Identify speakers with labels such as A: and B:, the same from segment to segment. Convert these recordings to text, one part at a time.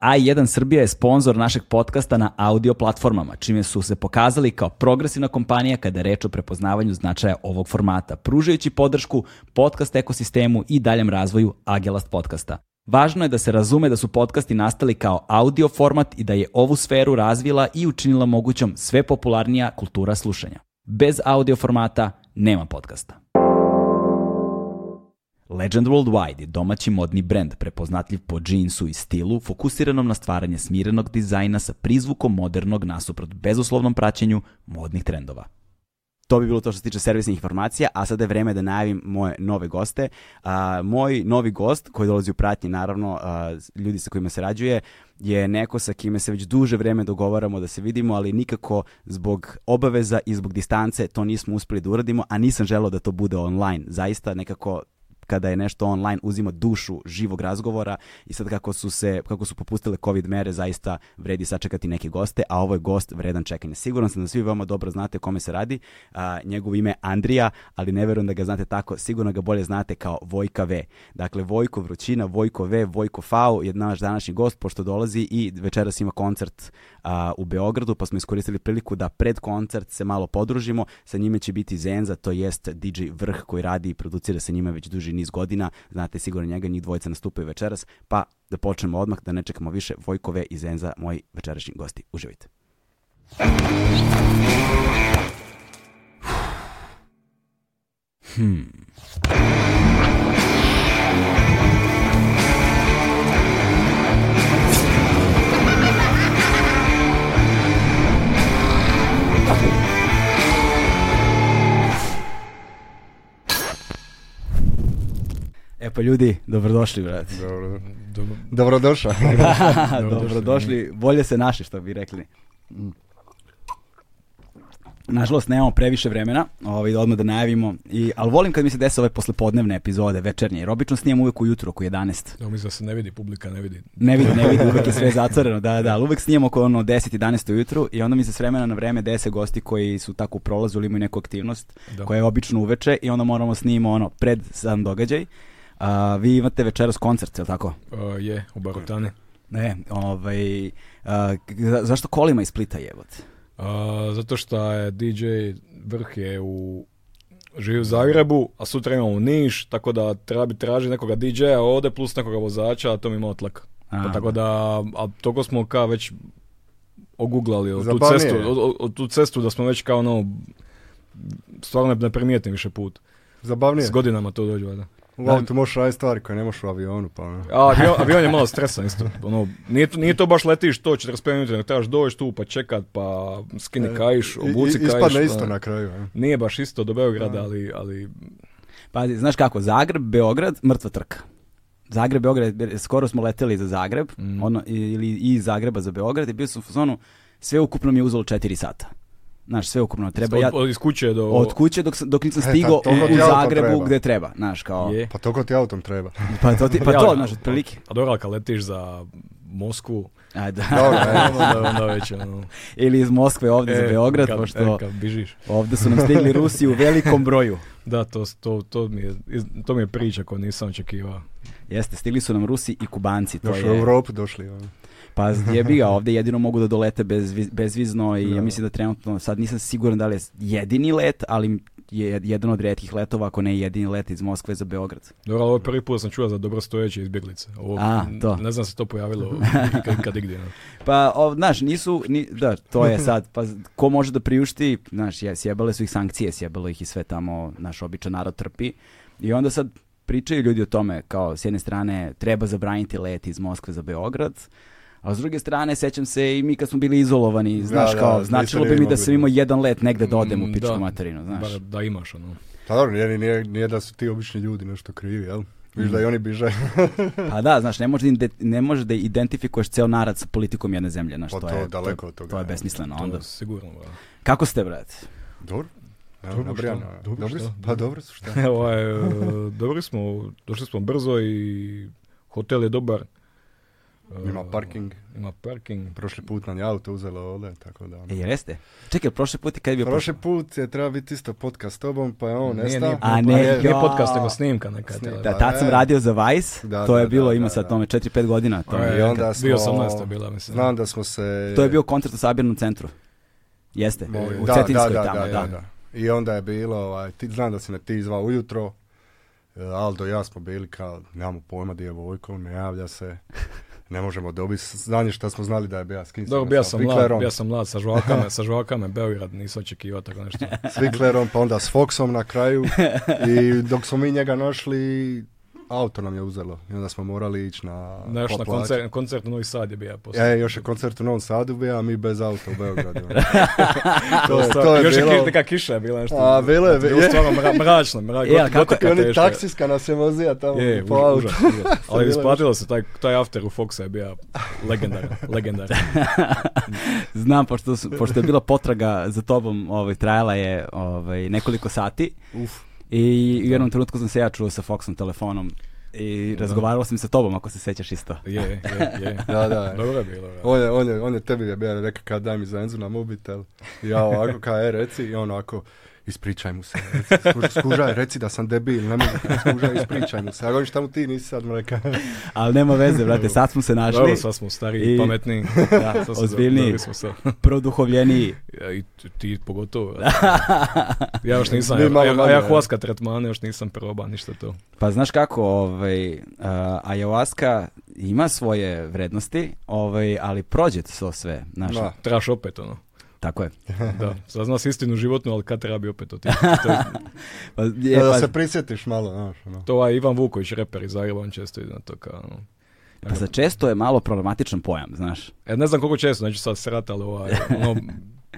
A: A1 Srbija je sponsor našeg podcasta na audio platformama, čime su se pokazali kao progresivna kompanija kada je reč o prepoznavanju značaja ovog formata, pružajući podršku podcast ekosistemu i daljem razvoju Agelast podcasta. Važno je da se razume da su podcasti nastali kao audio format i da je ovu sferu razvila i učinila mogućom sve popularnija kultura slušanja. Bez audio formata nema podcasta. Legend Worldwide je domaći modni brend prepoznatljiv po džinsu i stilu fokusiranom na stvaranje smirenog dizajna sa prizvukom modernog nasuprot bezuslovnom praćenju modnih trendova.
B: To bi bilo to što se tiče servisnih informacija, a sada je vreme da najavim moje nove goste. A, moj novi gost, koji dolazi u pratnji, naravno, a, ljudi sa kojima sarađuje, je neko sa kime se već duže vreme dogovaramo da se vidimo, ali nikako zbog obaveza i zbog distance to nismo uspeli da uradimo, a nisam želeo da to bude online. Zaista nekako kada je nešto online uzima dušu živog razgovora i sad kako su se kako su popustile covid mere zaista vredi sačekati neke goste, a ovo je gost vredan čekanja. Siguran sam da svi veoma dobro znate o kome se radi. A, njegovo ime je Andrija, ali ne verujem da ga znate tako, sigurno ga bolje znate kao Vojka V. Dakle Vojko Vrućina, Vojko V, Vojko Fao je naš današnji gost pošto dolazi i večeras ima koncert a, u Beogradu, pa smo iskoristili priliku da pred koncert se malo podružimo. Sa njime će biti Zenza, to jest DJ Vrh koji radi i producira sa njime već duži niz godina. Znate sigurno njega, njih dvojica nastupaju večeras, pa da počnemo odmah, da ne čekamo više. Vojkove i Zenza, moji večerašnji gosti. Uživajte.
A: Hmm.
B: E pa ljudi, dobrodošli, brate.
C: Dobro,
D: Dobrodošao.
B: Dobrodošli, Pa, bolje se naši, što bi rekli. Nažalost, nemamo previše vremena, ovaj, odmah da najavimo, i, ali volim kad mi se desa ove poslepodnevne epizode, večernje, jer obično snimam uvek ujutro oko 11.
C: Evo mislim da se ne vidi, publika ne vidi.
B: Ne vidim, ne vidim, uvek je sve zatvoreno, da, da, ali uvek snimam oko ono 10, 11 ujutru i onda mi se s vremena na vreme dese gosti koji su tako u prolazu ili imaju neku aktivnost
C: Da.
B: koja je obično uveče i onda moramo snimamo ono pred sam događaj. A, vi imate večeras koncert, je li tako?
C: Uh, je, u Barutane.
B: Ne, ovaj, a, k- za- zašto kolima iz Splita jebot?
C: Uh, zato što je DJ Vrh je u živi u Zagrebu, a sutra imamo u Niš, tako da treba bi tražiti nekoga DJ-a ovde plus nekoga vozača, a to mi imao tlak.
B: A,
C: Pa tako da, a toliko smo kao već oguglali o tu,
D: Zabavnije
C: cestu,
D: je.
C: o, o- o tu cestu da smo već kao ono, stvarno ne primijetim više put.
D: Zabavnije.
C: S godinama to dođe, valjda.
D: U autu možeš raditi stvari koje ne možeš u avionu, pa ono.
C: A avion, avion je malo stresan isto. Ono, nije, to- nije to baš letiš to 45 minuta, nego trebaš doći tu pa čekat, pa skini kajš,
D: E, I-
C: obuci
D: i-
C: kajš.
B: pa-
D: Ispadne isto
C: ono.
D: na kraju. e.
C: Nije baš isto do Beograda, ali, ali
B: Pazi, znaš kako, Zagreb, Beograd, mrtva trka. Zagreb, Beograd, be- skoro smo leteli za Zagreb,
C: Mm.
B: ono, i- ili iz Zagreba za Beograd i bio sam u zonu, sve ukupno mi je uzelo 4 sata. Znaš, sve ukupno, treba
C: od,
B: ja...
C: od- iz kuće do...
B: Od kuće dok, sam- dok nisam
D: E,
B: stigao
D: tad toliko
B: u,
D: ti
B: u
D: auto
B: Zagrebu
D: treba.
B: gde treba, znaš, kao...
C: Je.
D: Pa toliko ti autom treba.
B: Pa to, ti, pa to
C: Ja,
B: znaš, otprilike.
C: A dobro, ali kad letiš za Moskvu,
B: Ajde.
D: Dobro, e.
C: onda, onda već ono...
B: Ili iz Moskve ovde za
C: e,
B: Beograd,
C: kad-
B: pošto
C: e, kad bižiš.
B: ovde su nam stigli Rusi u velikom broju.
C: Da, to, to, to, mi je, iz- to mi je priča koju nisam očekivao.
B: Jeste, stigli su nam Rusi i Kubanci. To
D: Još u
B: je,
D: Europu došli. ono.
B: pa jebi ga, ovde jedino mogu da dolete bez, viz- bezvizno i ja mislim da trenutno, sad nisam siguran da li je jedini let, ali je jedan od retkih letova, ako ne i jedini let iz Moskve za Beograd.
C: Dobro, ali ovo je prvi put da sam čuo za dobrostojeće izbjeglice. Ovo,
B: A, to.
C: Ne znam da se to pojavilo kad, kad igdje. no.
B: Pa, o, znaš, nisu, ni, da, to je sad, pa ko može da priušti, znaš, je- sjebale su ih sankcije, sjebalo ih i sve tamo, naš običan narod trpi. I onda sad pričaju ljudi o tome, kao, s jedne strane, treba zabraniti let iz Moskve za Beograd, a s druge strane, sećam se i mi kad smo bili izolovani, znaš,
D: da,
B: kao,
D: niste
B: značilo bi
D: ni
B: mi da
D: mogli,
B: sam imao jedan let negde da odem u
C: Mm,
B: pičku
C: da.
B: materinu, znaš.
C: Bar da imaš ono.
D: Pa dobro, nije, nije, nije da su ti obični ljudi nešto krivi, jel? Viš da i oni biže.
B: Mm. Pa da, znaš, ne možeš, da ide- ne možeš da identifikuješ ceo narod sa politikom jedne zemlje, znaš,
D: Pa
B: to,
D: to
B: je,
D: daleko
B: to,
D: od toga,
B: to je
D: ja.
B: besmisleno
C: To
B: onda.
C: je sigurno, bra.
B: Kako ste, brate?
D: Dobro. Evo,
C: Dobro,
D: nabrijano,
C: šta?
D: a?
C: Dobro,
D: Dobri
C: šta?
D: su? Pa dobro su šta.
C: Evo, ovaj, e, dobri smo, došli smo brzo i hotel je dobar.
D: Ima parking.
C: Ima parking.
D: Prošli put nam je auto uzelo ovdje, tako da... ono.
B: E, pa jeste? Čekaj, prošli put kad je bio...
D: Prošli put je trebao biti isto podcast s tobom, pa je on
C: Nije,
D: nestao.
C: nije,
B: A
C: nije-
B: ne,
C: nije
B: ja.
C: podcast, nego snimka neka.
D: Snimka.
B: Da,
D: Pa
B: tad sam
D: ne.
B: radio za Vice,
D: Da,
B: to
D: da,
B: je bilo,
D: da,
B: ima
D: da,
B: sad
D: da.
B: tome 4-5 godina. To,
C: E,
D: I onda
C: kad-
D: smo...
C: bio 18 je bila, mislim.
D: Znam da smo se...
B: to je bio koncert u Sabirnom centru. Jeste,
D: E,
B: u Cetinskoj
D: da,
B: tamo,
D: da,
B: da.
D: da, da. I onda je bilo, ovaj, ti, znam da si me ti zvao ujutro, e, Aldo i ja smo bili kao, nemamo pojma gdje je Vojko, ne javlja se, ne možemo dobiti, znanje šta smo znali da je bija s kim
C: Dobro,
D: sam
C: bio
D: sa
C: sam mlad,
D: Viklerom,
C: bio sam mlad sa žvakama, sa žvakama, Beograd, nisam očekivao tako nešto.
D: s Viklerom, pa onda s Foxom na kraju i dok smo mi njega našli, auto nam je uzelo i onda smo morali ići na
C: Znaš, na
D: poplać.
C: koncert, koncert u Novi Sad je bio poslije.
D: E, još je koncert u Novom Sadu bio, a mi bez auta u Beogradu. to, je,
C: Stvar-
D: to je
C: još je
D: bilo...
C: kiš, neka kiša je bila nešto.
D: A, bilo je,
C: Bilo
D: je.
C: stvarno mra- mračno, mračno.
B: E, ali kako-
D: I
C: gotika
D: oni
C: teška.
D: taksijska nas je vozija tamo
C: Je,
D: po
C: užas,
D: autu.
C: užas, užas. Ali
D: bilo je
C: isplatilo se, taj, taj after u Foxa je bio legendaran, legendaran.
B: Znam, pošto, su- pošto je bila potraga za tobom, ovaj, trajala je ovaj, nekoliko sati. I u jednom trenutku sam se ja čuo sa Foxom telefonom i razgovarao sam sa tobom, ako se sećaš isto.
C: Je, je, je.
D: Da, da.
C: Dobro je bilo. da.
D: On je, on je, on je tebi je bio rekao kao daj mi Zenzu na mobitel. I ja ovako kao e reci i on ovako ispričaj mu se. Reci, skuž- skužaj, reci da sam debil, ne mogu, skužaj, ispričaj mu se. Ja govorim šta mu ti nisi sad mu rekao.
B: Ali nema veze, brate, sad smo se našli.
C: Dobro, sad smo stariji,
B: I-
C: i... pametniji.
B: Da,
C: Sad se
B: ozbiljniji.
C: dobili smo se.
B: produhovljeniji.
C: Ja, I t- ti pogotovo. Ja još nisam,
D: Mi
C: ja,
D: malo
C: ja,
D: manje,
C: ja
D: da.
C: huaska tretmane još nisam probao ništa to.
B: Pa znaš kako, ovaj, uh, ayahuasca ima svoje vrednosti, ovaj, ali prođe to sve, znaš,
D: Da.
C: Trebaš opet ono.
B: tako je.
C: Da, sazna si istinu životnu, ali kad treba bi opet to ti. To, je-
B: Pa, je,
D: Da
B: pa-
D: se prisjetiš malo, znaš. ono.
C: to ovaj Ivan Vuković, reper iz Zagreba, on često ide na to kao ono.
B: pa za često je malo problematičan pojam, znaš.
C: E, ne znam koliko često, neću sad srat, ali ovaj, ono,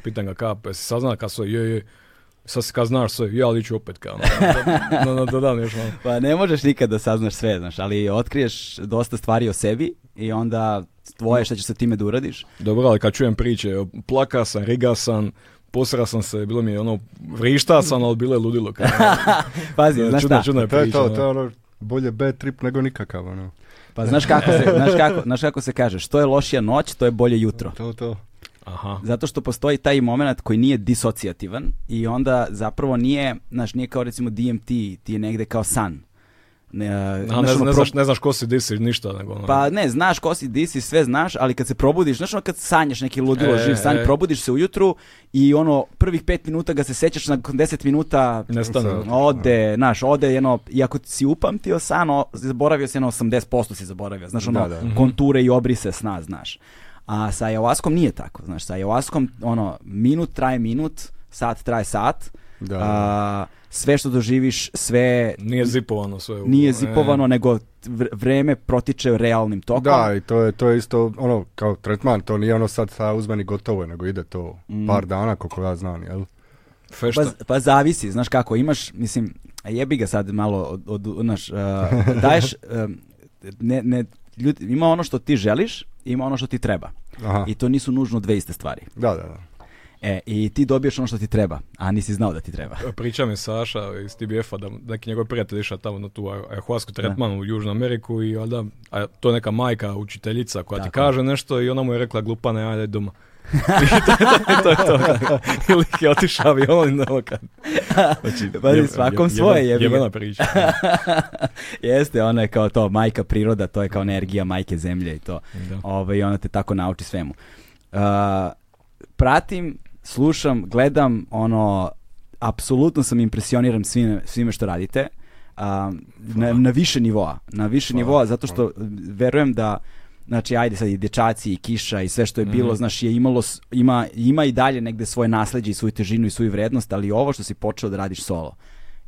C: pitan ga ka, pa jesi saznala ka sve, je, je, sad si ka znaš sve, ja ali ću opet kao, ono, na, na, na, dodam još malo.
B: Pa ne možeš nikad da saznaš sve, znaš, ali otkriješ dosta stvari o sebi i onda tvoje šta ćeš sa time da uradiš.
C: Dobro, ali kad čujem priče, plaka sam, riga sam, posra sam se, bilo mi je ono, vrišta sam, ali bilo je ludilo. Kao, ono,
B: Pazi, znaš
C: čudna,
B: šta?
C: čudna je
D: To je
C: priča.
D: to,
C: da.
D: to je ono, bolje bad trip nego nikakav, ono.
B: Pa znaš kako se, znaš kako, znaš kako se kaže, što je lošija noć, to je bolje jutro.
D: To, to.
C: Aha.
B: Zato što postoji taj moment koji nije disocijativan i onda zapravo nije, znaš, nije kao recimo DMT, ti je negde kao san. Ne,
C: A,
B: znaš,
C: ne,
B: ono,
C: ne,
B: pro-
C: znaš, ne znaš ko si, di si, ništa. Nego, ono,
B: Pa ne, znaš ko si, di si, sve znaš, ali kad se probudiš, znaš ono kad sanjaš neki ludilo,
C: E,
B: živ san,
C: e.
B: probudiš se ujutru i ono prvih pet minuta ga se sećaš, nakon deset minuta
C: Nestane.
D: Sad.
B: ode, znaš, ode jedno, i ako si upamtio san, o, zaboravio si jedno 80% si zaboravio, znaš, ono,
D: Da, da.
B: konture i obrise sna, znaš. A sa ayahuaskom nije tako, znaš, sa ayahuaskom, ono, minut traje minut, sat traje sat,
D: Da.
B: a, sve što doživiš, sve
C: Nije zipovano sve. u-
B: nije
C: e.
B: zipovano, nego vr- vreme protiče realnim tokom.
D: Da, i to je, to je isto, ono, kao tretman, to nije ono sad sa uzmeni gotovo, je, nego ide to par dana, koliko ja znam, jel?
C: E, Fešta.
B: Pa, pa zavisi, znaš kako, imaš, mislim, a jebi ga sad malo, od, od- znaš, uh, daješ, um, ne, ne, ljudi- ima ono što ti želiš, ima ono što ti treba.
D: Aha.
B: I to nisu nužno dve iste stvari.
D: Da, da, da.
B: E, i ti dobiješ ono što ti treba, a nisi znao da ti treba.
C: Priča mi Saša iz TBF-a da neki njegov prijatelj išao tamo na tu ayahuasku tretman u Južnu Ameriku i valjda, a to je neka majka, učiteljica koja ti
B: Tako.
C: kaže nešto i ona mu je rekla glupane, ajde doma. I to je to, i to, je to. I lik je otišao avionom i ono kad... Znači,
B: Pa,
C: jebe-
B: svakom
C: jebe-
B: svoje, jebi ga.
C: Jebena priča.
B: Jeste, ona je kao to, majka priroda, to je kao energija majke zemlje i to.
C: Da.
B: Ove, I ona te tako nauči svemu. Uh, pratim, slušam, gledam, ono, apsolutno sam impresioniran svime, svime što radite. Um, na, na više nivoa, na više nivoa, zato što verujem da Znači, ajde sad i dječaci i kiša i sve što je bilo, znaš, je imalo, s- ima, ima i dalje negde svoje nasleđe i svoju težinu i svoju vrednost, ali ovo što si počeo da radiš solo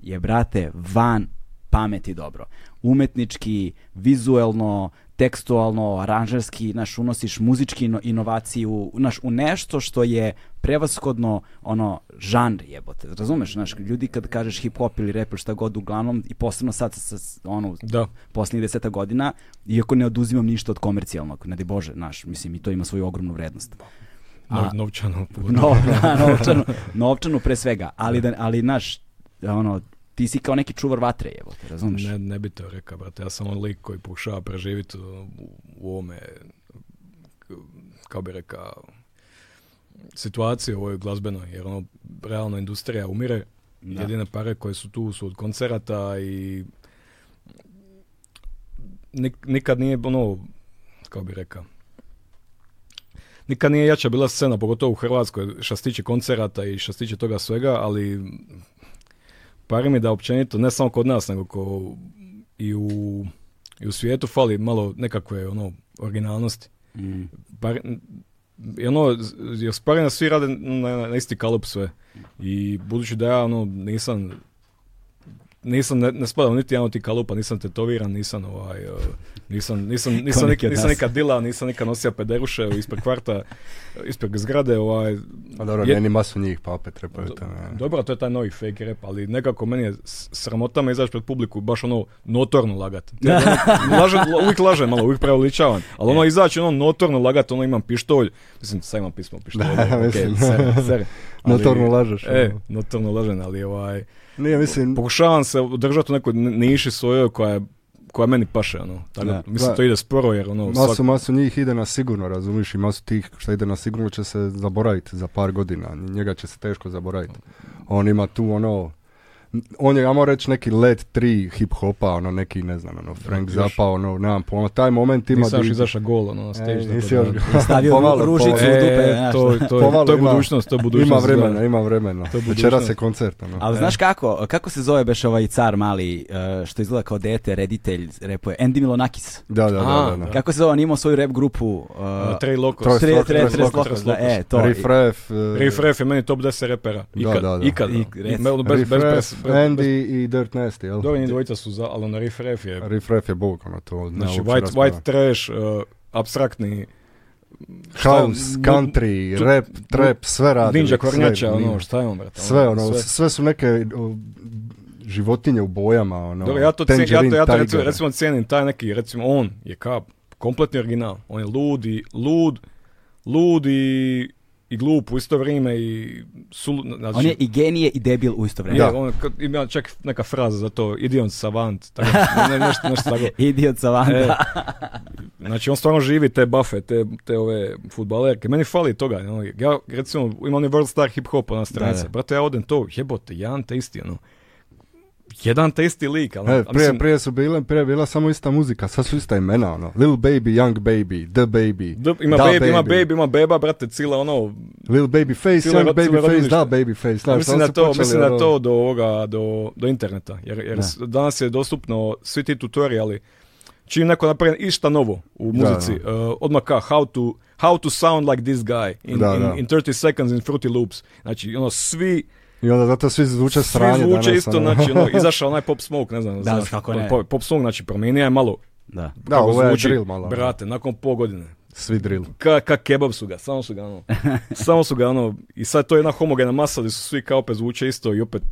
B: je, brate, van pameti dobro. Umetnički, vizuelno, tekstualno, aranžerski, naš unosiš muzički ino- inovaciju, naš u nešto što je prevashodno ono žanr jebote. Razumeš, znaš, ljudi kad kažeš hip hop ili rap ili šta god uglavnom i posebno sad sa sa- ono
C: Da.
B: poslednjih deseta godina, iako ne oduzimam ništa od komercijalnog, ne di Bože, naš, mislim i to ima svoju ogromnu vrednost.
C: No,
B: A-
C: novčano.
B: No, da, novčanu, novčanu pre svega, ali, da, ali naš, ono,
A: ti si kao neki čuvar vatre, evo te, razumiješ?
C: Ne, ne bi to rekao, brate. Ja sam on lik koji pokušava preživjeti u, u ovome, k- kao bi rekao, situaciji ovoj glazbenoj, jer ono, realno industrija umire.
A: Da.
C: Jedine pare koje su tu su od koncerata i nik- nikad nije, ono, kao bi rekao, nikad nije jača bila scena, pogotovo u Hrvatskoj, što se tiče koncerata i što se tiče toga svega, ali pari mi da općenito, ne samo kod nas, nego ko i u, i u svijetu fali malo nekakve ono, originalnosti.
A: Mm.
C: Bar, i ono, z- jer sparina svi rade na, na isti kalup sve. I budući da ja ono, nisam nisam, ne, ne spadam niti jedan od tih kalupa, nisam tetoviran, nisam ovaj, eh, nisam, nisam, nisam, nik-
A: neki od
C: nisam
A: nas.
C: nikad dila, nisam nikad nosio pederuše ispred kvarta, ispred zgrade, ovaj,
D: A Pa dobro,
C: Je-
D: meni masu njih, pa opet trebaju to. ne.
C: dobro, to je taj novi fake rap, ali nekako meni je s- sramota me izaći pred publiku, i baš ono notorno lagat. Ja lažem, la- uvijek lažem malo, uvijek preuveličavam, ali ono izaći ono notorno lagat, ono imam pištolj, mislim sad imam pismo pištolj,
D: Da,
C: ok,
D: mislim.
C: ser, ser, ali-
D: Notorno lažeš,
C: E,
D: ono.
C: notorno lažem, ali ovaj,
D: Nije, mislim,
C: pokušavam se držati u nekoj n- niši svojoj koja je koja meni paše, ono. Tako,
B: Da.
C: mislim, to ide sporo, jer ono, svak-
D: masu, masu njih ide na sigurno, razumiš, i masu tih što ide na sigurno će se zaboraviti za par godina, njega će se teško zaboraviti. On ima tu ono, on je, ja moram reći, neki led 3 hip-hopa, ono, neki, ne znam, ono, Frank
C: Još-
D: Zappa, ono, nemam pojma, taj moment ima...
C: nisam još
D: di-
C: izašao gol, ono, na stage,
D: E,
C: tako
D: nisi
C: da-
D: još
A: Stavio
D: Pomalo,
A: ružicu
D: pomalo.
A: u
C: E,
A: dupe, znaš.
C: to, to, je-
D: Pomalo
C: to je
D: ima-
C: budućnost, E, to je budućnost.
D: Ima
C: da.
D: vremena, ima vremena.
C: To je
D: Večera
C: budućnost.
D: se koncert, ono.
B: Ali znaš kako, kako se zove beš ovaj car mali, eh, što izgleda kao dete, reditelj, repuje, Andy Milonakis.
D: Da, da, da,
C: A,
D: da. da.
B: Kako se zove, on je imao svoju rap grupu. eh,
C: Uh, Trey Locos.
D: Troj-
B: Tre-
D: Tres
B: Tre-
D: Locos,
B: Tres
D: Tres
B: Locos, da,
C: Locos.
B: e, to.
D: Riff-Raff, e,
C: Riff Raff je meni top 10 repera. Ikad,
D: Da, da, da.
C: ikada.
B: I-
C: I- me- ono, bez,
D: Riff
C: bez,
D: Raff,
C: bez, bez, bez,
D: Andy i Dirt Nasty, jel?
C: Dovoljni dvojica su za, ali na Riff Raff je,
D: Riff Raff je bog, ono, to. ne,
C: znači,
D: uopće
C: white,
D: rasprava.
C: white trash, uh, abstraktni, šta je-
D: House,
C: nu-
D: country,
C: tu-
D: rap, trap, sve radi.
C: ninja
D: sve,
C: kornjača, ono,
D: nije.
C: šta je on, brate?
D: Sve, ono, sve. su neke o, životinje u bojama, ono.
C: Dobro, ja to, cijenim, ja to, ja to
D: Tangerine
C: recimo,
D: Tiger.
C: recimo cijenim, taj neki, recimo on je kao kompletni original. On je lud i, lud, lud i, i glup u isto vrijeme i sul, znači,
B: On je i genije i debil u isto
C: Je,
B: vrijeme.
D: Da.
C: on, ono, kad- ima čak neka fraza za to, idion savant, tako, ne, ne, nešto, nešto tako.
B: Idiot savanta.
C: E, znači on stvarno živi te bafe, te, te ove futbalerke. Meni fali toga. No. Ja recimo imam onaj World Star Hip Hop na
B: Da,
C: stranici.
B: da.
C: Brate, ja odem to, jebote, jedan te isti, ono. Jedan te isti lik, ali...
D: E,
C: a
D: prije,
C: mislim,
D: prije su bile, prije je bila samo ista muzika, sad su ista imena, ono. Lil Baby, Young Baby, The Baby,
C: da, ima
D: Da,
C: baby, ima
D: baby.
C: baby, ima beba, brate, cila ono...
D: Lil Baby
C: Cijelo-
D: Face, Young
C: cijelo
D: Baby Face,
C: rodilište.
D: da Baby Face. Znaš,
C: mislim
D: onda
C: da
D: su
C: to,
D: počeli,
C: mislim da
D: ono,
C: to do ovoga, do, do interneta. Jer, jer s- danas je dostupno svi ti tutoriali. Čim neko napravi išta novo u
D: Da,
C: muzici, uh, odmah ka how to, how to sound like this guy in,
D: Da,
C: in,
D: da.
C: in 30 seconds in Fruity Loops. Znači, ono, svi
D: I onda zato svi zvuče sranje
C: Svi zvuče
D: danas,
C: isto,
D: ono.
C: znači, ono, izašao onaj Pop Smoke, ne znam,
B: Da,
C: znaš,
B: kako ne.
C: Pop, Pop Smoke, znači, promijenio je malo.
B: Da.
D: Da,
C: kako
D: ovo je
C: zvuči,
D: drill malo. ono.
C: Brate, nakon pol godine.
D: Svi drill.
C: Ka, ka kebab su ga, samo su ga, ono, samo su ga, ono, i sad to je jedna homogena masa gdje su svi kao opet zvuče isto i opet,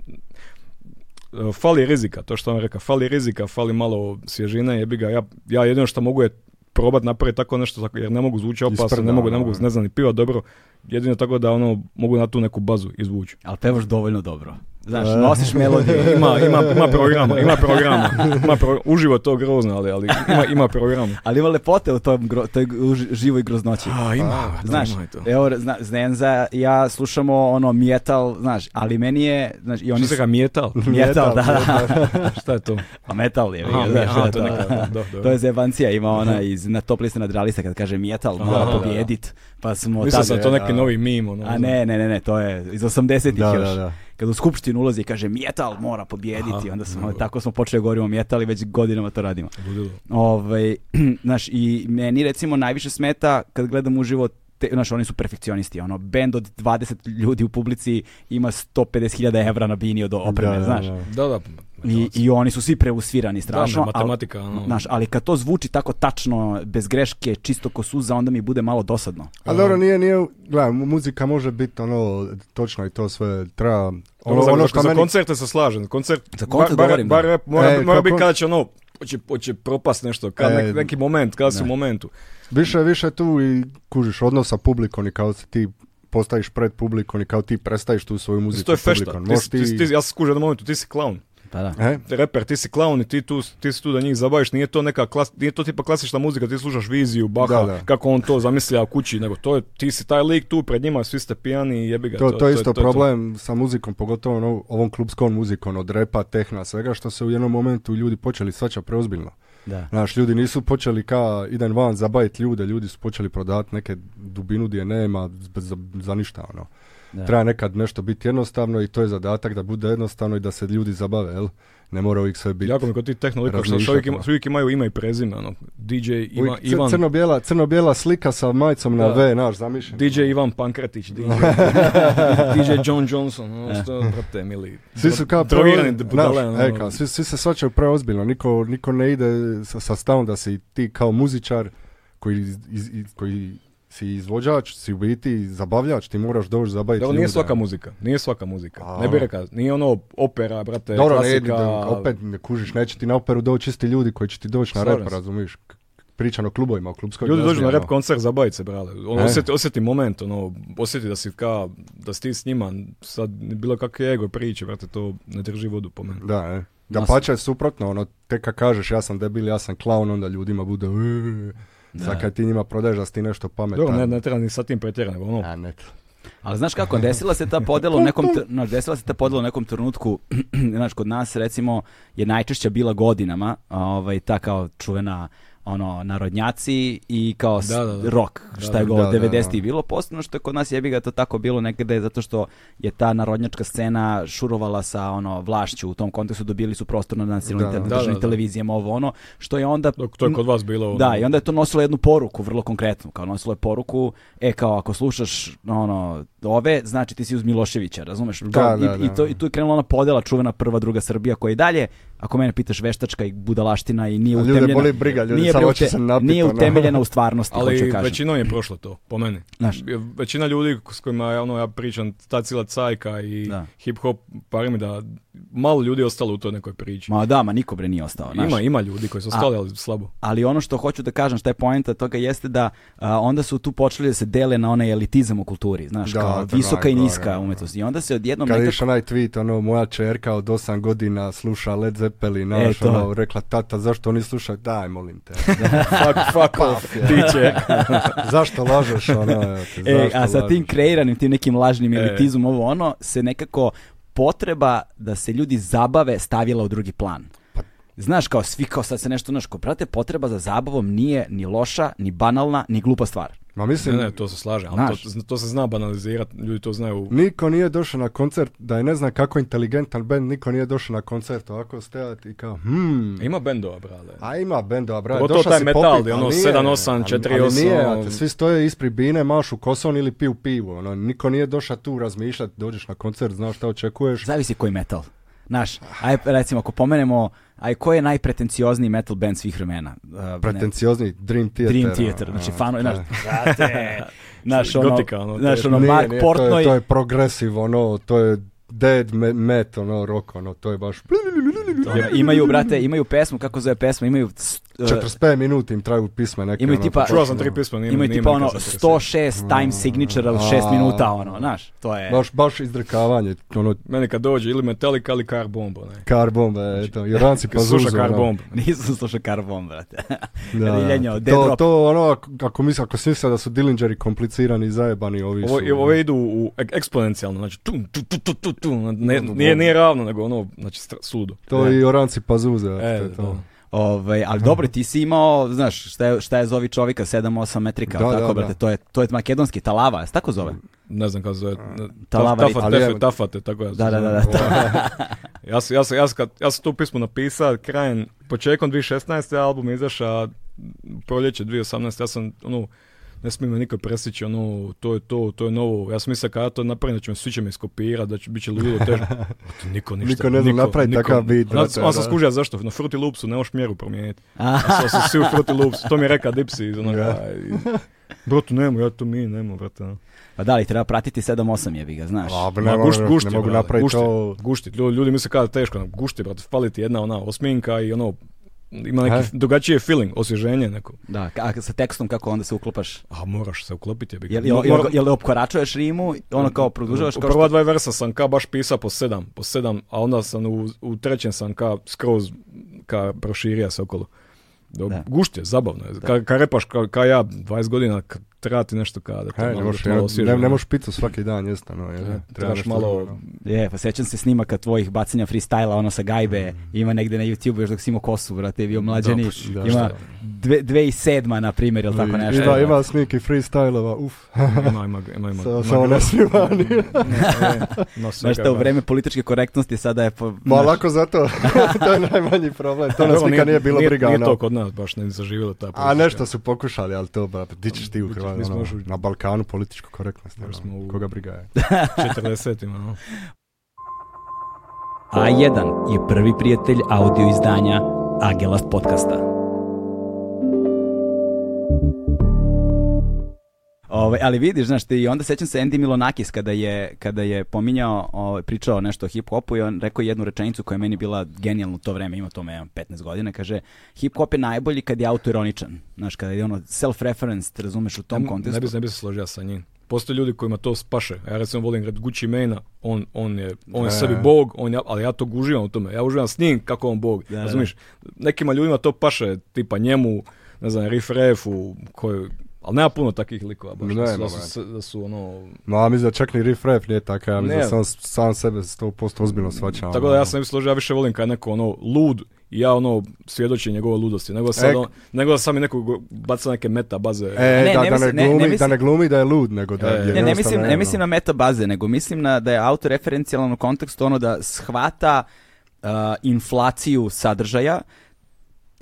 C: e, fali rizika, to što vam rekao, fali rizika, fali malo svježine, jebi ga, ja, ja jedino što mogu je probat napraviti tako nešto, tako, jer ne mogu zvući opasno,
D: Isprda,
C: ne mogu, ne
D: ono,
C: mogu,
D: ono.
C: ne znam, ni piva dobro, jedino tako da, ono, mogu na tu neku bazu izvući.
B: Ali pevaš dovoljno dobro. Znaš, nosiš melodiju.
C: Ima, ima, ima programa, ima programa. Ima pro- uživo to grozno, ali, ali ima, ima programa.
B: Ali ima lepote u tom gro, toj gru- živoj groznoći.
C: A, ima,
B: Znaš, evo, zna, Zenza i ja slušamo ono metal, znaš, ali meni je, znaš, i oni
C: Oni
B: su...
C: se ga mijetal?
B: Metal, da, da.
C: Šta je to?
B: Pa metal je,
C: Aha,
B: znaš,
C: aha, to
B: da.
C: neka, da, da, da.
B: To je zebancija, ima ona iz, na top listi nadralista kad kaže metal,
C: Aha,
B: mora
C: da.
B: pobjedit, pa smo
C: Mislio
B: tada...
C: sam to neki
D: da.
C: novi mim, ono.
B: A ne, ne, ne, ne, to je iz 80-ih
D: Da,
B: još.
D: da, da.
B: Kad u skupštinu ulazi i kaže metal mora pobjediti,
C: Aha,
B: onda smo,
C: dobro.
B: tako smo počeli da govorimo metal i već godinama to radimo.
C: Ludilo.
B: Ovaj, znaš, i meni recimo najviše smeta kad gledam uživo te, znaš, oni su perfekcionisti, ono, bend od 20 ljudi u publici ima 150.000 evra na bini od opreme,
D: Da, da,
B: znaš.
D: da.
C: Da, pa- da.
B: I, I oni su svi preusvirani strašno.
C: Da, ne, matematika, ono.
B: Al, znaš, ali kad to zvuči tako tačno, bez greške, čisto ko suza, onda mi bude malo dosadno.
D: A dobro, nije, nije, gledaj, mu- muzika može biti ono, točno i to sve, treba, ono,
C: za,
D: ono
C: za-
D: što
C: za
D: meni,
C: koncerte se slažem. Koncert,
B: Za koncert
C: bar, bar,
B: govorim,
C: bar
B: da.
C: rap mora,
D: E,
C: mora biti
D: kako-
C: kada će ono, hoće, hoće propast nešto, kad,
D: E,
C: nek- neki moment, kada si u momentu.
D: više, više tu i kužiš odnos sa publikom i kao se ti postaviš pred publikom i kao ti prestaješ tu svoju muziku
C: to je fešta.
D: publikom.
C: Ti,
D: Možeš
C: si- ti, si- ti, ja se skužem na momentu, ti si klaun.
B: Pa da.
D: E?
C: reper, ti si klaun i ti, tu, ti si tu da njih zabaviš, nije to neka klas, nije to tipa klasična muzika, ti slušaš viziju, baha,
D: Da, da.
C: kako on to zamislja kući, nego to je, ti si taj lik tu pred njima, svi ste pijani i jebi ga.
D: To, to je isto
C: to.
D: problem sa muzikom, pogotovo ono- ovom klubskom muzikom od repa, tehna, svega što se u jednom momentu ljudi počeli svaća preozbiljno.
B: Da.
D: Znaš, ljudi nisu počeli ka idem van zabaviti ljude, ljudi su počeli prodavati neke dubinu gdje nema z- za, za ništa ono.
B: Da.
D: Treba nekad nešto biti jednostavno i to je zadatak da bude jednostavno i da se ljudi zabave, jel? Ne mora uvijek sve biti.
C: Jako mi kod tih tehnologika, što
D: Razmišljati,
C: uvijek, ima,
D: da.
C: svi uvijek imaju ime i prezime, ono, DJ Ivan,
D: Uvijek cr-
C: Ivan,
D: crno-bijela, crno-bijela slika sa majicom na
C: Da.
D: V, znaš, zamišljeno.
C: DJ Ivan Pankretić, DJ, DJ John Johnson, ono što, brate, mili.
D: E. Svi su kao
C: drogirani
D: preozbiljni,
C: budale,
D: znaš,
C: ono.
D: e, kao, svi, svi se svačaju preozbiljno, niko, niko ne ide sa, sa stavom da si ti kao muzičar koji, iz- iz- iz- koji si izvođač, si u biti zabavljač, ti moraš doći zabaviti
C: Da, ovo nije
D: ljude.
C: svaka muzika, nije svaka muzika.
D: A.
C: Ne bi rekao, nije ono opera, brate,
D: Dobro, ne,
C: klasika.
D: da- opet ne kužiš, neće ti na operu doći isti ljudi koji će ti doći na
C: Slažem
D: rep,
C: se.
D: razumiješ? K- Pričano o klubovima, o klubskoj
C: Ljudi dođu
D: glazbi,
C: na rap
D: ono.
C: koncert, zabavit se, brale. Ono,
D: E.
C: osjeti, osjeti moment, ono, osjeti da si ka, da si ti s njima, sad bilo kakve ego priče, brate, to ne drži vodu po meni.
D: Da, ne. Da
B: Mas-
D: pače suprotno, ono, tek kad kažeš ja sam debil, ja sam klaun, onda ljudima bude "Eee." Sad kad ti njima prodaješ da si ti nešto pametan.
C: Dobro, ne, ne treba ni sa tim pretjerano, nego ono,
D: A, ne.
B: Ali znaš kako, desila se ta podela u nekom, tr- znaš, desila se ta podela u nekom trenutku, znaš, kod nas recimo je najčešća bila godinama, ovaj, ta kao čuvena ono, narodnjaci i kao s-
C: Da, da, da.
B: rock, šta je
D: da,
B: bilo
D: da, da,
B: 90
D: da.
B: bilo, posebno što je kod nas jebi ga to tako bilo negde zato što je ta narodnjačka scena šurovala sa ono vlašću u tom kontekstu dobili su prostor na nacionalnim
D: Da, da.
B: te-
C: Da,
B: državnim
C: da, da.
B: televizijama ovo ono što je onda
C: dok to je kod vas bilo. ono,
B: da, i onda je to nosilo jednu poruku, vrlo konkretnu, kao nosilo je poruku, e kao ako slušaš ono ove, znači ti si uz Miloševića, razumeš? Kao,
D: da,
B: i, i
D: da.
B: to i tu je krenula ona podela čuvena prva druga Srbija koja je i dalje, ako mene pitaš veštačka i budalaština i nije
D: A ljude
B: utemeljena.
D: boli briga, ljudi
B: nije,
D: samo
B: bre,
D: hoće
B: ute-
D: se napit,
B: nije
D: ono.
B: utemeljena u stvarnosti, hoću
C: Ali
B: kažem.
C: većinom je prošlo to, po meni.
B: Znaš.
C: Većina ljudi s kojima ja, ono, ja pričam, ta cijela cajka i
B: Da.
C: hip-hop, pari mi da malo ljudi je ostalo u toj nekoj priči.
B: Ma da, ma niko bre nije ostao, znaš.
C: Ima, ima ljudi koji su ostali, ali slabo.
B: ali ono što hoću da kažem, šta je poenta toga jeste da a, onda su tu počeli da se dele na onaj elitizam u kulturi, znaš,
D: Da,
B: kao
D: to je
B: visoka i
D: najgore,
B: niska
D: da.
B: umetnost. I onda se odjednom
D: Kad je
B: nekako-
D: išao onaj tweet, ono, moja čerka od 8 godina sluša Led Zeppelin,
B: E,
D: znaš,
B: to.
D: ono, rekla, tata, zašto oni slušaju? Daj, molim te.
C: Fuck, fuck
B: Pa,
C: off, ti će.
D: zašto lažeš, ono, evo te,
B: E,
D: zašto
B: a sa tim
D: lažeš?
B: kreiranim, tim nekim lažnim
C: E.
B: elitizmom, ovo ono, se nekako potreba da se ljudi zabave stavila u drugi plan.
D: Pa-
B: Znaš, kao svi kao sad se nešto, znaš, ko brate, potreba za zabavom nije ni loša, ni banalna, ni glupa stvar.
D: Ma mislim,
C: Ne, ne, to se slaže, ali
B: Znaš.
C: to, to se zna banalizirati, ljudi to znaju.
D: niko nije došao na koncert, da je ne znam kako inteligentan bend, niko nije došao na koncert ovako stajati i kao,
B: Mm.
D: hmm,
C: Ima bendova, brale.
D: a ima bendova, brate,
C: Pogotovo
D: došao
C: taj
D: si
C: metal,
D: popit,
C: gdje
D: ali
C: ono,
D: nije,
C: 7-8,
D: ali-
C: 4-8,
D: ali nije,
C: ono.
D: brate, svi stoje ispred bine, mašu koson ili piju pivo, ono, niko nije došao tu razmišljati, dođeš na koncert, znaš šta očekuješ,
B: Zavisi koji metal. Znaš, aj recimo ako pomenemo, aj koji je najpretenciozniji metal band svih vremena? Uh, ne,
D: pretenciozni Dream Theater.
B: Dream
D: ono,
B: Theater, znači
D: ono,
B: fanovi,
D: to
B: znaš,
D: je-
B: brate, znaš, ono,
C: Gotika, ono, to
B: znaš,
C: je-
B: ono,
D: Nije,
B: Mark
D: nije, to je-
B: Portnoy,
D: To je progresiv, ono, to je dead me- metal, ono, rock, ono, to je baš...
B: ono, imaju, brate, imaju pesmu, kako zove pesma, imaju... s- uh,
D: 45 minuta im traju pisma neke.
B: Imaju
D: ono,
B: tipa-
D: pa-
C: Čuo sam tri pisma, nije
B: Imaju
C: nije
B: tipa
C: me
B: ono
C: nikad zainteresiralo.
B: 106 time signature u 6
D: A.
B: minuta, ono, znaš, to je...
D: Baš, baš izdrkavanje, ono,
C: Meni kad dođe ili Metallica ili Car Bomb, onaj.
B: Pa
D: kar bombe,
B: Znači-
D: eto, Jordanci pa
C: Kad sluša
D: zuzu,
C: Car
D: ono.
C: Bomb.
B: Nisam slušao Carbon, brate.
D: Da, da.
B: Riljenje, dead
D: to,
B: drop.
D: to ono, ako, ako misle, ako si mislio da su Dillingeri komplicirani i zajebani, ovi su... ono,
C: Ovo, i ove idu u ek- eksponencijalno, znači tu, tu, tu, tu, tu, tu, ne, nije, nije ravno, nego ono, znači stra- sudo.
D: to i Oranci Pazuze.
C: E,
D: to, je to.
B: Ovaj, ali dobro, ti si imao, znaš, šta je, šta je zovi čovjeka, 7-8 metrika,
D: Da,
B: tako,
D: da,
B: brate,
D: da. Mm,
B: to je, to je makedonski, talava, jel se tako zove?
C: Ne znam kako se zove.
B: Talava
C: Tafat,
D: ali
C: tefe,
D: evo-
C: tafate, tako ja. se
B: Da, da, da,
C: zove.
B: da.
C: Ja sam, ja sam, ja sam, kad- ja sam to pismo napisao krajem, početkom 2016. album je izaša proljeće 2018. Ja sam, ono, ne smijem me niko presići, ono, to je to, to je novo. Ja sam mislio kada ja to napravim, da će me svi će me iskopirati, da će biti ludo, teško. A Pa to niko ništa.
D: Niko ne zna napraviti takav beat,
C: Ja
D: brate,
C: sam- ja sam
D: da.
C: skužio zašto, na Fruity Loopsu ne možeš mjeru promijeniti. A sad su svi u Fruity Loops, to mi je reka Dipsy iz onoga. i- Brotu, nemo, ja to mi, nemo, brate. ono.
B: Pa da, ali treba pratiti 7-8 jebi ga, znaš.
D: A, ne,
C: Ma,
D: mogu-
C: gušti,
D: ne
C: gušti,
D: mogu
C: brate,
D: napraviti
C: gušti,
D: to...
C: gušti. Ljudi, ljudi misle kada je teško, ono, gušti, brate, fali ti jedna ona osminka i ono, ima neki
D: E.
C: f- drugačiji feeling, osvježenje neko.
B: Da, ka- a sa tekstom kako onda se uklopaš?
C: A moraš se uklopiti. Ja bih.
B: Jel, jel, jel, jel opkoračuješ rimu, ono kao produžavaš
C: U
B: kao
C: prva
B: što...
C: dva versa sam ka baš pisao po sedam, po sedam, a onda sam u, u trećem sam ka skroz ka proširio se okolo. Do,
B: Da.
C: Gušt je, zabavno je. Ka, ka repaš ka, ka ja 20 godina, ka, treba ti nešto ka da te
D: Kaj,
C: malo-
D: ne,
C: da
D: možeš,
C: te malo
D: jedno-
C: osvježi,
D: ne, ne
C: ono.
D: možeš picu svaki dan jesti, no, jel?
C: Trebaš
D: Treba nešto ono.
C: malo-
D: drugo, no.
B: Je, pa sećam se snimaka tvojih bacanja freestyla, ono sa gajbe,
D: Mm.
B: ima negde na YouTube još dok si imao kosu, brate, je bio mlađeni,
D: pa si, da,
B: ima
D: šta?
B: dve, dve i sedma, na primjer, jel tako
D: I-
B: nešto?
D: Da, ima sniki freestyle-ova, uf,
C: Ima, ima, ima, ima.
D: sa-
C: ima
D: samo
C: ima-
D: ne snimani.
C: ima svega,
B: Znaš šta, u
C: ima.
B: vreme političke korektnosti sada je... Po,
D: Ma
B: znaš,
D: Pa lako zato, to je najmanji problem, to nas
C: Dobro,
D: nikad nije bilo briga,
C: Nije
D: ono.
C: to kod nas baš ne zaživjelo ta
D: A
C: politika.
D: nešto su pokušali, ali to, brate, di ćeš ti u Hrvatskoj,
C: Mi smo
D: ono,
C: još u-
D: na Balkanu političko korektnost,
C: Još
D: ono,
C: smo u-
D: koga briga je.
C: 40-ima, no.
A: A1 je prvi prijatelj audio izdanja Agelast podcasta.
B: Ovaj, ali vidiš, znaš, ti, i onda sećam se Andy Milonakis kada je, kada je pominjao, ovaj, pričao nešto o hip-hopu i on rekao jednu rečenicu koja je meni bila genijalna u to vreme, ima tome evo, 15 godina, kaže, hip-hop je najbolji kad je autoironičan, znaš, kada je ono self-referenced, razumeš, u tom
C: Ne-
B: kontekstu.
C: Ne bi, ne bi se složio sa njim. Postoje ljudi kojima to spaše. Ja recimo volim grad Gucci Mane-a, on, on je, on je
D: Da.
C: sebi bog, on ja, ali ja to uživam u tome. Ja uživam s njim kako on bog.
B: Da, da.
C: Razumiješ? Nekima ljudima to paše, tipa njemu, ne znam, Riff Raffu, koji... Ali nema puno takvih likova baš. da, su,
D: Nema,
C: da, su, s- da su ono...
D: Ma, ja mislim da čak ni riff rap nije takav, ja mislim
C: Ne. Mm,
D: da sam, sam sebe 100% ozbiljno ono. svaća.
C: Tako da ja sam ne bi složio, ja više volim kad je neko ono lud i ja ono svjedočim njegove ludosti, nego sad
D: E,
C: on, nego da sam i nekog go- baca neke meta baze.
D: E,
B: Ne,
D: da,
B: ne
D: da,
B: mislim- ne-
D: ne
B: ne
D: glumi, da
B: mislim-
D: ne glumi da je lud, nego da
C: E, ne,
D: je
B: Ne, ne
D: jednostavno,
B: mislim, ne
D: ono.
B: mislim na metabaze, nego mislim na da je autoreferencijalan u kontekstu ono da shvata uh, inflaciju sadržaja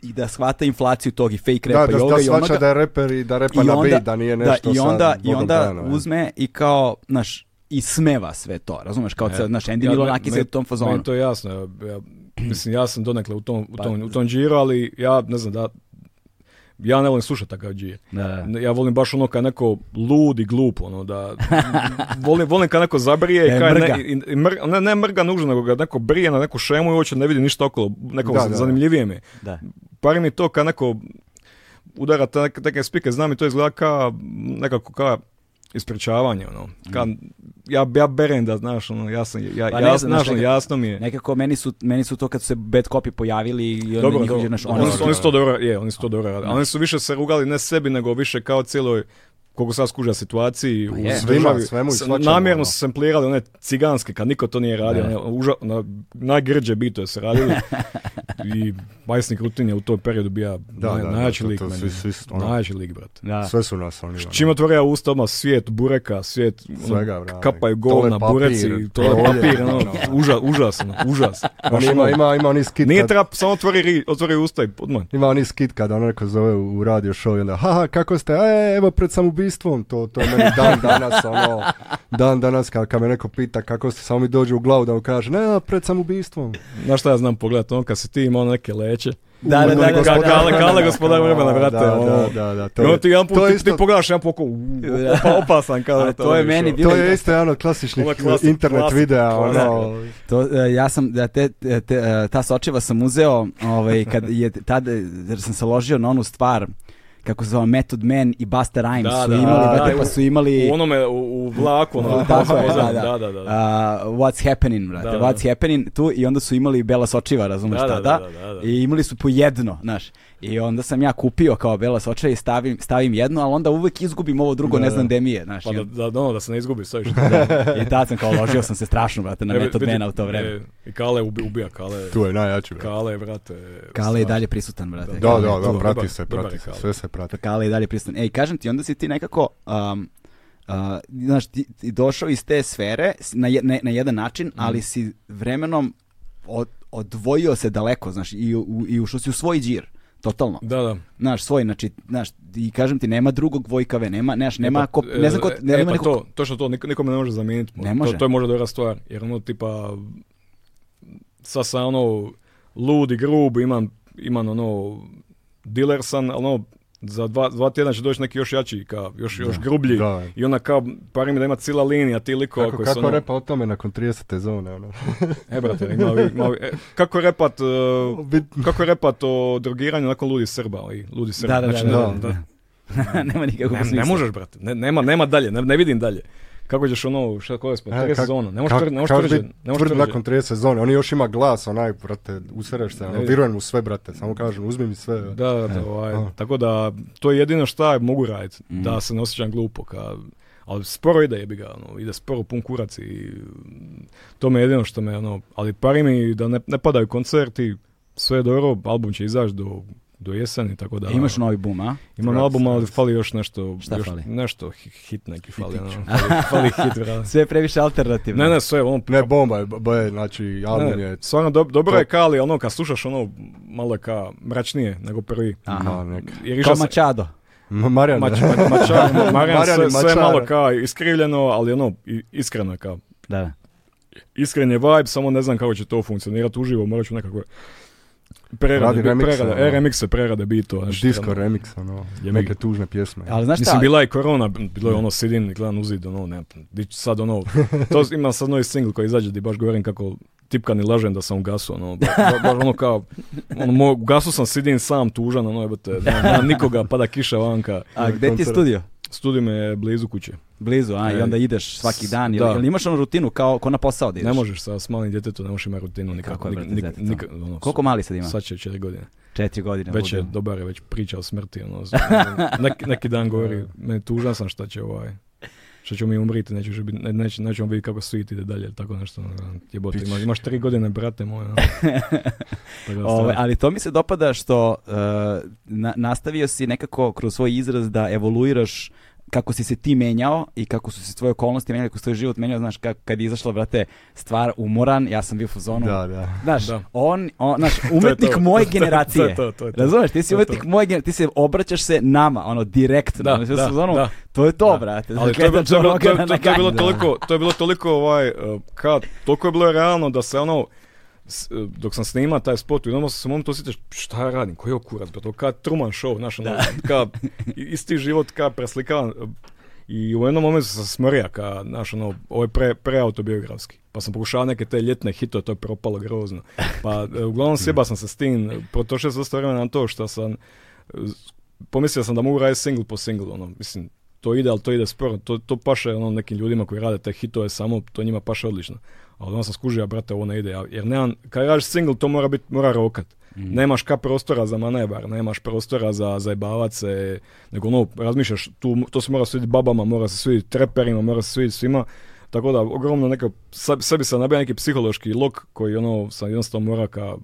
B: i da shvata inflaciju tog i fake
D: Da,
B: rapa
D: da,
B: i
D: da,
B: ovoga i
D: svača
B: onoga.
D: da je reper i da repa
B: I
D: na
B: onda-
D: beat, da nije nešto
B: da, i
D: sa
B: onda, i
D: Bogom ono.
B: onda
D: Brajanom, ja.
B: uzme i kao, znaš, i smeva sve to, razumeš, kao, e, znaš, Andy
C: Ja,
B: Milonakis
C: me-
B: je u tom fazonu.
C: Meni to je jasno. Ja, ja, mislim, ja sam donekle u tom, u
B: Pa-
C: tom, u tom džiru, ali ja ne znam da... Ja ne volim slušati takav džir.
B: Da.
C: Ja volim baš ono kad neko lud i glup, ono da... volim, volim kad neko zabrije
B: E,
C: i kad
B: mrga.
C: ne, i- i mr- ne, ne mrga nužno, nego ga neko brije na neku šemu i uopće ne vidi ništa okolo. Neko
D: Da,
C: za-
D: da.
C: zanimljivije mi. je.
B: Da.
C: Pari mi to kad neko udara te neke, neke spike, znam i to izgleda ka nekako ka ispričavanje, ono. Ka, ja, ja berem da, znaš, ono, ja sam, ja,
B: Mhm. Pa
C: pa
B: ne znam, znaš, nekad-
C: jasno mi je.
B: Nekako meni su, meni su to kad su se bad copy pojavili i onda
C: Dobro,
B: njihovi,
C: dobro.
B: znaš,
C: Oni, su,
D: dobro.
C: oni su to dobro, je, oni su to dobro radili. Oni su više se rugali ne sebi, nego više kao cijeloj koliko sad skuža situaciji u
B: je.
D: Svima,
C: državi.
D: Pa svemu i
C: S-
D: svačemu,
C: Namjerno
D: ono.
C: su semplirali one ciganske, kad niko to nije radio.
B: Ne.
C: One, uža, na, najgrđe bitove se radili. I Bajsnik Rutin je u tom periodu bio
D: Da,
C: naj-
D: da, da,
C: najjači
D: to-
C: lik.
D: to
C: meni.
D: svi- svi su, ono.
C: Najjači lik, brate. Znači,
B: Da.
D: Sve su nas oni. ono.
C: Čim otvorio usta odmah svijet bureka, svijet ono,
D: Svega, brate.
C: kapaju
D: Tole
C: govna,
D: papir,
C: bureci, to je
D: tole-
C: papir, ono, užas, užasno, užas.
D: On
C: Baš
D: ima,
C: ono,
D: ima, ima oni skit
C: Nije
D: kad-
C: treba, samo otvori, ri- otvori usta i odmah.
D: Ima oni skit kad ono neko zove u u radio show i onda, haha, kako ste, e, evo pred samoubistvom, to, to je meni dan danas, ono, dan danas kad, kad me neko pita kako ste, samo mi dođe u glavu da mu kaže, ne, pred samoubistvom.
C: Znaš šta ja znam pogledat, ono kad si ti imao neke leće.
B: Da, da, da, da,
C: Ka-
B: da,
C: kale,
B: da,
C: kale
D: da,
C: gospodar
D: da,
C: vremena,
D: da,
C: brate.
D: da,
C: ono.
D: da, da, to
C: I onda
D: je-
C: ti jedan put,
D: to je
C: ti- ti
D: isto-
C: pogledaš jedan poko, opa, opasan kada
B: Ali to je meni
C: ono.
B: bilo-
D: To je isto jedan od klasičnih
C: Ovo je klasi-
D: internet
C: klasi-
D: videa,
C: klasi-
D: ono,
B: To, e, ja sam, da te, te, e, ta sočiva sam uzeo, ovaj, kad je tada, jer sam se ložio na onu stvar, kako se zove Method Man i Busta Rhymes
C: Da,
B: su
C: da,
B: imali,
D: da,
B: brate,
C: da,
B: pa
C: u-
B: su imali...
C: U onome, u, u vlaku, ono,
B: Tako je,
C: ono,
B: da, da.
C: da, da, da.
B: A, what's happening, brate,
C: Da, da.
B: what's happening, tu i onda su imali Bela Sočiva, razumeš
C: Da, da,
B: tada,
C: da, da, da, da.
B: i imali su po jedno, znaš, i onda sam ja kupio kao Bela Sočiva i stavim, stavim jedno, ali onda uvek izgubim ovo drugo, ne znam gde mi je, znaš,
C: Pa
B: i,
C: da, da, da, ono, da se ne izgubi sve što.
B: da, i tad sam kao ložio sam se strašno, brate, na
C: Evo,
B: Method
C: vidi,
B: Mana u to vreme.
C: e, I Kale ubi- ubija, Kale,
D: tu je najjači. brate.
C: Kale, brate.
B: Kale je dalje prisutan, brate.
C: Da,
D: Da,
B: Kale je
D: da,
B: tu.
D: da, prati
C: dobar-
D: se,
C: dobar
D: prati
C: je
D: se,
C: Kale.
D: sve se prati.
B: Kale je dalje prisutan. Ej, kažem ti, onda si ti nekako... um, uh, znaš, ti, ti došao iz te sfere s- na, je- ne- na jedan način,
C: Mhm.
B: ali si vremenom od- odvojio se daleko, znaš, i, u, i ušao si u svoj džir, totalno.
C: Da, da.
B: Znaš, svoj, znači, znaš, i kažem ti, nema drugog vojkave, nema, znaš, nema,
C: E,
B: ko,
C: pa,
B: ne znam ko,
C: e,
B: nema
C: e, pa
B: nekog-
C: to, točno to, niko, nikome ne može zamijeniti.
B: Ne može.
C: To, to je možda dobra stvar, jer ono tipa, sad sam ono, lud i grub, imam, imam ono, diler sam, ali ono, za dva, dva tjedna će doći neki još jači, ka, još, još
D: Da.
C: grublji.
D: Da.
C: I onda kao, pari mi da ima cijela linija ti likova
D: Kako,
C: koji
D: kako
C: su ono-
D: repa o tome nakon 30. zone, ono.
C: E, brate, ima ovi- ima ovi- e, kako repat, e,
D: Ono Bit-
C: kako repat o drogiranju nakon ludi Srba, ali ludi Srba.
B: Da, da,
C: znači,
B: da,
C: ne-
D: da,
C: da-
B: Nema nikakvog
C: Ne, ne
B: smisla.
C: možeš, brate. Ne, nema, nema dalje, ne, ne vidim dalje. Kako ćeš ono, šta koje smo,
D: E,
C: tri
D: kak-
C: sezona, ne možeš
D: kak-
C: tvrd, ne možeš
D: kako
C: tvrđe,
D: bit
C: ne možeš
D: tvrd
C: tvrđe.
D: nakon 30 sezone, on još ima glas, onaj, brate, usereš se, ono,
C: vidim.
D: vjerujem u sve, brate, samo kažem, uzmi mi sve.
C: Da, da, da, ovaj,
D: E, A.
C: tako da, to je jedino šta mogu raditi,
B: Mhm.
C: da se ne osjećam glupo, ka, ali sporo ide, jebi ga, ono, ide sporo pun kurac i mm, to me je jedino što me, ono, ali pari mi da ne, ne padaju koncerti, sve je dobro, album će izaći do, do jeseni, tako da...
B: E, Imaš novi boom, a?
C: Imam album, ali fali još nešto.
B: Šta
C: još
B: fali?
C: Nešto, hi- hit neki fali. ono, fali, fali hit, brate.
B: Sve je previše alternativno.
C: Ne, ne, sve, ono,
D: Ne, bomba je, b- je, znači, album
C: ne,
D: je...
C: stvarno dob- dobro
D: to-
C: je ka, ali ono, kad slušaš ono, malo je ka mračnije nego prvi.
D: Aha. neka.
C: Jer išao
B: Kao
C: sam-
B: Machado.
D: Ma- Marijan,
C: Mač, ma, mačar, ma- Marijan,
D: Marijan
C: sve,
D: i
C: sve
D: Mačara.
C: malo kao iskrivljeno, ali ono, i- iskreno je kao.
B: Da, da.
C: Iskren je vibe, samo ne znam kako će to funkcionirati uživo, morat ću nekako prerade,
D: Radi
C: bi-
D: remixe,
C: prerade,
D: ono.
C: e, remixe, prerade bitova. znači,
D: disco
C: ono,
D: remix, ono,
C: Jebi ga.
D: neke tužne pjesme.
B: Ali znaš šta?
C: Mislim, bila je korona, bilo je ono sidin, gledam uzid, ono, ne, di ću sad ono, to ima sad novi single koji izađe di baš govorim kako tipkan i lažem da sam u gasu, ono, ba- ba- baš ono kao, ono, mo, u gasu sam sidin sam tužan, ono, jebote, nemam, nemam nikoga, pada kiša vanka,
B: A gde ti je
D: koncert.
B: studio?
C: studij me je blizu kuće,
B: Blizu, a? I
C: E,
B: onda ideš svaki dan.
C: da.
B: Ili, ili imaš onu rutinu kao ko na posao da ideš?
C: ne možeš sa s malim djetetom, ne možeš imati rutinu nikako,
B: Kako je, brate,
C: nik- nik-
B: s djetetom?
C: nik- ono,
B: Koliko mali sad ima?
C: Sad će četiri godine.
B: Četiri godine.
C: Već je
B: budemo.
C: dobar, je već priča o smrti. Ono, neki, neki dan govori, meni tužan sam šta će ovaj, što ćemo mi umriti, neće, biti, ne, neće, nećemo vidjeti kako svijet ide dalje, ili tako nešto. ono, Jebote, imaš, imaš tri godine, brate moj. ono. Tako da,
B: Ove,
C: stvarno.
B: Ovaj, ali to mi se dopada što e, na- nastavio si nekako kroz svoj izraz da evoluiraš kako si se ti menjao i kako su se tvoje okolnosti menjale, kako se tvoj život menjao, znaš, kak, kad je izašla, brate, stvar umoran, ja sam bio u fazonu,
D: Da, da.
B: znaš,
C: Da.
B: on, on, znaš, umetnik
C: to.
B: moje
C: to je
B: generacije,
C: to, to je to.
B: razumeš, ti si
C: To je
B: umetnik moje generacije, ti se obraćaš se nama, ono, direktno,
C: Da,
B: Ono, sve
C: da,
B: u fazonu,
C: da.
B: to je to,
C: Da.
B: brate,
C: Ali to je,
B: Gledam
C: bilo- to, je bilo- to,
B: Joe
C: je-
B: Rogana
C: to,
B: na
C: to je bilo
B: kameru.
C: toliko, to je bilo toliko ovaj, uh, ka, toliko je bilo realno da se ono, s- uh, dok sam snima taj spot, jednom se mom to sjećaš, šta ja radim, koji je ovo kurac, pa to kao Truman Show, znaš, ono, ka, isti život ka preslikavan. uh, I u jednom momentu sam se smrija, ka, znaš, ono, ovo je pre, preautobiografski. Pa sam pokušao neke te ljetne hitove, to je propalo grozno. Pa, uh, uglavnom sjebao sam se s tim, potrošio sam dosta vremena na to što sam, uh, pomislio sam da mogu raditi single po single, ono, mislim, to ide, ali to ide sporo. To, to paše ono, nekim ljudima koji rade te hitove samo, to njima paše odlično. Ali onda sam skužio, a brate, ovo ne ide. ja- Jer nemam, kad radiš single, to mora biti, mora rokat. Nemaš ka prostora za manevar, nemaš prostora za zajebavat se, nego ono, razmišljaš, tu, to se mora svidjeti babama, mora se svidjeti treperima, mora se svidjeti svima. Tako da, ogromno neka, sebi, sebi sam nabija neki psihološki lok koji ono, sam jednostavno mora ka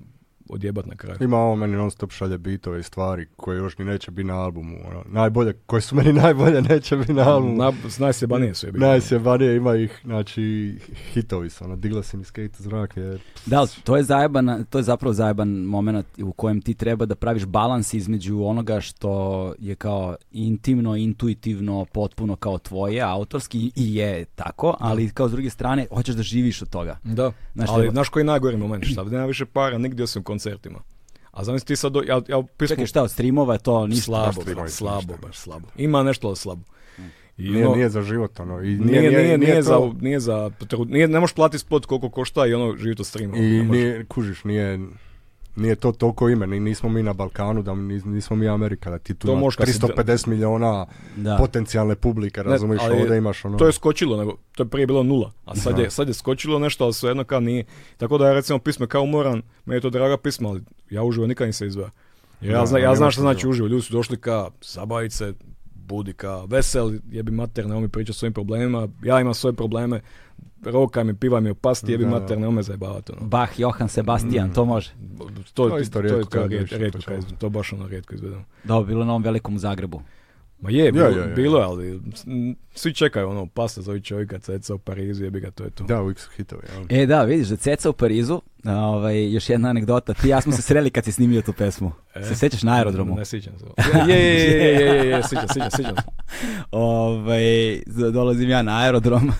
C: odjebat na kraju.
D: Ima ovo meni non stop šalje bitove i stvari koje još ni neće biti na albumu. Ono. Najbolje, koje su meni najbolje neće biti na albumu.
C: Na, najsjebanije su je bilo.
D: Najsjebanije ima ih, znači, hitovi su, ono, digla si mi skate u zrak, je,
B: Da, ali to je zajeban, to je zapravo zajeban moment u kojem ti treba da praviš balans između onoga što je kao intimno, intuitivno, potpuno kao tvoje, autorski i je tako, ali kao s druge strane hoćeš da živiš od toga.
C: Da,
B: Znaš,
C: ali
B: treba-
C: znaš koji je najgori moment? Šta, nema više para nigdje osim koncertima. A zamisli ti sad, do- ja, ja pismo...
B: Čekaj, šta, od streamova je to ništa?
C: slabo,
D: streamovi
C: baš,
D: su
C: slabo,
D: ništa.
C: baš slabo. Ima nešto, ali slabo. I
D: nije,
C: ono,
D: nije za život, ono. I nije,
C: nije, nije, nije
D: to-
C: za, nije za, potrebu- nije, ne možeš platiti spot koliko košta i ono, živjeti od streama.
D: I nije, kužiš, nije, nije to toliko ime, ni- nismo mi na Balkanu, da nis- nismo mi Amerika, da ti tu
C: To
D: imaš
C: možeš kad si-
D: 350 miliona
B: Da.
D: potencijalne publike,
C: Ne,
D: razumiješ,
C: ali
D: ovdje imaš ono...
C: To je skočilo, nego, to je prije bilo nula, a sad je, sad je skočilo nešto, ali svejedno kao nije. Tako da ja recimo pismo kao umoran, meni je to draga pisma, ali ja uživo nikad nisam izvaja. Jer ja,
D: Da,
C: zna, ja
D: nema
C: znam
D: što
C: što znači
D: uživo.
C: uživo, ljudi su došli ka zabavit se, budi ka vesel, jebi mater, nemoj mi pričati o svojim problemima, ja imam svoje probleme, roka mi, piva mi opasti, jebi
D: Da, da.
C: mater, nemoj me zajebavati. Ono.
B: Bach, Johan, Sebastian, to može.
C: To,
D: To
C: to,
D: je
C: to
D: isto
C: je
D: rijetko
C: to,
D: kad
C: rijet-
D: dođe,
C: rijetko kad
D: to ćemo.
C: izvedem, to baš ono rijetko izvedemo.
B: Da, bilo je na ovom velikom Zagrebu.
C: Ma je, bilo,
D: ja, ja.
C: bilo je, ali m, svi čekaju ono, pasta za ovih čovjeka, ceca u Parizu, jebi ga, to je to.
D: Da, uvijek su hitovi, ono.
B: E da, vidiš, da ceca u Parizu, a, ovaj, još jedna anegdota, ti i ja smo se sreli kad si snimio tu pesmu. Se sjećaš na aerodromu?
C: E? Ne sjećam se. Je, je, je, je, je, je, je, sjećam, sjećam, sjećam se.
B: Ovaj, z- dolazim ja na aerodrom,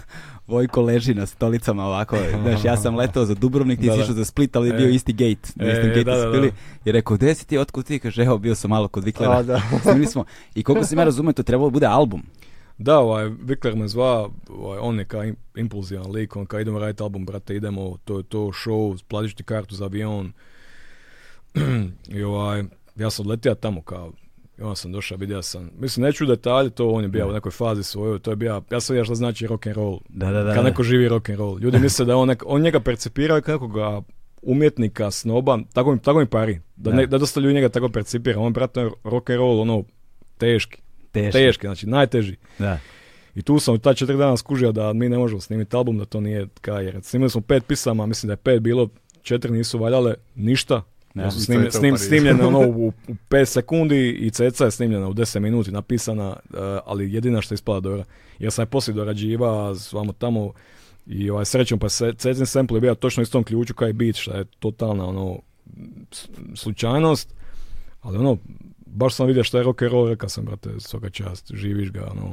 B: Vojko leži na stolicama ovako. Znaš, ja sam letao za Dubrovnik, ti
C: Da,
B: si
C: da.
B: išao za Split, ali je bio
C: E.
B: isti gate. Na
C: E,
B: istom gate
C: da, da,
B: su
C: da.
B: bili. I rekao, gde si ti, otkud ti? Kaže, evo, bio sam malo kod Viklera.
D: A, da.
B: Snimili smo. I koliko sam ja razumio, to trebalo da bude album.
C: Da, ovaj, Vikler me zva, ovaj, on je kao im- impulzivan lik, on kao idemo raditi album, brate, idemo, to je to, show, platiš ti kartu za avion. I ovaj, ja sam odletio tamo kao, i onda sam došao, vidio sam, mislim, neću u detalje, to on je bio u nekoj fazi svojoj, to je bio, ja sam ja šta znači rock and roll,
B: Da, da, da.
C: kad neko živi rock and roll. Ljudi misle da on, nek- on njega percipira kao nekoga umjetnika, snoba, tako mi, tako mi pari. Da,
B: Da.
C: ne, da dosta ljudi njega tako percipira. On, brate, rock and roll, ono, teški.
B: Teški.
C: Teški, znači najteži.
B: Da.
C: I tu sam u ta četiri dana skužio da mi ne možemo snimiti album, da to nije kaj. Jer snimili smo pet pisama, mislim da je pet bilo, četiri nisu valjale, ništa.
B: Da.
C: Ja su
D: I
C: snim,
D: CC u
C: snim,
D: Parizu.
C: snimljene ono u, u 5 sekundi i CC je snimljena u 10 minuti, napisana, eh, ali jedina što je ispala dobra. Jer sam je poslije dorađiva, vamo tamo, i ovaj, srećom pa se, CC sample je bio točno istom ključu kao i beat, što je totalna ono, s- slučajnost, ali ono, baš sam vidio što je rock and roll, rekao sam, brate, svaka čast, živiš ga, ono,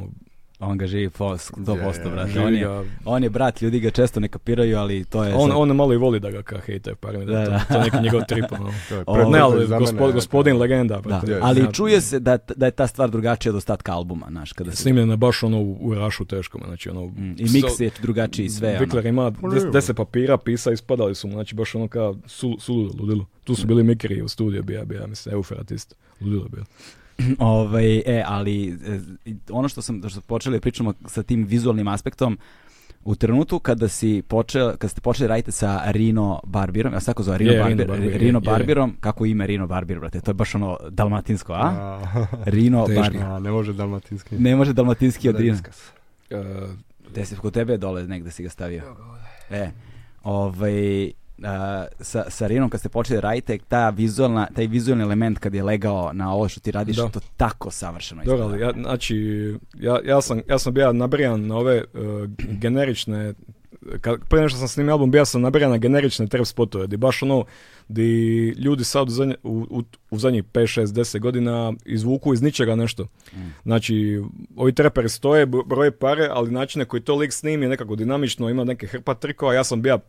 B: On ga živi fos, 100%,
D: Ja, ja,
B: brate.
C: živi
B: On je,
C: ga.
B: on je brat, ljudi ga često ne kapiraju, ali to je...
C: On,
B: E, sad-
C: on malo i voli da ga ka hejtaju, par mi da,
B: Da,
C: je to,
B: da.
C: to je neki njegov trip. ono.
D: To je
B: O,
D: preporuka
C: Ne, ali
D: za
C: gospod,
D: mene.
C: gospodin legenda.
B: Da,
C: brate.
B: ali
C: Ja,
B: čuje se da, da je ta stvar drugačija od ostatka albuma, znaš, kada se...
C: Snimljena je baš ono u, u rašu teškom, znači ono...
B: Mm, I miks je drugačiji i sve, ono.
C: Vikler ima
D: Pa ne,
C: 10 deset papira, pisa, ispadali su mu, znači baš ono kao su, suludo, ludilo. Tu su bili mikri u studiju, bija, bija, mislim, Euferat isto. Ludilo je bilo.
B: Ovaj, e, ali e, ono što sam, što smo počeli da pričamo sa tim vizualnim aspektom, u trenutku kada si počeo, kada ste počeli raditi sa Rino Barbirom, ja se tako zove Rino
C: Je, Rino
B: Barbir,
C: Barbir, je,
B: Rino
C: je.
B: Barbirom, kako ime Rino Barbir, brate, to je baš ono dalmatinsko, a?
D: A,
B: Rino
C: Teško.
B: Barbir.
D: a, ne može dalmatinski.
B: Ne može dalmatinski od
D: Da,
B: Rina.
D: iskaz.
C: E,
B: Gde si, kod tebe je dole negde si ga stavio. E, ovaj, a, sa, sa Rinom kad ste počeli da radite, ta vizualna, taj vizualni element kad je legao na ovo što ti radiš,
C: Da.
B: to tako savršeno
C: Dobro,
B: izgleda.
C: ali ja, znači, ja, ja, sam, ja sam bio nabrijan na ove uh, generične, kad, prije nešto sam snimio album, bio sam nabrijan na generične trap spotove, di baš ono, di ljudi sad u, zadnje, u, u, u zadnjih 5, 6, 10 godina izvuku iz ničega nešto. Znači, ovi treperi stoje, bro- broje pare, ali načine koji to lik snimi je nekako dinamično, ima neke hrpa trikova, ja sam bio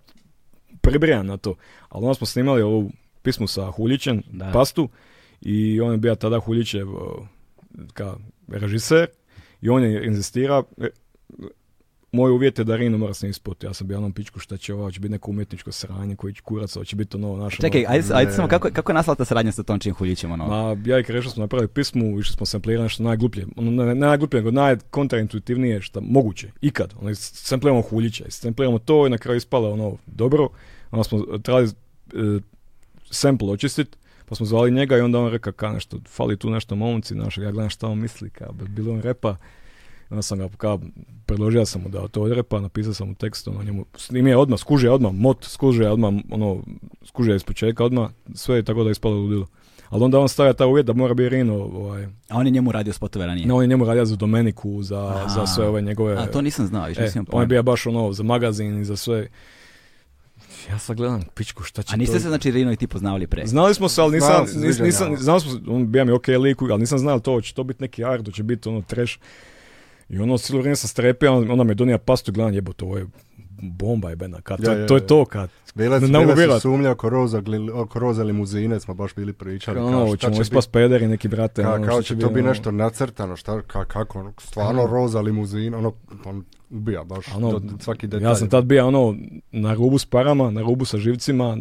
C: pribrijan na to. Ali onda smo snimali ovu pismu sa Huljićem,
B: Da.
C: pastu, i on je bio tada Huljićev uh, ka režiser i on je inzistira e, moj uvjet je da Rino mora s njim spot. Ja sam bio na onom pičku šta će ovo, hoće biti neko umjetničko sranje koji će kurac, hoće biti ono naše.
B: Čekaj,
C: ono-
B: ajde, ajde samo, kako, je- kako je nastala ta saradnja sa Tončim Huljićem, ono?
C: Ma, ja i Krešo smo napravili pismu, išli smo samplirati nešto najgluplje, ono ne, ne najgluplje, nego najkontraintuitivnije što moguće, ikad. Ono, sampliramo Huljića, sampliramo to i na kraju ispalo ono dobro. Onda smo e, trebali e, sample očistiti, pa smo zvali njega i onda on rekao ka nešto, fali tu nešto momci, znaš, ja gledam šta on misli, ka bi- bilo on repa. I onda sam ga ka, predložio sam mu da to odrepa, napisao sam mu tekst, ono njemu, snimio je odmah, skužio je odmah, mot, skužio je odmah, ono, skužio je iz početka odmah, sve je tako da je ispalo ludilo. Ali onda on stavlja taj uvjet da mora biti Rino, ovaj,
B: A on je njemu radio spotove ranije.
C: ne, on je njemu radio za Domeniku, za,
B: Aha.
C: za sve ove njegove...
B: A to nisam znao, više
C: E,
B: nisam imao
C: on je
B: pojma.
C: bio baš ono, za magazin i za sve. Ja sad gledam, pičku, šta će
B: A niste
C: to-
B: se, znači, Rino i ti poznavali pre?
C: Znali smo se, ali nisam,
D: Znao se,
C: nis,
D: sviđa
C: nisam,
D: mi ovo.
C: znali smo, se, on bija mi ok liku, ali nisam znao to, će to biti neki art, će biti ono trash. I ono, cijelo vrijeme sam strepio, on- onda mi je donija pastu i gledam, jebote, ovo je bomba jebena, kad, to,
D: Ja, ja,
C: to je
D: ja.
C: to, kad,
D: Bila,
C: Ne
D: ne,
C: mogu
D: bila
C: vjerovat.
D: se sumnja oko roza, gli- oko roza limuzine, smo baš bili pričali.
C: ono,
D: šta
C: ćemo
D: će
C: ispast pederi neki, brate,
D: biti, ka-
C: ono, šta
D: kao će to
C: biti,
D: biti
C: ono.
D: nešto nacrtano, šta, ka- kako, ono, stvarno roza limuzina, ono, on ubija baš
C: Ono,
D: do- svaki detalj.
C: Ja sam tad bio ono na rubu s parama, na rubu sa živcima,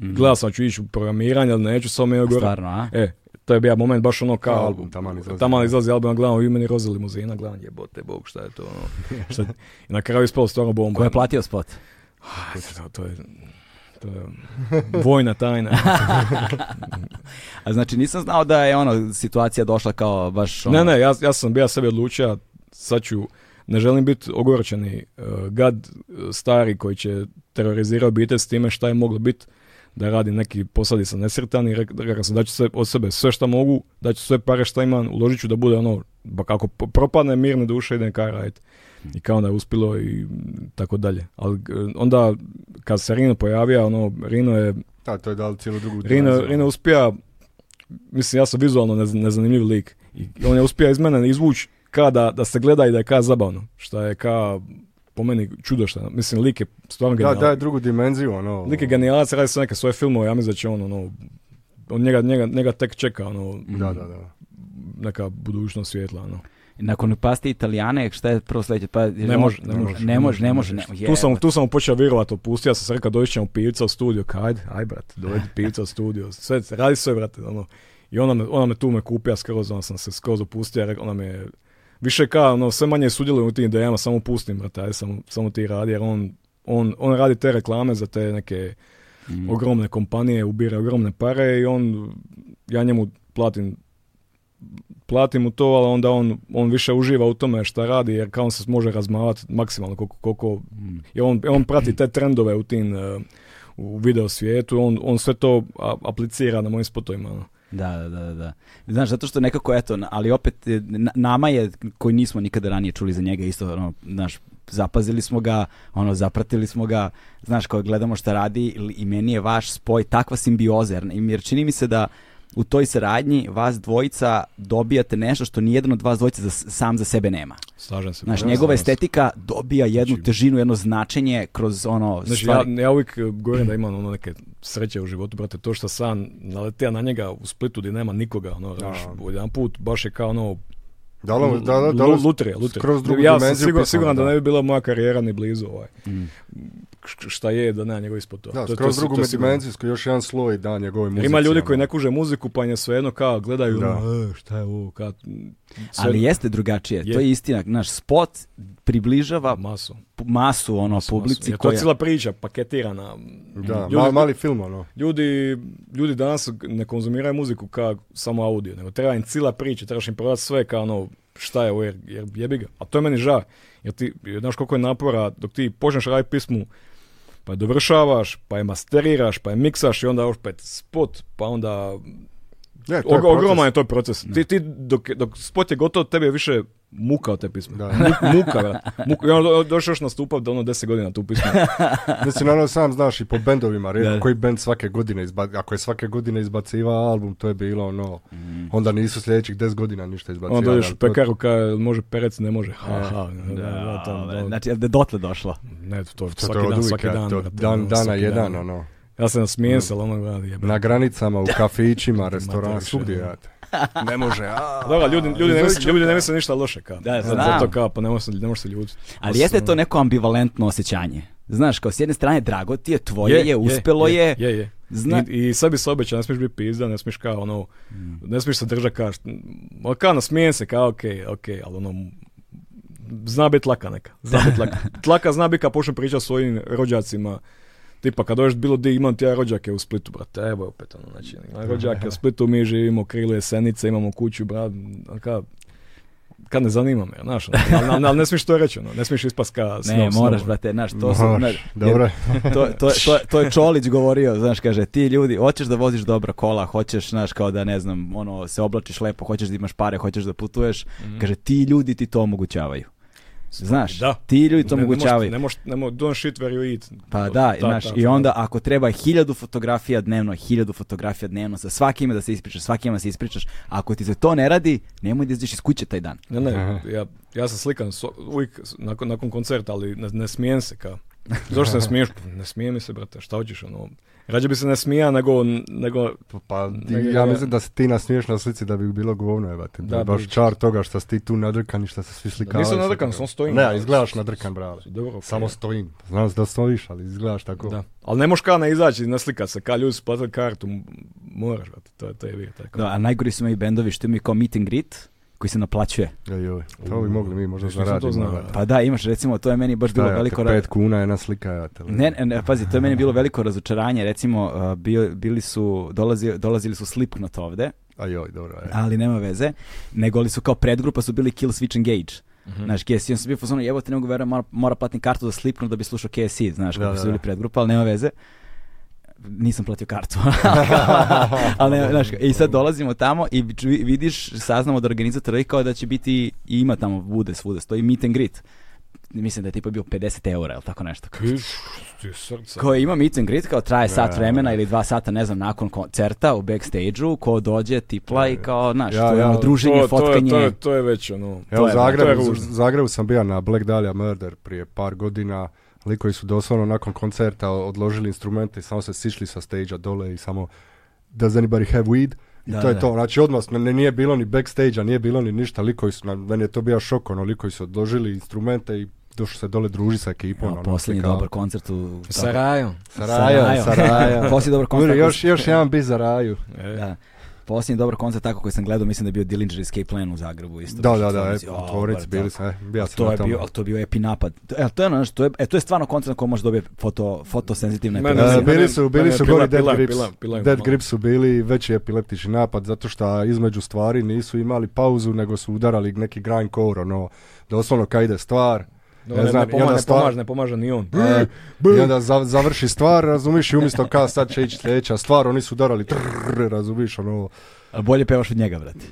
C: gledao sam ću ići u programiranje, ali neću, samo mi je gore.
B: Stvarno, Mhm. a?
C: E, to je bio moment baš ono kao...
D: Kao album, taman izlazi.
C: Taman izlazi album, gledam, i meni roza limuzina, gledam, jebote, bog, šta je to, ono. Šta, I na kraju je ispalo stvarno bomba.
B: Ko je platio spot?
C: Aj, to, to je... To je vojna tajna.
B: A znači, nisam znao da je, ono, situacija došla kao baš, ono...
C: ne, ne, ja, ja sam bio sebi odlučio, sad ću, ne želim biti ogorčeni eh, gad eh, stari koji će terorizirati obitelj s time šta je moglo biti da radi neki posadi sa nesretan i rek- rekao sam da ću sve od sebe sve šta mogu, da ću sve pare šta imam, uložit ću da bude ono, ba kako po- propadne mirne duše idem kaj radit. I kao onda je uspilo i mm, tako dalje. Ali eh, onda kad se Rino pojavio, ono, Rino je
D: Da, to je dal cijelu drugu
C: Rino,
D: dimenziju. ono.
C: Rino uspija, mislim ja sam vizualno nez- nezanimljiv lik. I on je uspija iz mene izvuć ka da, da se gleda i da je ka zabavno. Šta je ka po meni čudošta. Mislim, lik je stvarno
D: Da,
C: genijalac.
D: daje drugu dimenziju, ono.
C: Lik je genijalac, radi se neke svoje filmove, ja mislim da će on, ono, on njega, njega, njega tek čeka, ono,
D: Da, da, da.
C: neka budućnost svjetla, ono.
B: Nakon paste Italijane, šta je prvo sledeće? Pa,
C: Ne može, ne može.
B: Ne može, ne može. ne-
C: Tu sam,
B: jebote.
C: tu sam počeo vjerovati, opustio sam se, rekao, doći ćemo pivca u studio, kajde, aj brat, dovedi pivca u studio, sve, radi sve, brate, ono. I ona me, ona me tu me kupija skroz, onda sam se skroz opustio, rekao, ona me, više ka, ono, sve manje sudjelujem u tim idejama, samo pustim, brate, aj, samo, samo ti radi, jer on, on, on radi te reklame za te neke
B: Mhm.
C: ogromne kompanije, ubira ogromne pare i on, ja njemu platim plati mu to, ali onda on, on više uživa u tome šta radi, jer kao on se može razmavati maksimalno koliko, koliko i on, on prati te trendove u tim e, u video svijetu, on, on sve to a- aplicira na mojim spotovima. ono.
B: Da, da, da, da, da. Znaš, zato što nekako, eto, na- ali opet e, na- nama je, koji nismo nikada ranije čuli za njega, isto, ono, znaš, zapazili smo ga, ono, zapratili smo ga, znaš, kao gledamo šta radi ili- i meni je vaš spoj takva simbioza, jer, jer čini mi se da u toj saradnji vas dvojica dobijate nešto što nijedan od vas dvojica za, sam za sebe nema.
C: Slažem se.
B: Znaš,
C: Slažem
B: njegova
C: se.
B: estetika dobija jednu težinu, jedno značenje kroz ono
C: Znači, ja,
B: stvari.
C: ja uvijek e, govorim da imam ono neke sreće u životu, brate, to što sam naletio na njega u Splitu gdje nema nikoga, ono, znaš, jedan put baš je kao ono,
D: Dalo mu, da, da,
C: lu-
D: dalo
C: lutrija, lutrija.
D: Skroz drugu
C: ja sam
D: dimenziju.
C: siguran,
D: pisano,
C: siguran da ne bi bila moja karijera ni blizu ovaj.
B: Mm.
C: Š- Šta je da nema njegov ispod to.
D: Da,
C: To- to
D: skroz
C: si-
D: drugu
C: to sigurno.
D: dimenzijsku, još jedan sloj da njegove
C: Jer
D: muzike.
C: Ima ljudi koji
D: ono.
C: ne kuže muziku pa im je svejedno kao gledaju,
D: Da.
C: ono, e, šta je ovo, kao, m, sve-
B: Ali jeste drugačije, to
C: Je.
B: je istina. Naš spot približava
C: masu.
B: pu- masu ono publici
C: Jer To je
B: koja...
C: cijela priča, paketirana.
D: Da,
C: Ljudi-
D: mali, mali film, ono.
C: Ljudi, ljudi danas ne konzumiraju muziku kao samo audio, nego treba im cijela priča, trebaš im prodati sve kao ono šta je ovo, jer, jer jebi ga. A to je meni žao, jer ti, jer znaš koliko je napora, dok ti počneš raditi pismu, pa je dovršavaš, pa je masteriraš, pa je miksaš i onda opet spot, pa onda
D: Ne, E, to je
C: Og, ogroman
D: proces.
C: je to proces. Ti, ti dok, dok spot je gotov, tebi je više muka od te pisme.
D: Da.
C: Mu- muka, brat. Muka. I onda do- došao još nastupav da ono 10 godina tu pismo.
D: Mislim, ono sam znaš i po bendovima,
B: Da.
D: redko koji bend svake godine izba- ako je svake godine izbacivao album, to je bilo ono, onda nisu sljedećih 10 godina ništa izbacivali.
C: Mm. Onda dođeš
D: ali
C: u
D: to- E,
C: pekaru kao može perec, ne može. Ha, ha. Da, da, tamo,
B: Dobre,
C: da.
B: Znači, da je dotle došla.
C: Ne, to je
D: to
C: svaki
D: je
C: dan,
D: od
C: svaki
D: uvijek,
C: dan.
D: to je
C: brate,
D: dan,
C: ono,
D: dana
C: svaki
D: jedan,
C: dan.
D: ono. Mm.
C: Ja sam smijen se, ali ono gleda jebe.
D: Na granicama, u kafićima, restoranu,
C: više,
D: svugdje,
C: da.
D: jate. Ne može, a.
C: Dobro, ljudi, ljudi, ne misle, ljudi ne misle ništa loše, kao.
B: Da,
C: Zato-
B: znam.
C: Zato kao, pa ne može se, ne može se ljutiti.
B: Ali jeste
C: Osim-
B: to neko ambivalentno osjećanje. Znaš, kao s jedne strane drago ti je, tvoje je, uspelo je,
C: Je, je.
B: Zna-
C: I, I sad bi se obećao, ne smiješ biti pizda, ne smiješ kao ono, ne smiješ se držati kao, št- ma kao nasmijen se, kao okej, okej, ali ono, zna biti tlaka neka, zna biti tlaka. tlaka zna biti kad počne pričati o svojim rođacima, Tipa kad dođeš bilo di, imam ti ja rođake u Splitu, brate, evo je opet ono, znači, imam rođake u Splitu, mi živimo, krilo jesenice, imamo kuću, brat, ka, kad ne zanima me, znaš, ono, ali, ali- ali ne smiješ to reći, ono, ne smiješ ispast ka
B: Ne,
C: snob,
B: moraš,
C: snob.
B: brate, znaš, to sam,
D: Moraš,
B: znaš,
D: dobro.
B: jer to, to, to, to je Čolić govorio, znaš, kaže, ti ljudi, hoćeš da voziš dobra kola, hoćeš, znaš, kao da, ne znam, ono, se oblačiš lepo, hoćeš da imaš pare, hoćeš da putuješ, kaže, ti ljudi ti to omogućavaju. Znaš,
C: Mhm. Da.
B: ti ljudi to
C: Ne- ne možeš-
B: omogućavaju.
C: Ne možeš, ne možeš, don't shit where you eat.
B: Pa
C: To-
B: da,
C: ta-
B: znaš,
C: ta
B: i
C: fora.
B: onda ako treba hiljadu fotografija dnevno, hiljadu fotografija dnevno, sa svakim da se ispričaš, svakim da se ispričaš, ako ti se to ne radi, nemoj da izđeš iz kuće taj dan.
C: Ne, ne, ja, ja sam slikan so- uvijek s- nakon, nakon koncerta, ali ne, ne smijem se kao. Zašto se ne smiješ? Pa Ne smije mi se, brate, šta hoćeš, ono. Rađe bi se ne smija nego, nego
D: Pa, ti-
C: Ne,
D: ja
C: ne.
D: mislim da se ti nasmiješ na slici da bi bilo govno, jebate. Da,
C: Da,
D: je baš
C: bi.
D: čar toga što si ti tu nadrkan i što se svi slikavaju.
C: nisam
D: sa
C: nadrkan,
D: tobom.
C: samo stojim.
D: Ne, izgledaš nadrkan, brale.
C: dobro, okej.
D: Samo stojim. Znam da stojiš, ali izgledaš tako.
C: da. Ali ne možeš kao ne izaći, ne slika se, kao ljudi su platili kartu, m- moraš, brate, to, je- to je bio tako.
B: Da, a najgori su moji bendovi što imaju kao meet and greet, koji se naplaćuje.
D: Ej, joj, to bi mogli mi možda
C: Još nisam to
D: zaraditi.
C: znao.
D: brate.
B: Pa da, imaš recimo, to je meni baš bilo
D: Šta je,
B: veliko...
D: te
B: ra-
D: pet kuna jedna slika, jate.
B: Ne, ne, ne, pazi, to je meni bilo veliko razočaranje, recimo, uh, bio- bili su, dolazi, dolazili su Slipknot ovde,
D: A joj, dobro, je.
B: ali nema veze, nego li su kao predgrupa su bili Kill Switch Engage.
D: Mhm.
B: Znaš, KSI, on su bio fazonu, jebote, ne mogu verujem, mora, mora platim kartu da slipnu da bi slušao KSI, znaš, kako
D: da,
B: su bili
D: da.
B: predgrupa, ali nema veze. Nisam platio kartu. ali nema, znaš, i sad dolazimo tamo i ču- vidiš, saznamo da organizator i kao da će biti, i ima tamo, bude svuda, stoji meet and greet. mislim da je tipa bio 50 eura ili tako nešto.
C: Kriš, ti srca.
B: Koje imam meet and greet, kao traje sat
C: Ja.
B: vremena ili dva sata, ne znam, nakon koncerta u backstage-u, ko dođe, tipla i kao, znaš,
D: Ja,
B: to je
D: ja,
B: ono druženje,
C: to, to, je,
B: fotkanje.
C: to, je, to je već ono...
D: Ja u
B: je-
C: to je
D: Zagrebu,
C: ružno.
D: u Zagrebu sam bio na Black Dahlia Murder prije par godina. Likovi su doslovno nakon koncerta odložili instrumente i samo se sišli sa stage dole i samo Does anybody have weed? I
B: Da,
D: to je
B: da.
D: to. Znači odmah ne- ne- nije bilo ni backstage-a, nije bilo ni ništa. Likovi su, na- meni je to bio šok, ono, likovi su odložili instrumente i došli se dole druži sa ekipom.
B: Evo,
D: ono,
B: posljednji
D: kao-
B: dobar koncert u...
C: Sarajom.
D: Saraja, Saraja.
B: Posljednji dobar koncert.
D: Ljudi,
B: koji-
D: još, još jedan bi za raju.
C: E,
B: Da. Posljednji dobar koncert tako koji sam gledao, mislim da je bio Dillinger Escape Plan u Zagrebu isto.
D: Da,
B: baš
D: da,
B: u
D: da,
B: tvornici.
D: e,
B: O,
D: u tvornici
B: bar,
D: bili
B: da.
D: sam, e, bio sam
B: to
D: na
B: je
D: tamo.
B: bio, ali to je bio epi napad. To- E, to je ono nešto, to je, e, to je stvarno koncert na kojem možeš dobiti foto, fotosenzitivne
C: Mene-
B: epilepsije.
D: E,
C: mene-
D: bili su,
C: mene
D: bili
C: je
D: su
C: pila-
D: gori Dead
C: pila-
D: Grips.
C: pila- pila-
D: Dead
C: malo.
D: Grips su bili veći epileptični napad zato što između stvari nisu imali pauzu nego su udarali neki grindcore, ono, doslovno kad ide stvar,
C: No,
D: ne
C: ne,
D: znam,
C: ne
D: i
C: pomaže,
D: onda
C: ne
D: stvar,
C: pomaže, ne pomaže ni on.
D: E, I onda za- završi stvar, razumiš, i umjesto ka sad će ići sljedeća stvar, oni su udarali, trrr, razumiš, ono,
B: A Bolje pevaš od njega, brate.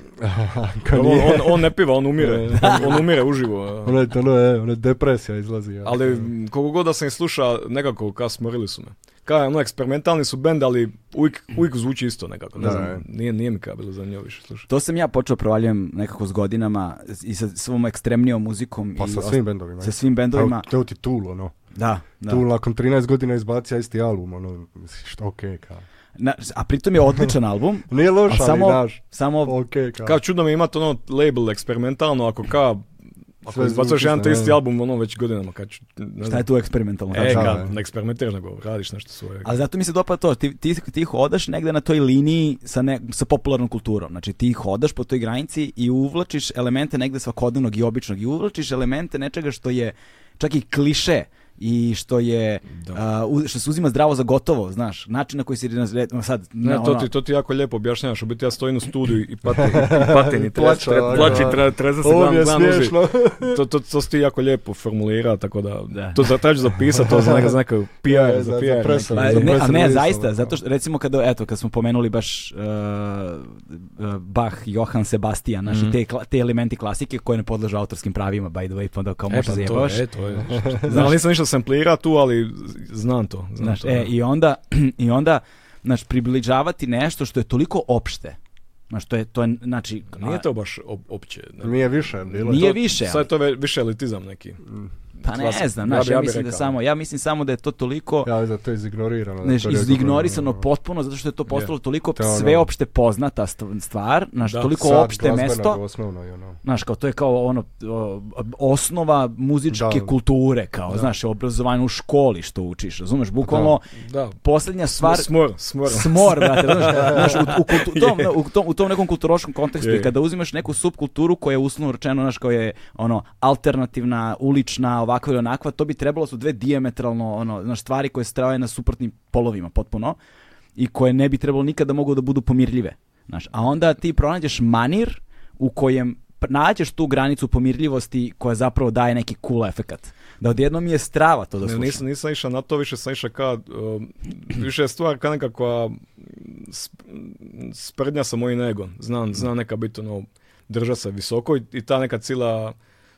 D: ka
C: on,
D: nije,
C: on,
B: ono-
C: on ne piva, on umire. On- on umire uživo.
D: ono, je- ono, je- ono je depresija izlazi. ja.
C: Ali m, koliko god da sam ih sluša, nekako ka smorili su me. Ka, ono, eksperimentalni su bend, ali uvijek, uvijek zvuči isto nekako. Ne
D: Da,
C: znam,
D: je.
C: nije, nije mi ka bilo zanimljivo više slušati.
B: To sam ja počeo provaljujem nekako s godinama i sa svom ekstremnijom muzikom.
D: pa
B: i
D: sa
B: os-
D: svim bendovima.
B: sa svim
D: Evo,
B: bendovima.
D: to ti Tool, ono.
B: Da, da.
D: Tool nakon 13 godina izbacija isti album, ono, misliš, okej, ka.
B: Na- a pritom je odličan album.
D: Nije loš,
B: A
D: ali,
B: samo,
D: znaš,
B: samo
D: okej, ka.
C: Kao čudno mi je imat ono label eksperimentalno, ako ka... Ako
D: Sve
C: izbacuješ
D: zvuči
C: jedan te
D: isto,
C: isti
D: da.
C: album, ono već godinama, kad ću, ne
B: šta
C: znam.
B: je tu eksperimentalno?
C: E,
B: Znači,
D: da,
C: ka,
D: da.
C: ne eksperimentiraš, nego radiš nešto svoje.
B: Ali zato mi se dopada to, ti, ti, ti hodaš negde na toj liniji sa, ne, sa popularnom kulturom. Znači ti hodaš po toj granici i uvlačiš elemente negde svakodnevnog i običnog i uvlačiš elemente nečega što je čak i kliše i što je
C: Da.
B: a, u- što se uzima zdravo za gotovo, znaš, način na koji se sad
C: Ne, to
B: ono-
C: ti, to ti jako lijepo objašnjavaš, u biti ja stojim u studiju i patim, i patim, i
D: Plaća,
C: plaći,
D: ovako.
C: treza se,
D: Ovo mi je
C: gledam, gledam uži.
D: smiješno.
C: To, to, to si ti jako lijepo formulira, tako da,
B: Da.
C: to za, trebaš zapisati, to za neka, za neka PR,
D: Da,
C: E, za
D: za-
C: PR.
D: za
C: neki.
D: presu.
B: Pa,
D: Za
B: ne, a
D: presen
B: ne,
D: list,
B: zaista,
D: ono.
B: zato što, recimo kada, eto, kad smo pomenuli baš uh, uh, Bach, Johann Sebastian,
C: Mhm.
B: naši te, kla- te elementi klasike koje ne podležu autorskim pravima, by the way, pa onda kao
C: E,
B: možda
C: pa to
B: zajebavaš.
C: je, to je. Znam, nisam ništa samplira tu, ali znam to. Znam
B: Znaš,
C: to,
B: e,
C: da.
B: i onda, i onda, znaš, približavati nešto što je toliko opšte. Znaš, to je, to je, znači,
C: Pa Nije to baš op- opće. ne.
D: Nije više bilo.
B: Nije
C: To-
B: više,
C: Sad je to ve- više elitizam neki.
B: pa ne
C: klasika.
B: znam,
C: Ja
B: znaš,
C: bi-
B: ja,
C: ja bi
B: mislim da
C: rekao.
B: samo, ja mislim samo da je to toliko...
D: Ja, da to je izignorirano. ono.
B: Znaš,
D: da to je
B: izignorisano
D: rekao,
B: potpuno zato što je to postalo toliko
D: To je ono-
B: sveopšte poznata st- stvar, znaš,
C: Da.
B: toliko
D: sad
B: opšte
D: glazbeno
B: mesto.
D: je Osnovno, i ono.
B: Znaš, kao to je kao ono o, osnova muzičke
D: Da.
B: kulture, kao, znaš, obrazovanje u školi što učiš, razumeš, bukvalno
C: Da.
B: posljednja stvar...
C: Smor, smor.
B: Smor, brate, znaš, znaš, u, u kultu- tom, u, tom, u tom nekom kulturoškom kontekstu
C: Je.
B: i kada uzimaš neku subkulturu koja je uslovno rečeno, znaš, koja je ono, alternativna, ulična, ovakva ili onakva, to bi trebalo su dve diametralno, ono, znaš, stvari koje strave na suprotnim polovima potpuno i koje ne bi trebalo nikada mogu da budu pomirljive, znaš, a onda ti pronađeš manir u kojem pr- nađeš tu granicu pomirljivosti koja zapravo daje neki cool efekat. Da odjednom mi je strava to da
C: Ne,
B: slušam.
C: nisam, nisam išao na to, više sam išao ka, um, više je stvar ka nekakva sp- sprdnja sa mojim egom.
B: Mhm.
C: Znam, znam neka biti ono, drža se visoko i, i ta neka cila,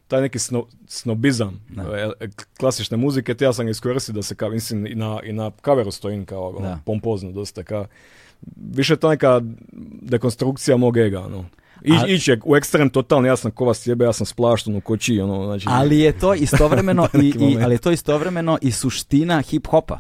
C: taj neki sno, snobizam e, e, k- klasične muzike, te ja sam ga iskoristio da se, ka, mislim, i na, i na kaveru stojim kao ono,
B: Da.
C: pompozno dosta, ka, više je ta neka dekonstrukcija mog ega, ono. I,
B: A-
C: ići je u ekstrem totalno, ja sam kova sjebe, ja sam splašten u koči, ono, znači...
B: Ali je to istovremeno i,
C: neki
B: i
C: moment.
B: ali je to istovremeno i suština hip hopa.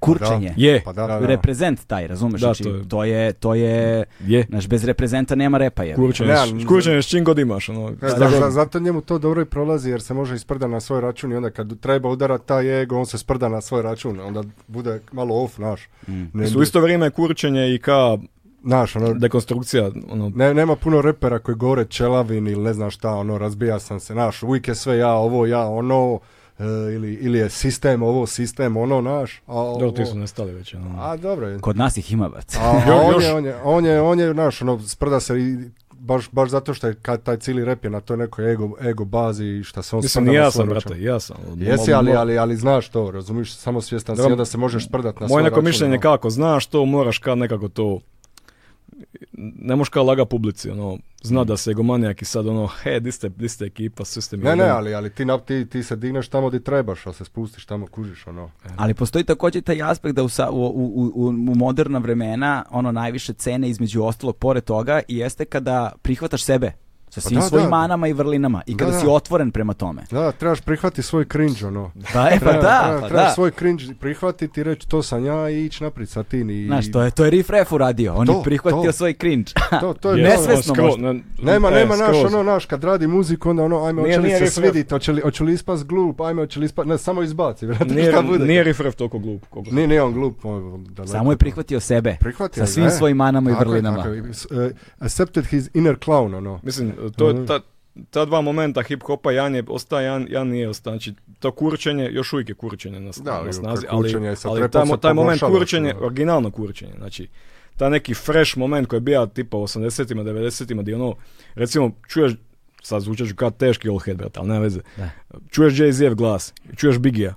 B: Kurčenje.
C: Je,
D: Pa da, da, da.
B: Reprezent taj, razumeš?
C: Da,
B: znači,
C: to
B: to
C: je-
B: je... to je,
C: je.
B: znaš, bez reprezenta nema repa je.
D: Ne,
C: Kurčenje,
D: ali-
C: kurčenje s čim god imaš, ono.
D: E,
C: šta
D: da,
C: god.
D: za- zato njemu to dobro i prolazi jer se može isprda na svoj račun i onda kad treba udarat taj ego, on se sprda na svoj račun, onda bude malo off, naš.
B: Mm.
D: Ne,
C: Mislim, u isto vrijeme je kurčenje i ka
D: naš, ono,
C: dekonstrukcija, ono,
D: ne, nema puno repera koji govore čelavin ili ne znam šta, ono, razbija sam se, naš, uvijek je sve ja, ovo, ja, ono, e, ili, ili je sistem, ovo, sistem, ono, naš. A,
C: dobro,
D: ovo-
C: ti su nestali već, ono.
D: A, dobro je.
B: Kod nas ih ima, brat.
D: A, a
C: Još-
D: on,
C: još-
D: Je, on, je, on, je, on je, znaš, ono, sprda se i baš, baš zato što je kad taj cijeli rep je na toj nekoj ego, ego bazi i šta se on
C: Mislim,
D: sprda
C: i
D: na
C: ja
D: svoj
C: sam,
D: račun.
C: brate, i ja sam. ono,
D: Jesi, ali, ali, ali znaš to, razumiš, samo svjestan si,
C: Dobro.
D: onda se možeš sprdat na svoj ono.
C: Moje neko
D: račun,
C: mišljenje je
D: ono.
C: kako znaš to, moraš ka nekako to ne možeš kao laga publici, ono,
D: Mm.
C: zna da se egomanijak i sad ono, he, di ste, di ste ekipa, svi ste mi
D: Ne, ne,
C: jebeni.
D: ali, ali ti, nap- ti, ti se digneš tamo di trebaš, ali se spustiš tamo, kužiš ono.
B: Ali postoji također taj aspekt da u, sa- u, u, u- u moderna vremena ono najviše cene između ostalog pored toga i jeste kada prihvataš sebe sa svim
D: Pa da,
B: svojim
D: da.
B: manama i vrlinama i
D: Da,
B: kada
D: da.
B: si otvoren prema tome.
D: Da, trebaš prihvati svoj cringe, ono.
B: Pa, e, pa
D: Treba-
B: da,
D: treba-
B: pa
D: trebaš
B: da.
D: svoj cringe prihvatiti i reći to sam ja i ići naprijed sa tim i...
B: Znaš, to je, to je Riff Raff uradio, on
D: To,
B: je prihvatio
D: to.
B: svoj cringe.
D: to, to je
C: Jes, ono,
B: Nesvesno
C: skroz,
B: možda.
C: ne-
D: Nema,
C: e,
D: nema, naš,
C: skroz.
D: ono, naš, kad radi muziku, onda ono, ajme,
C: Nije-
D: hoće li
C: nije
D: se
C: riff raff.
D: svidit, hoće li, hoće li ispast glup, ajme, hoće li ispast, ne, samo izbaci, vrati,
C: Nije,
D: šta bude.
C: nije refref toliko glup. koliko-
D: Nije, nije on glup, on, da
B: Samo je prihvatio sebe.
D: Prihvatio
B: sa
D: je,
B: svim
D: da je.
B: svojim manama i
D: Tako je,
B: vrlinama.
D: tako je. S- e, accepted his inner clown, ono.
C: Mislim, to je
D: Mhm.
C: ta, ta dva momenta hip-hopa, Jan je ostao, Jan, Jan nije ostao. Znači, to kurčenje, još uvijek je kurčenje na,
D: Da,
C: na
D: ali
C: snazi,
D: kad
C: ali,
D: kurčenje je sa
C: ali
D: trepom
C: taj,
D: se
C: mo- taj moment
D: pogoršava,
C: kurčenje,
D: što-
C: originalno kurčenje, znači, taj neki fresh moment koji je bio tipa u 80-ima, 90-ima, gdje ono, recimo, čuješ, sad zvučaš kao teški old head, brate, ali nema veze,
B: Da.
C: čuješ Jay-Z-ev glas, čuješ Biggie,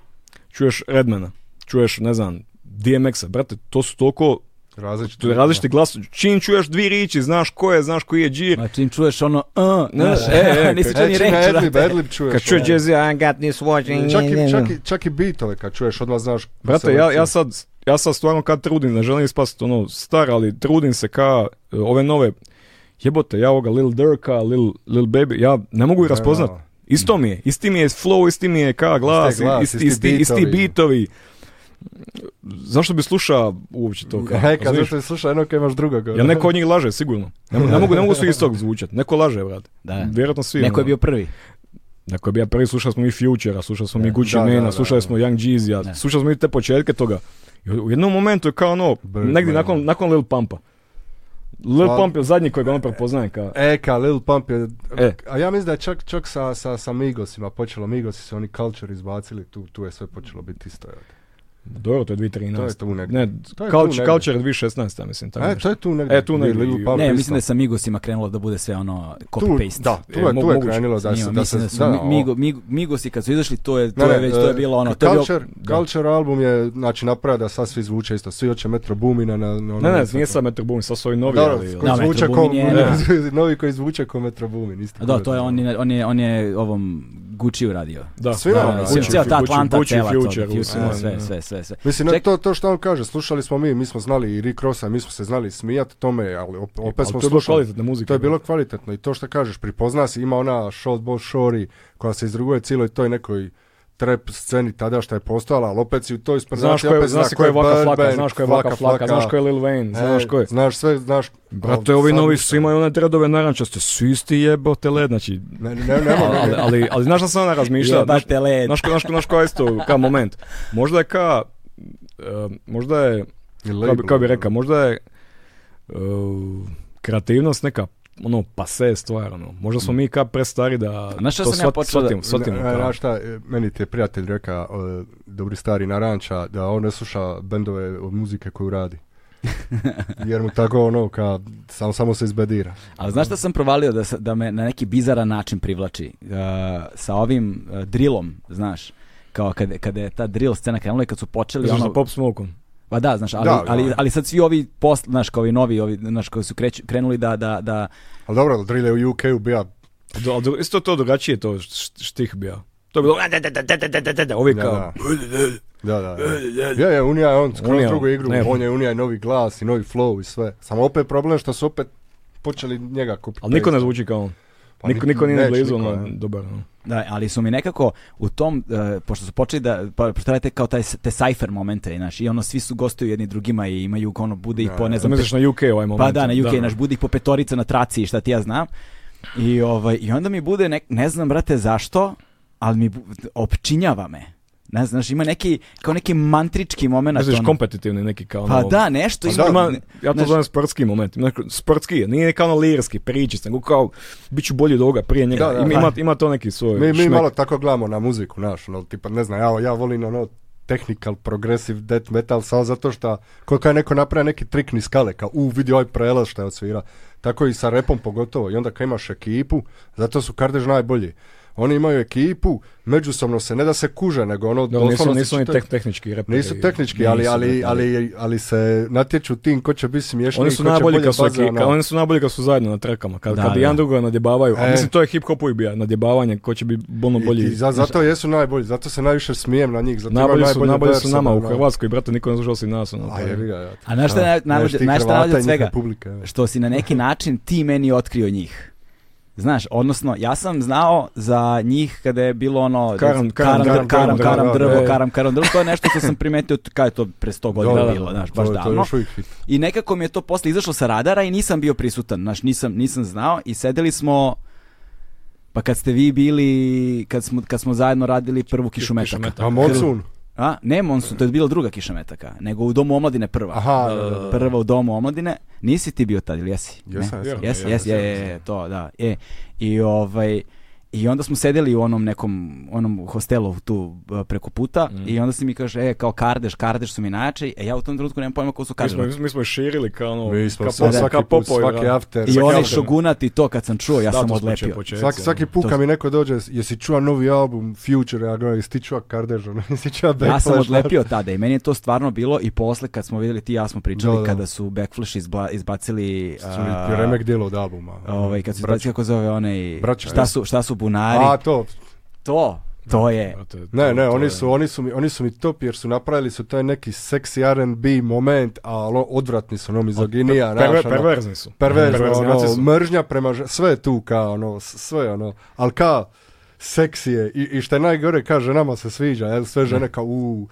C: čuješ Redmana, čuješ, ne znam, DMX-a, brate, to su toliko
D: Različito.
C: to je različiti glas, čim čuješ dvi riči, znaš ko je, znaš koji je džir,
B: Znači, čim čuješ ono, uh,
C: Ne,
B: znaš,
C: e, e,
B: nisi
D: E,
B: čuo ni
D: čim
B: reč,
D: Adlib,
B: brate.
D: Adlib čuješ.
C: kad čuješ
D: ono.
C: Jay-Z,
D: Čak i, čak, i, čak i beatove kad čuješ, odmah znaš.
C: Brate, ja, ja, sad, ja sad stvarno kad trudim, ne želim ispast ono star, ali trudim se ka e, ove nove jebote, ja ovoga Lil Durka, Lil, Lil Baby, ja ne mogu ih raspoznat.
D: da.
C: Isto mi je, isti mi je flow, isti mi je ka glas,
D: Isti je glas,
C: isti,
D: isti
C: isti, isti,
D: beatovi.
C: beatovi. Zašto bi sluša uopće to? Ka,
D: E, kad
C: razumiješ?
D: zašto slušaj jedno kad imaš ono. drugoga.
C: Jel neko od njih laže, sigurno. Ne, mo- ne mogu, ne mogu svi istog zvučat. Neko laže, brate.
B: Da.
C: Vjerojatno svi.
B: Neko je
C: ono.
B: bio prvi.
C: Dakle, bi ja prvi slušali smo mi Future-a, slušali smo mi Gucci
D: Da, da,
C: Mane-a,
D: da,
C: slušali
D: da.
C: smo Young Jeezy-a, slušali smo i te početke toga. I u jednom momentu je kao ono,
D: Birdman.
C: negdje nakon, nakon Lil Pumpa. Lil
D: Pa-
C: Pump je zadnji kojeg ono prepoznajem kao...
D: E, ka Lil Pump je...
C: E.
D: A ja mislim da je čak, čak sa, sa, sa Migosima počelo. Migosi su oni culture izbacili, tu, tu je sve počelo biti isto. jel?
C: Dobro, to je
D: To je
C: 2013.
D: tu negdje.
C: Ne,
D: To je tu
C: Culture,
D: negdje.
C: Culture je 2016, ja mislim. Tako
D: E,
C: nešto.
D: to je tu negdje.
C: E, tu negdje.
D: Lil Pump
B: ne,
D: isto.
B: mislim da je sa Migosima krenulo da bude sve ono
D: Pa, tu,
B: copy-paste.
D: da, tu
C: E,
D: je, tu
C: moguće.
D: je krenulo da se...
B: Njima,
D: Da se
B: mislim da su
D: da,
B: Mi-
D: o-
B: Migo- Mig- Migosi kad su izašli, to je, to
D: Ne,
B: je već, to je
D: e,
B: bilo ono, to je bio-
D: Culture, Culture album je, znači, napravio da sad svi zvuče isto. Svi hoće Metro Boomina na... na ono-
C: Ne, ne, nije sad Metro Boomin, sad su ovi novi,
D: Da,
C: ali...
D: koji
B: Da,
C: ali-
D: zvuče
B: Metro
D: ko,
B: Boomin je-
D: novi koji zvuče ko Metro Boomin. isti
B: Da,
D: kurac.
B: to je, on je, on je, on je ovom Gucci uradio.
C: Da,
D: Svi
B: Da,
D: imamo
B: da,
D: Gucci,
B: cijela- cijela ta
C: Gucci,
B: Atlanta,
C: Gucci,
B: cela to,
C: Future,
B: Gucci,
C: Gucci,
B: da,
C: da,
B: sve,
C: da.
B: sve, sve, sve.
D: Mislim, ne,
B: Ček-
D: to, to što on kaže, slušali smo mi, mi smo znali i Rick Rossa, mi smo se znali smijati tome, ali op- opet
C: ali
D: smo
C: to je bilo
D: slušali.
C: kvalitetna muzika.
D: To je bilo kvalitetno i to što kažeš, pripozna se, ima ona short ball shori koja se izruguje cijeloj toj nekoj trap sceni tada što je postojala, ali opet si u toj
C: Znaš
D: sprnati,
C: ko je,
D: opet
C: znaš ko je Vaka Flaka, znaš ko je Vaka Flaka, znaš ko je Lil
D: E,
C: Wayne, znaš ko je...
D: Znaš sve, znaš...
C: Brate,
D: ali
C: ovi
D: sad
C: novi
D: ništa.
C: su imaju one dredove narančaste, su isti jebote led, znači...
D: Ne, ne, ne, ne,
C: Ali, ali, ali znaš šta sam ona razmišljala? Znaš-
B: Jebate led.
C: Znaš, ko- znaš, ko- znaš koja je isto, ka moment. Možda je ka, e, možda je, kao bi, kao bi rekao, možda je e, kreativnost neka ono pase stvar, ono. Možda
D: Mm.
C: smo mi ka prestari da
B: Znaš šta
C: to
B: sam ja
C: shvat-
B: počeo da-
C: shvatimo, shvatimo,
D: Ne, ne,
C: kao.
D: znaš šta, e, meni ti je prijatelj rekao, e, dobri stari Naranča, da on ne sluša bendove od muzike koju radi. Jer mu tako ono, ka, samo, samo se izbedira.
B: Ali znaš šta sam provalio da, sa- da me na neki bizaran način privlači? Uh, sa ovim uh, drillom, znaš, kao kada, kada je ta drill scena krenula i kad su počeli
C: Znaš, za
B: ono...
C: pop smokom.
B: Pa da, znaš, ali,
D: Da, da.
B: ali, ali sad svi ovi post, znaš, kao ovi novi, ovi, znaš, koji su kreć, krenuli da, da, da,
D: Ali dobro, drill je u UK-u bija,
C: Do, ali do- isto to drugačije to št- štih bija. To je bilo ovi
D: Da,
C: kao
D: da. da, da. da. Ja, ja, Unija je on skroz
C: Unija,
D: drugu igru,
C: ne.
D: on je Unija i novi glas i novi flow i sve. Samo opet problem što su opet počeli njega kupiti.
C: Ali niko ne zvuči kao on.
D: Pa
C: niko,
D: ni-
C: niko nije
D: neće
C: blizu,
D: niko,
C: ono,
D: ne.
C: dobar. ono.
B: Da, ali su mi nekako u tom, e, pošto su počeli da, pa, postavljate kao taj, te cypher momente, znaš, i ono, svi su gostuju jedni drugima i imaju, ono, bude ih po, ne
C: Znam
B: znam,
C: misliš na UK ovaj moment.
B: pa da, na UK, naš budi ih po petorica na traci i šta ti ja znam. I, ovaj, i onda mi bude, nek, ne znam, brate, zašto, ali mi bu- opčinjava me. Ne znam, znaš, ima neki, kao neki mantrički moment. ono.
C: Misliš kompetitivni neki kao ono-
B: Pa da, nešto
C: Pa
B: ima.
C: ima,
B: ne-
C: ja to
B: znaš-
C: zovem sportski moment. Ima neko- Sportski je, nije kao ono lirski, priči, nego kao, bit ću bolji od ovoga prije njega.
D: Da, da,
C: ima,
D: da.
C: ima, ima to neki svoj
D: Mi, mi
C: šmek.
D: malo tako gledamo na muziku, znaš, ono, tipa, ne znam, ja, ja volim ono technical, progressive, death metal, samo zato što koliko je neko napravio neki trik ni skale, kao, u, vidi ovaj prelaz što je odsvira. Tako i sa repom pogotovo. I onda kad imaš ekipu, zato su Kardež najbolji. Oni imaju ekipu, međusobno se, ne da se kuže, nego ono...
C: Dobro, nisu,
D: doslovno se
C: nisu oni
D: čita-
C: teh- tehnički reperi.
D: Nisu tehnički, ali,
C: Nisu,
D: ali,
C: da.
D: ali, ali se natječu tim ko će biti smiješan
C: Oni
D: i
C: su
D: ko će
C: najbolji
D: bolje
C: kad su,
D: baze,
C: eki-
D: ono.
C: kad- oni su najbolji kad su zajedno na trekama, kad,
A: Da,
C: kad
A: da.
C: jedan drugoga nadjebavaju. A
D: E.
C: mislim, to je hip-hop uvijek bija, nadjebavanje, ko će biti ono
D: I-
C: bolji.
D: i za- zato jesu najbolji, zato se najviše smijem na njih. Zato imaju
C: Najbolji su,
D: najbolje
C: najbolji su
D: versove,
C: nama u
D: ono.
C: Hrvatskoj, brate, niko ne sluša osim nas. Ono,
D: A Pa jebi ga, ja.
A: A znaš šta je naj- najbolje-
D: Znaš ti
A: znaš šta je
D: Hrvata
A: najbolje od
D: i njihove
A: svega?
D: publike, evo.
B: što si na neki način ti meni otkrio njih. Znaš, odnosno, ja sam znao za njih kada je bilo ono...
C: Karam- karam-
B: karam,
D: karam-
B: karam-
D: karam-
B: karam drvo,
C: da, da.
B: karam, karam drvo. To je nešto što sam primetio, t- kada je to pre 100 godina
D: Da, da,
B: bilo, znaš,
D: to
B: baš ono.
D: je- To je
B: davno.
D: još uvijek hit.
B: I nekako mi je to posle izašlo sa radara i nisam bio prisutan, znaš, nisam, nisam znao i sedeli smo... Pa kad ste vi bili, kad smo, kad smo zajedno radili prvu kišumetaka.
C: Kišometak.
D: A Monsun?
B: A, ne Monsun, to je bila druga kišometaka, nego u Domu omladine prva.
D: Aha,
C: Da, da, da.
B: Prva u Domu omladine. Nisi ti bio tad, ili jesi? Ne?
D: Jesam, jesam.
B: Jes,
C: Ja,
B: jes,
C: ja,
B: je, je, je, to, da. E, i ovaj, i onda smo sedeli u onom nekom, onom hostelu tu e, preko puta
D: Mm.
B: i onda si mi kaže, e, kao kardeš, kardeš su mi najjači, e ja u tom trenutku nemam pojma ko su
C: Mi
B: kardeš.
C: smo, mi smo ih širili kao ono,
D: Mi smo
C: ka
D: sad
C: popo-
D: svaki
C: ka
D: put,
C: popovi,
D: svaki
C: brate.
D: after.
B: I
C: Svaki
B: oni
C: album.
B: šogunat i to kad sam čuo, ja sam
C: Status smo
B: odlepio.
C: počeci,
D: Svaki,
C: ono.
D: svaki put
B: To-
D: kad mi neko dođe, jesi čuo novi album Future, ja gledam, jesi ti čuo Kardež, ono, jesi čuo Backflash?
B: Ja sam odlepio tada i meni je to stvarno bilo i posle kad smo vidjeli ti i ja smo pričali
D: Da, da.
B: kada su Backflash izba- izbacili
D: Su
B: a,
D: i Remek dijelo od albuma. ono.
B: ovaj, kad su
D: Braća.
B: izbacili kako zove onaj
D: Braća,
B: šta
D: ja.
B: su, šta su bunari
D: A, to,
B: to, to je
C: Brate,
D: ne,
C: to-
D: ne,
C: to
D: oni
C: je-
D: su, oni su mi, oni su mi top jer su napravili su taj neki seksi R&B moment, a ono, odvratni su, ono, mizoginija,
C: Perver-
D: znaš, ono,
C: perverzni su.
D: perverzno,
C: Perverzni,
D: ono,
C: znači su-
D: mržnja prema, žen- sve je tu kao, ono, s- sve, ono, ali ka, seksi je, i, i što je najgore, ka, ženama se sviđa, jel, sve žene kao, u,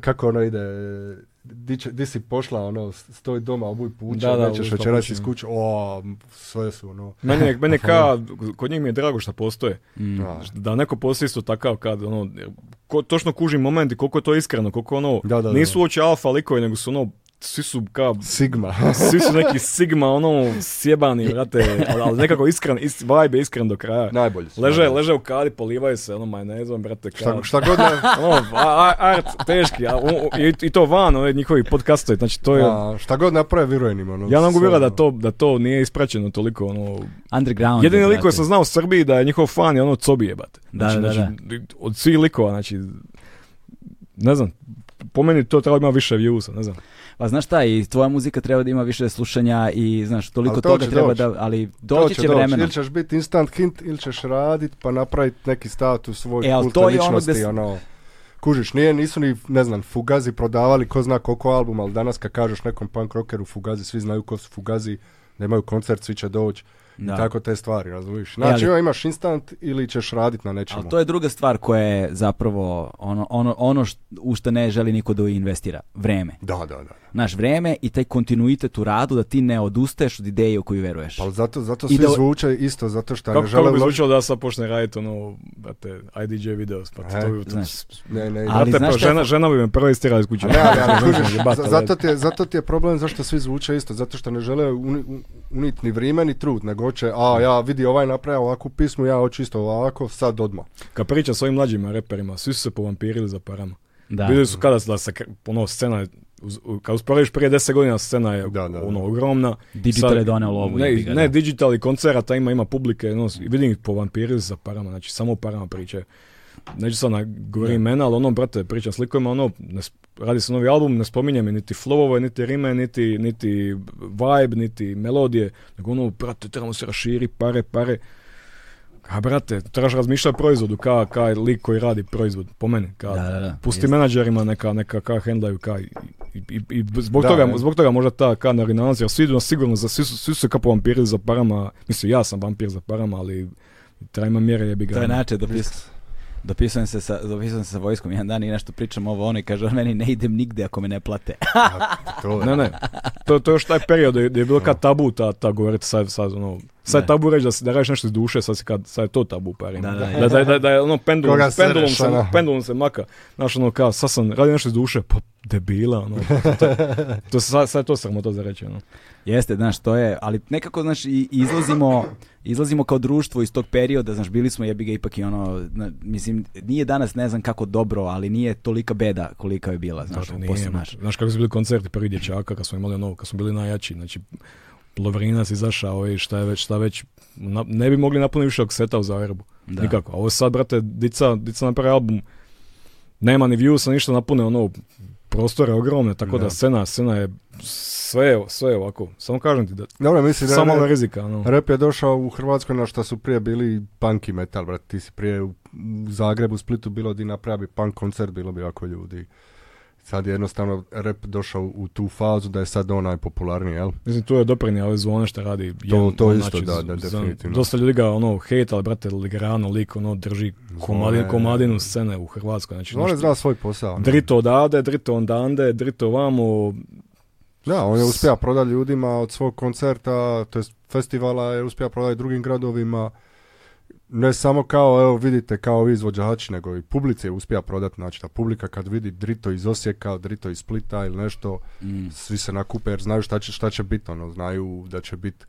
D: kako ono ide, di, će- di si pošla, ono, stoj doma, obuj puća,
C: Da, da,
D: nećeš
C: obuj pa
D: večeras
C: papuče.
D: iz kuće, o, sve su, ono,
C: Meni je, meni je ka, kod njih mi je drago što postoje.
D: da.
C: Da neko postoji isto takav kad, ono, ko, točno kuži moment i koliko je to iskreno, koliko ono,
D: Da, da, da.
C: nisu uopće alfa likovi, nego su ono, svi su ka,
D: Sigma.
C: svi su neki sigma, ono, sjebani, brate, ali, ali nekako iskren, is, vibe je iskren do kraja.
D: Najbolji su.
C: Leže,
D: najbolji.
C: leže u kadi, polivaju se, ono, majonezom, brate, kao...
D: Šta, šta god ne,
C: Ono, a- a- art, teški, a, u- u- i, i to van, ono, njihovi podcastovi, znači to je...
D: A, šta god naprave, vjerujem im. Ono,
C: Ja ne mogu
D: sve,
C: vjerovati da
D: ono.
C: to, da to nije ispraćeno toliko, ono...
B: underground.
C: Jedini
B: je,
C: lik koji
B: brate.
C: sam znao u Srbiji da je njihov fan je ono Cobi jebate.
B: Da,
C: Znači,
B: da,
C: znači, Od svih likova, znači... Ne znam, po meni to treba ima više viewsa, ne znam.
B: Pa znaš šta, i tvoja muzika treba da ima više slušanja i znaš, toliko
D: Ali to
B: toga
D: će
B: treba
D: doći.
B: da, ali
D: To
B: doći će vremenom.
D: Ili ćeš biti instant hint, ili ćeš radit pa napraviti neki status svoj
B: E,
D: e,
B: ali
D: kult
B: to je ono
D: ličnosti,
B: gde s-
D: ono, Kužiš, nije, nisu ni, ne znam, Fugazi prodavali ko zna koliko albuma, ali danas kad kažeš nekom punk rockeru Fugazi, svi znaju ko su Fugazi, da imaju koncert, svi će doći.
B: Da. E,
D: I tako te stvari, razumiješ? Znači,
B: ali-
D: ili imaš instant ili ćeš radit na nečemu.
B: Ali to je druga stvar koja je zapravo ono, ono, ono št- u što ne želi niko da investira. Vreme.
D: Da, da, da.
B: Naš vreme i taj kontinuitet u radu da ti ne odustaješ od ideje u koju veruješ.
D: Pa ali zato, zato
B: I
D: svi
B: da-
D: zvuče isto, zato što
C: Kako, kako
D: ne žele...
C: bi
D: uložiti-
C: zvučalo da sad počne raditi ono, brate, IDJ videos, pa
D: E,
C: to bi... to-
B: znaš.
D: Ne, ne,
B: Ali
C: brate,
B: znaš
C: pa
B: šta je-
C: žena, žena bi me prvo istirala iz kuće.
D: Ne, ali, ali,
C: Znaš,
D: kužiš,
C: jebate,
D: za-
C: brate.
D: zato, ti je, zato ti je problem zašto svi zvuče isto, zato što ne žele uni, un- unit ni vrijeme ni trud, nego će, a ja vidi ovaj napravio ovakvu pismu, ja hoću isto ovako, sad odmah.
C: Kad priča s ovim mlađim reperima, svi su se povampirili za parama.
B: da.
C: Vidjeli su kada da se, kre- ono, scena, je- uz- u- kad usporediš prije 10 godina, scena je
D: Da, da, da.
C: ono, ogromna.
B: Digital
C: Sad-
B: je doneo lovu,
C: Ne,
B: jebi ga,
C: ne
B: da.
C: digital i koncerata ima, ima publike, no, s- vidim ih po vampiri sa parama, znači samo o parama pričaju. Neću sad na govori imena, ali ono, brate, pričam s likovima, ono, ne sp- radi se novi album, ne spominjem niti flowove, niti rime, niti, niti vibe, niti melodije, nego ono, brate, trebamo se raširi, pare, pare. A brate, trebaš razmišljati o proizvodu, ka, ka lik koji radi proizvod, po meni. Ka,
B: Da, da, da,
C: pusti
B: jest.
C: menadžerima neka, neka ka hendlaju, ka, i, i, i zbog,
D: Da,
C: toga,
D: ne.
C: zbog toga možda ta ka narinancija, jer svi idu na sigurno, za, svi, su, svi su se kao vampiri za parama, mislim ja sam vampir za parama, ali treba ima mjere jebi ga. ono.
B: To je način dopis... Dopisujem se, sa, dopisujem se sa vojskom jedan dan i nešto pričam ovo ono i kaže meni ne idem nigde ako me ne plate.
D: To je.
C: Ne, ne, to, to je još taj period gdje gdje je bilo kad tabu ta, ta govorit sad, sad, ono, sad
B: Da.
C: je tabu reći da, se- da radiš nešto iz duše, sad, si kad, sad je to tabu pari.
B: Da, da,
C: da, da, da, da je ono pendulum,
D: Koga sereš,
C: pendulum, se,
D: ono.
C: pendulum se maka. Znaš ono kao, sad sam radio nešto iz duše, pa debila, ono, to, to, sad, sad je to sramota za reći, ono.
B: Jeste, znaš, to je, ali nekako, znaš, i izlazimo, izlazimo kao društvo iz tog perioda, znaš, bili smo jebi ga ipak i ono, na- mislim, nije danas, ne znam kako dobro, ali nije tolika beda kolika je bila, znaš,
C: Znaš,
B: u
C: nije,
B: poslu,
C: znaš.
B: znaš.
C: znaš kako su bili koncerti prvi dječaka kad smo imali ono, kad smo bili najjači, znači Lovrinac izašao i šta je već, šta već, na- ne bi mogli napuniti više seta u Zagrebu.
B: Da.
C: Nikako. A Ovo sad, brate, dica, dica napravi album, nema ni viewsa, ništa napune, ono, prostore ogromne, tako da,
E: Da.
C: scena, scena je sve, je- sve je ovako. Samo kažem ti da,
D: Dobro, mislim da
C: samo
D: ne-
C: malo rizika, ono.
D: Rap je došao u Hrvatskoj na što su prije bili punk i metal, brate. Ti si prije u u Zagrebu, Splitu bilo di napravi punk koncert, bilo bi ovako ljudi. Sad je jednostavno rap došao u tu fazu da je sad on najpopularniji, jel?
C: Mislim, tu je doprinio ove zvone što radi.
D: To-
C: jedan-
D: to
C: on,
D: isto, da,
C: za-
D: da, definitivno.
C: Dosta ljudi ga, ono, hejt, ali, brate, Ligrano, lik, ono, drži komadi,
D: Zvone.
C: komadinu scene u Hrvatskoj. Znači,
D: On je
C: nešto-
D: znao svoj posao. ne?
C: drito odade, drito ondande, drito vamo.
D: Da, on je uspio prodati ljudima od svog koncerta, to jest festivala je uspio prodati drugim gradovima. Ne samo kao, evo vidite, kao vi izvođači, nego i publici je uspio prodati. Znači, da publika kad vidi drito iz Osijeka, drito iz Splita ili nešto,
B: Mm.
D: svi se nakupe jer znaju šta će, šta će biti, ono, znaju da će biti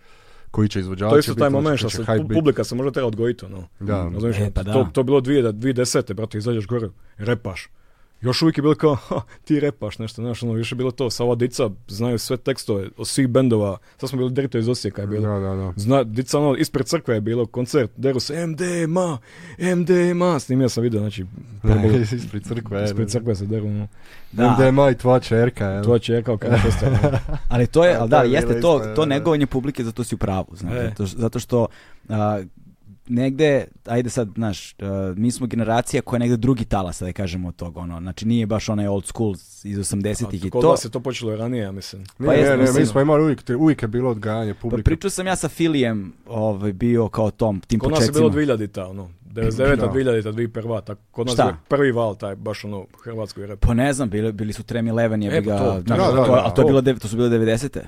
D: koji će izvođači
C: To je isto taj
D: bit, ono,
C: moment što
D: koji će
C: se
D: hype
C: pu-
D: bit.
C: publika se možda treba odgojiti, ono.
D: Da.
C: Razumiješ?
B: E, pa da.
C: To, to bilo dvije, da, 2010. brate, izađeš gore, repaš. Još uvijek je bilo kao, ha, ti repaš nešto, znaš, ono, više je bilo to, sa ova dica znaju sve tekstove od svih bendova, sad smo bili drito iz Osijeka je bilo.
D: Da, da, da.
C: Zna, dica ono, ispred crkve je bilo koncert, deru se MDMA, MDMA, snimio sam video, znači, prebolo,
D: Ispred
B: E,
D: crkve.
C: ispred crkve se deru, ono,
D: Da.
B: Da,
D: MDMA i tvoja čerka,
B: e,
D: jel?
C: to će je kao kada šestra, ono.
B: ali to je, ali da,
D: To je
B: jeste
D: bilo
B: to,
D: isto,
B: to
D: da, da.
B: negovanje publike, zato si u pravu, znate,
C: E.
B: zato, š- zato što a, negde, ajde sad, znaš, a, mi smo generacija koja je negde drugi talas, da kažemo od toga, ono, znači nije baš onaj old school iz 80-ih i
C: Kod
B: to.
C: vas je to počelo i ranije, ja mislim.
D: Nije,
B: Pa
D: ne,
B: jeste,
D: ne, mi
B: mislim.
D: smo imali uvijek, uvijek je bilo odgajanje
B: Pa
D: publike.
B: pričao sam ja sa Filijem, ovaj, bio kao tom, tim
C: Kod nas je
B: početcima.
C: bilo 2000-ta, ono, 99-ta,
D: Da.
C: 2000-ta, 2001-ta, tako, kod nas
B: Šta?
C: je bio prvi val taj, baš ono, hrvatski rap.
B: Pa ne znam, bili, bili su Trem Eleven, je
C: E,
B: bi
C: pa
B: ga,
C: to,
B: znaš,
D: da, da,
B: to- a to, je
D: da.
B: bilo, dev- to su bile 90.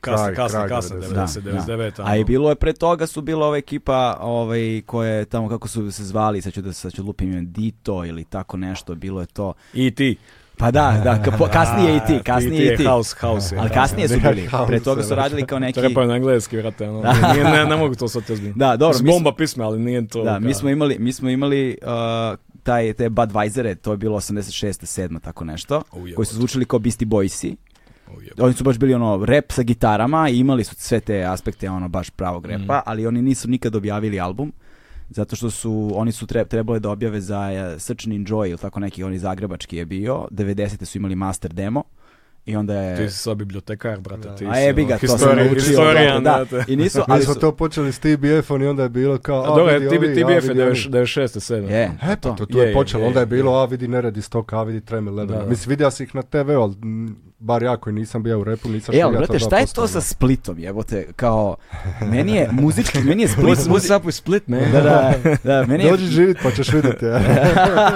C: Kasne,
D: Kraj,
C: kasne,
D: kraj
C: kasne, 90,
D: 90-te.
B: Da,
C: 99-ta.
B: A i
C: ono.
B: bilo je pre toga su bila ova ekipa ovaj, koja je tamo, kako su se zvali, sad ću da sad ću lupim ime, Dito ili tako nešto, bilo je to.
C: I ti.
B: Pa da, da, ka- po- kasnije i ti, kasnije i ti.
C: House, house je.
B: Ali
C: house.
B: kasnije su bili, pre toga su radili kao neki...
C: Trepaju na engleski, vrate, ono, nije, ne, ne mogu to sad te ozbiljno.
B: Da, dobro,
C: Mislim,
B: mi smo-
C: Bomba pisme, ali nije to.
B: Da, mi
C: ka-
B: smo imali, mi smo imali uh, taj, te Budweisere, to je bilo 86. 7. tako nešto,
C: Ujebote.
B: koji su zvučili kao Beastie Boysi.
C: O, jebote.
B: Oni su baš bili ono rep sa gitarama i imali su sve te aspekte ono baš pravog repa, ali oni nisu nikad objavili album. Zato što su, oni su tre, trebali da objave za eh, Srčan Enjoy ili tako neki, oni zagrebački je bio, 90. su imali master demo i onda
C: Ti
D: E.
B: je...
C: si sad bibliotekar, brate, ti si.
B: A jebi ga,
C: ono,
B: to sam
C: historijan-
B: naučio.
C: historijan,
B: da, da.
C: brate.
B: I nisu,
D: Mi
B: ali
D: smo
B: su...
D: to počeli s TBF-om i onda je bilo kao,
C: A
D: a,
C: dobro,
D: vidi ovi, a,
C: TBF je
D: vidi oni.
C: 96. 7.
B: Je,
D: E,
B: to.
D: pa to, tu je,
C: Je, je,
D: počelo,
C: je,
D: onda je
C: je.
D: bilo, a vidi neredi stoka, a vidi treme lebena.
C: Da, da.
D: Mislim, vidio si ih na TV, ali m, bar ja koji nisam bio u repu, nisam
B: E,
D: što
B: ali brate, šta je to
D: ono.
B: sa Splitom, jebote, kao, meni je muzički, meni je Split,
C: What's,
B: muzi-
C: what's up with Split, man?
B: da, da, da, meni je,
D: Dođi živit pa ćeš vidjeti. ja.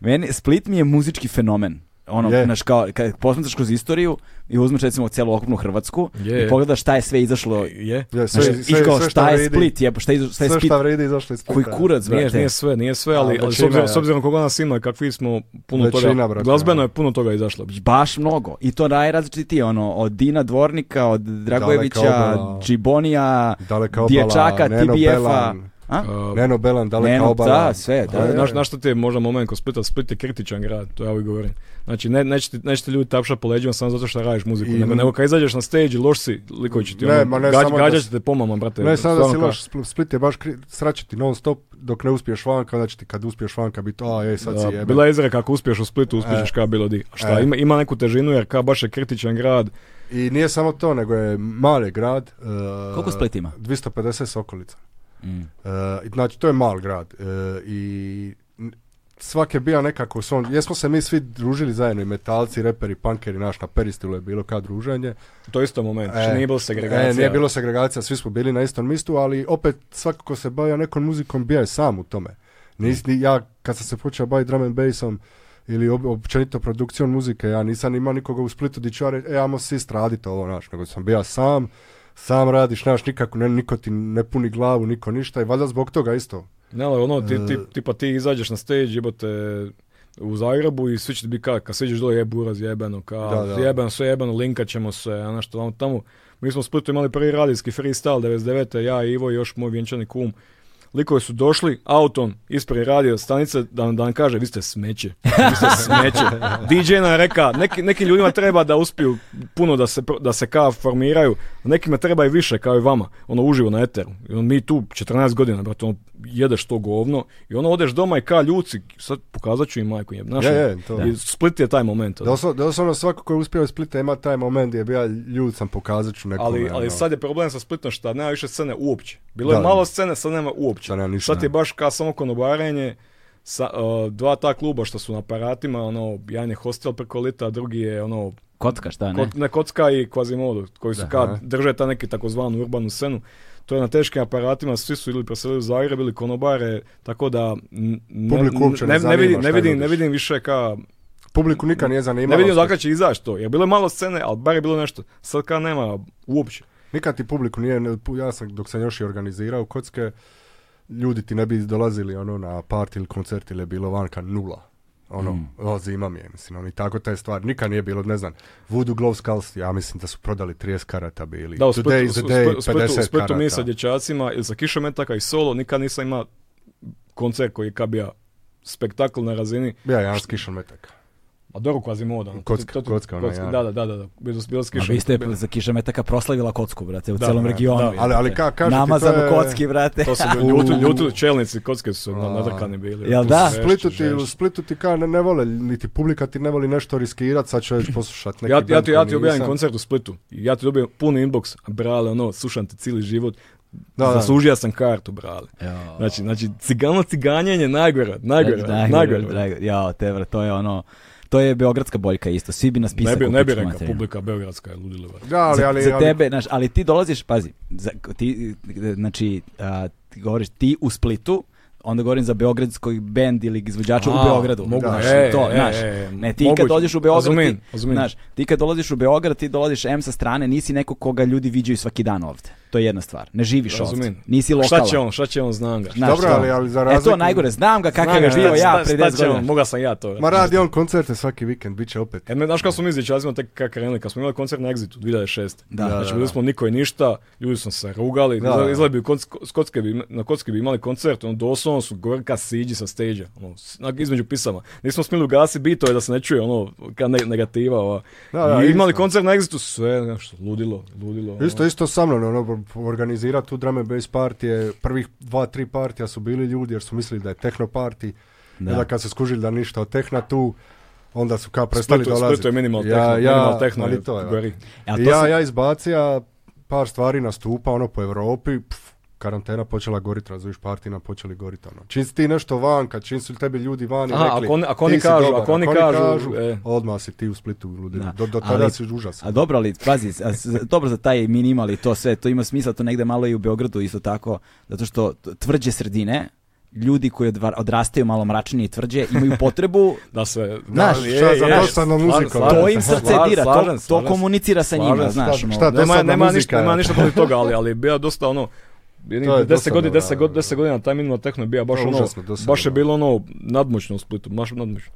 B: meni, Split mi je muzički fenomen. Ono,
D: Je.
B: znaš, kao, kad posmatraš kroz istoriju i uzmeš recimo celokupnu Hrvatsku
C: Je.
B: i pogledaš šta je sve izašlo.
C: Je.
D: Je, sve,
B: Znaš,
D: sve,
B: i kao,
D: sve
B: Znači, šta je
D: vredi-
B: Split, jebo, šta je, iza- šta je
D: Sve
B: Split,
D: šta vredi izašlo iz
B: koji
D: Splita.
B: kurac,
C: Nije,
B: brate.
C: nije sve, nije sve, ali,
D: A,
C: ali s
D: većina,
C: obzirom,
D: ja.
C: s obzirom koga nas ima i kakvi smo, puno
D: Većina,
C: toga,
D: brate, ono.
C: glazbeno
D: ja.
C: je puno toga izašlo.
B: Baš mnogo. I to najrazličitije, ono, od Dina Dvornika, od Dragojevića,
D: Daleka obala.
B: Džibonija,
D: Daleka obala,
B: Dječaka,
D: Neno
B: TBF-a.
D: Belan.
B: A?
C: Uh,
D: Neno Belan, daleka
B: Neno,
D: obala.
B: da, sve, da.
D: A,
C: Ali
D: je.
C: znaš, znaš što ti je možda moment kod Splita? Split je kritičan grad, to ja uvijek govorim. Znači, ne, neće, ti, neće ti ljudi tapša po leđima samo zato što radiš muziku,
D: I-
C: nego, nego kad izađeš na stage, loš si, likovi će ti
D: Ne,
C: ono,
D: ma ne
C: gađ-
D: samo da
C: gađat
D: si-
C: će te pomama, brate.
D: Ne, sad da si
C: stvarno
D: loš, Spl- Split je baš kri- sračiti non stop dok ne uspiješ vanka, onda će ti kad uspiješ vanka biti, a ej,
C: kao-
D: sad si
C: da,
D: jebe.
C: bila je izreka, ako uspiješ u Splitu, uspiješ kao bilo di. A šta,
D: E.
C: ima, ima neku težinu jer kao baš je kritičan grad.
D: I nije samo to, nego je mali grad. e,
B: Koliko Split ima?
D: 250 s okolica.
B: Mm.
D: E, znači, to je mal grad. E, I n- svak je bio nekako u svom... Jesmo se mi svi družili zajedno, i metalci, reperi, punkeri, naš, na peristilu je bilo kao druženje.
C: To je isto moment, znači,
D: E,
C: nije bilo segregacija.
D: E, nije bilo segregacija, svi smo bili na istom mistu, ali opet svakako se bavio nekom muzikom, bio je sam u tome. Nis, ni, ja kad sam se počeo baviti drum and bassom ili ob- općenito produkcijom muzike, ja nisam imao nikoga u Splitu di ću ja reći, e, ajmo svi raditi ovo, naš, nego sam bio sam, sam radiš, naš, nikako, ne, niko ti ne puni glavu, niko ništa i valjda zbog toga isto.
C: Ne, ali ono, ti, ti,
D: E.
C: tipa ti izađeš na stage, jebote u Zagrebu i svi će ti biti kao, kad siđeš dole je buraz jebeno, kao
D: Da, da.
C: jebeno, sve jebeno, linkat ćemo se, a znaš ono, što, tamo, mi smo u Splitu imali prvi radijski freestyle 99. ja, Ivo i još moj vjenčani kum, Likovi su došli autom ispred radio stanice da nam, da nam kaže vi ste smeće. Vi ste smeće. DJ nam je reka, neki, nekim ljudima treba da uspiju puno da se, pro- da se kao formiraju, a nekima treba i više kao i vama. Ono uživo na eteru. I on, mi tu 14 godina, brate, ono, jedeš to govno i ono odeš doma i ka ljuci, sad pokazat ću im majku jeb. Znaš,
D: Je, je,
C: ono,
D: to.
C: I Split je taj moment. ono.
D: Doslovno, doslovno svako ko je uspio iz Splita ima taj moment gdje bi ja ljud sam pokazat ću nekome.
C: Ali, ali
D: ono.
C: sad je problem sa Splitom što nema više scene uopće. Bilo je
D: Da, da.
C: malo scene, sad nema uopće.
D: Sad nema ništa,
C: Sad je
D: da.
C: baš kao samo konobarenje sa, uh, dva ta kluba što su na aparatima, ono, jedan je hostel preko lita, drugi je ono,
B: Kocka, šta ne?
C: kot, ne kocka i kvazimodo, koji su
D: Da,
C: kao
D: aha.
C: drže ta neki takozvanu urbanu scenu. To je na teškim aparatima, svi su ili preselili u Zagreb ili konobare, tako da n- ne,
D: Publiku uopće ne
C: ne, ne,
D: zanima
C: vidim,
D: šta
C: ne, vidim, ne
D: nudiš.
C: vidim više ka
D: Publiku nikad nije
C: ne
D: zanimalo.
C: vidim
D: što-
C: odakle će izaći to, jer bilo je malo scene, ali bar je bilo nešto. Sad ka nema uopće.
D: Nikad ti publiku nije, ne- pu- ja sam dok sam još i organizirao kocke, ljudi ti ne bi dolazili ono na part ili koncert ili je bilo vanka nula. Ono,
C: Mm.
D: o, zima mi je, mislim, ono, i tako te stvari. Nikad nije bilo, ne znam, Voodoo Glow Skulls, ja mislim da su prodali 30 karata bili.
C: Da, u Splitu,
D: Today is the day,
C: u Splitu, u
D: 50
C: Splitu mi
D: karata.
C: sa dječacima ili sa kišometaka i solo nikad nisam imao koncert koji je kabija spektakl na razini.
D: Ja, ja, s kišom metaka.
C: A dobro Quasimodo. ono,
D: Kocka,
C: to- to-
D: kocka, ona, ja.
C: Da, da, da, da, da. Bilo, bilo s
B: Ma
C: kišom.
B: vi ste za kišometaka proslavila kocku, brate, u celom
C: da,
B: regionu.
C: da.
B: jebote.
D: Ali, ali ka, kažem ti, to
B: Namazano
D: je-
B: kocki, brate.
C: To su bili ljutili, ljutili čelnici, kocke su na- nadrkani bili.
B: Jel
C: Tu
B: da?
D: U
C: žešće,
D: Splitu ti, u
C: žešće.
D: Splitu ti ka ne, ne vole, niti publika ti ne voli nešto riskirat, sad ću već poslušat neki
C: Ja, ja
D: band
C: ti, ja
D: koji
C: ti objavim
D: nisam.
C: koncert u Splitu. I ja ti dobijem puni inbox. A brale, ono, slušam te cijeli život.
D: Da, da.
C: Zaslužio sam kartu, brale.
B: Jao.
C: Znači, znači, cigano ciganjenje, najgore, najgore,
B: Dragor,
C: najgore.
B: Dragor. Jao, te vrat, to je ono... To je beogradska boljka isto, svi bi nas pisali.
C: Ne bi, ne bi rekao, publika Beogradska je ludila. brate.
D: Da, ali,
B: za,
D: ali,
B: za
D: ali-
B: tebe, znaš, ali ti dolaziš, pazi, za, ti, znači, a, ti govoriš ti u Splitu, onda govorim za beogradskoj bend ili izvođača u
C: A,
B: Beogradu.
C: moguće.
B: znaš,
C: E,
B: to,
C: e,
B: znaš.
C: e,
B: ne, ti
C: moguće.
B: kad dođeš u Beograd,
C: Razumijem,
B: ti,
C: razumijem.
B: znaš, ti kad dolaziš u Beograd, ti dolaziš M sa strane, nisi neko koga ljudi viđaju svaki dan ovdje. To je jedna stvar. Ne živiš ovdje.
C: Razumijem.
B: Nisi
C: A
B: lokalan.
C: Šta će on, šta će on, znam ga.
B: Znaš,
D: Dobro,
B: to.
D: ali- ali za
B: E to
D: razliku-
B: najgore, znam ga kakav
C: Znam
B: je
C: ga,
B: bio
C: šta-
B: ja
C: šta-
B: pre
C: šta
B: 10
C: će on,
B: godina.
C: Mogao sam ja to.
D: Ma radi on koncerte svaki vikend, bit će opet.
C: E, me, znaš kako smo mi s dječacima tek kako krenuli, kad smo imali koncert na Exitu 2006.
B: Da.
C: znači, bili smo niko i ništa, ljudi su se rugali,
D: Da, da.
C: izgleda bi, konc- s kocke bi, na kocki bi imali koncert, ono, doslovno su govorili ka siđi sa stage ono, s- onak između pisama. Nismo smjeli ugasi bito je da se ne čuje, ono, ka ne- negativa, ova.
D: Da, da,
C: I imali
D: isto.
C: koncert na Exitu, sve, nešto, ludilo, ludilo. ono.
D: Isto, isto sa mnom, ono, organizirati tu drame bass partije, prvih dva, tri partija su bili ljudi jer su mislili da je techno party,
B: Da.
D: da. onda kad su skužili da ništa od tehna tu, onda su kao prestali
C: Splitu-
D: dolaziti.
C: Splitu je minimal techno, minimal techno
D: ali
C: je
D: to je, ono.
C: gori.
B: E, a
D: I
B: to
D: ja,
B: sam-
D: ja izbacija par stvari nastupa, ono, po Europi, pf, karantena počela gorit, razumiješ, partina počeli gorit, ono. Čim si ti nešto vanka, čim su tebi ljudi vani
C: Aha,
D: rekli,
C: ako oni- ako oni
D: "Ti si
C: kažu,
D: dobar",
C: ako oni kažu, e.
D: odmah si ti u Splitu ludi.
B: Da,
D: Do, do
B: ali-
D: tada si užasan.
B: A dobro, ali pazi, a s- za- dobro za taj minimal i to sve, to ima smisla, to negde malo i u Beogradu isto tako, zato što t- tvrđe sredine, ljudi koji odvar- odrastaju malo mračnije i tvrđe, imaju potrebu,
C: Da se...
B: Znaš,
C: je,
D: šta
C: je,
D: za
C: je.
D: dosadnom
C: Slažem-
D: muzikom.
C: slažem
B: to
C: se,
B: im srce
C: slažem-
B: dira, to,
C: slažem
B: to
C: se, slažem se.
B: komunicira sa
C: slažem
B: njima,
C: se,
B: znaš.
D: slažem.
B: ono.
D: Šta to
C: nema,
D: sad na
C: nema,
D: muzika,
C: ništa,
D: je?
C: nema ništa protiv toga, ali, ali bio dosta ono, jednih
D: To je
C: 10 godina, 10
D: dosadno, da,
C: godina,
D: da.
C: 10 godina, taj minimal tehno je bio baš
D: To je
C: ono,
D: užasno dosadno,
C: baš je
D: da.
C: bilo ono nadmoćno u Splitu, baš nadmoćno.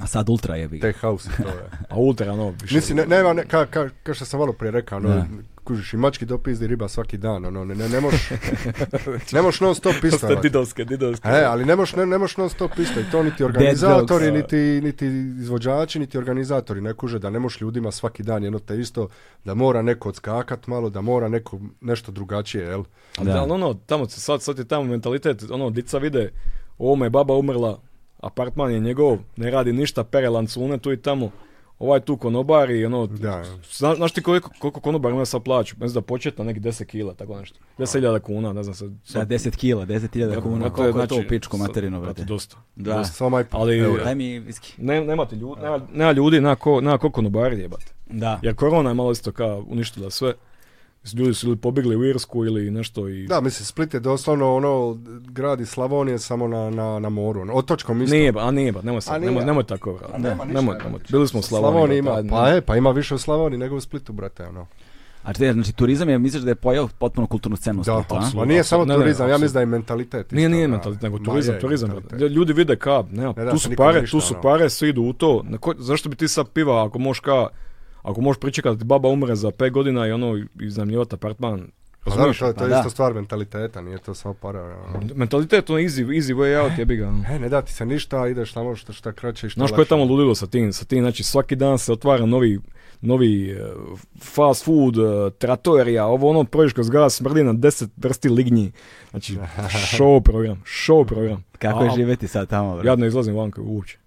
B: A sad ultra je bi.
D: Tech house i to je.
C: A ultra ono, više.
D: Mislim, ne, nema, ne, ka, ka, ka što sam malo prije rekao,
B: Da.
D: no, kužiš, i mački dopizdi riba svaki dan, ono, ne, ne, ne moš, ne moš non stop
C: To
D: isto. ono.
C: ste didovske, didovske.
D: E, ali ne moš, ne, ne moš non stop isto, i to niti organizatori,
B: Dead
D: niti, niti izvođači, niti organizatori ne kuže da ne moš ljudima svaki dan jedno te isto, da mora neko odskakat malo, da mora neko nešto drugačije, jel?
C: Ali
B: Da.
C: da, ali ono, tamo se sad, sad je tamo mentalitet, ono, dica vide, ovo me baba umrla, apartman je njegov, ne radi ništa, pere lancune tu i tamo, ovaj tu konobari, ono,
D: Da.
C: zna- znaš ti koliko, koliko konobar ima sad plaću? Mislim da početna neki 10 kila, tako nešto. 10.000 kuna, ne znam sad.
B: Da,
C: sad
B: 10 kila, 10.000 kuna,
C: Brate,
B: koliko je to u
C: znači,
B: pičku
C: sad-
B: materinu, brate.
C: brate, Dosta.
B: Da,
D: Samo E, aj-
C: Ali
D: evo,
B: daj mi viski.
C: ne, nema ti ljudi, nema, nema ljudi, nema ko, nema ko konobari jebate.
B: Da.
C: Jer korona je malo isto kao uništila sve. Ljudi su ili pobjegli u Irsku ili nešto i...
D: Da, mislim, Split je doslovno ono, grad iz Slavonije samo na, na, na moru, ono, otočkom isto.
C: Nije, ba, a nije, ba, nemoj,
D: A
C: sad,
D: nije.
C: nemoj, nemoj tako, brate.
D: nema ništa,
C: nemoj,
D: nema
C: nemoj.
D: ništa.
C: Bili smo u Slavoniji.
D: Slavoniji
C: brate,
D: ima,
C: ajde,
D: pa
C: nemoj.
D: je, pa ima više u Slavoniji nego u Splitu, brate, ono.
B: A čekaj, znači turizam je, misliš da je pojao potpuno kulturnu scenu u
D: Da,
B: Splitu, a?
D: ma nije samo
C: Ne, ne,
D: turizam, ja
C: apsolutno.
D: mislim da je mentalitet.
C: Nije,
D: isto,
C: nije
D: da.
C: mentalitet, nego
D: Ma
C: turizam,
D: je
C: turizam.
D: mentalitet.
C: brate. Ljudi vide ka, nema,
D: Ne da
C: tu
D: se
C: su
D: nikom
C: pare,
D: ništa,
C: tu su
D: ono.
C: pare, svi idu u to. Na ko- zašto bi ti sad piva ako možeš ka, ako možeš pričekati da ti baba umre za 5 godina i ono iznajmljivati apartman
D: Pa
C: Razumiješ?
D: naravno, to je, to je
A: Pa da.
D: isto stvar mentaliteta, nije to samo para. ono.
C: Mentalitet, ono, easy, easy way out, jebi ga. ono.
D: E, ne da ti se ništa, ideš tamo što šta kraće i što
C: Znaš koje je tamo ludilo sa tim, sa tim, znači svaki dan se otvara novi, novi e, fast food, e, tratorija, ovo ono, prođeš kroz grad, smrdi na deset vrsti lignji. Znači, show program, show program.
B: Kako je
C: A,
B: živjeti sad tamo?
D: Pa
B: bro?
C: Ja ne izlazim vanka uopće.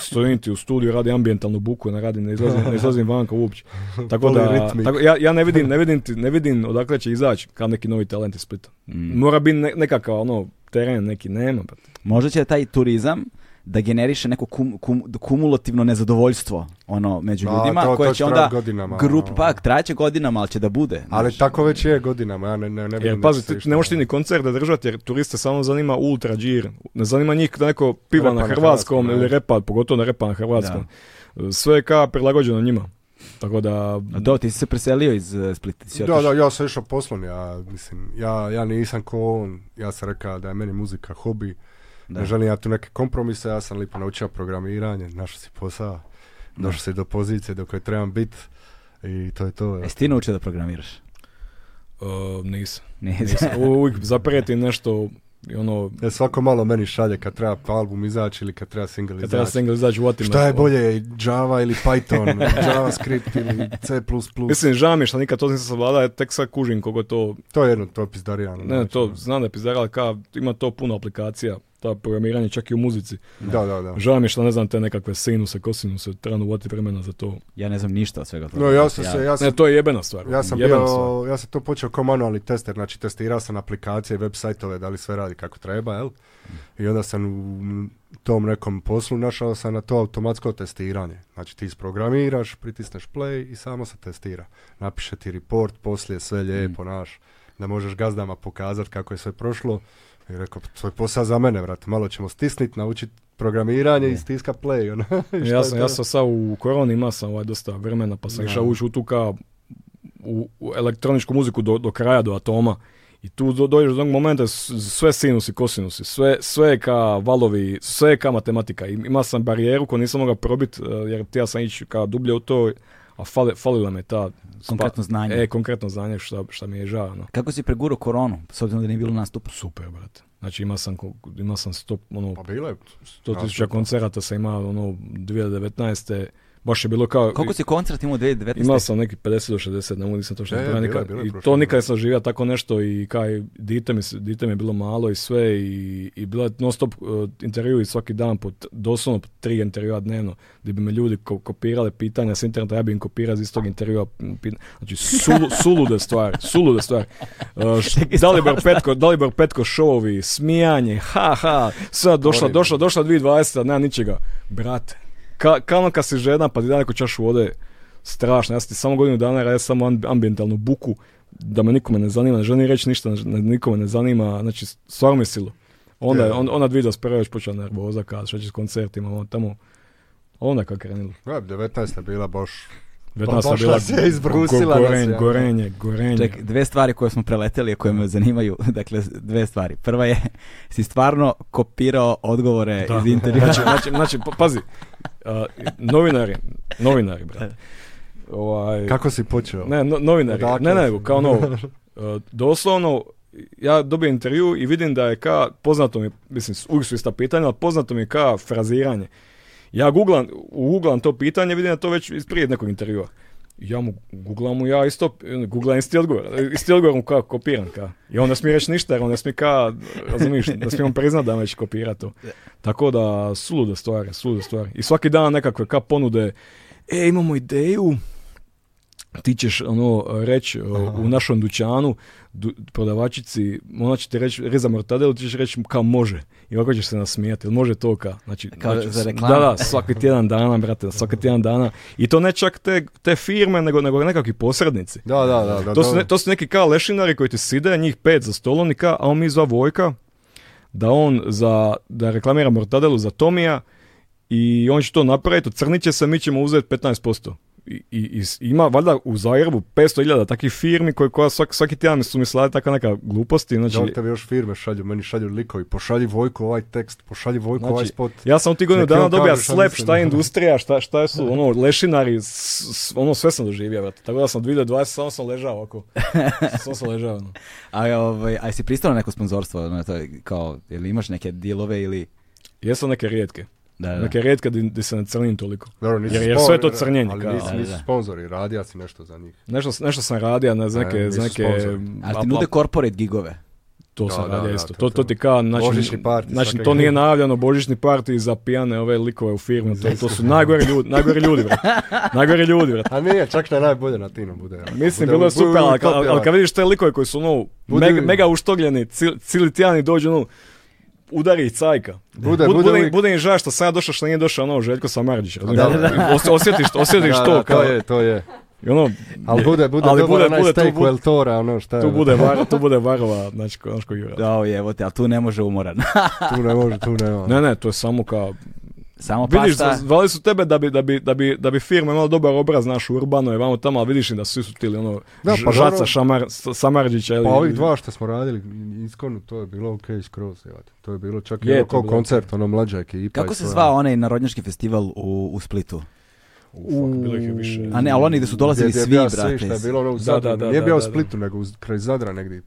C: Stojim ti u studiju, radi ambijentalnu buku, ne radim, ne izlazim, ne izlazim vanka uopće. Tako da,
D: Poliritmik.
C: tako, ja, ja ne vidim, ne vidim, ti- ne vidim odakle će izaći kao neki novi talent iz Splita.
D: Mm.
C: Mora biti ne, nekakav ono, teren neki, nema. pa. brate.
B: Možda će taj turizam da generiše neko kum, kum- kumulativno nezadovoljstvo ono među
D: A,
B: ljudima
D: to- to
B: koje
D: će
B: će
D: trajat
B: onda
D: godinama,
B: grup
D: ono.
B: pak traće godinama ali će da bude
D: Ali
B: znaš.
D: tako već je godinama, ja ne, ne, ne vidim
C: Jer
D: da
C: E, pazi,
D: će se
C: ti
D: išta-
C: ne možeš ti ni koncert da držati jer turiste samo zanima ultra džir. Ne zanima njih da neko piva
D: Repa
C: na
D: na
C: hrvatskom
D: hrvatskom,
C: ili
D: ne.
C: repa, pogotovo na repa na hrvatskom. Sve je ka prilagođeno njima. Tako da,
B: A do, ti si se preselio iz eh, Splita. ti si
D: Da,
B: otišao.
D: da, ja sam išao poslom, ja, mislim, ja, ja nisam ko on, ja sam rekao da je meni muzika hobi, ne želim ja tu neke kompromise, ja sam lipo naučio programiranje, našao si posao, došao si do pozicije do koje trebam biti i to je to. evo.
B: Jesi ti naučio da programiraš?
C: e, nisam.
B: Nisi.
C: nisam. Uvijek zaprijeti nešto i ono,
D: E, svako malo meni šalje kad treba album izaći ili kad treba single
C: kad
D: izaći.
C: treba single izaći uvatim.
D: Šta je bolje, Java ili Python, JavaScript ili C++?
C: Mislim, žao mi je što nikad to nisam savladao, ja tek sad kužim koliko je to,
D: To je jedno, to je pizdarijano.
C: ne, to
D: ono.
C: znam da je pizdara, ali ka, ima to puno aplikacija, ta programiranje čak i u muzici.
D: Da, da, da.
C: Žao mi je što ne znam te nekakve sinuse, kosinuse, trebam uvati vremena za to.
B: Ja ne znam ništa od svega toga. znači,
D: No, ja sam se, ja sam
C: Ne, to je jebena stvar.
D: Ja sam
C: jebena
D: bio,
C: stvar.
D: ja sam to počeo kao manualni tester, znači testirao sam aplikacije, web sajtove, da li sve radi kako treba, jel? I onda sam u tom nekom poslu našao sam na to automatsko testiranje. Znači ti isprogramiraš, pritisneš play i samo se testira. Napiše ti report, poslije sve
C: Mm.
D: lijepo, naš, da možeš gazdama pokazati kako je sve prošlo. I rekao, "Pa, to je posao za mene, vrat, malo ćemo stisniti, naučiti programiranje i stiska play. Ono. I šta
C: Ja
D: je
C: sam,
D: to?
C: ja sam sad u koroni ima sam ovaj dosta vremena, pa sam
D: Da.
C: išao ući u tu kao u, u elektroničku muziku do, do kraja, do atoma. I tu do, dođeš do onog momenta, s- sve sinusi, kosinusi, sve, sve je ka valovi, sve je ka matematika. I, ima sam barijeru koju nisam mogao probiti, jer htio sam ići ka dublje u to, a fali, falila me ta... spa-
B: Konkretno znanje.
C: E, konkretno znanje, šta, šta mi je žao. no.
B: Kako si pregurao koronu, s obzirom da nije bilo nastupa?
C: Super, brate. Znači ima sam, ko- ima sam stop, ono,
D: Pa bilo je.
C: 100 tisuća koncerata sam imao, ono, 2019. Baš je bilo kao...
D: E.
B: Koliko si koncert imao 2019?
C: Imao sam neki 50 do 60, ne mogu nisam točno
D: E,
C: zbrojao
D: bilo je,
C: nikad.
D: bilo je
C: I
D: prošle
C: to nikad
D: godine.
C: nisam živio tako nešto i kaj, dite mi, se- dite mi je bilo malo i sve i, i bilo je non stop uh, intervju i svaki dan, po, t- doslovno po tri intervjua dnevno, gdje bi me ljudi ko- kopirali pitanja s interneta, ja bi im kopirao iz istog intervjua. m, pit- Znači, sulu, sulude stvari, sulude stvari. Uh, š- Dalibor Petko, Dalibor Petko šovi, smijanje, ha, ha, sad došla,
D: Horrible.
C: došla, došla 2020, nema ničega. Brate, ka, kao ono kad si žena pa ti da neku čašu vode, strašno, ja sam ti samo godinu dana radio samo amb- ambientalnu buku, da me nikome ne zanima, ne želim reći ništa, ne- nikome ne zanima, znači stvarno mi silo. Onda, je, on, ona 2021. već počela nervoza, kad šeći s koncertima, ono tamo, onda kako krenulo.
D: Ja, 19. je bila Pa baš
C: Vjetnaca
D: došla
C: bila
D: se, izbrusila
C: go-
D: nas
C: gorenje,
D: je, ono.
C: gorenje, gorenje.
B: Ček, dve stvari koje smo preleteli, a koje me zanimaju. Dakle, dve stvari. Prva je, si stvarno kopirao odgovore iz intervjua.
C: Znači, znači, znači, pa- pazi, a, novinari, novinari, brate. Ovaj,
D: Kako si počeo?
C: Ne, no, novinari.
D: Odakle
C: ne, ne,
D: si?
C: nego kao ono, uh, doslovno, ja dobijem intervju i vidim da je ka, poznato mi, je, mislim, uvijek su ista pitanja, ali poznato mi je ka fraziranje. Ja googlam, uguglam to pitanje, vidim da je to već iz prije nekog intervjua. Ja mu googlam mu ja isto, googlam isti odgovor, isti odgovor mu kao kopiram ka. I on ne smije reći ništa jer on ne smije ka, razumiješ, ne smije on priznat da me će kopirati to. Tako da, sulude stvari, sulude stvari. I svaki dan nekakve ka ponude, e, imamo ideju, ti ćeš ono reći o, u našem dućanu du- prodavačici, ona će ti reći reza mortadelu, ti ćeš reći ka može. I ovako ćeš se nasmijati, jel može to ka? Znači,
B: Kao
C: znači,
B: za
C: s-
B: reklamu.
C: Da, da, svaki tjedan dana, brate, svaki tjedan dana. I to ne čak te, te firme, nego, nego nekakvi posrednici.
D: Da, da, da.
C: To su,
D: da Pa dobro.
C: ne- to su neki kao lešinari koji ti side, njih pet za stolonika, a on mi zva Vojka, da on za, da reklamira mortadelu za Tomija i on će to napraviti, ocrnit će se, mi ćemo uzeti 15%. i, i, i ima valjda u Zagrebu 500.000 takvih firmi koje koja svaki, svaki tjedan su mi slali takva neka gluposti. Znači,
D: Da li tebe još firme šalju, meni šalju likovi, pošalji Vojku ovaj tekst, pošalji Vojku ovaj
C: Znači,
D: spot.
C: ja sam u tih godinu
D: Nek i on
C: dana dobija
D: kaže šta
C: slep,
D: mislim.
C: šta je industrija, šta, šta su ono, lešinari, s- s- ono sve sam doživio, brate. Tako da sam 2020 samo sam ležao ovako. samo sam ležao. ono.
B: A, ovaj, a jesi pristao na neko sponzorstvo? Na to, kao, ili imaš neke dilove ili...
C: Jesu neke rijetke.
B: Da, da.
C: Neke rijetke di, di se ne crnim toliko.
D: Dobro, nisi
C: Jer je
D: spon-
C: sve to crnjenje,
D: Ali
C: kao,
D: nisi,
B: ali
D: nisi
B: da.
D: sponzori, radija si nešto za njih.
C: Nešto, nešto sam radio ne, za
D: E,
C: neke, za
D: nisu
C: neke
D: sponzori.
B: Ali ti
C: apla-
B: nude corporate gigove.
C: To
D: Da,
C: sam
D: da,
C: radio
D: da,
C: isto.
D: to
C: To, to
D: treba.
C: ti kao, znači,
D: Božićni party
C: znači
D: svake
C: to nije
D: godine.
C: najavljeno, božićni parti za pijane ove likove u firmi, to, to su najgori ljudi, najgori ljudi, brate. Najgori ljudi, brate.
D: A nije, čak na najbolje na tinu bude. ono,
C: Mislim,
D: Bude-
C: bilo je
D: bude
C: super, ali,
D: uvijek
C: ali, ali
D: kapela.
C: kad vidiš te likove koji su ono,
D: Bude-
C: meg- mega uštogljeni, cil- cili tijani dođu ono, udari i cajka.
D: Bude-
C: Bud-
D: bude
C: bude,
D: uvijek-
C: bude im žao što sam ja došao što nije došao ono Željko Samarđić. razumiješ?
D: da, da.
C: Os- osjetiš, osjetiš
D: Da,
C: to.
D: da,
C: kao,
D: to je, to je.
C: i ono,
D: Ali bude, bude,
C: ali
D: dobar
C: bude,
D: onaj
C: bude, tu
D: steak
C: bude-
D: u El Tora, ono šta je.
C: tu
D: ono.
C: bude, var, tu bude varova, znači, ko- znaš ko Jura.
B: Da, oj, evo te, ali tu ne može umoran.
D: Tu ne može, tu nema.
C: Ne, ne, to je samo kao,
B: Samo
C: Vidiš,
B: pasta.
C: zvali su tebe da bi, da bi, da bi, da bi firma imala dobar obraz, naš urbano je vamo tamo, ali vidiš im da su isutili ono
D: Da,
C: ž-
D: pa
C: žaca
D: dobro.
C: šamar, S- Samarđića ili...
D: Pa ovih dva što smo radili, Iskonu, to je bilo okej skroz, jevate. To je bilo čak i
C: Je,
D: ono
C: to
D: kao
C: bilo
D: koncert, ono mlađa ekipa.
B: Kako
D: i
B: se
D: sve,
B: zvao onaj narodnjački festival u, u Splitu?
C: U, fuck, bilo ih je više.
B: A ne, ali oni gde su dolazili
D: Gdje je
B: svi,
D: bio
B: brate.
D: Sve što je bilo ono u
C: Da,
D: Zadru.
C: da, da,
D: Nije
C: da,
D: bio u
C: da, da.
D: Splitu, nego uz, kraj Zadra negdje.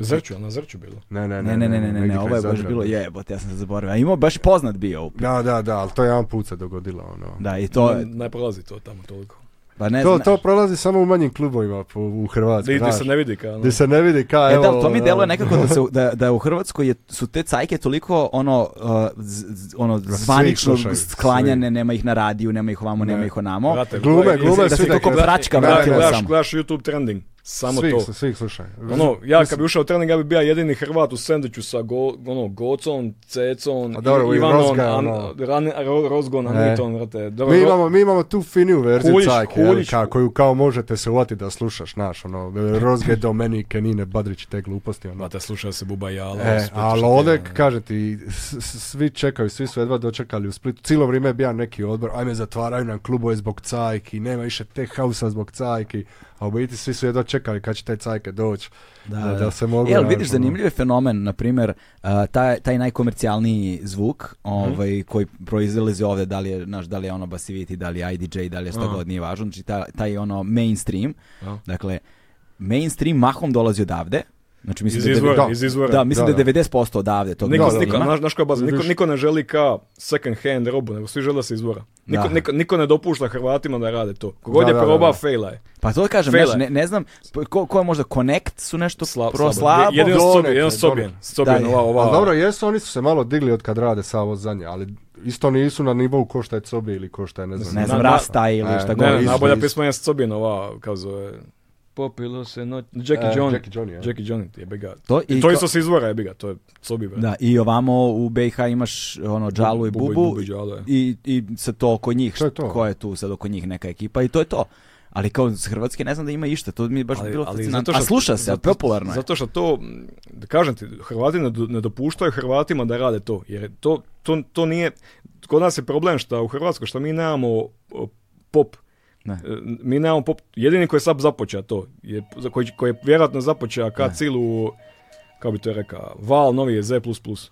C: Zrću, a na Zrću bilo.
D: Ne, ne,
B: Ne, ne, ne, ne, ne,
D: negdje
B: ne,
D: kraj
B: ovo je baš
D: Zadra.
B: bilo jebote, ja sam se zaboravio. A imao baš poznat bio.
D: Da, da, da, ali to je jedan put se dogodilo, ono.
B: Da, i to,
C: Ne, ne prolazi to tamo toliko.
B: pa ne
D: To,
B: zna-
D: to prolazi samo u manjim klubovima po- u Hrvatskoj,
C: Di, di
D: znaš.
C: se ne vidi kao... ono.
D: Gdje se ne vidi ka,
B: E,
D: evo...
B: da, ali to mi
D: ono,
B: deluje nekako da, se, da, da u Hrvatskoj je, su te cajke toliko ono, uh, z- z- ono
D: Da, svi
B: zvanično
D: slušaju, svi.
B: sklanjane, nema ih na radiju, nema ih ovamo, nema
D: Ne.
B: ih onamo.
C: Brate,
D: Glume,
C: gledaj,
D: glume,
C: jesi-
B: da
D: svi
B: se
D: da
B: kako
D: kažu-
B: vračka
D: Da,
C: Gledaj,
B: vratila
D: da,
C: gledaš,
B: samo.
C: gledaš YouTube trending, samo
D: svih,
C: to.
D: Svih slušaju.
C: Ono, ja kad bi ušao u trening, ja bi bio jedini Hrvat u sendviču sa go, ono, Gocom, Cecom,
D: A dobro,
C: I-
D: i
C: Ivanom,
D: Rozga,
C: An-
D: ono.
C: Ran- Ro- Rozgon,
D: E.
C: Aniton, ono, brate. Dobro,
D: Mi
C: Ro-
D: imamo, mi imamo tu finiju verziju
C: Kuljić,
D: cajke, jel,
C: Kuljić.
D: ka, koju kao možete se uvati da slušaš, znaš, ono, Rozge, Domenike, Nine, Badrić i te gluposti, ono.
C: Brate, slušao se Buba Jala.
B: Ovaj
D: E,
C: Splitu,
D: ali
C: šta ti je,
D: ovdje,
C: ono.
D: kažem ti, s- s- svi čekaju, svi su jedva dočekali u Splitu. Cijelo vrijeme je bio neki odbor, ajme zatvaraju nam klubove zbog cajki, nema više te hausa zbog cajki, a u biti svi su jedva čekali kad će te cajke doći. Da, da, se mogu...
B: E, Jel,
D: znaš,
B: vidiš,
D: ono.
B: zanimljiv je fenomen, na primjer, a, taj, taj najkomercijalniji zvuk
D: Mhm.
B: ovaj, koji proizlazi ovdje, da li je, znaš, da li je ono Basivity, da li je IDJ, da li je šta
D: Mhm.
C: Aha.
B: god, nije važno, znači ta, taj ono mainstream,
C: Aha.
B: dakle, mainstream mahom dolazi odavde, znači mislim
C: Iz
B: da je
C: izvora,
D: da.
C: iz izvora.
B: Da, mislim da,
D: Da,
B: je 90% odavde tog
C: Niko,
D: Da,
C: niko,
D: da,
B: mainstreama.
C: znaš, znaš koja je baza, niko,
D: Vidiš.
C: niko ne želi ka second hand robu, nego svi žele da se izvora. Niko,
B: Da.
C: niko, niko ne dopušta Hrvatima da rade to. Kogod
D: Da,
C: je
D: da, da,
C: proba,
D: da.
C: fejla je.
B: Pa to kažem,
C: Fela
B: znaš,
C: je.
B: ne, ne znam, p- ko, ko je možda Connect su nešto
C: Sla,
B: pro
C: slabo.
B: slabo.
C: Je- Jedino
D: Donekle,
C: Sobijen, jedino Sobijen.
D: donekle.
C: Sobijen,
B: Da,
C: ova, ova.
D: Ali dobro, jesu, oni su se malo digli od kad rade sa ovo zadnje, ali isto nisu na nivou ko šta je Cobi ili ko šta je, ne znam.
B: Ne
C: Na-
B: znam,
C: na-
B: Rasta ili
D: E,
B: šta
C: ne,
B: god.
C: ne,
D: isto,
C: najbolja
D: isto.
C: pisma je Sobijen, ova, kao zove... Popilo se noć... Jackie
D: E,
C: John.
D: Jackie Johnny, ja.
C: Jackie Johnny, jebe ga.
B: To i
C: I to
B: ko-
C: isto se izvora, jebe ga, to je Sobi, bre.
B: Da, i ovamo u BiH imaš ono Džalu i
C: Bubu i-
B: Bubu,
C: Bubu i Džalu, je.
B: i, i sad to oko njih,
D: To je to.
B: ko je tu sad oko njih neka ekipa i to je to. Ali kao s Hrvatske ne znam da ima išta, to mi je baš bilo fascinantno. A sluša se,
C: zato-
B: popularno je.
C: Zato što to, m, da kažem ti, Hrvati ne, do- ne dopuštaju Hrvatima da rade to, jer je to, to, to nije, kod nas je problem što u Hrvatskoj, što mi nemamo o, pop,
B: Ne.
C: E, mi nemamo pop, jedini koji je sad započeo to, je, za koji, koji je vjerojatno započeo ka cilu, kako bi to rekao, val novi je Z++.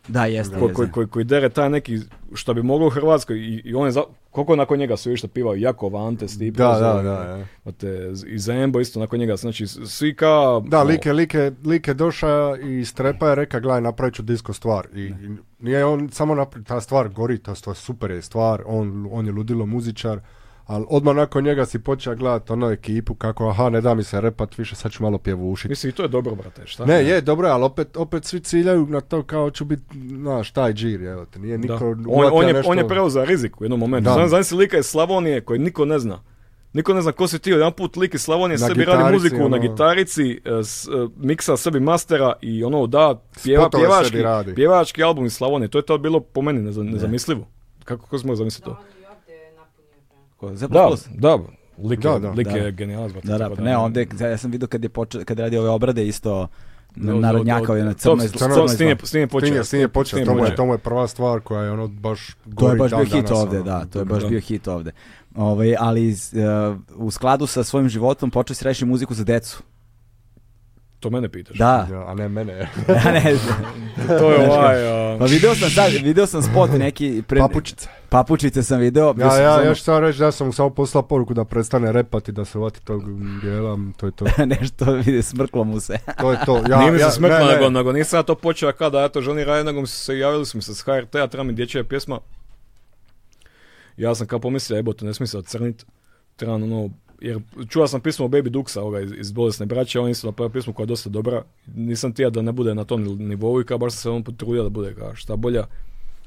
B: Da, jeste,
C: Ko,
B: jeste.
C: koji, koji, koji dere taj neki, što bi moglo u Hrvatskoj, i, i on je, za, koliko nakon njega su išta pivao, Jakov, Ante, Stipe,
D: Da,
C: Zoran,
D: da, da, ja.
C: Znate, i Zembo isto nakon njega, znači svi ono, ka...
D: Da, like, like, like doša i strepa je reka, gledaj, napravit ću disko stvar. I, i nije on samo napravio, ta stvar gori, ta stvar, super je stvar, on, on je ludilo muzičar, ali odmah nakon njega si počeo gledati ono ekipu kako, aha, ne da mi se repat više, sad ću malo pjevušiti.
C: Mislim, i to je dobro, brate, šta?
D: Ne, je, dobro, je, ali opet, opet svi ciljaju na to kao ću biti, znaš, taj džir, evo te, nije
C: Da.
D: niko...
C: On,
D: uhvatio
C: on, je,
D: nešto-
C: on je preuzeo rizik u jednom momentu.
D: Da.
C: Znam, znam si lika iz Slavonije koji niko ne zna. Niko ne zna ko si ti, jedan put lik iz Slavonije
D: Na
C: sebi radi
D: gitarici,
C: muziku na
D: ono.
C: gitarici, e, s- e, miksa sebi mastera i ono da, pjeva,
D: Spotove
C: pjevački,
D: sebi radi.
C: pjevački album iz Slavonije. To je to bilo po meni neza- nezamislivo. Kako, kako smo zamisliti to?
B: Ko- Z++.
C: Da, da, lik je,
D: Da, da,
C: lik
B: da.
C: je genijalac, brate,
B: Da, da,
C: tako
B: pa ne, onda je- ja sam vidio kad je počeo, kad radi ove obrade isto
C: Do- do-
A: narodnjakao je
C: do-
A: na
C: to-
A: crnoj
C: to-
D: crnoj
C: to-
A: crnoj
D: zla-
C: S tim je,
A: zla-
C: s tim je
D: Tim
C: počeo.
D: je, s tim je počeo,
C: tim
D: to mu je,
C: počeo.
D: to mu je prva stvar koja je ono baš
B: To je
D: gori
B: baš
D: dan
B: bio hit
D: danas,
B: ovde,
D: ono.
B: da, to je
D: Dobro.
B: baš bio hit ovde. Ovaj, ali z- e, u skladu sa svojim životom počeo si reći muziku za decu.
C: To mene pitaš.
B: Da.
D: Ja, a ne mene.
B: Ja ne znam.
C: To je ovaj... a,
B: Pa video sam sad, video sam spot neki pre...
D: Papučice.
B: Papučice sam video. bio
D: Ja,
B: sam
D: ja,
B: samo-
D: ja ću samo reći da sam mu samo poslao poruku da prestane repati, da se vati tog dijela, to je to.
B: nešto vidi smrklo mu se.
D: To je to. Ja,
C: Nije mi se
D: ja,
C: smrklo,
D: ne, ne.
C: nego, ono- nego nisam ja to počeo kada ja to želim raditi, nego mi su se javili smo se s HRT-a, treba mi dječja pjesma. Ja sam kao pomislio, ebo, to ne smije se ocrnit. Trebam ono, jer čuo sam pismo Baby Duxa ovoga iz, iz Bolesne braće, on isto napravio pismo koja je dosta dobra. Nisam tija da ne bude na tom nivou i kao baš sam se on potrudio da bude kao šta bolja.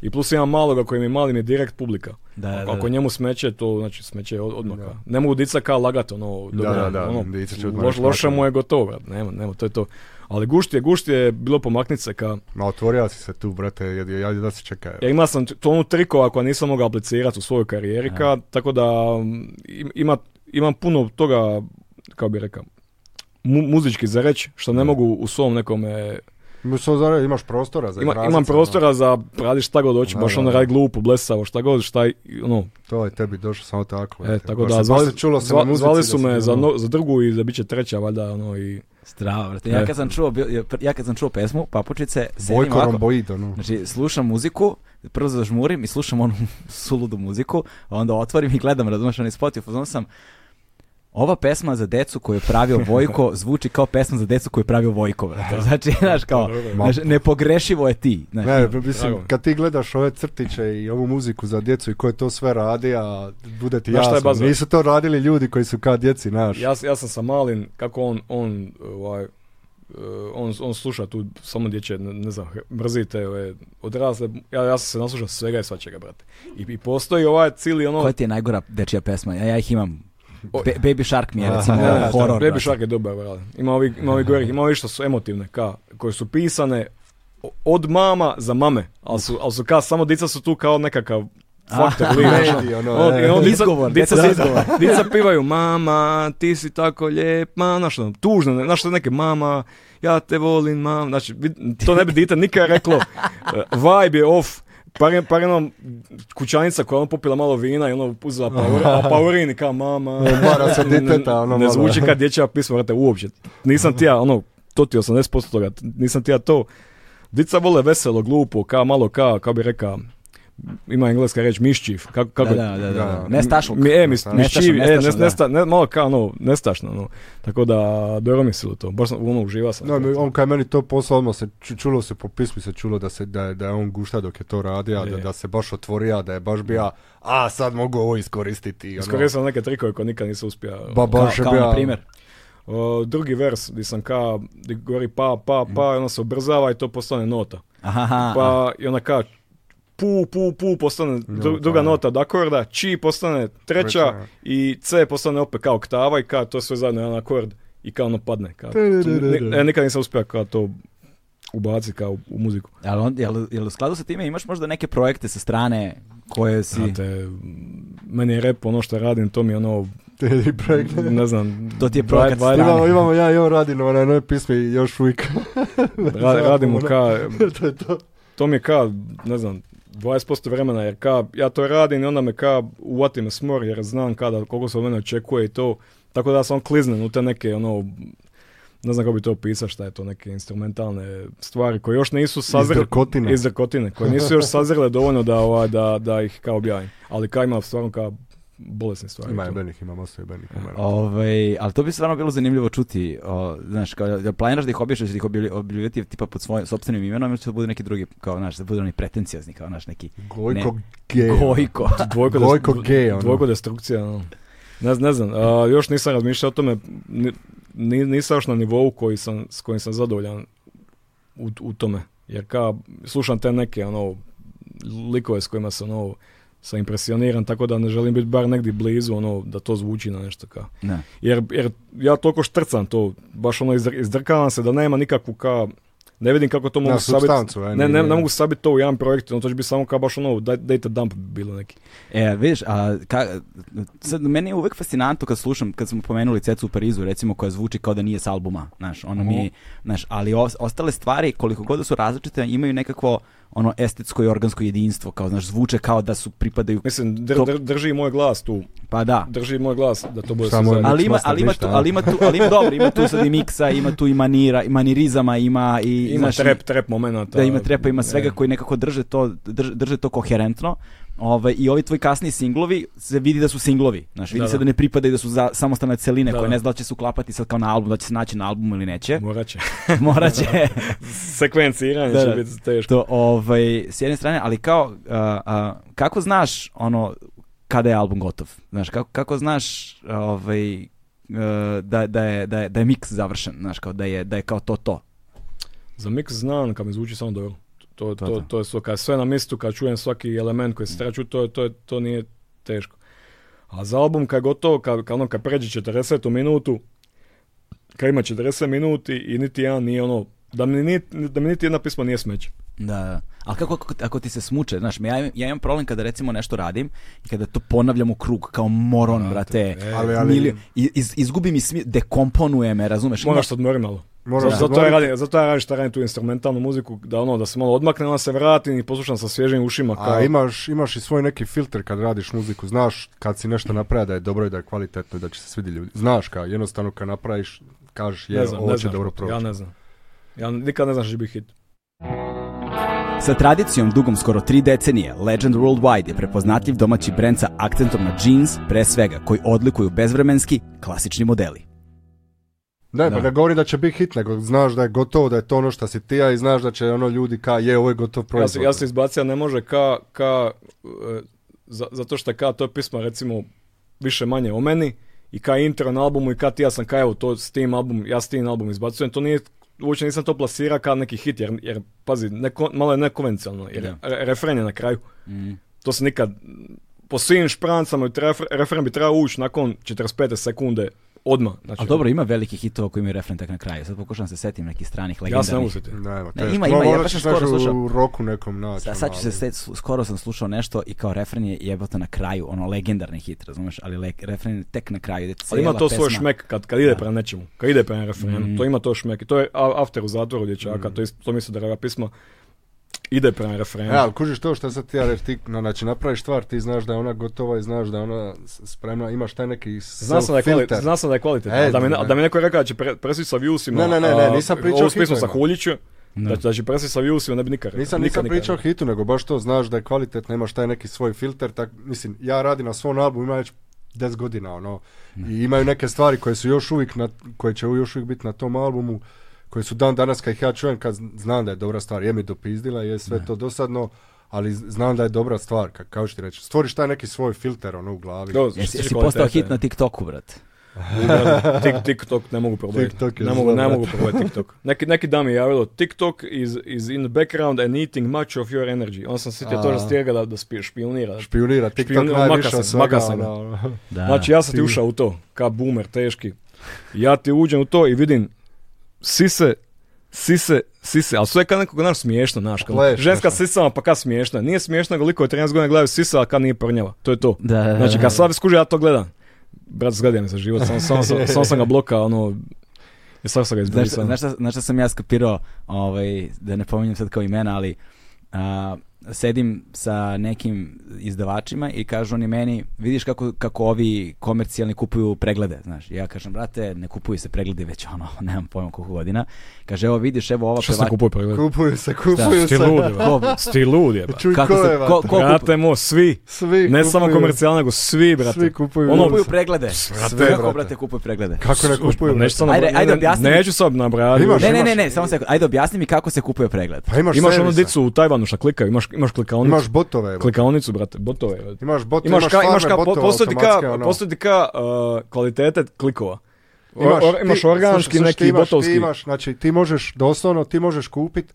C: I plus imam maloga koji mi je mali mi je direkt publika.
A: Da, da, da.
C: Ako njemu smeće, to znači smeće je od- odmah. kao. Ne mogu dica kao lagat, ono, dobro,
D: da, da,
C: ono,
D: dica će odmah
C: loš,
D: reći,
C: loše
D: "Makar."
C: mu je gotovo, brate, nema, nema, to je to. Ali gušt je, gušt je bilo pomaknice ka...
D: Ma otvorio si se tu, brate, ja, ja, da se čeka.
C: Ja imao sam t- tonu trikova koja nisam mogao aplicirati u svojoj karijeri, ka, tako da um, im- ima, imam puno toga, kao bi rekao, mu- muzički za reći, što ne mogu u svom nekome...
D: Ima samo za- imaš prostora za ono.
C: Ima,
D: izrazit
C: imam
D: se,
C: prostora za radiš šta god hoćeš,
D: Da,
C: baš
D: da,
C: ono
D: da.
C: radi glupu, blesavo, šta god, šta, i- ono,
D: ono. To je tebi došlo samo tako.
C: E,
D: brate.
C: tako
D: Baš
C: da,
D: se-
C: zvali,
D: baš se čulo se
C: zva-
D: na muzici
C: zvali
D: da
C: su
D: si
C: me
D: bio,
C: za,
D: ono,
C: no- za drugu i da bit će treća, valjda, ono, i...
A: Strava, brate.
C: E.
A: Ja kad sam čuo, bio- ja kad sam čuo pesmu Papučice, sedim
D: Vojko
A: ovako.
D: Romboid, ono.
A: Znači, slušam muziku, prvo zažmurim i slušam onu suludu muziku, a onda otvorim i gledam, razumeš, onaj spot i u fazonu sam, ova pesma za decu koju je pravio Vojko zvuči kao pesma za decu koju je pravio Vojko, brate. Znači, znaš, kao, znaš, nepogrešivo je ti. znaš.
D: Ne, mislim,
C: drago mi.
D: kad ti gledaš ove crtiće i ovu muziku za djecu i ko je to sve radi, a bude ti
C: Znaš šta je
D: jasno,
C: baza?
D: nisu to radili ljudi koji su kao djeci, znaš.
C: Ja, ja sam sa Malin, kako on, on, ovaj, eh, on, on sluša tu samo dječje, ne, ne znam, he- mrzi te ove, odrasle, ja, ja sam se naslušao svega i svačega, brate. I, i postoji ovaj cili ono...
A: Koja ti je najgora dečija pesma? Ja, ja ih imam.
C: O-
A: Be- Baby Shark mi je, recimo,
C: Ne, ne, ne,
A: horor.
C: Baby
A: brate.
C: Shark je dobar, brate. Ima ovi, ima ovi gorih, ima ovi što su emotivne, ka, koje su pisane o- od mama za mame, ali su, ali su ka, samo dica su tu kao nekakav faktor,
D: Aha.
C: lik, znaš,
D: Medij, ono,
C: ono,
D: e.
C: i ono, dica-
A: Izgovor,
C: dica
A: deca
C: se-
A: su izgovor.
C: Dica pivaju, mama, ti si tako lijep, ma, znaš, ono, tužno, ne- znaš, neke, mama, ja te volim, mama, znači, vid- to ne bi dite nikad reklo, E, vibe je off, Par, je- par je ono kućanica koja je ono popila malo vina i ono uzela paur, a paurin i kao mama.
D: Mara se
C: Ne- ne-
D: diteta, ono,
C: Ne
D: malo.
C: zvuči kad dječja pisma, vrate, uopće. Nisam ti ja, ono, to ti je 80% toga, t- nisam ti ja to. Dica vole veselo, glupo, ka malo ka, kao bi rekao, ima engleska reč mischief, kako, kako
A: Da,
C: je-
A: da, da, da, da.
D: Da.
A: Ne stašluk.
C: mi, e, mi,
D: Nestašno,
C: mi čivi, e,
A: nestašno,
C: nes-
A: da.
C: nesta- ne, malo kao ono, nestašno, ono. Tako da, dobro mi se u to, baš sam, ono, uživa sam.
D: No, mi- on kad je meni to poslao, odmah se ču- čulo se po pismu se čulo da se da, je- da je on gušta dok je to radio, da,
C: Je.
D: da se baš otvorio, da je baš bio, a sad mogu ovo iskoristiti. Ono.
C: Iskoristio sam neke trikove koje nikad nisam uspio.
D: Ba, baš je
A: Kao, kao
D: bio-
A: na primjer.
C: O, drugi vers, di sam ka, di govori pa, pa,
D: Mhm.
C: pa, i ona se ubrzava i to postane nota.
A: Aha, aha.
C: Pa, i ona ka, pu, pu, pu, postane
A: pa
C: dru- druga nota od akorda, či postane treća
D: Treća.
C: i c postane opet kao oktava i ka, to sve zajedno jedan akord i kao ono padne. Ka,
D: Tudududu.
C: e, nikad nisam uspio kao to ubaciti kao u, u muziku.
A: Jel, on, jel, jel u skladu sa time imaš možda neke projekte sa strane koje si...
C: Znate, m, meni je rep ono što radim, to mi je ono,
D: Teddy Breckner.
C: ne znam,
A: To ti je
C: dva-
A: projekat
C: dva-
A: strane.
D: Imamo, imamo ja i on radimo na jednoj pismi još uvijek.
C: ra- radimo ka,
D: to je to.
C: to mi je ka, ne znam, 20% vremena, jer ka, ja to radim i onda me ka uvati me smor, jer znam kada, koliko se od mene očekuje i to, tako da ja sam kliznen u te neke, ono, ne znam kako bi to opisao, šta je to, neke instrumentalne stvari koje još nisu sazrele.
D: drkotine.
C: Iz drkotine, koje nisu još sazrele dovoljno da, ovaj, da, da ih kao objavim. Ali ka ima stvarno ka bolesne stvari.
D: Ima
C: To-
D: jebenih, ima masu jebenih. ima.
A: Ovaj, ali to bi stvarno bilo zanimljivo čuti, o, znaš, kao, jel planiraš da ih objavljaš, da ih objavi- objavljivati tipa pod svojim sopstvenim imenom ili će da bude neki drugi, kao, znaš, da bude onaj pretencijazni, kao, znaš, neki
D: Gojko
A: Ne.
D: gej.
A: Gojko.
C: ono. Dvojko,
D: Gojko
C: dest-
D: gej, ono.
C: Dvojko destrukcija, ono. Ne, ne znam, a, još nisam razmišljao o tome, ni- ni- nisam još na nivou koji sam, s kojim sam zadovoljan u, u tome. Jer ka, slušam te neke, ono, likove s kojima sam, ono, sam impresioniran, tako da ne želim biti bar negdje blizu, ono, da to zvuči na nešto kao.
A: Ne.
C: Jer, jer ja toliko štrcam to, baš ono, izdr- izdrkavam se da nema nikakvu ka Ne vidim kako to mogu sabiti.
D: supstancu,
C: Ne,
D: ajde,
C: ne, ne,
D: nije.
C: mogu sabiti to u jedan projekt, no to će biti samo kao baš ono, daj- data dump bi bilo neki.
B: E, vidiš, a, ka, sad, meni je uvek fascinantno kad slušam, kad smo pomenuli Cecu u Parizu, recimo, koja zvuči kao da nije s albuma, znaš, ona mi, znaš, ali os- ostale stvari, koliko god da su različite, imaju nekakvo ono estetsko i organsko jedinstvo, kao, znaš, zvuče kao da su pripadaju,
C: Mislim, dr-
B: To-
C: dr- drži i moj glas tu.
B: pa da.
C: Drži i moj glas da to bude
D: Samo
C: sve
D: je-
C: zajedno.
B: Ali ima,
D: Mixmaster
B: ali ima
D: ništa,
B: tu,
D: a?
B: ali ima tu, ali ima- dobro, ima tu sad i miksa, ima tu i manira, i manirizama, ima i,
C: Ima
B: znaš,
C: trap, trap momenata.
B: da ima trepa, ima svega
C: E.
B: koji nekako drže to, drže, drže to koherentno. Ovaj, I ovi tvoji kasni singlovi se vidi da su singlovi. Znaš, vidi
C: Da,
B: se
C: da.
B: da ne pripadaju da su za, samostalne celine
C: Da,
B: koje
C: da.
B: ne zna da li će se uklapati sad kao na album, da će se naći na albumu ili neće.
C: Morat će.
B: Morat će
C: Sekvenciranje
B: Da,
C: će
B: da.
C: biti teško.
B: to ovaj, s jedne strane, ali kao, a, a, kako znaš ono, kada je album gotov? Znaš, kako, kako znaš ovaj, e, da, da, je, da, je, da je mix završen, znaš, kao da je, da je kao to to.
C: Za mix znam kad mi zvuči samo dobro. To, to,
D: Pa
B: To,
C: to,
B: da.
C: je sve, kad je sve na mistu, kad čujem svaki element
D: Mm.
C: koji se treba čuti, to, je- to, je- to nije teško. A za album kad je gotovo, kad, kad, ono, kad pređe 40. minutu, kad ima 40 minuti i niti jedan nije ono, da mi, ni, da mi niti jedna pisma nije smeće.
B: Da, da. Ali kako ako, ako ti se smuče, znaš, ja, imam- ja imam problem kada recimo nešto radim i kada to ponavljam u krug kao moron, brate.
D: Ali, ali-
B: Milio- i- iz, izgubi mi smi, dekomponuje me, razumeš? Ima-
C: Moraš se odmori malo.
D: Moraš
C: zato,
D: se
C: zato, ja
D: odmorit.
C: radim, zato ja radim šta radim tu instrumentalnu muziku, da ono, da se malo odmaknem, onda se vratim i poslušam sa svježim ušima. Kao,
D: A Pa imaš, imaš i svoj neki filter kad radiš muziku, znaš kad si nešto napravio da je dobro i da je kvalitetno i da će se svidjeti ljudi. Znaš kao, jednostavno kad napraviš, kažeš je,
C: ne znam,
D: ovo
C: ne
D: će
C: znam,
D: dobro
C: što- Ja
D: proći.
C: ne znam. Ja nikad ne znam što će biti hit.
B: Sa tradicijom dugom skoro tri decenije, Legend Worldwide je prepoznatljiv domaći brend sa akcentom na jeans, pre svega, koji odlikuju bezvremenski, klasični modeli.
D: Ne,
B: Da.
D: pa ne govorim da će biti hit, nego znaš da je gotovo, da je to ono što si ti, a i znaš da će ono ljudi ka je, ovo je gotov
C: Ja
D: proizvod.
C: sam, ja sam izbacio, ne može ka, ka e, za- zato što ka to je pisma recimo više manje o meni i ka intro na albumu i ka ti ja sam ka evo to s tim album, ja s tim album izbacujem, to nije uopće nisam to plasira kao neki hit, jer, jer pazi, neko, malo je nekonvencionalno, jer
B: Da.
C: re- refren je na kraju. To se nikad, po svim šprancama, refren, refren bi trebao ući nakon 45 sekunde odmah. Znači,
B: Ali dobro, ima velikih hitova koji imaju refren tak na kraju. Sad pokušavam se setim nekih stranih
C: ja se ne mogu
B: legendarnih.
C: sjetiti.
D: Ne, ma,
B: Ne,
D: teško.
B: ima, ima, ja
D: Morat
B: baš
D: ćeš
B: sam skoro
D: nešto
B: slušao.
D: U roku nekom naći.
B: Sa,
D: ono,
B: sad ću se,
D: ali-
B: set, skoro sam slušao nešto i kao refren je jebote na kraju, ono legendarni hit, razumeš, ali le, refren je tek na kraju, ide
C: Ali ima
B: cijela
C: to svoj
B: pesma.
C: šmek kad, kad ide
B: Da.
C: prema nečemu, kad ide prema refrenu,
D: Mm.
C: to ima to šmek. I to je a- after u zatvoru dječaka, to, isto, to mi se da ova pisma ide prema refrenu.
D: E, ali kužiš to što sad ti ja reći, ti, na- znači napraviš stvar, ti znaš da je ona gotova i znaš da je ona s- spremna, imaš taj neki
C: Znao sam, da je kvali-
D: self-filter.
C: znao sam da je kvalitetno,
D: E,
C: a da, mi, a
D: ne.
C: da mi neko je rekao da će pre, presjeći sa viewsima.
D: Ne, ne, ne, ne, nisam
C: a,
D: pričao
C: Ovo
D: o
C: s pismom sa
D: hitovima.
C: Huljićem, da, će- da će presjeći sa viewsima, ne bi nikad rekao.
D: Nisam,
C: nikad,
D: nisam
C: nikad
D: pričao o
C: rekao.
D: hitu, nego baš to znaš da je kvalitetno, imaš taj neki svoj filter, tak, mislim, ja radim na svom albumu, ima već 10 godina, ono,
C: Mm.
D: i imaju neke stvari koje su još uvijek, na, koje će još uvijek biti na tom albumu, koje su dan danas kad ih ja čujem, kad znam da je dobra stvar, je mi dopizdila, je sve to dosadno, ali z- znam da je dobra stvar, ka- kako ću ti reći, stvoriš taj neki svoj filter, ono, u glavi.
C: Do,
B: Jesi,
C: što
B: jesi
C: će
B: postao
C: kvalitete.
B: hit na TikToku, brat?
C: Ubrali. Tik, TikTok ne mogu probati.
D: TikTok je
C: Ne mogu, ne
D: zlo,
C: mogu probati TikTok. Neki, neki dan mi je javilo TikTok is, is in the background and eating much of your energy. On sam sjetio to
D: A.
C: da stijega da, da spi- špionira.
D: Špionira, TikTok
C: Špionira,
D: najviše
C: maka sam,
D: od svega,
C: maka sam.
D: ono, ono.
B: Da.
C: Znači ja sam ti ušao u to, ka boomer, teški. Ja ti uđem u to i vidim sise, sise, sise, ali sve kad nekako, znaš, smiješno, znaš, kao
D: Leš,
C: ženska
D: nešto.
C: sisama, pa kad smiješna. Nije smiješna koliko je 13 godina gledaju sisa, a kad nije prnjava. To je to.
B: Da, da, da,
C: Znači,
B: da.
C: kad slavi skuži, ja to gledam. Brat, zgledaj me za život, samo sam, sam, sam ga bloka, ono, i sad sam ga
B: Znaš,
C: izbrisao.
B: znaš, šta, znaš šta sam ja skapirao, ovaj, da ne pominjem sad kao imena, ali a, sedim sa nekim izdavačima i kažu oni meni, vidiš kako, kako ovi komercijalni kupuju preglede, znaš. Ja kažem, brate, ne kupuju se preglede već ono, nemam pojma koliko godina. Kaže, evo vidiš, evo ova
C: ono. Što se kupuje pregled?
D: Kupuju se, kupuju
C: Sti
D: se.
C: ludi, ba. Sti ludi, ba.
D: Čuj,
B: Kako se,
D: ko,
B: ko, ko kupu-
C: Brate mo, svi.
D: Svi
C: Ne samo
D: kupuju.
C: komercijalni, nego svi, brate.
D: Svi kupuju.
C: Ono,
B: kupuju preglede?
D: brate.
B: kako, brate, kupuju preglede?
D: Kako ne kupuju?
C: Pa Neću sad
B: Ajde,
C: nabra-
B: ajde,
C: ne,
B: objasni mi.
C: Neću sad nabrati.
D: Imaš-
B: Ne, ne, ne, ne, samo sekund. Ajde, objasni mi kako se kupuje pregled.
D: Pa imaš,
C: Imaš onu
D: servisa.
C: dicu u Tajvanu šta klikaju, imaš, imaš klikaonicu.
D: Imaš botove. bro.
C: klikaonicu, brate, botove. brate.
D: Imaš botove,
C: Imaš ka, imaš
D: farme
C: ka, po-
D: botova
C: postoji ti
D: automatske,
C: ka,
D: ono.
C: postoji ti ka uh, kvalitete klikova. O-
D: Imaš
C: or-
D: ti-
C: imaš organski,
D: slušaj, slušaj, ti
C: neki
D: imaš-
C: botovski.
D: Ti imaš, znači ti možeš, doslovno, ti možeš kupit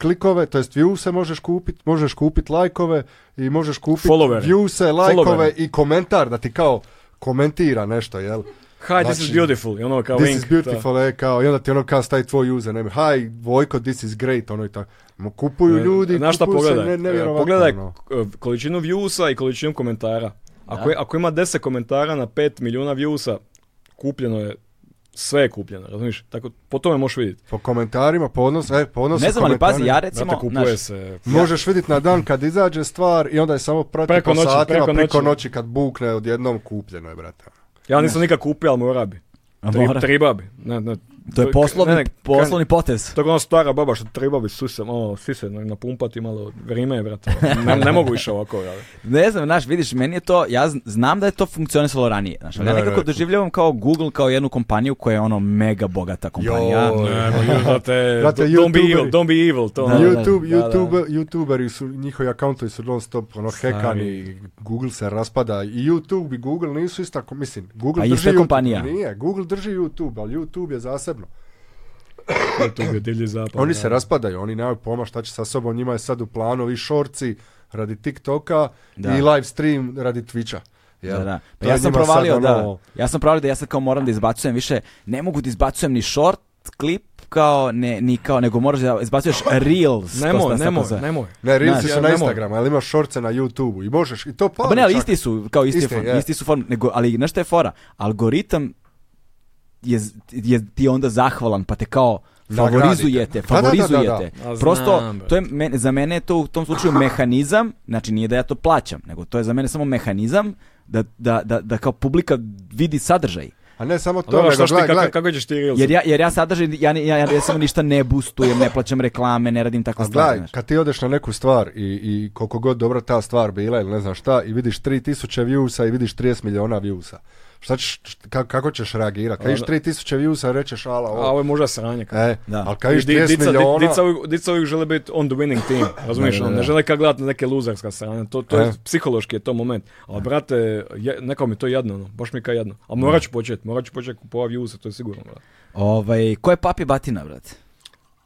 D: klikove, to jest view-se možeš kupit, možeš kupit lajkove i možeš kupit
C: Followere.
D: view-se, lajkove
C: Followere.
D: i komentar da ti kao komentira nešto, jel?
C: Hi, this is
D: Znači,
C: beautiful. I ono kao
D: This
C: Wink,
D: is beautiful, e, kao, i onda ti ono kao staje tvoj username, hi, Vojko, this is great, ono i tako. Ma, Kupuju
C: E,
D: ljudi,
C: znaš šta
D: kupuju se,
C: pogledaj?
D: ne, nevjerovatno,
C: E, pogledaj
D: ono.
C: k- količinu viewsa i količinu komentara. Ako,
B: Da.
C: je- ako ima 10 komentara na 5 milijuna viewsa, kupljeno je, sve je kupljeno, razumiješ? Tako, po tome možeš vidjeti.
D: Po komentarima, po odnosu, e, po odnosu
B: Ne znam, ali
D: komentarima.
B: pazi, ja
C: Znate,
B: recimo,
C: kupuje
B: znaš,
C: se...
D: Možeš vidjeti na dan kad izađe stvar i onda je samo prati
C: Preko
D: po
C: noći,
D: satima,
C: preko
D: preko,
C: noći.
D: noći kad bukne odjednom kupljeno je, brate.
C: Ja nisam nikad kupio, ali mora bi.
B: a
C: Tri,
B: mora.
C: triba bi. Ne, ne,
B: to je poslovni,
C: ne, ne,
B: poslovni potez.
C: To je ona stara baba što treba bi suse, malo sise napumpati, malo vrijeme je, brate. Ne, ne mogu više ovako, ja.
B: Ne znam, znaš, vidiš, meni je to, ja zn- znam da je to funkcionisalo ranije, znaš, ali ja
D: Da,
B: nekako
D: da.
B: doživljavam kao Google kao jednu kompaniju koja je ono mega bogata kompanija.
D: Joj.
C: Ne, ma, ju- brate,
D: Brate,
C: don't be
D: youtuberi.
C: evil, don't be evil, to
B: Da,
C: ono.
D: YouTube,
C: da, da.
D: YouTube, YouTuberi su, njihovi akauntovi su non stop ono, hekani, Google se raspada i YouTube i Google nisu ista, ko- mislim, Google
B: A
D: drži
B: ista
D: YouTube,
B: kompanija. Pa
D: Nije, Google drži YouTube, ali YouTube je zasebno.
C: YouTube je divlji zapad.
D: Oni
C: da.
D: se raspadaju, oni nemaju pojma šta će sa sobom, njima je sad u planu i šorci radi TikToka
B: Da.
D: i live stream radi Twitcha. jel?
B: Da, da. Pa
D: To je
B: ja sam
D: njima sad
B: provalio da,
D: ono-
B: ja sam provalio da ja sad kao moram da izbacujem više, ne mogu da izbacujem ni short klip kao ne, ni kao, nego moraš da izbacuješ reels. to se
C: Nemoj,
B: tako
C: nemoj,
B: zove.
C: nemoj.
D: Ne, Reelsi
C: Znaš,
D: su
C: ja
D: na
C: ne mogu.
D: Instagramu, ali imaš šorce na YouTubeu i možeš, i to pa.
B: Pa ne, ali isti su, kao isti,
D: Isti,
B: je form,
D: je.
B: isti su form, nego, ali znaš šta je fora? Algoritam je, z- je ti je onda zahvalan, pa te kao
D: Nagradite.
B: favorizujete,
D: Da, da, da, da, da.
B: favorizujete.
C: A
B: Prosto,
C: znam, brate.
B: to je, men- za mene je to u tom slučaju mehanizam, znači nije da ja to plaćam, nego to je za mene samo mehanizam da, da, da, da kao publika vidi sadržaj.
D: A ne samo
C: A
D: to,
C: Dobro, šta
D: nego
C: ti,
D: gledaj,
C: kako,
D: gledaj.
C: kako ćeš ti reels?
B: Jer ja, jer ja sadržaj, ja, ne- ja, ja, ja samo ništa ne boostujem, ne plaćam reklame, ne radim takve
D: A
B: stvari.
D: gledaj,
B: znaš.
D: kad ti odeš na neku stvar i, i koliko god dobra ta stvar bila ili ne znam šta i vidiš 3000 viewsa i vidiš 30 miliona viewsa. Šta ćeš, št- ka- kako ćeš reagirati? Kad vidiš
C: Ono-
D: 3000 viewsa rećeš ala
C: A
D: ovo.
C: ovo je možda sranje. kao.
D: E,
B: Da.
D: ali kad vidiš
C: Di-
D: 30
C: dica, di-
D: miliona...
C: dica uvijek, dica uvijek žele biti on the winning team, razumiješ?
D: Da, da,
C: ono,
D: da.
C: Ne žele kad gledati neke luzerska strana, to, to je
D: E.
C: psihološki je to moment. Ali brate, je, nekao mi je to jadno, ono, baš mi je kao jadno. Ali morat ću početi, morat ću početi kupovati views to je sigurno. brate.
B: Ovaj, ko je papi batina, brate?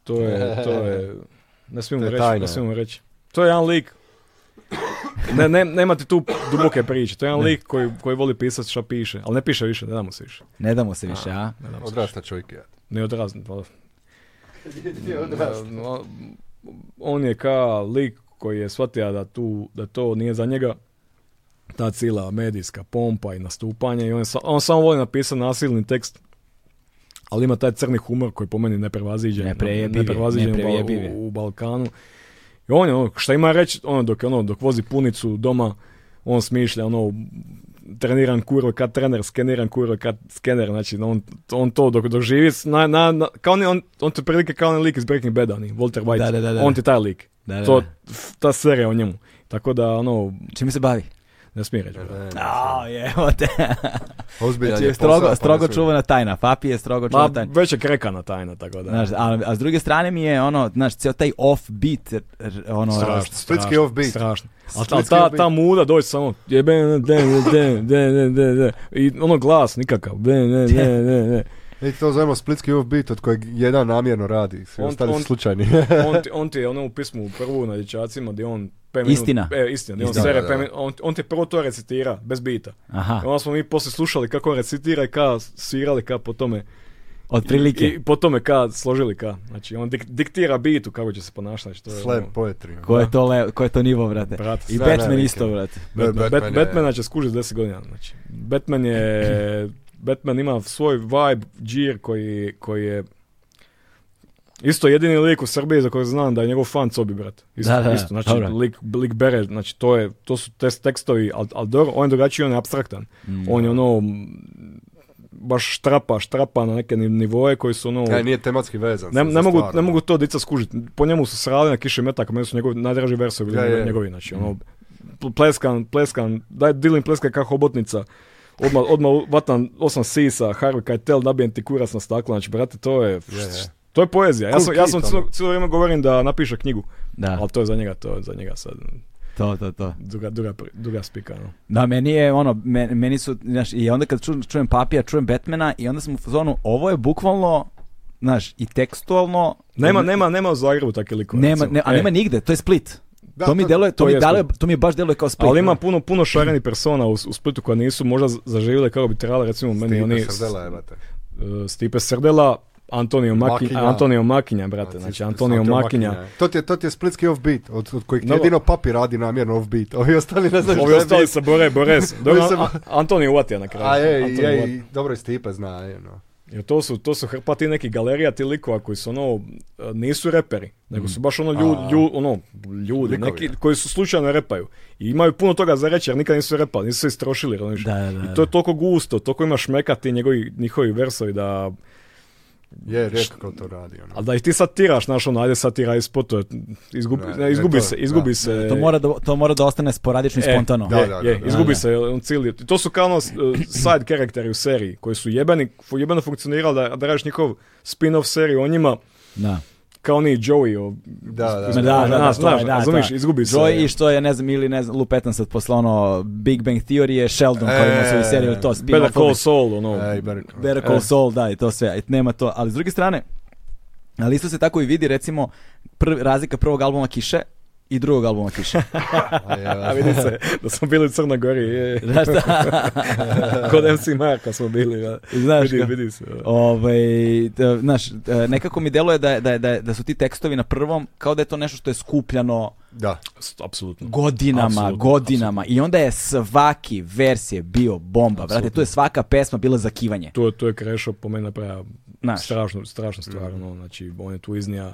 C: To je, to je, ne smijemo
D: To je
C: reći, ne
D: tajna.
C: smijemo reći. To je jedan lik, ne, ne, nema ti tu duboke priče, to je jedan lik koji, koji voli pisati šta piše, ali ne piše više, ne damo se više.
B: Ne damo se više, a?
C: Ne damo se više.
D: Odrasta čovjek je.
C: Ne odrazni, valjda. No, on je ka lik koji je shvatio da, tu, da to nije za njega ta cila medijska pompa i nastupanje i on, je sa- on samo voli napisati nasilni tekst ali ima taj crni humor koji po meni neprevaziđen
B: Neprejebiv je,
C: neprevaziđen u Bal-
B: neprejebiv je.
C: u, u Balkanu i on je ono, šta ima reći ono dok je ono dok vozi punicu doma on smišlja ono treniran kurva kad trener, skeniran kurva kad skener, znači on, on to dok doživi, s- na, na, na- kao on, je- on, on te prilike kao onaj lik iz Breaking Bad, oni, Walter White,
B: Da, da, da, da.
C: on ti taj lik,
B: Da, da,
C: to,
B: da.
C: f- ta serija o njemu, tako da ono,
B: Čime se bavi?
C: ne smije reći. brate.
B: A, jevo te.
D: Ozbiljan
B: Znači,
D: je
B: je
D: posao,
B: strogo,
D: pa ne
B: strogo
D: smije.
B: čuvana tajna. Papi je strogo
C: Ma,
B: čuvana tajna.
C: Pa, već je krekana tajna, tako da.
B: Znaš, a, a s druge strane mi je ono, znaš, cijel taj offbeat, r- r- ono,
D: Strašno. Splitski offbeat.
C: Strašno. A ta,
D: Splitski
C: ta,
D: offbeat.
C: ta muda dođe samo jebe, de, de, de, de, de, de. I ono glas nikakav. De, de, de, de, de.
D: Mi to zovemo splitski offbeat od kojeg jedan namjerno radi, svi
C: On-
D: ostali su
C: on-
D: slučajni.
C: On ti, on ti je ono u pismu prvu na dječacima gdje on pet
B: Istina.
C: Minut, e, istina, gdje on
D: Istina,
C: sere
D: da,
C: pet
D: da.
C: minut- on, on ti prvo to recitira, bez bita.
B: Aha,
C: I onda smo mi poslije slušali kako on recitira i ka svirali ka po tome.
B: otprilike.
C: I, i po tome ka složili ka. Znači on dik- diktira bitu kako će se ponašati. Znači, to je
D: Slam
C: ono-
D: poetry.
B: Ko je to, le, ko je to nivo, brate?
C: Brate,
B: I
D: sve
B: Batman
D: velike.
B: isto, brate.
D: Ne,
C: Batman,
D: Batman
C: Bat-
D: je-
C: Batmana će skužiti 10 godina. Znači, Batman je... Batman ima svoj vibe, džir koji, koji je... Isto jedini lik u Srbiji za kojeg znam da je njegov fan Cobi, brat. Isto,
B: Da, da,
C: isto. Znači,
B: dobro.
C: lik, lik bere, znači, to, je, to su test tekstovi, ali al, dobro, on je drugačiji, on je abstraktan. On je ono, m, baš štrapa, štrapa na neke ni- nivoe koji su ono...
D: E, nije tematski vezan.
C: Ne,
D: sa-
C: ne,
D: za
C: mogu,
D: stvar,
C: ne
D: ono.
C: mogu to dica skužiti. Po njemu su srali na kiše metaka, meni su njegovi najdraži versovi bili
D: Ja, ja, ja.
C: njegovi, znači ono pl- pleskan, pleskan, daj Dylan pleska kao hobotnica. Odmah, odmah vatan osam sisa, Harvey Keitel, nabijem ti kurac na staklo, znači brate, to je,
D: je.
C: to je poezija. Ja
D: Cool
C: sam, ja
D: kid,
C: sam
D: ono.
C: cijelo, cijelo vrijeme govorim da napiše knjigu,
B: Da,
C: ali to je za njega, to je za njega sad,
B: to, to, to.
C: duga, duga, pri- duga spika, no.
B: Da, meni je ono, meni, meni su, znaš, i onda kad čujem, čujem papija, čujem Batmana i onda sam u fazonu, ovo je bukvalno, znaš, i tekstualno...
C: Nema, nema, nema u Zagrebu takve likove.
B: Nema,
C: recimo.
B: ne, a
C: E,
B: nema nigde, to je Split.
D: Da,
B: to mi deluje, to,
C: to
B: mi
C: je
B: deluje, to mi je baš deluje kao Split.
C: Ali ima puno, puno šarenih persona u, u Splitu koja nisu možda zaživjele kako bi trebala, recimo meni
D: Stipe
C: oni...
D: Srdela, jebate.
C: e, Stipe Srdela, Antonio, Maki,
D: Makinja.
C: Antonio Makinja, brate, znači Antonio Makinja.
D: To ti je, to ti je splitski offbeat, od, od kojih ti
C: Dobro.
D: jedino papi radi namjerno offbeat. Ovi ostali ne znaš
C: Ovi
D: šta je
C: ostali
D: beat.
C: se bore, bore se. Dobro,
D: Ovi se
C: a- Antonio Uvatija na kraju.
D: A je,
C: Antonio
D: je,
C: Uvatija.
D: i dobro i Stipe zna, je, no.
C: Jer to su, to su hrpa ti neki galerija ti likova koji su ono, e, nisu reperi, nego su baš ono ljudi,
D: A.
C: lju, ono, ljudi
D: Likovi.
C: neki koji su slučajno repaju. I imaju puno toga za reći jer nikad nisu repali, nisu se istrošili. razumiješ?
B: Da, da, da.
C: I to je toliko gusto, toliko ima šmeka ti njegovi, njihovi versovi da...
D: Je, rijetko ko to radi, ono.
C: Ali da ih ti sad tiraš, znaš ono, ajde sad tiraj spot, to je- izgubi,
D: Ne,
C: ne,
D: ne,
C: izgubi
D: to-
C: se, izgubi
D: da.
C: se...
B: To mora, da, to mora da ostane sporadično i
C: E,
B: spontano.
D: da.
C: je, je, izgubi
B: da.
C: se on cijeli. To su kao ono, s- side karakteri u seriji koji su jebeni, fu- jebeno funkcionirali da, da radiš njihov spin-off seriju o njima
B: Da.
C: kao oni Joey o...
D: Da, da,
B: Ma
D: da.
B: da, da, da,
C: znaš,
B: to je,
C: znaš,
B: da,
C: razumiš,
B: da.
C: izgubi se.
B: Joy i što je, ne znam, ili ne znam, lupetan sad posle ono Big Bang Theory je Sheldon koji ima svoju
D: E,
B: seriju, to spin
C: Better Call Saul, ono.
D: Ej, Berko.
B: Better Call
C: E.
B: Saul, da, i to sve, i nema to. Ali s druge strane, ali isto se tako i vidi, recimo, prv- razlika prvog albuma Kiše i drugog albuma Kiše.
D: A je,
C: A vidi se, da smo bili u Crnoj Gori, je,
B: Znaš šta?
C: kod MC Marka smo bili, da.
B: Znaš
C: vidi,
B: kako-
C: vidi se. da.
B: Ovaj, t- znaš, e, nekako mi deluje da, je- da, je- da, je- da su ti tekstovi na prvom kao da je to nešto što je skupljano
D: Da.
C: S- Apsolutno.
B: godinama,
C: Apsolutno,
B: godinama i onda je svaki vers je bio bomba, brate, tu je svaka pesma bila zakivanje.
C: To, to je Krešo po meni napravio
B: Znaš. Mhm.
C: strašnu, strašnu stvar, ono, znači on je tu iznija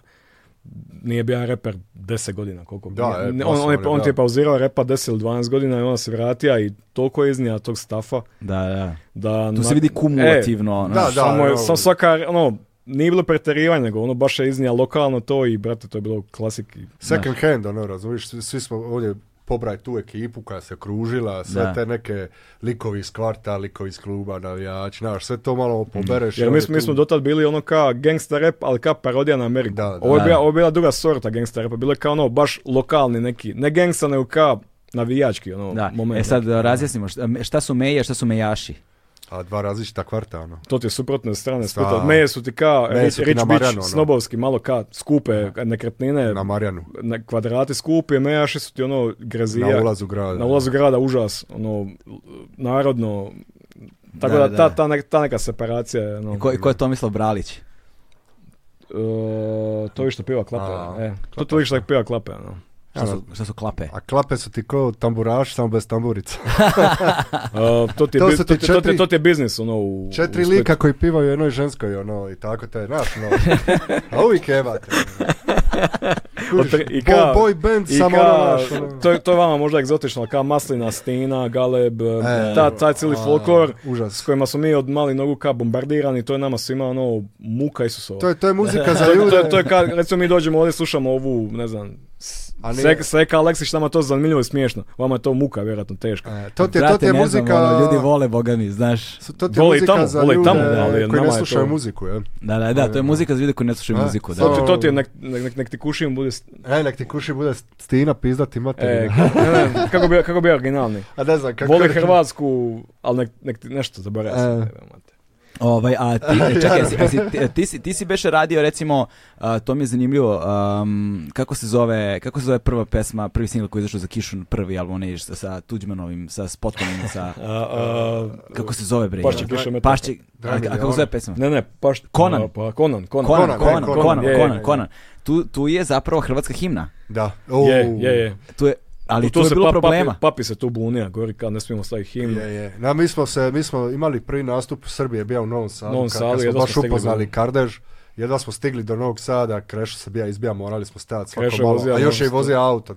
C: nije bio jedan reper 10 godina, koliko
D: Da,
C: Ne,
D: e,
C: on, on, je, pa,
D: posebno,
C: on
D: da.
C: ti je pauzirao repa 10 ili 12 godina i onda se vratio i toliko je iznija tog stafa
B: Da, da.
C: da...
B: Tu se
C: na-
B: vidi
C: E,
B: kumulativno. ono.
D: da, da,
C: samo je,
D: ono-
C: sam svaka, ono, nije bilo preterivanje, nego ono baš je iznija lokalno to i, brate, to je bilo klasik. i-
D: Second hand, ono, razumiješ, svi, svi smo ovdje pobraj tu ekipu koja se kružila, sve
B: Da.
D: te neke likovi iz kvarta, likovi iz kluba, navijači, znaš, sve to malo pobereš. i
C: Jer mi
D: onda
C: smo, mi
D: tu-
C: smo dotad bili ono kao gangsta rap, ali kao parodija na Ameriku.
D: Da, da.
C: ovo, je
B: Da.
C: bila, ovo je bila druga sorta gangsta rapa, bilo je kao ono baš lokalni neki, ne gangsta, nego kao navijački ono
B: Da.
C: moment.
B: E sad da razjasnimo šta, šta su meje, šta su mejaši.
D: A dva različita kvarta, ono.
C: To ti je suprotne strane
D: Sa-
C: splita. Meje su ti kao
D: Meje
C: rich,
D: su ti
C: rich
D: na
C: bitch,
D: Marjanu, ono.
C: snobovski, malo ka skupe nekretnine,
D: Na Marjanu,
C: na kvadrati skupi, mejaši su ti ono grezija.
D: na ulazu grada.
C: na ulazu grada, užas, ono, narodno, tako
B: Da,
C: da,
B: da.
C: Ta, ta, nek- ta neka separacija je, ono,
B: Ko, ko je Tomislav Bralić?
C: e, to više piva klape,
D: A,
C: e, to to više piva klape, ono.
B: Šta su, šta su klape?
D: A klape su ti ko tamburaš, samo bez tamburica.
C: A, E, to ti je,
D: To
C: bi-
D: su ti
C: to ti- to ti-
D: četiri-
C: to ti je biznis, ono, u,
D: Četiri
C: u Splitu.
D: lika koji pivaju jednoj ženskoj, ono, i tako to je, znaš, no. A uvijek jebate. ono. Kužiš,
C: Otpri- i
D: bo-
C: kao-
D: boy band,
C: I
D: samo
C: ka,
D: ono, znaš, ono.
C: to, je- to je vama možda egzotično, ali ka Maslina, Stina, Galeb,
D: E,
C: ta, taj cijeli
D: a,
C: folklor s
D: Užas.
C: kojima smo mi od mali nogu ka bombardirani, to je nama svima ono muka Isusova.
D: To je, to je muzika za
C: To je-
D: ljude.
C: To je, to je kad, recimo mi dođemo ovdje, slušamo ovu, ne znam, s-
D: A nije-
C: Sek, Seka Aleksić, nama je to zanimljivo i smiješno. Vama je to muka, vjerojatno, teška.
D: E, to ti je, to ti
B: Brate,
D: je
B: ne znam,
D: muzika...
B: ono, ljudi vole, boga mi, znaš.
D: To ti je
C: Vole i
D: muzika
C: tamo,
D: za
C: vole i
D: ljude
C: tamo, ali
D: koji
C: nama je
D: ne
C: to-
D: slušaju muziku, je.
B: Da, da, da, to je muzika za ljude koji ne slušaju
D: A,
B: muziku. Da.
D: sad-
C: To, ti- to ti je, nek, nek, nek, nek ti kušim bude... s-
D: E, nek ti kuši bude Stina pizdati
C: E,
D: materina.
C: ka- ne, ne, kako, bi, kako bi ja originalni?
D: A ne znam, kako...
C: Voli Hrvatsku, ali nek, nek ti nešto zaboravim.
D: E.
B: Ovaj, a ti, čekaj, jesi- jesi- ti, ti si, ti si beše radio, recimo, a, to mi je zanimljivo, am, kako, se zove, kako se zove prva pesma, prvi singl koji je izašao za Kišun, prvi album, onaj sa, sa Tuđmanovim, sa Spotmanovim, sa...
C: E,
B: Kako se zove, bre?
C: Pašće
B: jebote?
C: kiša metak.
B: Pašće, a, a
D: Dragan
C: ono.
B: kako se zove
D: Jovanović.
B: pesma?
C: Ne, ne, paš...
B: Conan.
C: a, Pa, Conan, Conan.
B: Conan,
D: Conan,
B: Conan,
D: e,
B: Conan, Conan,
C: je,
B: Conan,
C: je,
B: Tu, tu je zapravo hrvatska himna.
D: Da.
C: Je, je, je.
B: Tu je, ali
C: Tu-
B: tu,
C: tu
B: je
C: se
B: bilo
C: pa- papi-
B: problema.
C: Papi se tu bunija, govori kao ne smijemo staviti himnu.
D: Je, je. Na, mi, smo se, mi smo imali prvi nastup Srbije, bio u Novom Sadu,
C: Novom
D: kad-
C: Sadu,
D: kad
C: jedva smo
D: smo baš
C: stigli
D: upoznali
C: do-
D: Kardež, jedva smo stigli do Novog Sada, Krešo se bija izbija, morali smo stajati svako
C: Krešo je
D: malo,
C: vozio
D: a još je i
C: non-stop.
D: vozio auto.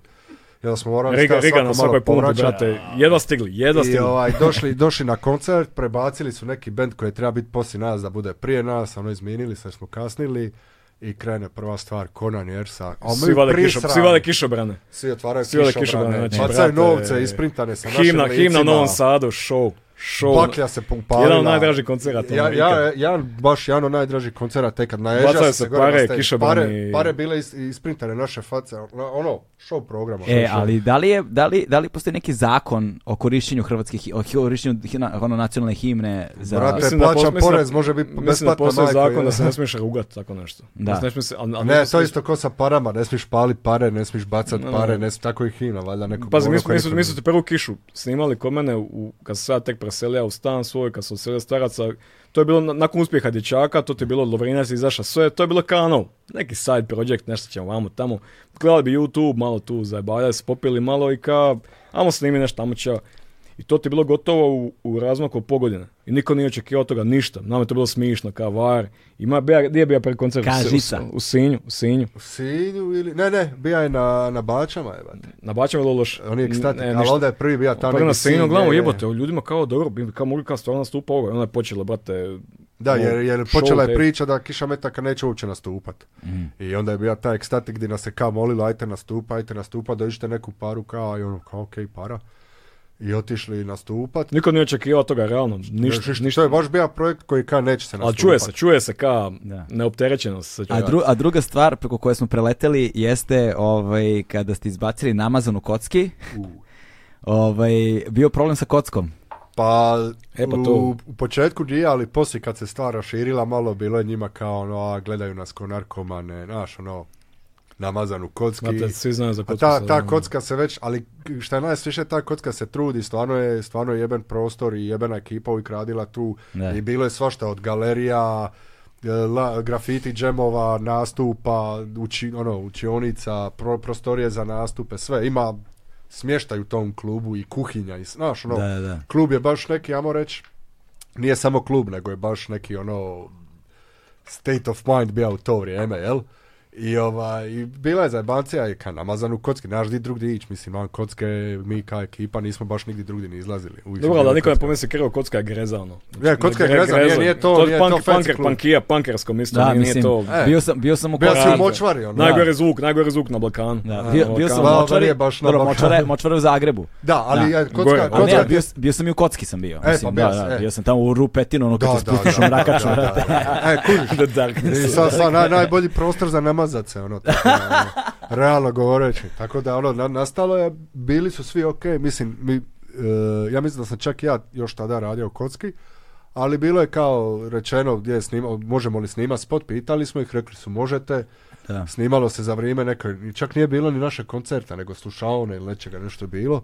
D: Jedva smo morali
C: Riga,
D: stajati
C: Riga na
D: svako malo
C: svakoj pumpi,
D: povraćati.
C: brate. Jedva stigli, jedva
D: I
C: stigli.
D: ovaj, došli, došli na koncert, prebacili su neki bend koji treba biti poslije nas da bude prije nas, ono izmijenili se jer smo kasnili i krene prva stvar Conan i Ersa. A mi
C: Svi vade kišo-
D: prisrani.
C: svi vade kišobrane.
D: Svi otvaraju
C: Svi vade
D: kišobrane,
C: kišobrane, znači,
D: bacaju
C: brate,
D: novce, isprintane sa našim
C: Himna, himna
D: licima.
C: Novom Sadu, show. show.
D: Baklja se upalila.
C: Jedan od najdražih koncerata.
D: Ja,
C: ono,
D: ja,
C: ikad.
D: ja, baš jedan od najdražih koncerata kad naježa
C: Bacaju se
D: gore
C: pare,
D: na stage.
C: kišobrani.
D: Pare, pare bile is, isprintane naše face, ono, ono, show programa.
B: E,
D: Show,
C: pa-
D: show.
B: ali da li, je, da, li, da li postoji neki zakon o korišćenju hrvatskih, hi- o korišćenju hina- ono, nacionalne himne za...
D: Brate,
C: Mislim da
D: plaćam
C: pos- mislim da-
D: porez, može biti
C: Mislim da
D: besplatna
C: postoji
D: majka,
C: zakon
D: je.
C: da se ne smiješ rugat tako nešto.
B: Da.
C: Ne smiješ se, ali, ali
D: Ne,
C: mislim-
D: to je isto ko sa parama, ne smiješ palit pare, ne smiješ bacat
C: No.
D: pare, ne smiješ, tako i hina, valjda neko...
C: Pazi,
D: ono
C: mi
D: koji
C: smo, mi smo,
D: niko
C: mi
D: ne-
C: smo te prvu kišu snimali kod mene, u, kad sam se ja tek preselio u stan svoj, kad sam odselio staraca, to je bilo na- nakon uspjeha dječaka, to ti je bilo Lovrinac izašao sve, to je bilo kanal, neki side project, nešto ćemo vamo tamo, gledali bi YouTube, malo tu zajebavljali, se popili malo i ka, amo snimi nešto, tamo će, i to ti je bilo gotovo u, u razmaku od pogodine. I niko nije očekivao od toga ništa. Nama je to bilo smišno, kao var. Ima, bija, gdje je bio prvi koncert? U Si- u-
B: Kažica.
C: U, Sinju, u Sinju.
D: U Sinju ili... Ne, ne, bija je na, na Bačama, jebate.
C: Na Bačem je bilo loše.
D: On je ekstatik,
C: Ne,
D: ali
C: ništa.
D: onda je prvi bija tamo...
C: Pa na
D: negdje
C: scenu,
D: Sinj,
C: gledamo
D: je, je.
C: jebote, u ljudima kao dobro, bi kao mogli kao stvarno nastupa ovo. I onda je počela, brate, ono,
D: Da, jer, jer
C: show
D: počela je
C: te- Mm.
D: priča da Kiša Metaka neće uopće nastupat. I onda je bio taj ekstatik gdje nas se kao molilo, ajte nastupa, ajte nastupa, dođite neku paru kao, i ono, kao, okej, para. I otišli nastupat.
C: Niko nije očekivao toga, realno, ništa,
D: Znaš,
C: ništa.
D: To je baš bio projekt koji kao neće se
C: Ali
D: nastupat.
C: čuje se, čuje se ka
B: Da.
C: neopterećenost. Se čuje.
B: A, dru- a druga stvar preko koje smo preleteli jeste ovaj, kada ste izbacili namazan u kocki, ovaj, bio problem sa kockom.
D: Pa,
C: E, pa to-
D: u, u početku nije, ali poslije kad se stvar raširila, malo bilo je njima kao ono, a, gledaju nas ko narkomane, znaš, ono, namazan u kocki.
C: Znate, svi znaju za
D: A
C: kocku.
D: Pa ta,
C: sad,
D: ta
C: ono.
D: kocka se već, ali šta je najsviše, ta kocka se trudi, stvarno je, stvarno je jeben prostor i jebena ekipa uvijek radila tu
B: Da.
D: i bilo je svašta od galerija, e, la, grafiti džemova, nastupa, uči, ono, učionica, pro- prostorije za nastupe, sve, ima smještaj u tom klubu i kuhinja, i, s- znaš, ono,
B: Da, da, da.
D: klub je baš neki, ajmo reći, nije samo klub, nego je baš neki ono state of mind bio u to vrijeme, jel? I, ovaj, i bila je zajebancija i kad namazan u kocki, naš di drugdje ić, mislim, van kocke, mi kao ekipa nismo baš nigdje drugdje ni izlazili. Uvijek
C: Dobro,
D: smo
C: ali da
D: bili
C: niko ne
D: kocka.
C: pomisli krivo, kocka je greza, ono.
D: Ne, kocka je
C: Gre-
D: greza, nije- nije to-
C: je
D: nije to
C: punk,
D: fancy
C: punker,
D: klub.
C: punkija, punkerskom isto,
B: Da,
C: nije,
B: mislim,
C: nije to...
D: E.
B: bio, sam, bio sam u
D: Bio si
B: kocki.
D: u močvari, ono.
B: Naj-
C: Najgori zvuk, najgori zvuk na Balkanu.
B: Da, bio,
C: Na
B: bio sam u
C: Balkanu.
D: Balkan.
B: močvari,
D: je baš na
B: dobro,
D: Balkanu.
B: močvara je- močvara je u Zagrebu.
D: Da, ali
B: Da.
D: je kocka,
C: Gore,
B: A ne,
D: kocka,
B: ali bio, bio sam i u kocki sam bio.
D: E,
B: mislim,
D: pa bio
B: da,
D: si,
B: da,
D: e.
B: bio sam tamo u rupetinu, ono kad
D: da,
B: se spustiš
D: da,
B: u mrakaču,
D: da, da,
B: brate.
D: da. E, kužiš,
C: The Darkness.
D: I sad, sad naj- najbolji prostor za namazat se, ono, tako, ono, realno govoreći. Tako da, ono, na- nastalo je, bili su svi ok, mislim, mi, e, ja mislim da sam čak ja još tada radio u kocki, ali bilo je kao rečeno gdje je snima, možemo li snimati spot, pitali smo ih, rekli su možete,
B: Da.
D: snimalo se za vrijeme neko, i čak nije bilo ni naše koncerta, nego slušaone ili nečega, nešto je bilo.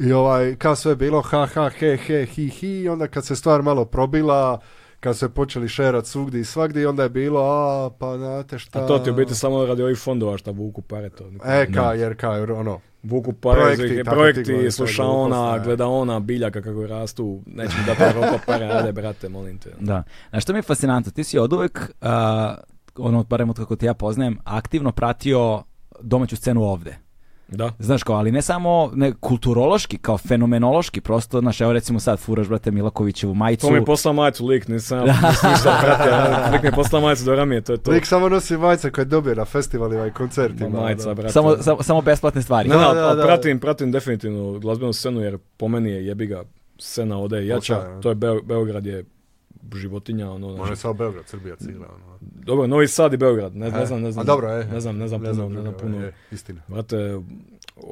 D: I ovaj, kao sve je bilo ha ha he he hi hi, i onda kad se stvar malo probila, kad se počeli šerat svugdje i svagdje, onda je bilo, a pa znate šta.
C: A to ti u biti samo radi ovih fondova šta vuku pare to.
D: E, ka, jer ka, jer ono,
C: Vuku pare,
D: Projekti,
C: projekti,
D: tako ti
C: projekti
D: govoriš,
C: sluša
D: to je
C: ona,
D: glupost, ne.
C: gleda ona, biljaka kako rastu, neće mi dati Europa pare, ajde brate, molim te.
B: Da. Znaš što mi je fascinantno? Ti si od uvek, ono, barem od kako te ja poznajem, aktivno pratio domaću scenu ovde.
C: Da.
B: Znaš kao, ali ne samo ne, kulturološki, kao fenomenološki, prosto, znaš, evo recimo sad furaš, brate, Milakovićevu majicu.
C: To mi je poslao majicu lik, nisam ja nisam pratio. Lik mi je poslao majicu do ramije, to je to.
D: lik samo nosi majice koje dobije na festivalima i koncertima. ono.
C: Ma, majica, brate.
B: samo, samo, samo besplatne stvari.
C: Ne, ne,
D: Da,
C: ali-
D: da,
C: ali
D: da.
C: pratim, pratim definitivno glazbenu scenu jer po meni je jebiga scena ovdje je jača.
D: Očajno.
C: To je Beo- Beograd je životinja, ono,
D: Ono je
C: znači,
D: samo Beograd, Srbija cijela. Ono.
C: dobro, Novi Sad i Beograd, ne, ne
D: E,
C: znam, ne znam,
D: A dobro, e.
C: ne znam, ne znam puno, ne znam
D: drugo,
C: puno,
D: e, istina.
C: Brate,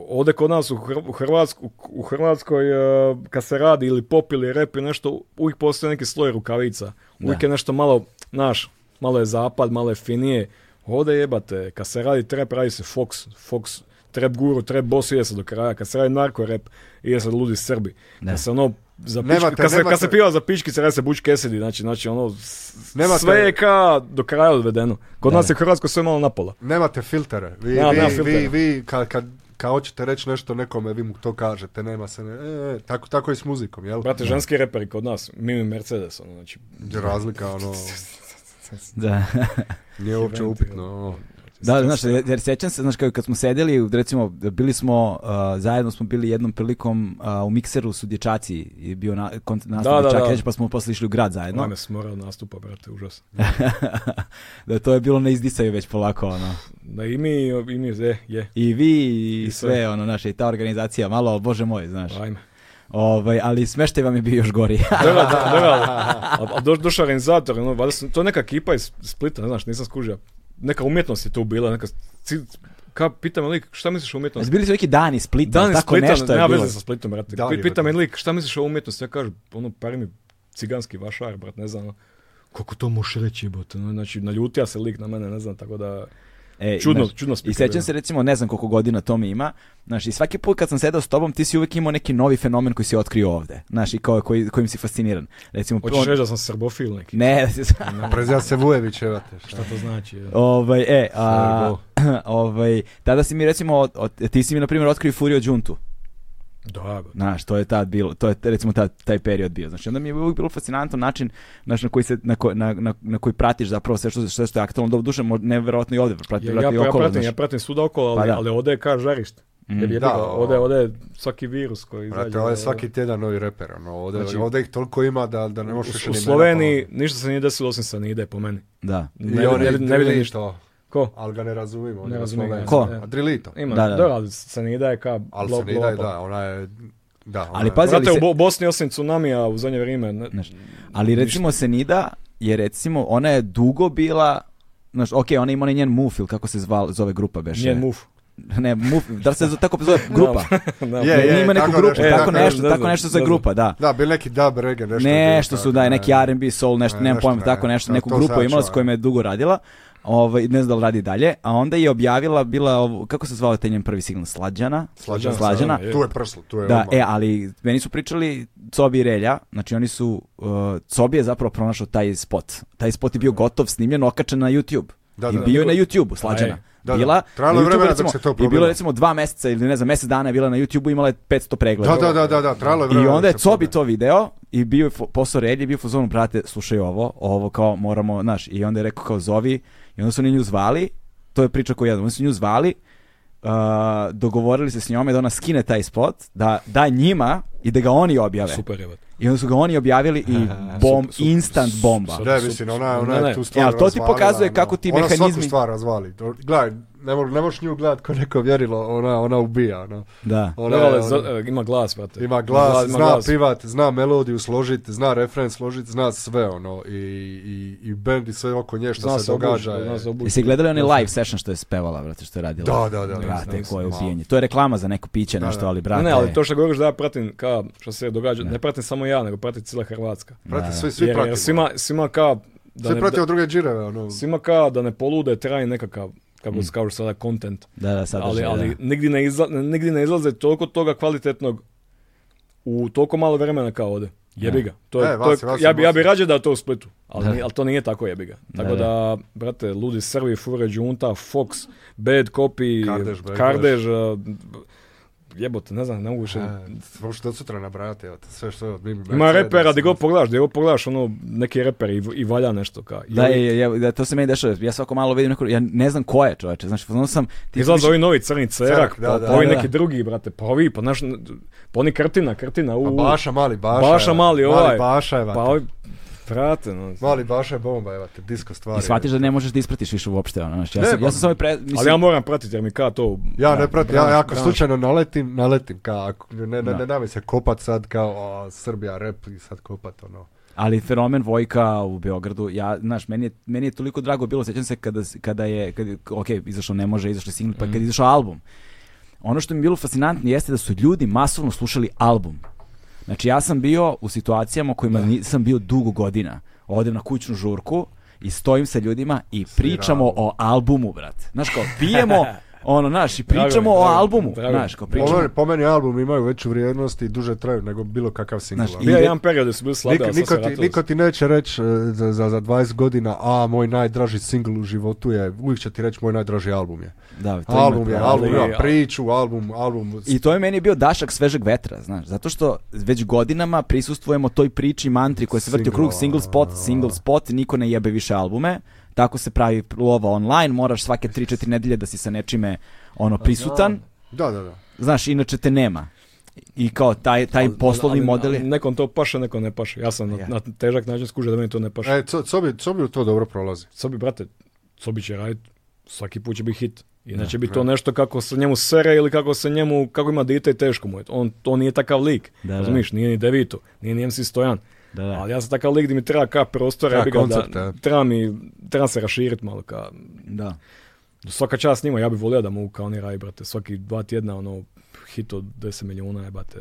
C: ovdje kod nas u, Hr- u Hrvatsku, u Hrvatskoj, e, kad se radi ili pop ili rap i nešto, uvijek postoji neki sloj rukavica. Uvijek je nešto malo, znaš, malo je zapad, malo je finije. Ovdje jebate, kad se radi trap, radi se Fox, Fox, trap guru, trap boss, ide se do kraja. Kad se radi narko rap, ide se ludi Srbi. Kad se ono, za pički-
D: Nemate-
C: kad, se,
D: nemate-
C: kad se piva za pičkice, radi se Butch Cassidy, znači, znači ono, s-
D: Nemate-
C: sve je ka do kraja odvedeno. Kod nas je Hrvatsko sve malo napola.
D: Nemate filtere. Vi,
C: Nemam,
D: vi,
C: nemam
D: vi,
C: filtera.
D: vi, kad, kad, kad hoćete reći nešto nekome, vi mu to kažete, nema se, ne, e, e, tako, tako i s muzikom, jel?
C: Brate, ženski reperi kod nas, Mimi Mercedes, ono, znači,
D: Razlika, ono,
B: Da.
D: nije uopće upitno, ono.
B: Da, znaš, jer jer sjećam se, znaš, kao kad smo sedjeli, recimo, bili smo, uh, zajedno smo bili jednom prilikom uh, u mikseru su dječaci, i bio na, kon, nastav
C: Da, da,
B: dječaka,
C: da.
B: reći, pa smo posle išli u grad zajedno.
C: Ona me smora od nastupa, brate, užas.
B: da to je bilo na izdisaju već polako, ono.
C: Da i mi, i mi, je, je,
B: I vi i
C: I sve.
B: sve, ono, naše, i ta organizacija, malo, bože moj, znaš.
C: ajme.
B: Ovaj, ali smeštaj vam je bio još gori.
C: Da, da, da, da. A, a doš, došao organizator, ono, valjda su- to je neka ekipa iz Splita, ne znaš, nisam skužio. Neka umjetnost je tu bila, neka... ci- Ka, pita me lik, šta misliš o umjetnosti?
B: Bili su neki dani Splita,
C: Dan iz
B: tako
C: Splita,
B: nešto je
C: nema
B: bilo.
C: veze sa Splitom, brate.
D: Da,
C: Pi- Pita
D: jebote.
C: me lik, šta misliš o umjetnosti? Ja kažem, ono, pari mi ciganski vašar, brat, ne znam. ono. Kako to možeš reći, jebote? ono, Znači, naljutija se lik na mene, ne znam, tako da...
B: E, i,
C: Čudno-
B: znaš,
C: čudno
B: I
C: speaker,
B: sećam
C: da.
B: se recimo, ne znam koliko godina to mi ima, znaš, i svaki put kad sam sedao s tobom, ti si uvek imao neki novi fenomen koji si otkrio ovde, znaš, i kao, koji, kojim si fasciniran. Recimo,
C: Hoćeš
B: on-
C: reći da sam srbofil neki?
B: Ne, da si-
D: Prezija se Vujević, evo te.
C: Šta to znači? je?
B: ovaj, e, a, ovaj, tada si mi recimo, od- od- ti si mi na primjer otkrio Furio Džuntu,
C: Da, bro.
B: Znaš, to je tad bilo, to je recimo tad, taj period bio. Znači, onda mi je uvijek bilo fascinantan način znaš, na, koji se, na, ko- na, na, na koji pratiš zapravo sve što, sve što je aktualno. Dobro, duše, mo- nevjerojatno i ovdje, prati,
C: Ja,
B: vjerojatno
C: ja,
B: i
C: ja,
B: okolo,
C: pratim,
B: znaš.
C: ja pratim svuda okolo,
B: Pa
C: ali,
B: da. Mm.
C: ali ovdje je kao žarište. Jer jebi
D: Da,
C: ga, ovdje,
D: ovo-
C: ovdje je svaki virus koji izađe.
D: Brate, ovo je
C: ovdje-
D: svaki tjedan novi reper, ono, ovdje,
C: Znači-
D: ovdje ih toliko ima da, da ne možeš više
C: U, u
D: ni
C: Sloveniji ništa se nije desilo osim Sanide po meni.
B: Da.
D: mene,
C: Ne,
D: pa.
C: vidi- ne,
D: I
C: vidi-
D: oni
C: ne vidim ništa.
D: Drilito,
C: Ko?
D: ali ga ne razumimo.
C: Ne
D: Ne
C: razumiju
D: razumimo.
C: ga.
B: Ko?
C: Da.
D: Adrilito.
C: Ima,
B: Da,
C: da,
B: da.
C: ali Sanida je ka
D: Ali
C: blow-
D: se ne daje,
C: blow-up.
D: da, ona je... Da, ona
B: Ali
D: je-
B: pazi,
C: Brate,
B: ali se-
C: u Bo- Bosni osim tsunamija u zadnje vrijeme, ne,
B: Znaš, ali recimo Senida je recimo, ona je dugo bila, znaš, ok, ona ima onaj njen muf ili kako se zval, zove grupa beše.
C: nije muf.
B: Ne, muf, da li se zo- tako zove grupa?
C: Da.
D: Je,
B: Ne,
D: je,
B: ima neku
D: tako
B: grupu,
D: nešto,
B: tako
D: tako
B: nešto,
C: nešto,
B: tako
C: ne
B: nešto
C: znam,
B: za
C: ne
B: grupa, da.
D: Da, bil neki dub, reggae, nešto. je bilo,
B: Nešto su,
D: tako,
B: da, neki
D: ne.
B: R&B, soul, nešto,
D: Ne,
B: nemam
D: nešto,
B: pojma,
D: ne,
B: tako nešto,
D: ne,
B: neku
D: to
B: grupu
D: sad
B: je imala
D: ću,
B: s kojima je dugo radila, ovaj, ne znam da li radi dalje, a onda je objavila, bila, ovu- kako se zvala taj njen prvi signal, Slađana?
D: Slađana,
B: Slađana.
D: Tu je prslo, tu je
B: Da,
D: odmah.
B: e, ali meni su pričali Cobi i Relja, znači oni su, uh, Cobi je zapravo pronašao taj spot. Taj spot je bio gotov, snimljen, okačen na YouTube.
D: Da,
B: I
D: da, da.
B: bio je na YouTube, slađana.
C: A je.
D: Da, da.
B: Bila,
D: Trajalo
B: na
D: je vremena
B: YouTubeu,
D: dok se to
B: I bilo
D: probilo.
B: je recimo dva meseca ili ne znam, mjesec dana je bila na YouTube-u imala je 500 pregleda.
D: Da, da, da, da, da, trajalo je vremena.
B: I onda je
D: da se
B: Cobi
D: proda.
B: to video i bio je fo- posao Relji, bio je u fazonu, brate, slušaj ovo, ovo kao moramo, znaš, i onda je rekao kao zovi, i onda su oni nju zvali, to je priča koju jednom, oni su nju zvali, uh, dogovorili se s njome da ona skine taj spot, da da njima i da ga oni objave.
C: Super je, brate.
B: I onda su ga oni objavili i bom,
C: super,
B: instant bomba.
C: super.
D: Da, mislim, ona, ona
C: Ne,
D: je
C: ne.
D: tu
B: E,
D: stvar
B: ali to ti
D: razvalila,
B: pokazuje
D: ono.
B: kako ti
D: Ona
B: mehanizmi-
D: svaku stvar razvali. Do- Gledaj, ne, mo- ne možeš nju gledat ko neko vjerilo, ona, ona ubija. Ona,
B: Da.
D: ona,
C: Da,
D: je,
C: ali
D: ono,
C: za- e, ima glas, brate.
D: ima glas,
C: ima
D: zna
C: glas.
D: pivat, zna melodiju složit, zna refren složit, zna sve ono. I, i, i band i sve oko nje što
C: Zna
D: se
C: se obući,
D: događa. je-
C: zna se obući.
B: Jesi gledali onaj live session što je spevala, brate, što je radila?
D: Da, da, da, da,
B: Brate,
D: znam,
B: koje
D: znam.
B: ubijenje. To je reklama za neko piće, nešto, ali brate...
C: Ne, ne, ali to što govoriš da ja pratim ka, što se događa, ne pratim samo ja, nego pratim cijela Hrvatska.
D: Prate, svi, svi
C: Jer, jer
D: pratimo.
C: svima, svima ka... Da
D: Svi
C: ne- da-
D: pratimo druge džireve, ono.
C: svima ka da ne polude traje nekakav, kako mm. kažu sada, content.
B: Da, da, sad
C: ali ali nigdje, ne izla, nigdje ne izlaze toliko toga kvalitetnog u toliko malo vremena kao ovdje. Jebi ga. To je,
D: E,
C: to je,
D: Vasi, Vasi,
C: ja, bi, ja bi
D: Vasi.
C: rađe da je to u Splitu, ali,
B: Da.
C: nije- ali to nije tako jebi ga. Tako
B: Da,
C: da,
B: da.
C: brate, Ludi Srvi, Fure Junta, Fox, Bad Copy,
D: Kardež, Bad
C: Kardež, a, jebote, ne znam, ne mogu više.
D: E, možeš do sutra nabrajati, evo te, sve što... mi bi-
C: Ima repera, gdje
D: sve-
C: god pogledaš, gdje god pogledaš, ono, neki reper i, i valja nešto. Ka. I
B: Da,
C: ovi-
B: je, je, da, to se meni dešava. Ja svako malo vidim neko, ja ne znam ko je čoveče. Znači, ono sam... Ti
C: Izlaze
B: više-
C: ovi novi crni cerak,
D: Cerak, da,
C: pa,
D: da,
C: pa ovi
B: da.
C: neki drugi, brate, pa ovi, pa naš, pa oni krtina, krtina, u,
D: Pa
C: u.
D: Baša, mali Baša.
C: Baša,
D: evo.
C: mali ovaj.
D: Mali Baša, evo.
C: pa
D: te.
C: ovi, brate, no.
D: Mali Baša je bomba, evo te, disko stvari.
B: I shvatiš da ne možeš da ispratiš više uopšte. Ono, znači, ja,
D: Ne,
B: sam, ja
D: pa-
B: sam samo i pre... Mislim,
C: Ali ja moram pratiti jer mi ka to...
D: Ja ne pratim, ja,
C: Branš,
D: ja ako
C: branš.
D: slučajno naletim, naletim, kao, ako- ne, ne,
B: Da.
D: ne, ne, da mi se kopat sad kao, a, Srbija rep i sad kopat, ono.
B: ali fenomen Vojka u Beogradu, ja, znaš, meni je, meni je toliko drago bilo, sjećam se kada, s- kada je, kada, je- ok, izašao Ne može, izašao je single, pa kada
C: Mhm.
B: je izašao album. Ono što mi je bilo fascinantno jeste da su ljudi masovno slušali album. Znači, ja sam bio u situacijama u kojima nisam bio dugo godina. Odem na kućnu žurku i stojim sa ljudima i pričamo o albumu, brate. Znaš, kao pijemo, ono, znaš, i
C: Drago mi,
B: pričamo o
C: drago mi,
B: albumu.
C: drago mi.
B: Znaš, kao
D: Po
B: pričamo.
D: meni, po meni album imaju veću vrijednost i duže traju nego bilo kakav singl.
B: Znaš,
D: ono.
C: Bio je
B: ide-
C: jedan period gdje su bili slabi,
D: Nik-
C: ali sad
D: niko,
C: se
D: ti,
C: vratili.
D: niko ti neće reći e, za, za, za 20 godina, a moj najdraži singl u životu je, uvijek će ti reći moj najdraži album je.
B: Da, to ima
D: Album je,
B: pravo.
D: album
C: ali-
D: ima priču, album, album.
B: I to je meni bio dašak svežeg vetra, znaš, zato što već godinama prisustvujemo toj priči mantri koja se vrti u krug,
D: Single,
B: single spot, single spot, niko ne jebe više albume, tako se pravi lova online, moraš svake 3-4 nedelje da si sa nečime ono
C: Pa
B: prisutan,
D: Da, da, da.
B: znaš, inače te nema. I kao taj, taj poslovni
C: Ali-
B: model
C: ali
B: je...
C: Nekom to paše, nekom ne paše. Ja sam na, na težak način skužio da meni to ne paše.
D: E, co, co, bi, co bi u to dobro prolazi?
C: Sobi, brate, Sobi će radit, svaki put će biti hit. Inače bi to nešto kako se njemu sere ili kako se njemu, kako ima dite i teško mu je. On, to nije takav lik,
A: Da, da.
C: razumiješ, nije ni Devito, nije ni MC Stojan.
A: Da, da.
C: Ali ja sam takav lik gdje mi treba ka prostora,
D: Treba
C: ja bi ga
D: koncert,
C: da,
D: da.
C: treba, mi, treba se raširiti malo ka,
A: Da.
C: svaka čast njima, ja bi volio da mogu kao oni raj, brate, svaki dva tjedna, ono, hit od 10 milijuna, jebate.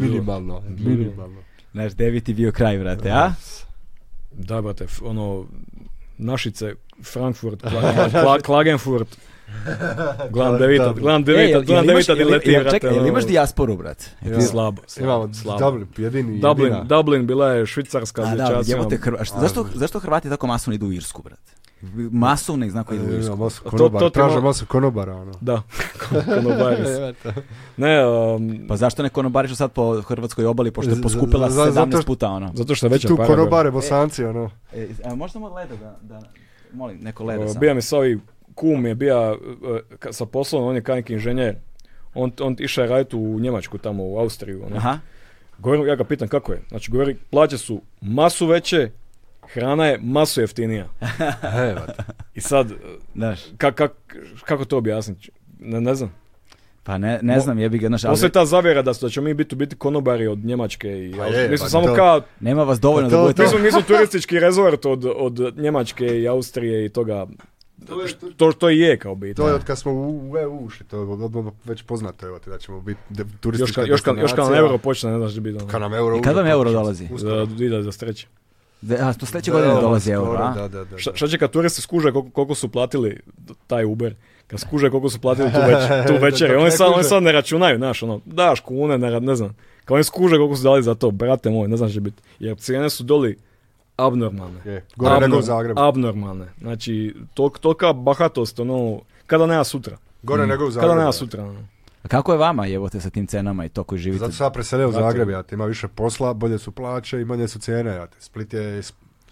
D: Minimalno, minimalno.
B: Znaš, devet je bio kraj, brate, a?
C: Da, brate, f- ono, Našice, Frankfurt, Kla- Kla- Klagenfurt, gledam Devita,
B: E,
C: gledam Devita, gledam Devita di leti, brate.
B: Čekaj, jel
C: ono.
B: imaš dijasporu, brate?
C: Slabo, slabo,
D: Imamo
C: slabo.
D: Dublin, jedini,
C: Dublin,
D: jedina.
C: Dublin bila je švicarska ono.
B: A, da,
C: dječacima.
B: jebote, Hrva- što- zašto, zašto Hrvati tako masovno idu u Irsku, brate? Masovno ih znam koji idu u Irsku.
D: Ima masu
C: to- to
D: konobara,
C: ti
D: traže
C: mo-
D: masu konobara, ono.
C: Da, konobaris. ne, um,
B: Pa zašto ne konobarišu sad po hrvatskoj obali, pošto je
D: Z-
B: poskupila
D: z- zato
B: 17
D: što-
B: puta, ono?
C: zato što je veća
D: Tu
C: para.
D: konobare, bosanci, ono.
B: E, a možda samo ledo da, da, molim, neko ledo
C: Uh,
B: samo.
C: bija mi sa ovi, kum je bija uh, ka- sa poslom, on je kao neki inženjer. On, on išao je raditi u Njemačku tamo, u Austriju. Ono.
B: Aha,
C: Govori, ja ga pitam kako je. Znači, govori, plaće su masu veće, hrana je masu jeftinija.
D: Evo, te.
C: I sad, uh,
B: znaš,
C: ka, kak- kako to objasniti? Ne, ne znam.
B: pa ne, ne
C: Mo-
B: znam, jebi ga, znaš, ali
C: Postoji ta zavjera da, su- da ćemo mi biti u biti konobari od Njemačke i
D: Pa
C: Austrije.
D: je,
C: Mi smo
D: pa
C: samo
D: to-
C: kao
B: nema vas dovoljno
D: Pa to-
B: da budete...
C: Mi smo, mi smo turistički rezort od, od Njemačke i Austrije i toga.
D: To je-
C: To što i je kao biti.
D: Znači, To je od kad smo u, u EU ušli, to je odmah već poznato, evo ti, da ćemo biti de-
C: Još
D: turistička
C: kad, još, kad, još kad nam
D: destinacija.
C: euro počne, ne znaš gdje biti. ono.
D: Kad nam euro
B: I kad vam
D: uđe,
B: euro
D: počne se
B: dolazi?
D: uskoro.
C: Za, ide za streće.
B: Da, a to sledeće
D: Da,
B: godine
D: evo,
B: dolazi
D: skoro,
B: euro, a?
D: Da, da, da.
C: Šta, šta će kad turisti skuže koliko, koliko su platili taj Uber? Kad skuže koliko su platili tu, već, tu večer.
D: Dok ne
C: Oni sad, oni
D: kuže.
C: sad ne računaju, znaš, ono, daš kune, ne, ra- ne znam. Kad oni skuže koliko su dali za to, brate moj, ne znam će biti. Jer cijene su doli abnormalne.
D: Je, gore
C: Abnorm-
D: nego u Zagrebu.
C: Abnormalne. Znači, tol, tolika bahatost, ono, kada nema sutra.
D: Gore nego u Zagrebu.
C: Kada nema sutra, ono.
B: A kako je vama, jebote, sa tim cenama i to koji živite?
D: Zato sam ja preselio u
C: Zato-
D: Zagreb, ja ti ima više posla, bolje su plaće i manje su cijene, ja ti. Split je,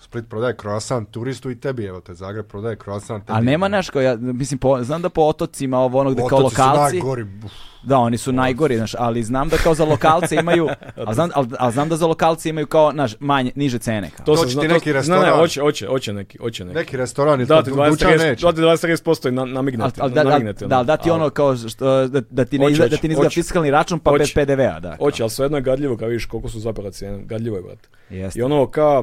D: Split prodaje croissant turistu i tebi, evo te, Zagreb prodaje croissant tebi.
B: Ali nema naš kao ja, mislim, po, znam da po otocima ovo onog da kao
D: Otoci su
B: lokalci,
D: najgori, buf.
B: da oni su najgori, znaš, ali znam da kao za lokalce imaju, a znam, al, al znam da za lokalce imaju kao, znaš, manje, niže cene kao.
D: To
C: se
D: će
C: zna-
D: ti neki
C: ne, Ne,
D: restoran.
C: hoće, hoće, hoće neki, hoće neki.
D: Neki restoran je
C: Da
D: to
C: ti
D: duća
C: 20-30%
D: neće.
C: da ti 20-30% i na, namigne
B: Al,
C: ti,
B: al, da, da,
C: namigne ti,
B: da,
C: ono.
B: al da ti ono kao, što, da, da ti ne
C: Hoće,
B: izgleda, da ti ne izgleda
C: hoće.
B: fiskalni račun pa
C: Hoće.
B: bez PDV-a, da. kao.
C: Hoće, ali svejedno je gadljivo kad vidiš koliko su zapravo cijene. Gadljivo je, brate.
B: Jeste.
C: I ono ka...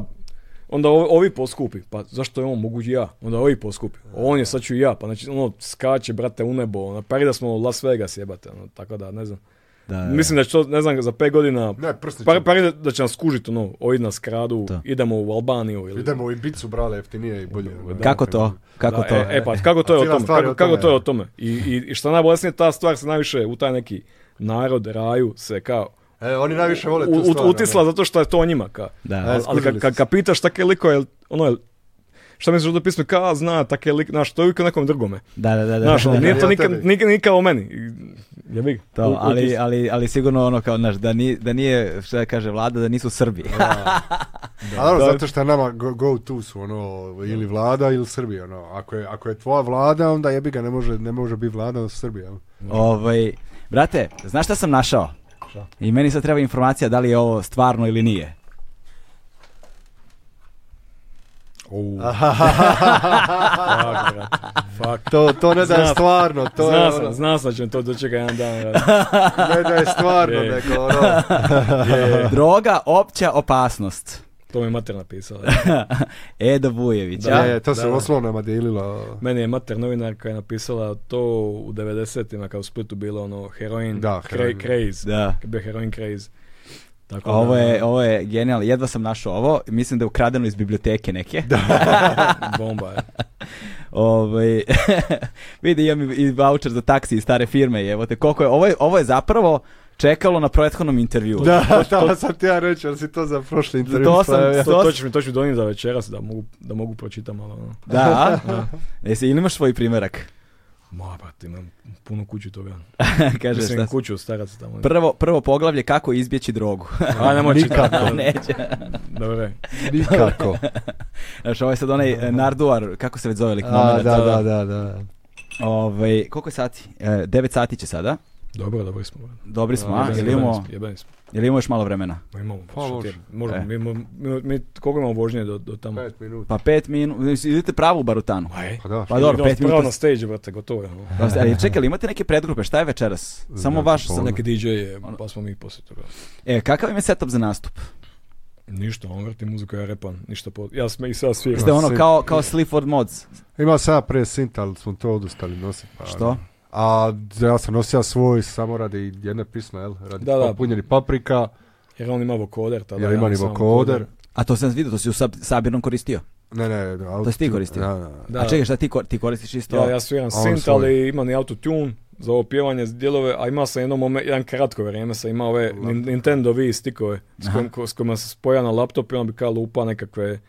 C: Onda ovi, ovi poskupi, pa zašto je on mogu ja? Onda ovi poskupi, on je sad ću i ja, pa znači ono skače brate u nebo, ono, pari da smo Las Vegas jebate, ono, tako da ne znam.
B: Da, da, da.
C: Mislim da će to, ne znam, za 5 godina,
D: Ne, prsni
C: pari,
D: ćemo.
C: pari da, da će nas skužiti ono, ovi nas kradu,
B: Da.
C: idemo u Albaniju ili...
D: Idemo u Ibicu, brale, jeftinije i bolje. ono.
B: Kako to? Kako
C: Da,
B: to?
C: E, e, pa kako to je
D: A
C: o
D: cijela
C: tome?
D: stvar je
C: Kako,
D: o
C: kako
D: tome,
C: to je
D: da.
C: o tome? I, i, i šta najbolesnije, ta stvar se najviše u taj neki narod, raju, se kao
D: E, oni najviše vole tu
C: u-
D: stvar.
C: ut- utisla
D: ono.
C: zato što je to njima. Ka.
B: Da.
C: Ali- ali kad
D: skužili
C: kad
D: su
C: kad pitaš take liko, jel, ono, jel, šta misliš da pismo, ka zna, take lik, znaš, to je uvijek o nekom drugome.
B: Da, da, da, da.
C: Znaš, ono, nije to
D: Ja
C: nikad,
D: tebi.
C: nikad, nikad o meni. Ja bih.
B: To, ali, ali, ali sigurno ono kao, znaš, da, ni, da nije, šta kaže vlada, da nisu Srbi.
D: A dobro,
C: Da.
D: zato što je nama go, go to su, ono, ili vlada ili Srbija, ono. Ako je, ako je tvoja vlada, onda jebi ga, ne može, ne može biti vlada od Srbije. ono.
B: Ovaj, brate, znaš šta sam našao? I meni sad treba informacija da li je ovo stvarno ili nije.
C: Fuck.
D: To, to ne da je
C: Zna-
D: stvarno, to je,
C: Znao
D: ono,
C: sam, znao sam da će me to dočeka jedan dan. brate.
D: ne da je stvarno,
C: Je.
D: nego, ono,
C: E.
B: Droga, opća opasnost.
C: To mi je mater napisala.
B: Eda Vujević,
D: da,
B: a?
D: je, to se
C: da.
D: u osnovnama dijelilo.
C: Meni je mater novinarka je napisala to u 90-ima kad u Splitu bilo ono heroin,
D: Da,
C: cra-
D: heroin.
C: craze.
B: Da.
C: Kad bio heroin craze. Tako da-
B: Ovo je, ovo je genijalno. Jedva sam našao ovo. Mislim da je ukradeno iz biblioteke neke.
C: Bomba je.
B: Ovaj, vidi, imam i- i voucher za taksi iz stare firme. Evo te, koliko je, ovo, je, ovo je zapravo čekalo na prethodnom intervju.
D: Da, da, sam ti ja reći, ali si to za prošli intervju.
B: To sam-
D: stavio.
B: to-
C: To, to ću mi, to ću mi donijeti za večeras da mogu, da mogu pročitam malo. Ono.
B: Da, a? Jesi, ili imaš svoj primjerak?
C: Ma, brate, imam puno kuću toga.
B: Kaže,
C: Mislim,
B: šta?
C: kuću staraca tamo.
B: Prvo, prvo poglavlje kako izbjeći drogu.
C: A, nemoj čitati.
B: Neće.
C: Dobre.
D: Nikako.
B: Znaš, ovo je sad onaj e, Narduar, kako se već zove lik
D: A,
B: momenat.
D: da, da, da, da.
B: Ovaj, koliko je sati? E, 9 sati će sada.
C: Dobro, dobri smo. brate.
B: Dobri smo, a? Jel
C: Jebeni, jebeni
B: imamo,
C: smo, jebeni smo.
B: jel imamo još malo vremena?
C: Ma imamo,
D: Pa,
C: što ti je,
D: može.
C: možemo,
B: E.
C: mi, imamo- mi, mi, koliko imamo vožnje do, do tamo?
D: Pet minuta.
B: Pa pet minuta, idete pravo u barutanu.
C: Aj,
D: Pa da,
B: Pa dobro,
C: Idemo
B: pet
C: pravo
B: minuta.
C: na stage, brate, gotovo je. ono.
B: Da, Ali e, čekaj, jel imate neke predgrupe, šta je večeras? Samo
D: Znači,
B: vaš,
D: pa
B: sad
D: ono.
B: neki-
C: Neki DJ je, pa smo mi poslije toga.
B: E, kakav im je setup za nastup?
C: Ništa, on vrti muziku, ja repam, ništa po... Ja sme i sada sviram.
B: Ste ono
D: sve-
B: kao, kao Sleaford Mods,
D: Imao sam ja prije sint, ali smo to odustali nositi. Pa,
B: što?
D: A ja sam nosio svoj samo radi jedne pisme, jel? Radi
C: Da, da.
D: popunjeni paprika,
C: Jer on ima vokoder tada.
D: jer ima ni
C: nisam
D: vokoder.
B: A to sam vidio, to si u Sab- Sabirnom koristio.
D: Ne, ne, da, auto-
B: si ti koristio?
D: Da, da.
C: Da,
B: A čekaj, šta ti, ko- ti koristiš isto?
C: Ja, ja sviram
D: A on
C: synth,
D: svoj.
C: ali imam i autotune za ovo pjevanje dijelove, a imao sam jedno momen- jedan kratko vrijeme sam imao ove
D: Laptop.
C: Nin- Nintendo Wii stikove s, kojim- ko- s kojima se spoja na laptop i on bi kao lupa nekakve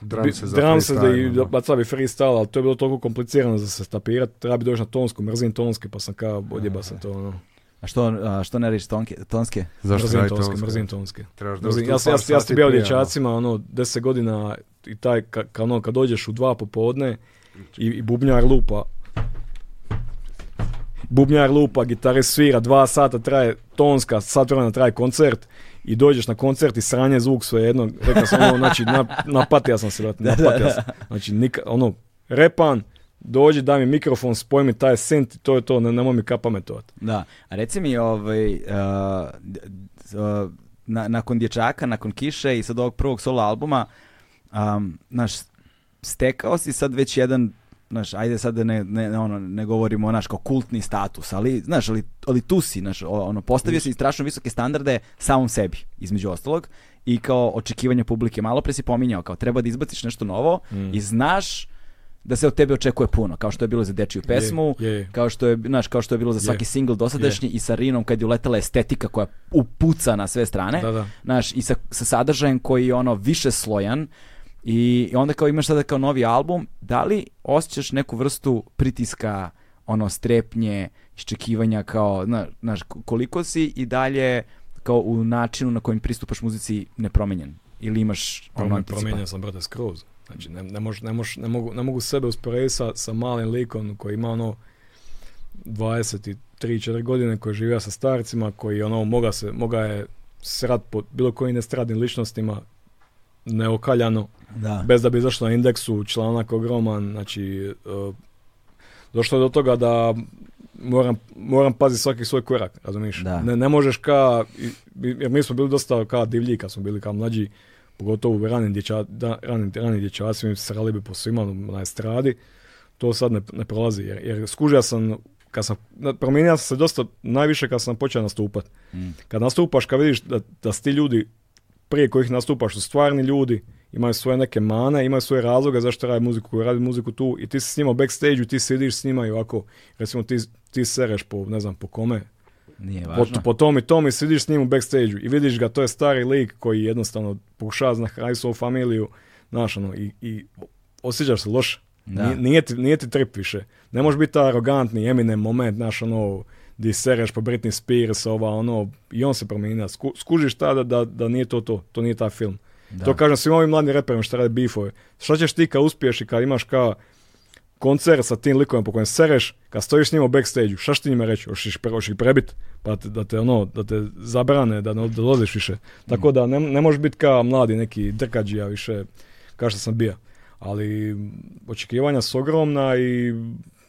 C: bi-
D: Dram se za
C: dramse da i
D: freestyle,
C: da
D: ono.
C: bacao bi freestyle, ali to je bilo toliko komplicirano za se tapirat, treba bi doći na tonsku, mrzim tonske, pa sam kao odjeba sam to ono.
B: A što, a što ne reći tonke, tonske?
D: Zašto
C: mrzim
D: radite
C: tonske,
D: ovo?
C: mrzim tonske.
D: Trebaš da
C: Mrzim,
D: dođeš
C: ja
D: tu
C: sam, ja,
D: par
C: sam- ja
D: sati
C: sam bio
D: prije,
C: dječacima, ono, 10 godina i taj, ka, ka- ono, kad dođeš u dva popodne i, i bubnjar lupa, bubnjar lupa, gitare svira, dva sata traje tonska, sat vremena traje koncert i dođeš na koncert i sranje zvuk sve jedno, rekao sam ono, znači na, napatija sam se, brate, napatija sam. Znači, nika, ono, repan, dođi, daj mi mikrofon, spoj mi taj synth i to je to, ne, nemoj mi kapametovat.
B: Da, a reci mi, ovaj, uh, d- d- uh, na, nakon Dječaka, nakon Kiše i sad ovog prvog solo albuma, um, naš, stekao si sad već jedan, znaš, ajde sad da ne, ne, ne, ono, ne govorimo, naš, kao kultni status, ali, znaš, ali, ali tu si, znaš, o- ono, postavio si strašno visoke standarde samom sebi, između ostalog, i kao očekivanje publike. Malo pre si pominjao, kao treba da izbaciš nešto novo i znaš da se od tebe očekuje puno, kao što je bilo za dečiju pesmu,
C: je, je.
B: kao što je, znaš, kao što je bilo za svaki
C: Je.
B: single dosadašnji i sa Rinom kad je uletela estetika koja upuca na sve strane,
C: Da, da.
B: znaš, i sa, sa sadržajem koji je ono više slojan i, i onda kao imaš sada kao novi album, da li osjećaš neku vrstu pritiska, ono, strepnje, iščekivanja kao, zna- znaš, koliko si i dalje kao u načinu na kojem pristupaš muzici nepromenjen? Ili imaš ono,
C: Promen,
B: anticipa-
C: Pa promijenio sam brate skroz. Znači, ne, ne, mož- ne, mož- ne, mogu, ne mogu sebe usporediti sa, sa malim likom koji ima ono 23-4 godine, koji živio sa starcima, koji ono moga, se, moga je srat po bilo kojim estradnim ličnostima neokaljano,
B: Da.
C: bez da bi izašlo na indeksu, članak ogroman, znači e, došlo je do toga da moram, moram paziti svaki svoj korak, razumiješ?
B: Da.
C: Ne, ne možeš ka, i- i- jer mi smo bili dosta ka divlji kad smo bili kao mlađi, pogotovo u ranim, dječa, da, ranim, ranim dječacima, mi srali bi po svima ono, na estradi, to sad ne, ne prolazi, jer, jer skužio sam, kad sam, na- promijenio sam se dosta, najviše kad sam počeo nastupati.
B: Mm,
C: Kad nastupaš, kad vidiš da, da su ti ljudi prije kojih nastupaš su stvarni ljudi, imaju svoje neke mane, imaju svoje razloge zašto rade muziku, koji radi muziku tu i ti si s njima u backstage-u, ti sidiš s njima i ovako, recimo ti, ti sereš po, ne znam, po kome,
B: Nije
C: po,
B: važno.
C: po tom i tom i sidiš s njim u backstage-u i vidiš ga, to je stari lik koji jednostavno pokušava na kraju svoju familiju, znaš, ono, i, i osjećaš se loše.
B: Da.
C: Nije, nije ti, nije ti trip više. Ne možeš biti taj arogantni, Eminem moment, znaš, ono, di sereš po Britney Spears, ova, ono, i on se promijenio. Sku- skužiš tada da, da nije to to, to nije taj film. To kažem svim ovim mladim reperima što rade bifove. Šta ćeš ti kad uspiješ i kad imaš kao koncert sa tim likovima po kojem sereš, kad stojiš s njima u backstage-u, šta ćeš ti njima reći? Hoćeš ih pre- hoćeš ih prebit, pa te- da te, ono, da te zabrane, da ne dolaziš više. Tako da ne, ne možeš biti kao mladi neki drkađija više, kao što sam bio. Ali m, očekivanja su ogromna i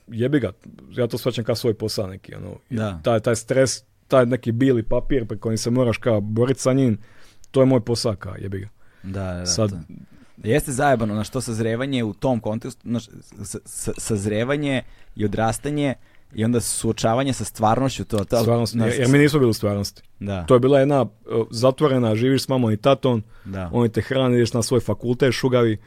C: jebi ga, ja to shvaćam kao svoj posao neki, ono,
B: Da.
C: taj, taj stres, taj neki bili papir pre kojim se moraš kao boriti sa njim, to je moj posao kao jebi ga.
B: Da, da, da,
C: Sad-
B: to- Jeste zajebano, na što sazrevanje u tom kontekstu, znaš, sa- sa- sazrevanje i odrastanje i onda suočavanje sa stvarnošću, to, to
C: Stvarnost,
B: znaš,
C: jer, jer mi nismo bili u stvarnosti.
B: da,
C: To je bila jedna e, zatvorena, živiš s mamom i tatom,
B: da.
C: oni te hrane, ideš na svoj fakultet, šugavi,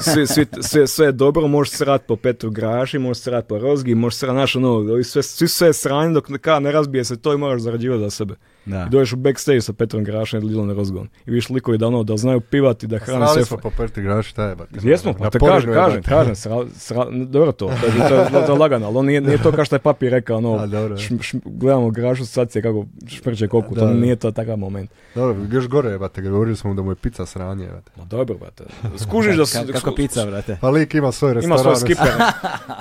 C: sve, sve, sve, sve je dobro, možeš srat po Petru Graši, možeš srat po Rozgi, možeš srat, znaš, ono, ovi sve, svi sve sranje dok ka, ne razbije se to i moraš zarađivati za sebe.
B: Da.
C: I dođeš u backstage sa Petrom Grašem i Lilan Rozgon. I viš likovi da ono, da znaju pivati, da hrane
D: Srali
C: sefa.
D: smo po prti graš, šta ono. je, bate.
C: Jesmo, pa te kažem, kažem, kažem, sra, sra- dobro to, to je, to je, to je lagano, ali on nije, nije to kao što je papi rekao, ono,
D: A, dobro, je.
C: šm- šm- gledamo grašu sad se kako šprče koku,
D: Da,
C: to
D: da.
C: nije to takav moment.
D: Dobro, još gore je, bate, govorili smo mu da mu je pizza sranje, bate.
C: Ma dobro, brate, skužiš da se...
B: Ka- kako pizza, brate.
D: Pa lik ima svoj
C: Ima
D: restoran.
C: svoj skiper,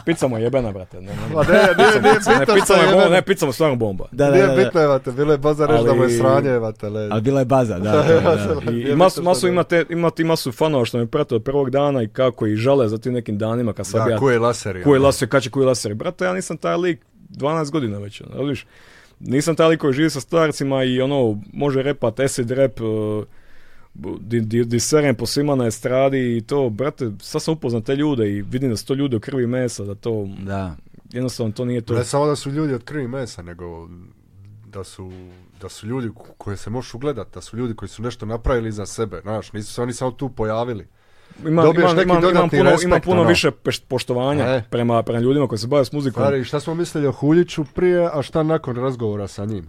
C: pica mu je jebena, brate, ne, ne,
D: Pa ne, nije, nije
C: ne,
D: bitno
C: pica
D: što
C: mu je
D: je,
C: bomba,
D: ne,
C: ne, pica mu je stvarno bomba.
B: Da, da,
D: nije
B: da, da.
D: bitno je, bate, bilo je baza reći da mu
C: Ali-
D: je sranje, bate, le.
B: Ali bila je baza, da. to je, da.
C: I, i
D: Nije
C: masu,
D: bitno
C: masu
D: što
C: ima, te, ima ti masu fanova što me prate od prvog dana i kako i žale za tim nekim danima kad sam
D: Da,
C: ja
D: koje laseri.
C: Koji
D: ono.
C: laser, kad će koji laser? Brate, ja nisam taj lik 12 godina već, ono, vidiš. Nisam taj lik koji živi sa starcima i ono, može repat acid rap, uh, di, di, di serem po svima na estradi i to, brate, sad sam upoznat te ljude i vidim da su to ljudi u krvi i mesa, da to,
B: Da.
C: jednostavno to nije to.
D: Ne samo da su ljudi od krvi i mesa, nego da su, da su ljudi ko- koje se možeš ugledat, da su ljudi koji su nešto napravili za sebe, znaš, nisu se oni samo tu pojavili.
C: Ima,
D: Dobiješ
C: imam,
D: neki
C: imam, imam
D: dodatni
C: puno,
D: respekt,
C: imam puno
D: ono.
C: više peš- poštovanja
D: E.
C: prema, prema ljudima koji se bave s muzikom.
D: Stari, šta smo mislili o Huljiću prije, a šta nakon razgovora sa njim?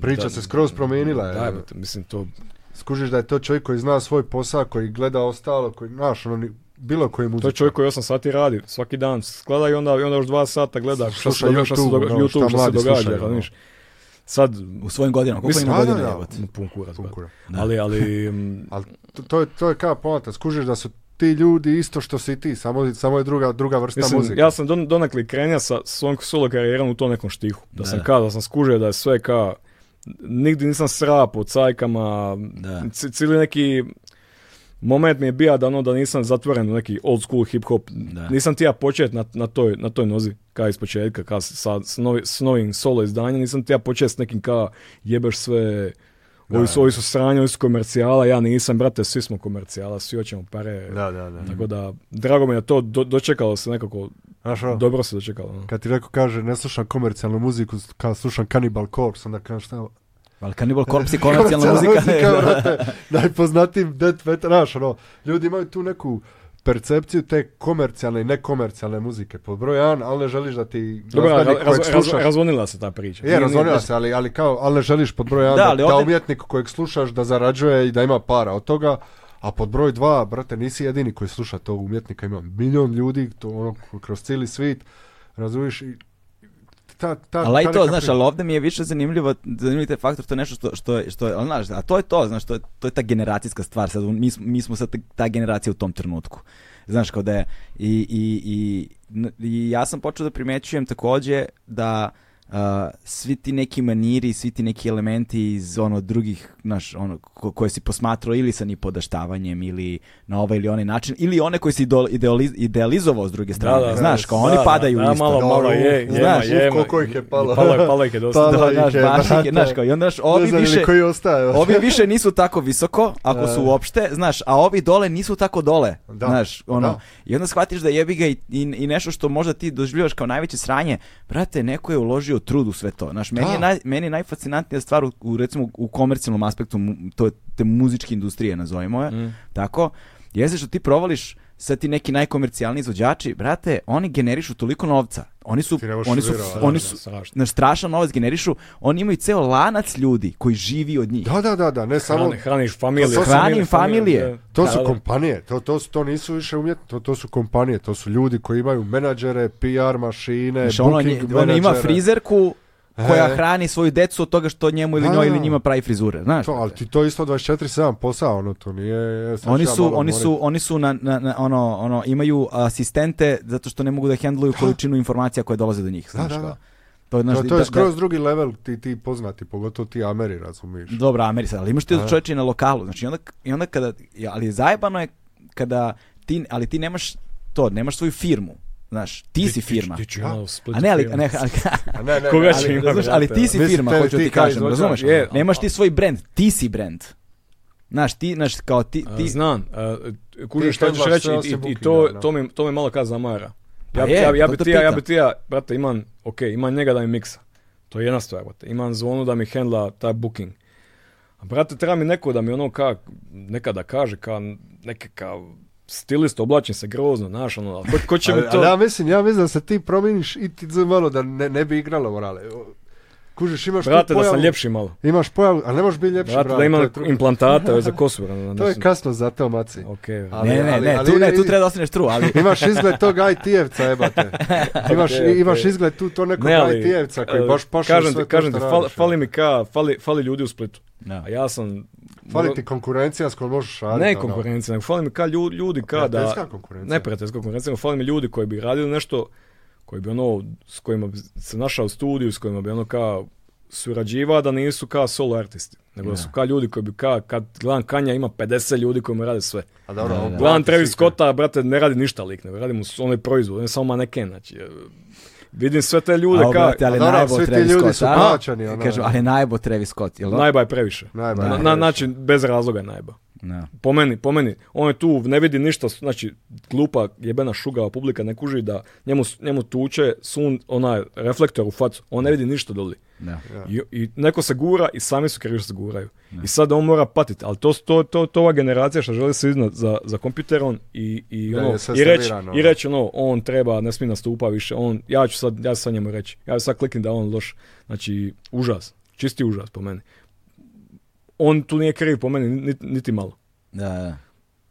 D: Priča
C: Pa, da-
D: se skroz promijenila. je.
C: Da, brate, mislim, to,
D: Skužiš da je to čovjek koji zna svoj posao, koji gleda ostalo, koji, znaš, ono, ni- bilo koji muzičar.
C: to je čovjek koji 8 sati radi, svaki dan, sklada i onda, i onda još 2 sata gleda šta se
D: Sluša
C: događa, šta se
D: YouTube,
C: događa,
D: ono, šta
C: YouTube, šta se
D: mladi
C: događa,
D: slušaju, ono.
C: razumiješ. Sad,
B: U svojim godinama. Koliko
C: Mislim,
B: ima
D: da, da,
B: godina,
D: da.
B: jebote?
C: No, pun kurac,
D: Pun
C: brate.
D: kurac.
C: Ali, ali, m,
D: Ali to, to je, to je kao poanta, skužiš da su ti ljudi isto što si ti, samo, samo je druga, druga vrsta
C: mislim,
D: muzike.
C: ja sam don, donekle krenja sa svojom solo karijerom u to nekom štihu. Da,
B: Da,
C: sam
B: da.
C: kao, da sam skužio da je sve kao, nigdje nisam sra po cajkama,
B: Da.
C: ci- cijeli neki moment mi je bio da ono da nisam zatvoren u neki old school hip hop.
B: Da.
C: Nisam ti ja počet na, na, toj, na toj nozi, kao iz početka, kao sa, s, novi- s novim solo izdanjem, nisam ti ja počet s nekim kao jebeš sve, ovi su, ovi su sranje, ovi su komercijala, ja nisam, brate, svi smo komercijala, svi hoćemo pare,
D: Da, da, da.
C: Mhm. Tako da, drago mi je to, do- dočekalo se nekako,
D: Znaš, ono,
C: dobro se dočekalo. no.
D: Kad ti neko kaže ne slušam komercijalnu muziku, kad slušam Cannibal Corpse, onda kažem šta je ovo?
B: Ali Cannibal Corpse i komercijalna
D: Komercijalna
B: muzika. ne, da.
D: brate, najpoznatiji death metal, znaš, ono, ljudi imaju tu neku percepciju te komercijalne i nekomercijalne muzike. Pod broj 1, ali ne želiš da ti
C: Dobro,
D: glazbenik
C: raz-
D: kojeg
C: raz-
D: slušaš...
C: razvonila se ta priča. Nije-
D: je,
C: nije-
D: razvonila E, se, ali, ali kao, ali ne želiš pod broj 1
B: Da,
D: da,
B: ali
D: da
B: ovdje-
D: umjetnik kojeg slušaš da zarađuje i da ima para od toga, a pod broj 2, brate, nisi jedini koji sluša tog umjetnika, ima milion ljudi, to ono, kroz cijeli svit, razumiješ, i ta, ta,
B: Ali
D: ta
B: i to,
D: neka
B: znaš,
D: priča.
B: ali ovdje mi je više zanimljivo, zanimljiv taj faktor, to je nešto što, što, je- što je, ali znaš, a to je to, znaš, to je, to je ta generacijska stvar, sad, mi, smo- mi smo sad ta generacija u tom trenutku. Znaš, kao da je, i, i, i, n- i ja sam počeo da primećujem takođe da a, svi ti neki maniri, svi ti neki elementi iz ono drugih, znaš, ono, ko- koje si posmatrao ili sa nipodaštavanjem ili na ovaj ili onaj način, ili one koje si idol- idealiz- idealizovao s druge strane,
C: da,
B: znaš, kao oni
C: da,
B: padaju
C: da, da,
B: isto.
C: malo, malo, je,
D: Uf,
C: jema,
B: znaš,
D: uf,
C: jema.
D: koliko ih je palo.
C: Palo je, palo ih je dosta.
D: Palo.
B: Da,
D: Ih
B: znaš,
D: je,
B: baš ih Ono, je,
D: brate.
B: znaš, kao, i onda, znaš,
D: ne
B: ovi
D: znam ni
B: više,
D: koji ostaje.
B: ovi više nisu tako visoko, ako su
D: Da.
B: uopšte, znaš, a ovi dole nisu tako dole,
D: Da,
B: znaš, ono,
D: da.
B: i onda shvatiš da jebi ga i, i, i nešto što možda ti doživljavaš kao najveće sranje, brate, neko je uložio trud u sve to, znaš, meni, je,
D: Da.
B: naj, meni je najfascinantnija stvar u, u, recimo, u komercijalnom aspektu mu- to, te muzičke industrije, nazovimo je, tako, jeste što ti provališ sad ti neki najkomercijalni izvođači, brate, oni generišu toliko novca. Oni su,
D: Ti ne možeš
B: oni su,
D: vjerovati.
B: oni su,
C: strašno.
B: na strašan novac generišu, oni imaju ceo lanac ljudi koji živi od njih.
D: Da, da, da, da, ne samo...
C: Hrani- Hraniš familije.
D: To su-
B: Hranim familije.
C: da.
D: To
C: Da,
D: su
C: da.
D: kompanije, to, to, su- to nisu više umjetni, to, to su kompanije, to su ljudi koji imaju menadžere, PR mašine,
B: Znaš, ono,
D: booking
B: nje- ono ima
D: menadžere.
B: frizerku koja
D: E.
B: hrani svoju decu od toga što njemu ili
D: Da,
B: njoj
D: da.
B: ili njima pravi frizure, znaš.
D: To, ali ti to isto 24-7 posao, ono, to nije... sad
B: Oni
D: ću ja
B: su,
D: malo
B: oni
D: morit.
B: su, oni su na, na, na- ono, ono, imaju asistente zato što ne mogu da hendluju količinu informacija koje dolaze do njih, znaš.
D: da, da.
B: kao. To je, znaš,
D: To,
B: da-
D: to
B: da-
D: je skroz drugi level, ti, ti poznati, pogotovo ti Ameri, razumiješ.
B: Dobro, Ameri sad, ali imaš ti čovječe i na lokalu, znači i onda, i onda kada, ja, ali zajebano je kada ti, ali ti nemaš to, nemaš svoju firmu, znaš, ti si firma.
C: Ti ću imao u Splitu
B: A ne, ali,
C: firmu.
B: ne, ali,
D: A ne, ne, ne,
C: Koga
D: ali-
C: će
B: ali,
C: imati,
B: razumeš, ali
C: brate,
B: ti si
D: Mislim,
B: firma,
D: te-
B: hoću
D: ti
B: ti
D: kao
B: kažem,
D: izvođač,
B: razumeš?
C: je, a-
B: Nemaš ti svoj brand, ti si brand. Znaš, ti, znaš, kao ti,
C: A,
B: ti,
C: Znam, a, kužiš
D: Ti
C: šta ćeš
D: hendlaš
C: reći
D: sve
C: i-
D: osim
C: i, i to,
D: bookinga, da.
C: to, mi, to mi malo kad zamara.
B: Pa
C: Ja, bi-
B: je,
C: ja, bi- ja
B: to
C: bi
B: te
C: ti ja, ja
B: pitam.
C: bi ti ja, brate, imam, ok, imam njega da mi miksa. To je jedna stvar, brate. Imam zvonu da mi hendla taj booking. A brate, treba mi neko da mi ono ka, nekada kaže, ka, neke ka stilist, oblačim se grozno, znaš, ono, ali ko, ko će mi
D: Ali- ali
C: to...
D: ja mislim, ja mislim da se ti promijeniš i ti z- malo da ne, ne bi igralo morale. Kužiš, imaš tu
C: Brate, da
D: pojavu-
C: sam ljepši malo.
D: Imaš pojavu, ali ne možeš biti ljepši,
C: Brate,
D: brate,
C: da
D: to
C: imam
D: je tru-
C: implantata za kosu. ono,
D: To je
C: nešto.
D: kasno za te omaci.
C: Okej, brate.
D: Ali-
F: ne, ne,
D: ali-
F: ne,
D: ali
F: tu, ne,
D: vidi-
F: tu treba da ostaneš true, ali...
D: Imaš izgled tog IT-evca, jebate. Imaš,
C: Okej, okej.
D: imaš izgled tu to nekog
C: Ne, ali, e,
D: IT-evca koji baš paše u
C: kažem
D: sve
C: ti,
D: to
C: kažem ti,
D: što
C: fali,
D: radiš. ono.
C: fali mi ka, fali, fali ljudi u Splitu.
B: Da.
C: A ja sam...
D: Fali ti konkurencija s kojom možeš raditi.
C: Ne
D: ono.
C: konkurencija, nego fali mi ka lju- ljudi ka
D: Prijateljska
C: da...
D: konkurencija.
C: Ne prijateljska konkurencija, nego fali mi ljudi koji bi radili nešto, koji bi ono, s kojima bi se našao u studiju, s kojima bi ono ka surađiva da nisu ka solo artisti. Nego da su ka ljudi koji bi ka, kad gledam Kanja ima 50 ljudi koji mu rade sve.
D: A dobro, ovo
C: Gledam
D: plati
C: Travis
D: svi.
C: Scotta, brate, ne radi ništa lik, nego radi mu s- onaj proizvod, on je samo maneken, znači. e, Vidim sve te ljude
F: Al,
C: ka...
F: brate, ali
D: A dobro,
F: najbo
D: svi ti
F: Travis
D: ljudi
F: Scott,
D: su
F: a?
D: plaćani, ono.
F: Kažem, ali najbo Travis Scott, jel da?
C: Najba je previše.
D: Najba je
C: Na- na-
D: previše.
C: znači, bez razloga je najba.
B: Da.
C: Po meni, po meni. On je tu, ne vidi ništa, znači, glupa, jebena šugava publika ne kuži da njemu, njemu tuče sun, onaj reflektor u facu. On ne vidi ništa doli.
B: Da.
C: I, I neko se gura i sami su krivi što se guraju. I sad on mora patiti, ali to, to, to, to ova generacija što želi se iznad za, za kompjuterom i, i,
D: Da,
C: ono,
D: je sve
C: i, reći, i
D: servirano, ono.
C: reći ono, on treba, ne smije nastupa više, on, ja ću sad, ja ću sad njemu reći, ja ću sad kliknem da je on loš. Znači, užas, čisti užas po meni. On tu nije kriv po meni, niti, niti malo.
B: Da, da.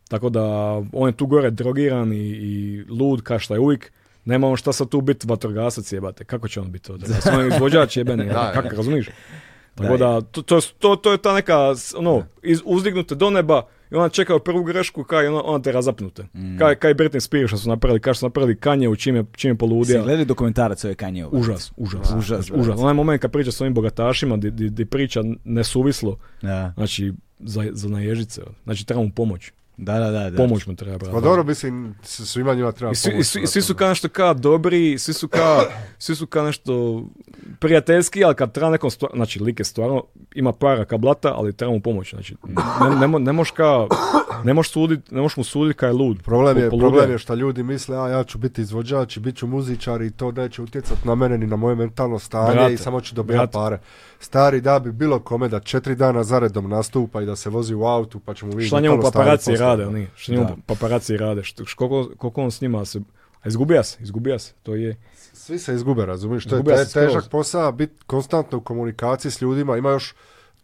C: Tako da, on je tu gore drogiran i, i lud, ka šta je uvijek. Nema on šta sad tu biti vatrogasac jebate. Kako će on biti vatrogasac? On je izvođač jebeni,
D: Da,
C: kako
D: da.
C: razumiješ? Tako da, to, to, to, to je ta neka, s- ono, iz, uzdignute do neba i ona čeka u prvu grešku kaj ona, ona te razapnute.
B: Mm.
C: Kaj, kaj Britney Spears što su napravili, kaj što su napravili Kanje u čim je, čim je
B: Si
C: poludio.
B: gledali dokumentarac ove Kanye West?
C: Užas, užas, Znači,
B: Užas,
C: užas. užas. Onaj moment kad priča s ovim bogatašima, di, di, di priča nesuvislo,
B: Da,
C: znači, za, za naježice. Znači, treba mu pomoć.
B: da, da. da, da.
C: Pomoć mu treba. brate.
D: Pa dobro, mislim, s- svima njima treba
C: I svi, i
D: pomoć,
C: svi,
D: brate,
C: svi su
D: ono.
C: ka nešto ka dobri, svi su ka, svi su ka nešto prijateljski, ali kad treba nekom stvar, znači like stvarno ima para ka blata, ali treba mu pomoć, znači ne, ne, mo- ne moš ka, ne moš sudit, ne moš mu sudit ka je lud.
D: Problem je,
C: Poludio.
D: problem je što ljudi misle, a ja ću biti izvođač i bit ću muzičar i to neće utjecati na mene ni na moje mentalno stanje
C: Brate,
D: i samo ću dobijati
C: brate.
D: pare. Stari da bi bilo kome da četiri dana zaredom nastupa i da se vozi u autu pa ćemo vidjeti
C: Šta njemu paparaci rade, oni, šta njemu paparaci rade, što, š- koliko, koliko on s njima se, a izgubija se, izgubija se, to je.
D: Svi se izgube, razumiješ? To je
C: Izgube
D: te-
C: se skroz.
D: težak posao, biti konstantno u komunikaciji s ljudima, ima još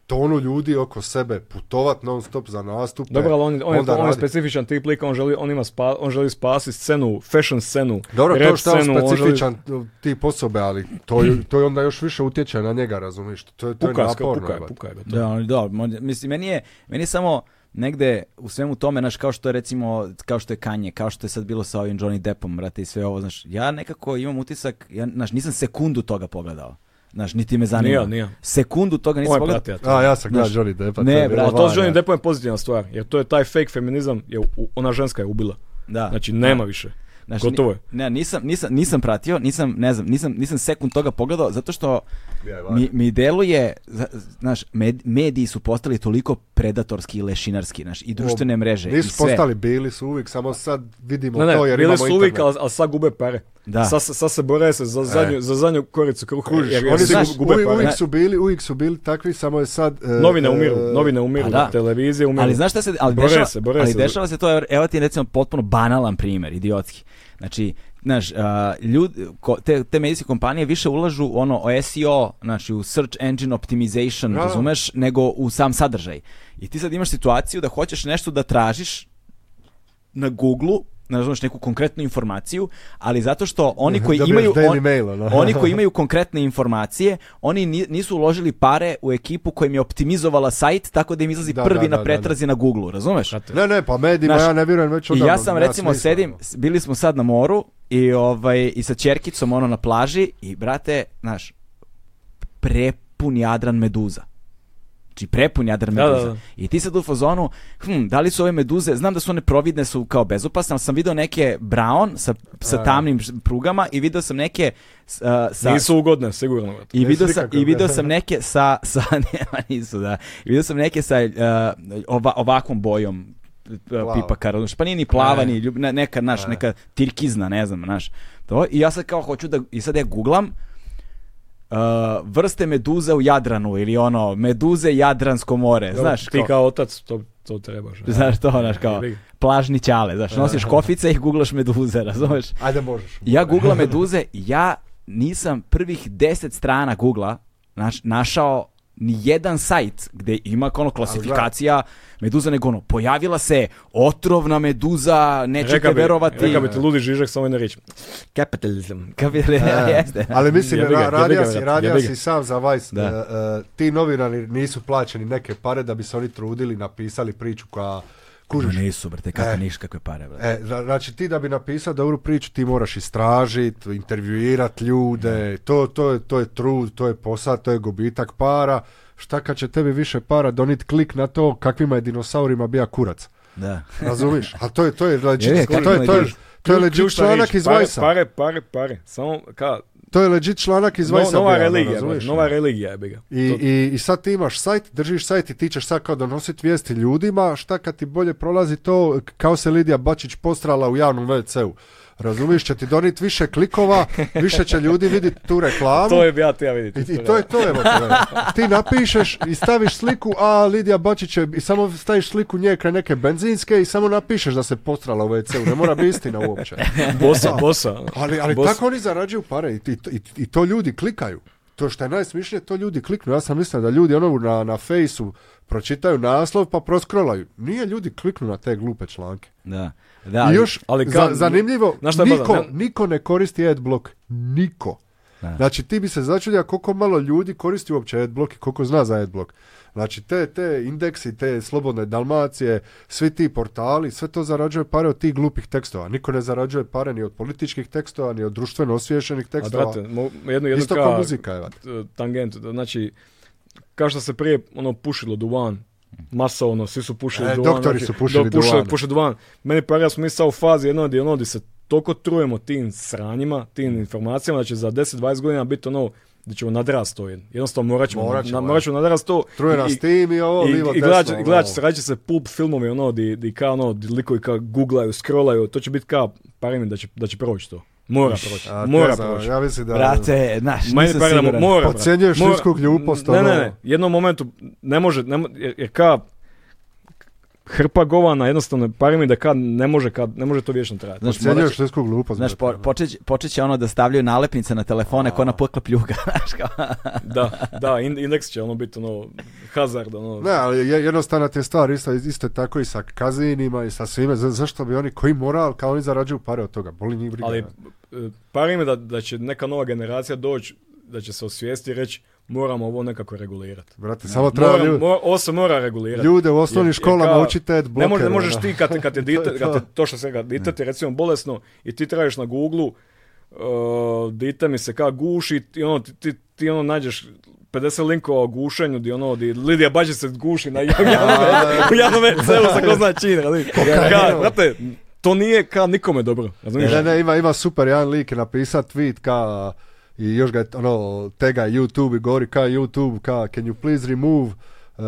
D: tonu ljudi oko sebe, putovat non stop za nastupe.
C: Dobro, ali on, on, je,
D: onda
C: on je
D: radi-
C: specifičan tip lika, on želi, on, ima spa, on želi spasiti scenu, fashion scenu,
D: Dobro,
C: rap
D: to što je
C: scenu, ono- on želi-
D: specifičan tip osobe, ali to, je- to je onda još više utječe na njega, razumiješ? To je, to je
C: Pukaj,
D: naporno.
C: pukaj,
D: jebote.
C: pukaj ga Pa to.
B: Da, ali da, mo- mislim, meni je, meni je samo negde u svemu tome, znaš, kao što je recimo, kao što je Kanje, kao što je sad bilo sa ovim Johnny Deppom, brate, i sve ovo, znaš, ja nekako imam utisak, ja, znaš, nisam sekundu toga pogledao. Znaš, niti me zanima.
C: Ni ja, ni ja.
B: Sekundu toga nisam
C: Ovo je
B: pogledao.
C: prati, ja to.
D: A, ja sam gledao
B: Znaš,
D: Johnny Deppa.
B: ne,
D: to je bilo
B: brate,
C: A to s
D: van,
C: Johnny
D: ja.
C: Deppom je pozitivna stvar, jer to je taj fake feminizam, je, u- ona ženska je ubila.
B: Da.
C: Znači, nema više.
B: Znaš,
C: Gotovo je.
B: ni- Ne, nisam, nisam, nisam pratio, nisam, ne znam, nisam, nisam sekund toga pogledao, zato što
D: Je, valjda.
B: mi, mi deluje, za- znaš, med- mediji su postali toliko predatorski i lešinarski, znaš, i društvene mreže, i
D: Nisu
B: sve.
D: postali, bili su uvijek, samo sad vidimo
C: Ne,
D: to
C: ne,
D: jer
C: bile
D: imamo
C: su uvijek,
D: internet.
C: ali, ali sad gube pare.
B: Da. E.
C: Sad, se- sad se bore se za zadnju, za zadnju koricu kruha.
D: Kužiš,
C: jer, jer
D: oni
C: svi
B: znaš,
C: gube
D: uvijek,
C: pare.
D: uvijek
B: Ne.
D: su bili, uvijek su bili takvi, samo je sad... e,
C: Novine
D: e,
C: umiru, novine umiru,
B: Pa da.
C: televizije umiru.
B: Ali znaš šta se, ali
C: Bore
B: dešava,
C: se, bore
B: ali
C: se.
B: dešava se to, evo- evo ti recimo potpuno banalan primjer, idiotski. Znači, znaš, a, ljud, ko- te, te medijske kompanije više ulažu u ono o SEO, znači u search engine optimization,
D: Da.
B: razumeš, nego u sam sadržaj. I ti sad imaš situaciju da hoćeš nešto da tražiš na Google, ne razumeš, neku konkretnu informaciju, ali zato što oni koji
D: Dobiješ
B: imaju
D: Daily Mail, ono.
B: oni koji imaju konkretne informacije, oni ni- nisu uložili pare u ekipu koja im je optimizovala sajt tako da im izlazi
D: Da,
B: prvi
D: da, da,
B: na
D: da,
B: pretrazi na Google, razumeš?
D: Ne, ne, pa medijima
B: Znaš,
D: ja ne vjerujem već
B: I
D: odavno.
B: ja sam
D: nema
B: recimo
D: smisla,
B: sedim,
D: ono.
B: s- bili smo sad na moru i ovaj i sa ćerkicom ono na plaži i brate, znaš, prepun Jadran meduza. Znači prepun Jadran
C: Da, da,
B: meduza.
C: da.
B: I ti sad u fazonu, hm, da li su ove meduze, znam da su one providne su kao bezopasne, ali sam video neke brown sa, sa tamnim ž- prugama i video sam neke s- a, sa,
C: Nisu ugodne, sigurno. brate.
B: i
D: Nisu
B: video, sam,
D: nikakve,
B: I video
D: da.
B: sam neke sa, sa nema nisu, da. I video sam neke sa uh, ova, ovakvom bojom uh, pipaka, razumiješ? Pa nije ni plava, ni ljub- ne- neka, naš, neka tirkizna, ne znam, naš. To, I ja sad kao hoću da, i sad ja googlam, uh, vrste meduza u Jadranu ili ono, meduze Jadransko more, znaš,
C: Ti
B: kao,
C: kao otac, to, to trebaš. ne?
B: znaš to, znaš, kao, plažni ćale, znaš, nosiš kofice i googlaš meduze, razumeš?
D: Ajde, možeš.
B: Ja googlam meduze, ja nisam prvih 10 strana googla
A: naš, našao ni jedan sajt gde ima ono klasifikacija meduza, nego ono, pojavila se otrovna meduza, nećete
C: Reka bi,
A: verovati.
C: reka bi ti ludi žižak samo jedna riječ. Kapitalizam.
A: Kapitalizam,
D: E,
A: jeste.
D: Ali mislim,
C: Jebi ga,
B: jebi ga,
D: ra- radija si,
B: brate,
D: radija
B: jebi
D: si sam za Vice.
A: Da.
D: e, e, ti novinari nisu plaćeni neke pare da bi se oni trudili, napisali priču koja...
A: Ma
D: Kužiš,
A: nisu, brate, kakve
D: E.
A: niš, kakve pare, brate.
D: E, zna- znači ti da bi napisao dobru priču ti moraš istražit, intervjuirat ljude, to, to, je, to je trud, to je posao, to je gubitak para. Šta kad će tebi više para donit klik na to kakvima je dinosaurima bija kurac?
A: Da.
D: Razumiš? A to je, to je legit,
A: Je, je,
D: to je, to je, to je legit
C: Ključna
D: članak
C: pa riječ,
D: iz
C: pare,
D: Vajsa.
C: Pare, pare, pare. Samo ka,
D: To je legit članak iz
C: no,
D: Vajsa.
C: nova
D: bio, ono,
C: religija,
D: razumiš?
C: brate, nova religija je ga.
D: I,
C: To-
D: i, I sad ti imaš sajt, držiš sajt i ti ćeš sad kao donositi vijesti ljudima, šta kad ti bolje prolazi to, k- kao se Lidija Bačić postrala u javnom WC-u. Razumiješ, će ti doniti više klikova, više će ljudi vidjeti tu reklamu.
C: To je bi ja ti ja vidjeti.
D: I, I to je to, evo. ti, evo. Ti napišeš i staviš sliku, a Lidija Bačić je, i samo staviš sliku nje kraj neke benzinske i samo napišeš da se postrala u WC-u. Ne mora biti istina uopće.
C: Bosa, bosa.
D: Ali, ali
C: Bosa.
D: tako oni zarađuju pare i, i, i, i to ljudi klikaju. To što je najsmišnije, to ljudi kliknu. Ja sam mislio da ljudi ono na, na fejsu pročitaju naslov pa proskrolaju. Nije ljudi kliknu na te glupe članke.
A: Da. Da, ali-
D: I još,
C: ali
D: ali
C: kao-
D: zanimljivo,
C: Znaš šta je
D: niko,
C: problem?
D: niko ne koristi adblock. Niko. Znači, ti bi se začudio koliko malo ljudi koristi uopće adblock i koliko zna za adblock. Znači, te, te indeksi, te slobodne Dalmacije, svi ti portali, sve to zarađuje pare od tih glupih tekstova. Niko ne zarađuje pare ni od političkih tekstova, ni od društveno osviješenih
C: A
D: tekstova.
C: brate, mo- jednu, jednu
D: Isto
C: ka-
D: kao muzika, evo.
C: t- tangentu. da, Znači, kao što se prije ono pušilo duvan, masovno, svi su pušili
D: E,
C: duvan.
D: doktori
C: znači,
D: su pušili
C: da, puše-
D: duvan.
C: puše duvan. Meni pa ja smo mi sad u fazi jedno gdje ono gdje se toliko trujemo tim sranjima, tim informacijama, da će za 10-20 godina biti ono gdje ćemo nadrast to. Jednostavno morat ćemo,
D: Morat ćemo,
C: na- morat ćemo nadrast to.
D: Truje
C: I-
D: nas tim i ovo, ono.
C: i,
D: livo,
C: i gledat,
D: desno,
C: će- gledat će
D: ovo.
C: se, radit će se pulp filmovi, ono, di, di kao, ono, di likovi kao googlaju, scrollaju, to će biti kao, pare mi da će, da će proći to. Mora proći,
D: A,
C: mora
D: ne znam,
C: proći.
D: Ja mislim da...
A: Brate, znaš,
C: Meni
A: nisam
C: pare da mo-
A: siguran.
C: mora, brate.
D: Podcjenjuješ
C: Mora-
D: ljudsku glupost,
C: Ne, ne,
D: ono.
C: ne, jednom momentu ne može, ne, mo- jer, jer ka hrpa govana, jednostavno, pare mi da ka ne može, ka, ne može to vječno trajati.
A: Znaš, morat
D: Cijenjuješ
A: će-
D: ljudsku glupost.
A: Znaš,
D: brate.
A: po, počeć, počet će ono da stavljaju nalepnice na telefone ko na pokla pljuga, znaš kao.
C: da, da, ind- indeks će ono biti ono, hazard, ono,
D: Ne, ali je- jednostavna ti je stvar, isto, isto je tako i sa kazinima i sa svime. Za- zašto bi oni, koji moral, kao oni zarađuju pare od toga? Boli njih briga.
C: ali
D: brate.
C: e, pare mi da, da će neka nova generacija doći, da će se osvijesti i reći, moramo ovo nekako regulirati.
D: Brate, samo Pa treba
C: Mora,
D: ljudi,
C: mora, ovo se mora regulirati.
D: ljude u osnovnim
C: Jer- jer
D: školama
C: kao,
D: učite adblocker.
C: Ne, može, ne
D: ono.
C: možeš ti kad, kad je
D: To
C: dite,
D: je
C: kad
D: to.
C: je, to što se ga, dite ti je recimo bolesno i ti tražiš na Google-u, uh, dite mi se kao guši i ono, ti, ti, ti ono nađeš 50 linkova o gušenju di ono, di Lidija Bađić se guši na javnome, u javnome celu sa ko zna čin, ali, ka, znate, to nije ka nikome dobro, razumiješ?
D: Ne, ne, ima, ima super jedan lik je napisao tweet ka i još ga je, ono, tega YouTube i govori ka YouTube, ka can you please remove uh,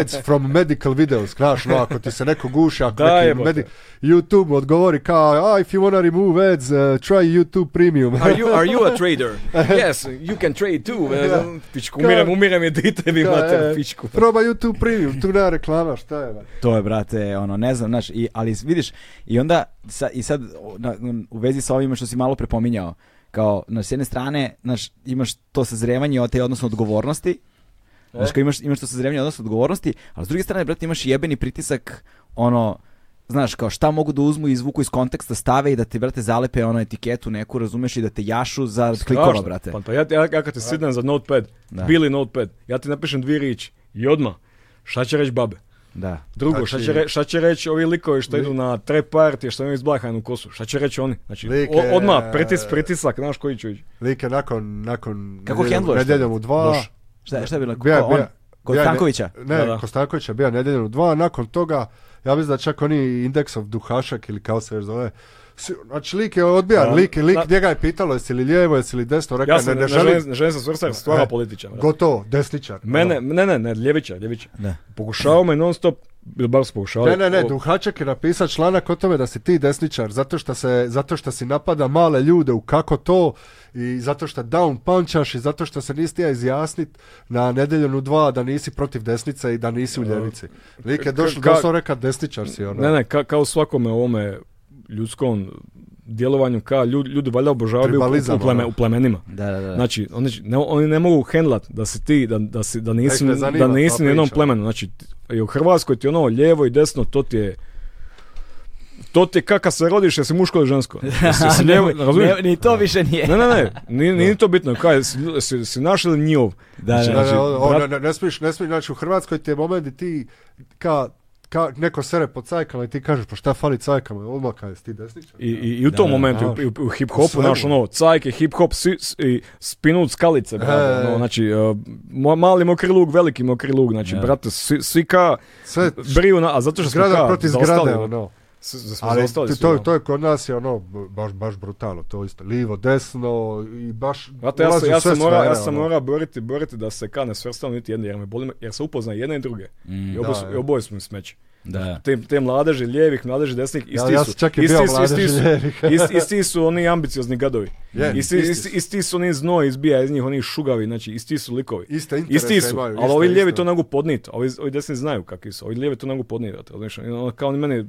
D: ads from medical videos, znaš, no, ako ti se neko guši, ako
C: Da,
D: neki
C: jebote.
D: medi- YouTube odgovori kao, ah, if you wanna remove ads, uh, try YouTube premium.
C: Are you, are you a trader? Yes, you can trade too.
D: Da.
C: Pičku, umirem,
D: Ka-
C: umirem i dite mi
D: Ka,
C: mater,
D: e,
C: pičku.
D: Proba YouTube premium, tu nema reklama, šta je, brate?
A: To je, brate, ono, ne znam, znaš, i, ali vidiš, i onda, sa, i sad, o, na- u vezi sa ovime što si malo prepominjao, kao, na s jedne strane, znaš, imaš to sazrevanje od te, odnosno odgovornosti, znaš, kao imaš, imaš to sazrevanje, odnosno odgovornosti, ali s druge strane, brate, imaš jebeni pritisak, ono, znaš, kao šta mogu da uzmu i izvuku iz konteksta, stave i da te, brate, zalepe ono etiketu neku, razumeš, i da te jašu za klikova,
C: Strašno.
A: brate.
C: Pa, pa ja, ja, ja kad ti sidnem za notepad,
A: Da.
C: bili notepad, ja ti napišem dvije riječi i odmah, šta će reći babe?
A: Da.
C: Drugo,
D: Znači-
C: šta, će re, šta će reći ovi likovi što idu na tre partije, što imaju izblahanu kosu? Šta će reći oni? Znači,
D: Like,
C: o- odmah,
D: e,
C: pritis, pritisak, znaš koji ću ići.
D: Lik je nakon, nakon
A: Kako
D: nedjeljom-
A: hendluješ to?
D: nedjeljom u dva,
A: Loš. Šta, šta je bilo?
D: Bija-
A: Ko- on?
D: bija-
A: Kod
D: bija-
A: Stankovića?
D: Ne,
C: Da,
D: ne
C: da.
D: kod Stankovića bija nedjeljom u dva, nakon toga, ja mislim da čak oni indeksov duhašak ili kao se već zove, si- Znači, lik je odbijan,
C: Da.
D: lik, lik
C: Da.
D: njega je pitalo jesi li lijevo, jesi li desno, rekao
C: Ja
D: je,
C: se
D: ne,
C: ne,
D: ne
C: želim,
D: želim,
C: ne želim se svrstati stvarno
D: E,
C: političan. brate.
D: gotovo, desničar. ono.
C: Mene, ne, ne, ne, ljevičar, ljevičar.
A: Da.
C: Pokušavao me non stop, ili bar su pokušavali.
D: Ne, ne, ne,
C: o-
D: Duhaček je napisao članak o tome da si ti desničar, zato što, se, zato što si napada male ljude u kako to i zato što down punchaš i zato što se nisi tija izjasnit na nedeljenu dva da nisi protiv desnice i da nisi u ljevici. Lik je došao,
C: Ka- ka-
D: doslovno reka desničar si ono.
C: Ne, ne, ka, kao u svakome ovome ljudskom djelovanju ka ljudi, ljudi valjda obožavaju u,
D: Tribalizam,
C: u, pleme-
D: ono.
C: u plemenima.
G: Da, da, da.
C: Znači, oni, će- ne, oni ne mogu hendlat da si ti, da, da, si, da nisi,
D: Tek ne zanima
C: da nisi
D: ta
C: ni jednom
D: priča.
C: plemenu. Znači, ti- i u Hrvatskoj ti ono lijevo i desno, to ti je to ti je kaka se rodiš, jesi muško ili žensko. Jesi, jesi lijevo,
G: Nemoj-
C: razumiješ?
G: ne- ni to više nije.
C: Ne, ne, ne, nije, nije to bitno, kaj, si, si, si naš ili njihov?
G: Da,
D: Da,
G: da.
C: znači,
D: da, o- o,
C: brat-
D: ne, ne, ne smiješ, ne smiješ, znači u Hrvatskoj ti je moment di ti ka, ka neko sere po cajkama i ti kažeš pa šta fali cajkama, odmah kada si ti desničar.
C: I, i, i u tom
G: da,
C: momentu,
D: znaš.
C: i u, u
D: U
C: hip-hopu,
D: svemu.
C: znaš, ono, cajke, hip-hop, si, s- i spinut skalice, brate,
D: E.
C: ono, znači, e, mo- mali mokri lug, veliki mokri lug, znači,
G: Da.
C: brate, svi, svi ka
D: Sve
C: briju, na, a zato što smo
D: zgrada
C: ka
D: protiv
C: zaostali,
D: zgrade,
C: ono.
D: ono.
C: S- s- smo
D: Ali
C: zaostali
D: to,
C: svi,
D: to,
C: ono.
D: to je kod nas je ono, b- baš, baš brutalno, to isto. Livo, desno i baš
C: Znate, ja, sam,
D: ulazi u
C: ja,
D: sve
C: sam mora,
D: sfere,
C: ja sam
D: ono.
C: mora boriti, boriti da se ka ne svrstam niti jedne, jer me boli, me- jer se upozna jedne i druge.
B: Mm,
C: I oboje,
D: da,
C: su-
D: da.
C: i oboje smo im smeće.
B: da.
C: Te, te mladeži lijevih, mladeži desnih, isti
D: ja
C: su.
D: sam čak i
C: isti
D: bio
C: su-
D: mladeži
C: isti su-
D: lijevih.
C: isti- Isti su oni ambiciozni gadovi.
D: Je,
C: Isti,
D: isti
C: isti,
D: su.
C: isti su oni znoj izbija iz njih, oni šugavi, znači isti su likovi.
D: Iste interese
C: Isti su,
D: imaju.
C: ali
D: isto,
C: ovi lijevi
D: isto.
C: to ne mogu podnijeti, ovi, ovi desni znaju kakvi su, ovi lijevi to ne mogu podnijeti, brate, razumiješ? I ono, kao oni meni,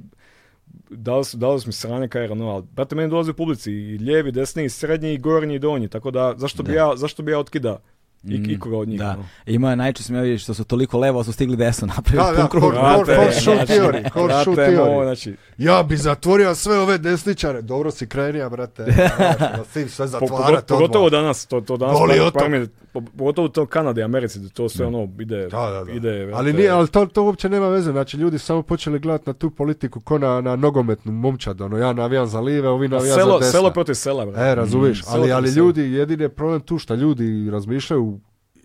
C: dali su, dali su mi sranje kaj rano, ali brate, meni dolazi u publici i lijevi, desni, i srednji, i gornji, i donji, tako da zašto bi, ja, zašto bi ja otkida ik,
B: Mm,
C: ikoga od njih?
B: Da.
C: ono?
B: Ima najčešće mi vidiš što su toliko levo, ali su stigli desno napravili
D: Da, da,
B: pun krug.
D: Core- core-
C: Brate,
D: core shoe
C: znači,
D: theory, core shoe
C: brate,
D: theory.
C: moj, znači,
D: Ja bi zatvorio sve ove desničare. Dobro si krenija, brate. Ja, Svim sve
C: Po-
D: zatvarat
C: pogo- pogotovo
D: odmah.
C: danas, to, to danas,
D: Goli
C: par-
D: otok.
C: par mi- po- pogotovo to Kanade i Americi, da to sve ono ide,
D: Da, da, da.
C: ide
D: ali,
C: brate,
D: nije, ali to, to uopće nema veze, znači ljudi su samo počeli gledati na tu politiku ko na, na nogometnu momčad, ono ja navijam za live, ovi navijam za
C: Pa selo,
D: desna.
C: selo protiv sela, brate.
D: E, razumiješ,
C: Mm, selo
D: ali,
C: protiv
D: ali
C: sela.
D: ljudi, jedini je problem tu što ljudi razmišljaju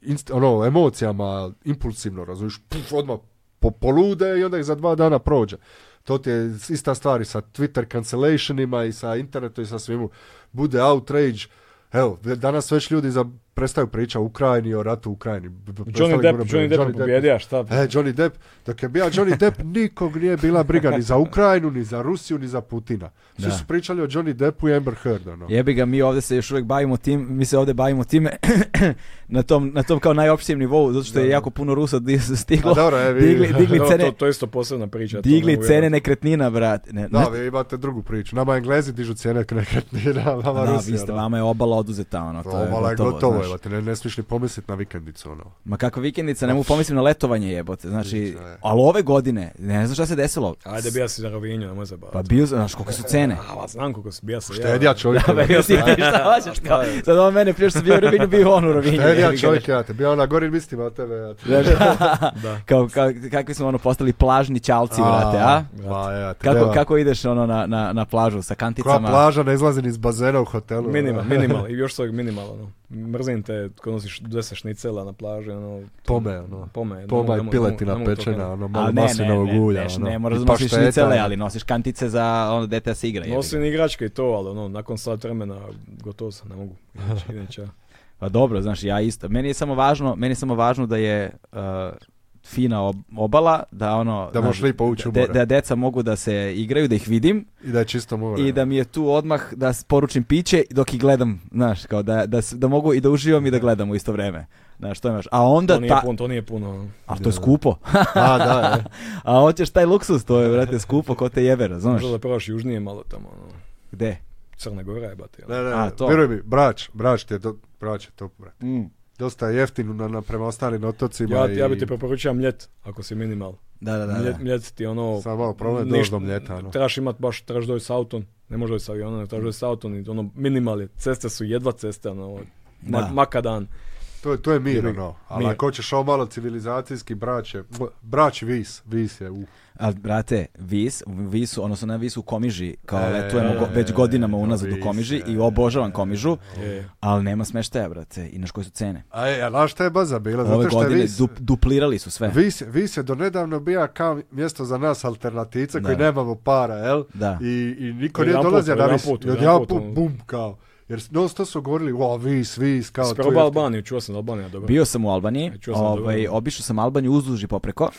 D: inst, ono, emocijama, impulsivno, razumiješ, puf, odmah po, polude i onda ih za dva dana prođe. To ti je ista stvar i sa Twitter cancellationima i sa internetom i sa svimu. Bude outrage, evo, danas već ljudi za, prestaju priča o Ukrajini, o ratu u Ukrajini. B- b-
C: Johnny
D: prestali
C: Depp,
D: govore-
C: Johnny Depp pobjedio, šta?
D: E, Johnny Depp, dok je bio Johnny Depp, nikog nije bila briga ni za Ukrajinu, ni za Rusiju, ni za Putina. Svi
B: Da.
D: su pričali o Johnny Deppu i Amber Heard, ono.
B: Jebi ga, mi ovdje se još uvijek bavimo tim, mi se ovdje bavimo time na tom, na tom kao najopštijem nivou, zato što je jako puno Rusa di- stiglo,
D: A dobro, e, vi-
B: digli, digli
C: To-
B: cene,
C: to, to je isto posebna priča. to ne
B: digli
C: mogu
B: cene
C: vjerovat.
B: nekretnina, brat. Ne,
D: Da,
B: ne-
D: vi imate drugu priču. Nama Englezi dižu cijene nekretnina, vama
B: da,
D: Rusija.
B: vi ste,
D: da.
B: vama je obala oduzeta, ono, to je
D: Obala je
B: gotovo,
D: gotovo,
B: znaš.
D: evo te, ne, ne smiješ ni pomisliti na vikendicu, ono.
B: Ma kakva vikendica, ne mogu pomislim na letovanje jebote, znači,
D: Priča je.
B: ali ove godine, ne znam šta se desilo.
C: Ajde, bija si za Rovinju, nemoj
B: Pa
C: zabavati.
B: bio, znaš, kolike su cene.
C: A, va, znam kako si bija se.
D: Štedja čovjek,
B: Ja si ti šta hoćeš kao, sad on mene prije što sam bio u Rovinju, bio on u Rovinju.
D: štedja
B: jebi ga,
D: čovjek, ja te, bio ona gorim mislima o tebe, ja te.
C: Da.
B: Kao, kao, kakvi smo ono postali plažni čalci, brate, a?
D: Ba, ja te,
B: Kako,
D: nema.
B: kako ideš ono na, na, na plažu sa
D: Koja
B: kanticama?
D: plaža ne izlazi ni iz bazena u hotelu.
C: Minimal,
D: ono.
C: minimal, i još svojeg minimal, ono. Mrzim te kad nosiš 10 šnicela na plaži, ono.
D: Pome, ono.
C: Pome, nemoj-
D: Poma i
C: nemoj-
D: piletina
C: nemoj- nemoj to
D: pečena,
C: kao-
D: ono,
B: A
D: malo
B: ne, ne, ne,
D: maslinovog
B: ne,
D: ulja,
B: ne,
D: ono.
B: ne
D: i
B: moraš nosiš
D: pašteta,
B: šnicele,
D: ono.
B: ali nosiš kantice za ono dete da se igra. jebi ga.
C: Nosim igračke i to, ali ono, nakon sat vremena gotovo sam, ne mogu. Inače, inače. ja.
B: Pa dobro, znaš, ja isto. Meni je samo važno, meni je samo važno da je uh, fina ob- obala, da ono...
D: Da
B: znaš,
D: možeš lipo ući u
B: da,
D: more.
B: da deca mogu da se igraju, da ih vidim
D: I da je čisto more.
B: i da mi je tu odmah da s- poručim piće dok ih gledam, znaš, kao da, da, s- da mogu i da uživam i da gledam u isto vreme. Znaš, to imaš. A
C: To
B: onda
C: nije
B: ta...
C: puno, to nije puno. ono.
B: A to je skupo.
D: A, da, e.
B: A hoćeš taj luksus, to je, brate, skupo, ko te jebe, razumeš?
C: Možda da probaš južnije malo tamo, ono.
B: Gde?
C: Crna Gora je, bati. ono.
D: Ne, ne,
B: A,
D: ne,
B: to.
D: vjeruj mi, brač, brač ti je, do, brač je to, brate. Dosta je jeftino na, na prema ostalim otocima
C: Ja,
D: i...
C: ja bi ti preporučio mljet, ako si minimal.
B: Da, da, da. da.
C: Mljet, mljet ti je ono...
D: Samo malo problem je
C: ništa-
D: doći do mljeta, ono.
C: Trebaš imat baš, trebaš doći s autom. Ne može doći s avionom, ne trebaš doći s autom. I ono, minimal je. Ceste su jedva ceste, ono, ovo, ma-
B: Da.
C: makadan.
D: To je, to je mir, ono. Ali
C: Mir.
D: ako hoćeš ovo malo civilizacijski, brać je, m- brać vis, vis je, uh.
B: A, brate, Vis, Visu, odnosno ne Visu, u Komiži, kao
D: E,
B: letujemo go- već godinama
D: to
B: unazad u
D: Vis,
B: Komiži i
D: e,
B: obožavam Komižu,
C: Je.
B: ali nema smeštaja, brate, i naš koje su cene.
D: A, je, a znaš šta je baza bila?
B: Ove
D: Pa Zato što je
B: godine
D: vis,
B: dup- duplirali su sve.
D: vis, vis je do nedavno bija kao mjesto za nas alternatice koji
B: Da.
D: nemamo para, jel?
B: Da.
D: I, i niko
C: Jedan
D: nije
C: put,
D: dolazio na
C: jedan
D: vis.
C: put,
D: I
C: jedan
D: odjedanput
C: put, ono.
D: bum, kao. I Jer non stop su govorili, o, vis, vis, kao
C: Si
D: to
C: probao
D: je-
C: Albaniju, čuo sam da Albanija dobro.
B: Bio sam u Albaniji,
C: E, čuo sam
B: ovaj,
C: dobro.
B: obišao sam Albaniju uzduž i popreko.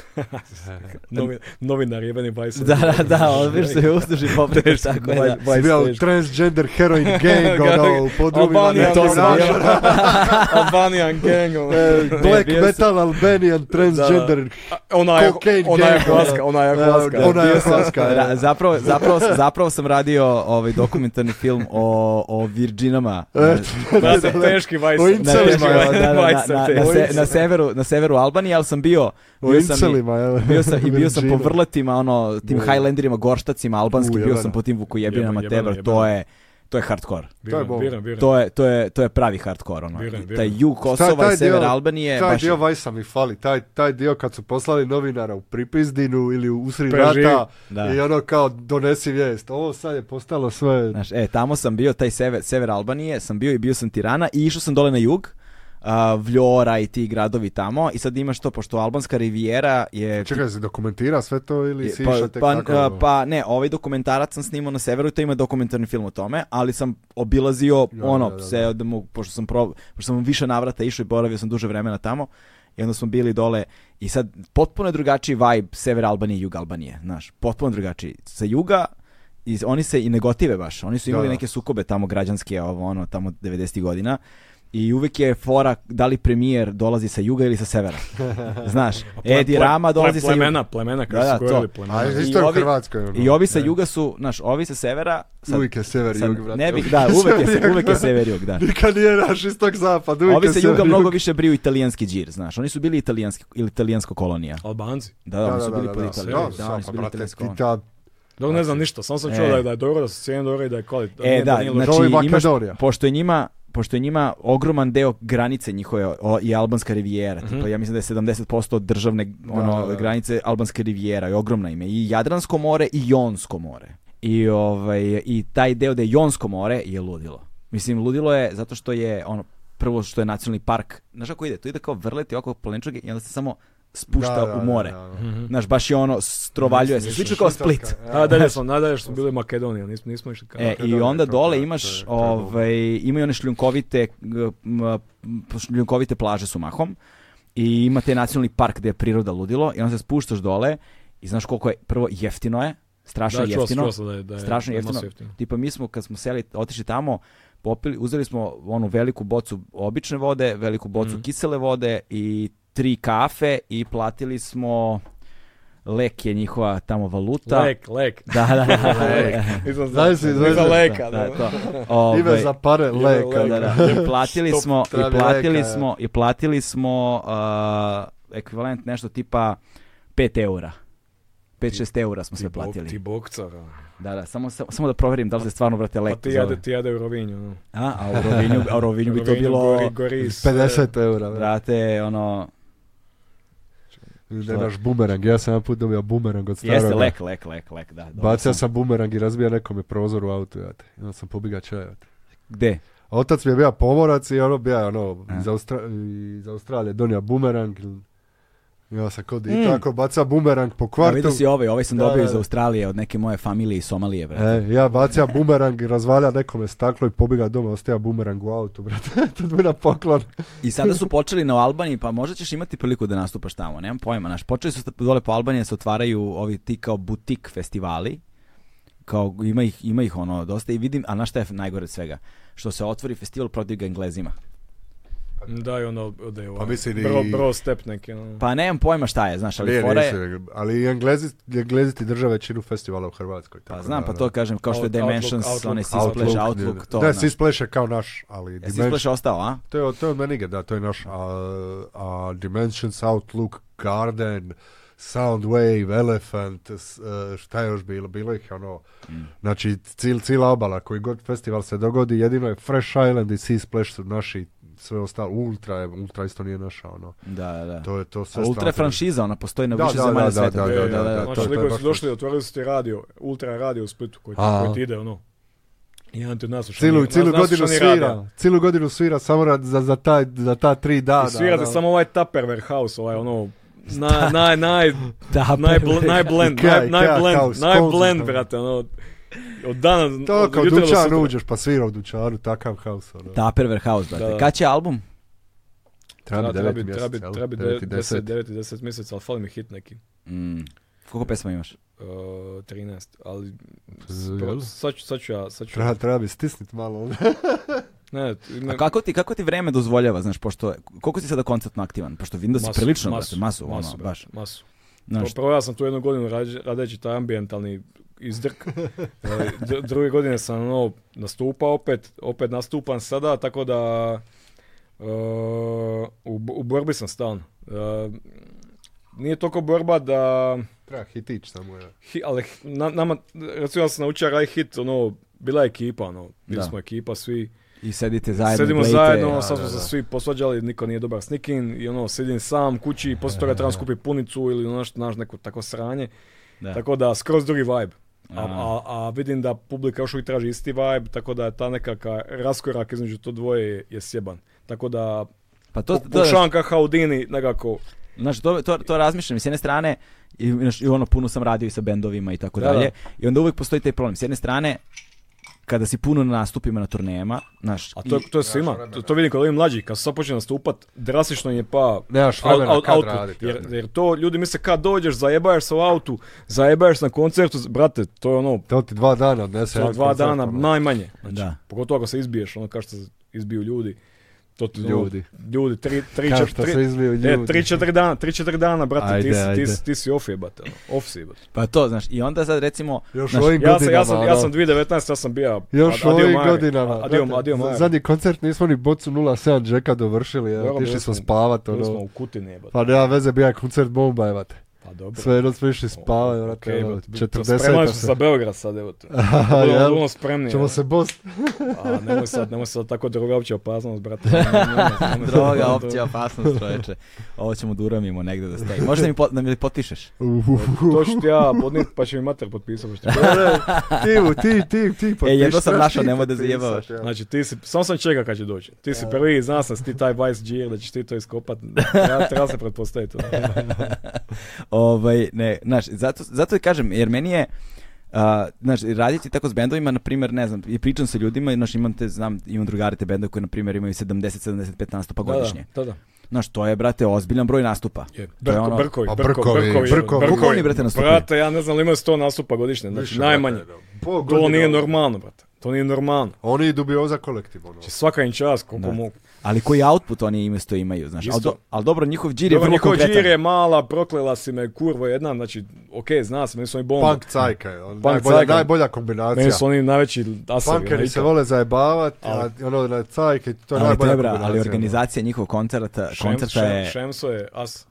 C: Novi, novinar jebeni bajs.
B: Da, da, da, obišao sam je uzduž i popreko, tako je, da.
D: Si bio transgender heroin gang, ono, u podrumima
C: Albanija,
B: E,
D: nekog
C: to sam bio.
D: našeg-
C: Albanian gang. ono.
D: E, Black
C: Ne, bio sam-
D: metal Albanian transgender
C: A, Ona je,
D: Cocaine
C: ona je
D: gang,
C: hlaska,
D: ono.
C: ona je
D: E,
C: hlaska.
D: Ona je hlaska,
B: Ra-
D: e.
B: zapravo, zapravo, zapravo sam radio ovaj dokumentarni film o, o Virginama.
D: E,
C: Da, sam teški bajs.
D: O incelima,
B: teški-
D: Selima,
B: da, da, na,
C: Bajs sam
B: na, na,
C: teški.
B: se- na severu, na severu Albanije, ali sam bio,
D: O
B: bio sam, i,
D: incelima, evo.
B: bio sam, i bio sam po
D: Virginu.
B: vrletima, ono, tim
D: U.
B: Highlanderima, gorštacima, albanskim,
D: U,
B: bio sam
D: jebeno.
B: po tim vukujebinama,
C: Jebeno, jebeno,
B: tebra, to je, to je hardcore.
D: To je
C: Biram,
D: bol.
C: biram, biram.
B: To je, to je, to je pravi hardcore, ono.
C: Vjerujem,
B: Taj
C: vjerujem.
B: jug
D: Taj-
B: Kosova
D: taj
B: i sever
D: dio-
B: Albanije,
D: Taj
B: baš je-
D: dio Vajsa mi fali, taj, taj dio kad su poslali novinara u pripizdinu ili u usri
C: Preživi.
D: rata
B: Da.
D: i ono kao donesi vijest. Ovo sad je postalo sve...
B: Znaš, e, tamo sam bio, taj sever, sever Albanije, sam bio i bio sam Tirana i išao sam dole na jug, a, Vljora i ti gradovi tamo i sad imaš to, pošto Albanska rivijera je...
D: Čekaj, se dokumentira sve to ili si išao tek
B: pa,
D: tako?
B: a, pa ne, ovaj dokumentarac sam snimao na severu i to ima dokumentarni film o tome, ali sam obilazio
D: Da,
B: ono,
D: da, da,
B: sve od mog- pošto sam, prob- pošto sam u više navrata išao i boravio sam duže vremena tamo i onda smo bili dole i sad potpuno je drugačiji vibe sever Albanije i jug Albanije, znaš, potpuno drugačiji. Sa juga i oni se i ne gotive baš, oni su imali
D: da.
B: neke sukobe tamo građanske, ovo, ono, tamo 90. godina i uvek je fora da li premijer dolazi sa juga ili sa severa. Znaš,
C: Ple-
B: Edi
C: ple-
B: Rama dolazi
C: ple-
B: sa juga.
C: Plemena,
B: Da,
C: plemena, kada
B: da, to.
C: su govorili
D: A
C: plemena.
B: i
D: isto je u
B: ovi-
D: Hrvatskoj. ono.
B: I ovi sa juga su, znaš, ovi sa severa... Sad,
D: Uvijek je sever,
B: sad
D: jug, brate.
B: ne bih, da, uvek je, uvek je sever jug, da.
D: Nikad nije naš istok zapad, uvijek
B: Ovi
D: je
B: se
D: sever,
B: juga
D: jug.
B: mnogo više briju italijanski džir, znaš. Oni su bili italijanski, ili italijansko kolonija.
C: Albanci.
B: Da, da, oni su bili pod Italijom.
C: da,
B: Da, oni su bili italijansko
D: pa ti
B: kolonija.
D: ta
C: Dok ne znam ništa, samo sam čuo
B: E.
C: da je, da je dobro, da su cijene dobre i da je kvalit.
B: E, da,
C: nije loše.
B: znači,
D: Ovo je
B: imaš,
D: Makedonija.
B: pošto je njima pošto je njima ogroman deo granice njihove o, i albanska rivijera, tipa, ja mislim da je 70% državne ono,
D: Mhm. da, da.
B: granice albanske rivijera i ogromna ime i Jadransko more i Jonsko more. I ovaj i taj deo da je Jonsko more je ludilo. Mislim ludilo je zato što je ono prvo što je nacionalni park. Znaš kako ide? To ide kao vrleti oko planinčuge i onda se samo spušta
D: Da, da,
B: u more.
D: da, da, da.
B: Znaš, baš je ono, strovaljuje se. Slično kao Split.
D: e,
C: A, dalje smo, nadalje smo bili u Makedoniji, nismo, nismo išli kao.
B: znači, E,
D: Kako je
B: i
D: dobro,
B: onda
D: to,
B: dole
D: da,
B: imaš,
D: to je- to je dobro.
B: ovaj, imaju one šljunkovite, g- m, p- šljunkovite plaže su mahom i ima taj nacionalni park gdje je priroda ludilo i onda se spuštaš dole i znaš koliko je, prvo jeftino je, strašno
C: Da,
B: je
C: čuo sam,
B: jeftino,
C: čuo sam da je- da je
B: strašno
C: maso
B: jeftino.
C: jeftino.
B: Tipa mi smo kad smo seli, otišli tamo, popili, uzeli smo onu veliku bocu obične vode, veliku
C: Mhm.
B: bocu kisele vode i tri kafe i platili smo lek je njihova tamo valuta.
C: Lek, lek.
B: Da, da, da, da.
C: Nisam znao.
D: Znaš si, znaš
C: Nisam
D: si.
C: leka,
B: Da,
C: da.
B: to. Ovaj,
D: Ime za pare leka.
B: da, da. I platili
C: Stop
B: smo, i
D: travi
B: platili
D: leka,
B: smo, i platili smo uh, ekvivalent nešto tipa 5 eura. 5-6 eura smo sve
C: Ti bok- Ti
B: platili.
C: bokcar. ono.
B: Da, da, samo, samo, samo da proverim da li se stvarno vrate
C: Pa
B: lek.
C: ti
B: zove.
C: jade, ti jade u Rovinju. ono.
B: A, a u Rovinju, a u Rovinju bi to
C: Rovinju,
B: bilo,
C: Gori, gori, sve.
D: 50 eura. brate.
B: brate, ono,
D: Ne naš bumerang, ja sam jedan put dobio bumerang od staroga.
B: jeste lek, lek, lek, lek, da. dobro
D: Bacio
B: sam.
D: sam bumerang i razbija nekome prozor u autu, jate. I onda sam pobiga čaja.
B: Gde?
D: A otac mi je bio pomorac i ono bio je ono,
B: A.
D: iz, Austra- iz Australije donio bumerang. Ja sam kod i tako baca bumerang po
B: Ja
D: kvartu.
B: vidio si ovaj, ovaj sam
D: Da,
B: dobio
D: da,
B: iz
D: da.
B: Australije od neke moje familije iz Somalije, brate.
D: E, ja bacija bumerang, razvalja nekome staklo i pobiga doma, ostaja bumerang u autu, brate. to bi na poklon.
B: I sada su počeli na Albaniji, pa možda ćeš imati priliku da nastupaš tamo, nemam pojma. Naš, počeli su sta- dole po Albaniji da se otvaraju ovi ti kao butik festivali. Kao, ima ih, ima ih ono dosta i vidim, a znaš šta je najgore od svega? Što se otvori festival protiv ga Englezima.
C: Da, i ono, da je
D: Pa mislim i-
C: Bro, bro step neki. ono.
B: Pa nemam pojma šta je, znaš, ali
D: Nije,
B: fora je-
D: nisu, ali i englezi, englezi ti drže većinu festivala u Hrvatskoj.
B: Pa
D: tako
B: znam,
D: da,
B: pa
D: da.
B: to kažem, kao što je
C: Out- Outlook,
B: Dimensions,
C: Outlook,
B: onaj Six
C: Outlook,
B: Splash, Outlook, to. ono
D: ne,
B: znaš.
D: Six Splash je kao naš, ali
B: E, Six
D: Dimension-
B: Splash je ostao, a?
D: To je, od- to je od Meniga, da, to je naš. A, a Dimensions, Outlook, Garden, Soundwave, Elephant, s- e, šta je još bilo? Bilo ih je ono,
B: Mm,
D: znači cil, cila obala koji god festival se dogodi, jedino je Fresh Island i Sea Splash su naši, sve ostalo, Ultra je, Ultra isto nije naša, ono.
B: Da, da, da.
D: To je to sve
B: A Ultra je
D: strašno.
B: franšiza, ona postoji na
D: Da,
B: više
D: da,
B: zemalja
D: da,
B: sveta.
D: da, da,
C: E,
D: da, da,
C: Znaš,
D: to- to je
C: likovi
D: baš
C: su došli, otvorili su ti radio, ultra radio u Splitu, koji,
D: A.
C: koji ti ide, ono. Jedan ti od nas u šaniji-
D: Cilu,
C: nas-
D: cilu
C: nas u
D: godinu
C: šaniji rada.
D: svira, cilu godinu svira samo rad- za, za, taj, za ta tri dana.
C: I svira
D: ono.
C: ti samo ovaj Tupperware house, ovaj ono, naj, naj, naj,
B: Da,
C: naj, bl- naj blend,
D: Ikea,
C: naj, naj
D: Ikea
C: blend,
D: house,
C: naj
D: Konzum
C: blend,
D: tamo.
C: brate, ono, Od dana,
D: To
C: od
D: kao
C: jutra do
D: dućan
C: sutra.
D: uđeš pa svira u dućanu, takav haos. ono.
B: Tupperware House, brate.
C: Da.
B: Kad će album?
D: Treba bi
C: Da,
D: deveti
C: Treba
D: mjesec,
C: bi-
D: jel?
C: treba bi
D: Deveti,
C: 9
D: deseti.
C: 9 i 10 mjesec, ali fali mi hit neki.
B: Mm. Koliko pesma imaš?
C: Uh, 13, ali
D: Z- jel?
C: sad ću, sad ću ja, sad ću.
D: Treba, treba bi stisnit malo. ono.
C: Ne,
B: A
C: ne,
B: kako ti, kako ti vreme dozvoljava, znaš, pošto, koliko si sada koncertno aktivan? Pošto vidim da si
C: masu,
B: prilično, brate, masu, ono,
C: brate,
B: baš.
C: Masu.
B: Znaš,
C: Pro- Proveo pa, sam tu jednu godinu rađe- radeći taj ambientalni izdrk. E, d- druge godine sam ono, nastupao opet, opet nastupam sada, tako da e, u, b- u borbi sam stalno. E, nije toliko borba da,
D: Treba hitić samo. Ja.
C: hi- ali h- na- nama, recimo ja sam naučio raditi hit, ono, bila je ekipa, ono, bili
B: Da.
C: smo ekipa svi,
B: i sedite zajedno,
C: Sedimo
B: playte.
C: zajedno,
D: da,
C: sad smo
D: da,
C: se
D: da.
C: svi posvađali, niko nije dobar s nikim i ono, sedim sam kući i poslije toga trebam skupiti punicu ili ono što, znaš, neko tako sranje.
B: Da.
C: Tako da, skroz drugi vibe. A,
B: Aha.
C: a, a vidim da publika još uvijek traži isti vibe, tako da je ta nekaka raskorak između to dvoje je, je sjeban. Tako da,
B: Pa to,
C: to,
B: to,
C: pokušavam ka Haudini nekako.
B: Znaš, to, to, to razmišljam. S jedne strane, i, znaš, i ono puno sam radio i sa bendovima i tako
C: Da,
B: dalje. I onda uvijek postoji taj problem. S jedne strane, kada si puno na nastupima na turnejama, znaš,
C: A to,
B: i-
C: to je svima. To, to vidim kod ovih mlađih, kad su sad počeli nastupat, drastično im je pa
D: Nemaš
C: Out-
D: vremena
C: out-
D: kad
C: output.
D: radit,
C: jer,
D: jadno.
C: jer to ljudi misle kad dođeš, zajebaješ se u autu, zajebaješ se na koncertu, brate, to je ono,
D: To ti dva dana odnese.
C: to
D: jedan
C: dva
D: koncert,
C: dana
D: ono.
C: najmanje. Znači,
B: Da.
C: Pogotovo ako se izbiješ, ono kao što se izbiju ljudi. To ti ono,
D: Ljudi.
C: ljudi, tri, tri,
D: Kao
C: čet-
D: što
C: tri-
D: se izliju
C: E,
D: ljudi.
C: tri, četiri dana, tri, četiri dana, brate,
D: Ajde,
C: ti, si,
D: ajde.
C: ti, si- ti si off jebate, ono, off si jebate.
B: pa to, znaš, i onda sad recimo,
D: Još
B: znaš,
D: u ovim
C: Ja sam,
D: godinama.
C: ja sam, ja
D: ono.
C: sam 2019, ja sam bio
D: Još u
C: ad- adio
D: ovim
C: mare,
D: godinama.
C: Adio,
D: brate,
C: adio
D: za-
C: mare.
D: Zadnji koncert nismo ni bocu 07 džeka dovršili,
C: Dobro,
D: evo,
C: bili
D: išli smo
C: smo-
D: spavat,
C: Bili smo
D: ono.
C: u kutini jebate.
D: Pa nema veze, bio je koncert bomba, evo te.
C: Pa dobro.
D: Sve jedno smo išli spavat,
C: Ok,
D: vrate, ono,
C: brate, bi-
D: 40
C: Spremali smo
D: se.
C: sa Beograd sad, evo te.
D: Aha,
C: Budemo
D: jel?
C: budemo spremni.
D: Ćemo
C: evo.
D: se bost. E,
C: A nemoj sad, nemoj sad tako droga opće opasnost, brate. Nemoj, nemoj, nemoj.
B: droga, opcija, opasnost, čoveče. Ovo ćemo da uramimo negde da stoji. Možda mi, pot, da mi potišeš?
C: To ću ti ja podnijeti, pa će mi mater potpisati. pa ću ti-
D: Tivu, ti, ti, ti, potpiši.
B: E, jedno sam
D: Znaš
B: našao,
D: ti
B: nemoj da
D: potpisat,
B: zajebavaš.
D: ja.
C: Znači ti si, samo sam čekao kad će doći. Ti si prvi, zna sam da si ti taj Vice Gear, da ćeš ti to iskopat. Ja treba se pretpostaviti. ono.
B: Ovaj, ne, znaš, zato, zato i kažem, jer meni je, a, znaš, raditi tako s bendovima, na primjer, ne znam, i pričam sa ljudima, i, znaš, imam te, znam, imam drugare te bendove koji, na primjer, imaju 70-75 nastupa godišnje.
C: Da, da. da.
B: Znaš, to je, brate, ozbiljan broj nastupa.
C: Je.
B: To je
C: Brko-
B: ono-
C: Brkovi,
D: A
C: brkovi,
D: brkovi,
C: brkovi,
D: brkovi.
B: Koliko oni, brate, nastupaju?
C: Brate, ja ne znam, ali imaju 100 nastupa godišnje, znači
D: Više,
C: najmanje.
D: brate, da. Po
C: To
D: godinama.
C: nije
B: ono.
C: normalno, brate. To nije normalno.
D: Oni dubioza kolektiv, ono.
C: Znači svaka im čast koliko
B: Da.
C: mogu.
B: Ali koji output oni im isto imaju, znaš. Ali,
C: Isto.
B: do- ali dobro, njihov džir je
C: Dobro,
B: vrlo
C: niko
B: konkretan.
C: džir je mala, proklela si me, kurvo jedna, znači, okej, zna se, meni su oni bomba.
D: Punk cajka je, ono,
C: Punk
D: najbolja,
C: cajka.
D: najbolja kombinacija.
C: Meni su oni najveći asavi. ono,
D: Punkeri se
C: ikad.
D: vole zajebavat, a
C: Ali-
D: ono na cajke, to je
B: Ali,
D: najbolja
B: tebra,
D: kombinacija.
B: ali
D: ono.
B: organizacija njihovog koncerta,
C: Šem-
B: koncerta
C: šem-
B: je,
C: Šemso je as.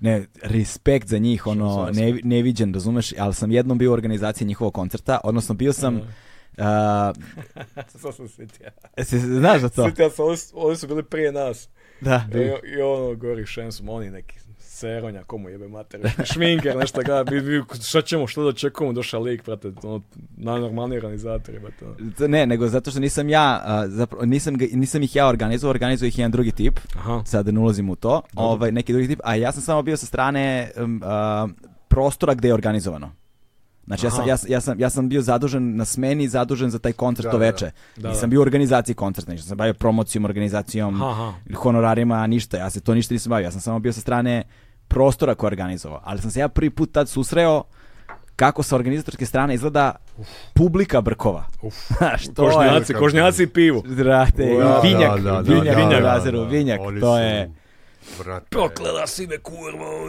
B: ne, respekt za njih, ono,
C: Šemso,
B: ne, neviđen, razumeš, ali sam jednom bio u organizaciji njihovog koncerta, odnosno bio sam,
C: Mhm.
B: a,
C: Sad sam sjetio.
B: se- se- znaš za to?
C: Sjetio sam, oni su- oni su bili prije nas.
B: Da.
C: I, I ono, gori šemsom, oni neki seronja, komu jebe mater, šminker, nešto ga, bi, bi, šta ćemo, šta da čekamo, došao lik, brate, ono, najnormalniji organizator, brate. ono.
B: To Ne, nego zato što nisam ja, a, zapravo, nisam, ga- nisam ih ja organizovao, organizuje ih jedan drugi tip,
C: Aha.
B: sad ne ulazim u to, ovaj, neki drugi tip, a ja sam samo bio sa strane um, a, prostora gde je organizovano. Znači ja sam,
C: Aha.
B: ja, sam- ja, sam, ja sam bio zadužen na smeni, zadužen za taj koncert
D: Da,
B: to
D: da, da.
B: veče.
C: Da,
B: nisam
C: da.
B: bio u organizaciji koncerta, nisam se bavio promocijom, organizacijom,
C: Aha.
B: honorarima, ništa. Ja se to ništa nisam bavio, ja sam samo bio sa strane prostora koji je organizovao. Ali sam se ja prvi put tad susreo kako sa organizatorske strane izgleda publika Brkova.
C: Uf.
B: Znaš, to je...
C: Kožnjaci, kožnjaci i pivo.
B: Brate, i
D: Da,
B: vinjak,
D: da, da, da,
B: vinjak,
D: da,
B: vinjak,
D: da,
B: razeru,
D: da.
B: vinjak,
D: Oni
B: to
D: su,
B: je...
D: brate,
C: Prokleda si me, kurvo.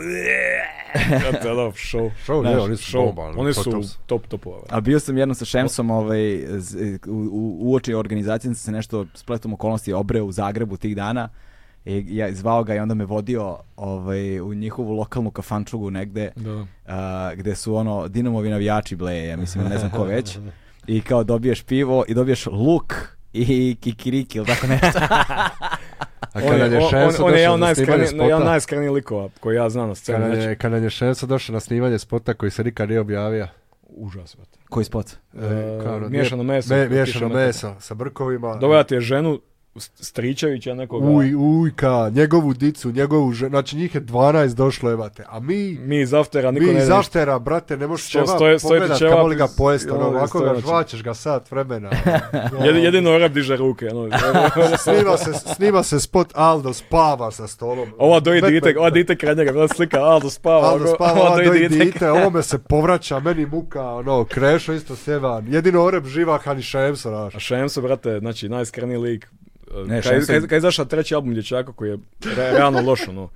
C: Brate, ono, show.
D: Šou, ne,
B: Znaš,
D: oni su
C: Show.
D: bomba, ono,
C: Oni
D: to-
C: su
D: to su-
C: top topova. brate.
B: A bio sam jednom sa Šemsom ovaj, z- u, u, u oči organizacije, sam se nešto spletom okolnosti obreo u Zagrebu tih dana. I ja zvao ga i onda me vodio ovaj, u njihovu lokalnu kafančugu negde,
C: Da.
B: a, gde su ono Dinamovi navijači ble, ja mislim, ne znam ko već. I kao dobiješ pivo i dobiješ luk i kikiriki ili tako nešto.
D: A
C: On
D: kada
C: je,
D: je
C: on, on,
D: Šemso
C: on je
D: došao
C: jedan
D: na snimanje
C: najskraniji, jedan
D: spota,
C: najskraniji likova koji ja znam na sceni.
D: kada
C: Znači,
D: je, kada je Šemso došao na snimanje spota koji se nikad nije objavio.
C: užas, brate.
B: Koji spot?
D: E,
C: E,
D: kao ono,
C: miješano meso.
D: Me, miješano
C: Kiša metaka.
D: meso sa brkovima.
C: Dovela ti je ženu, Stričevića nekoga.
D: Uj, ujka, njegovu dicu, njegovu ženu, znači njih je 12 došlo, jebate, a mi,
C: Mi iz aftera, niko
D: mi
C: ne
D: iz
C: zna.
D: aftera, brate, ne možeš
C: Sto-
D: ćevap
C: stoje- stoje ti
D: pogledat,
C: ćevap
D: kamoli ga
C: iz-
D: pojest, ono,
C: ono, iz
D: ovako ga
C: stojača.
D: žvačeš ga sat vremena. ono.
C: Jedi- Jedino Rab diže ruke. ono.
D: snima, se, snima se spot Aldo spava sa stolom.
C: Ova doji
D: Batman-
C: ono, dite, ova dite kraj njega, bila slika, Aldo spava.
D: Aldo
C: ono,
D: spava,
C: ova
D: Aldo
C: doji
D: i
C: dite.
D: dite, ovome se povraća, meni muka, ono, krešo isto sjevan. Jedino oreb živahan i šemso, znaš.
C: A Šemso, brate, znači najiskreniji lik.
B: Ne,
C: Ne, kaj,
B: Šemso-
C: kaj, kaj izašao treći album dječaka koji je re, realno loš, ono.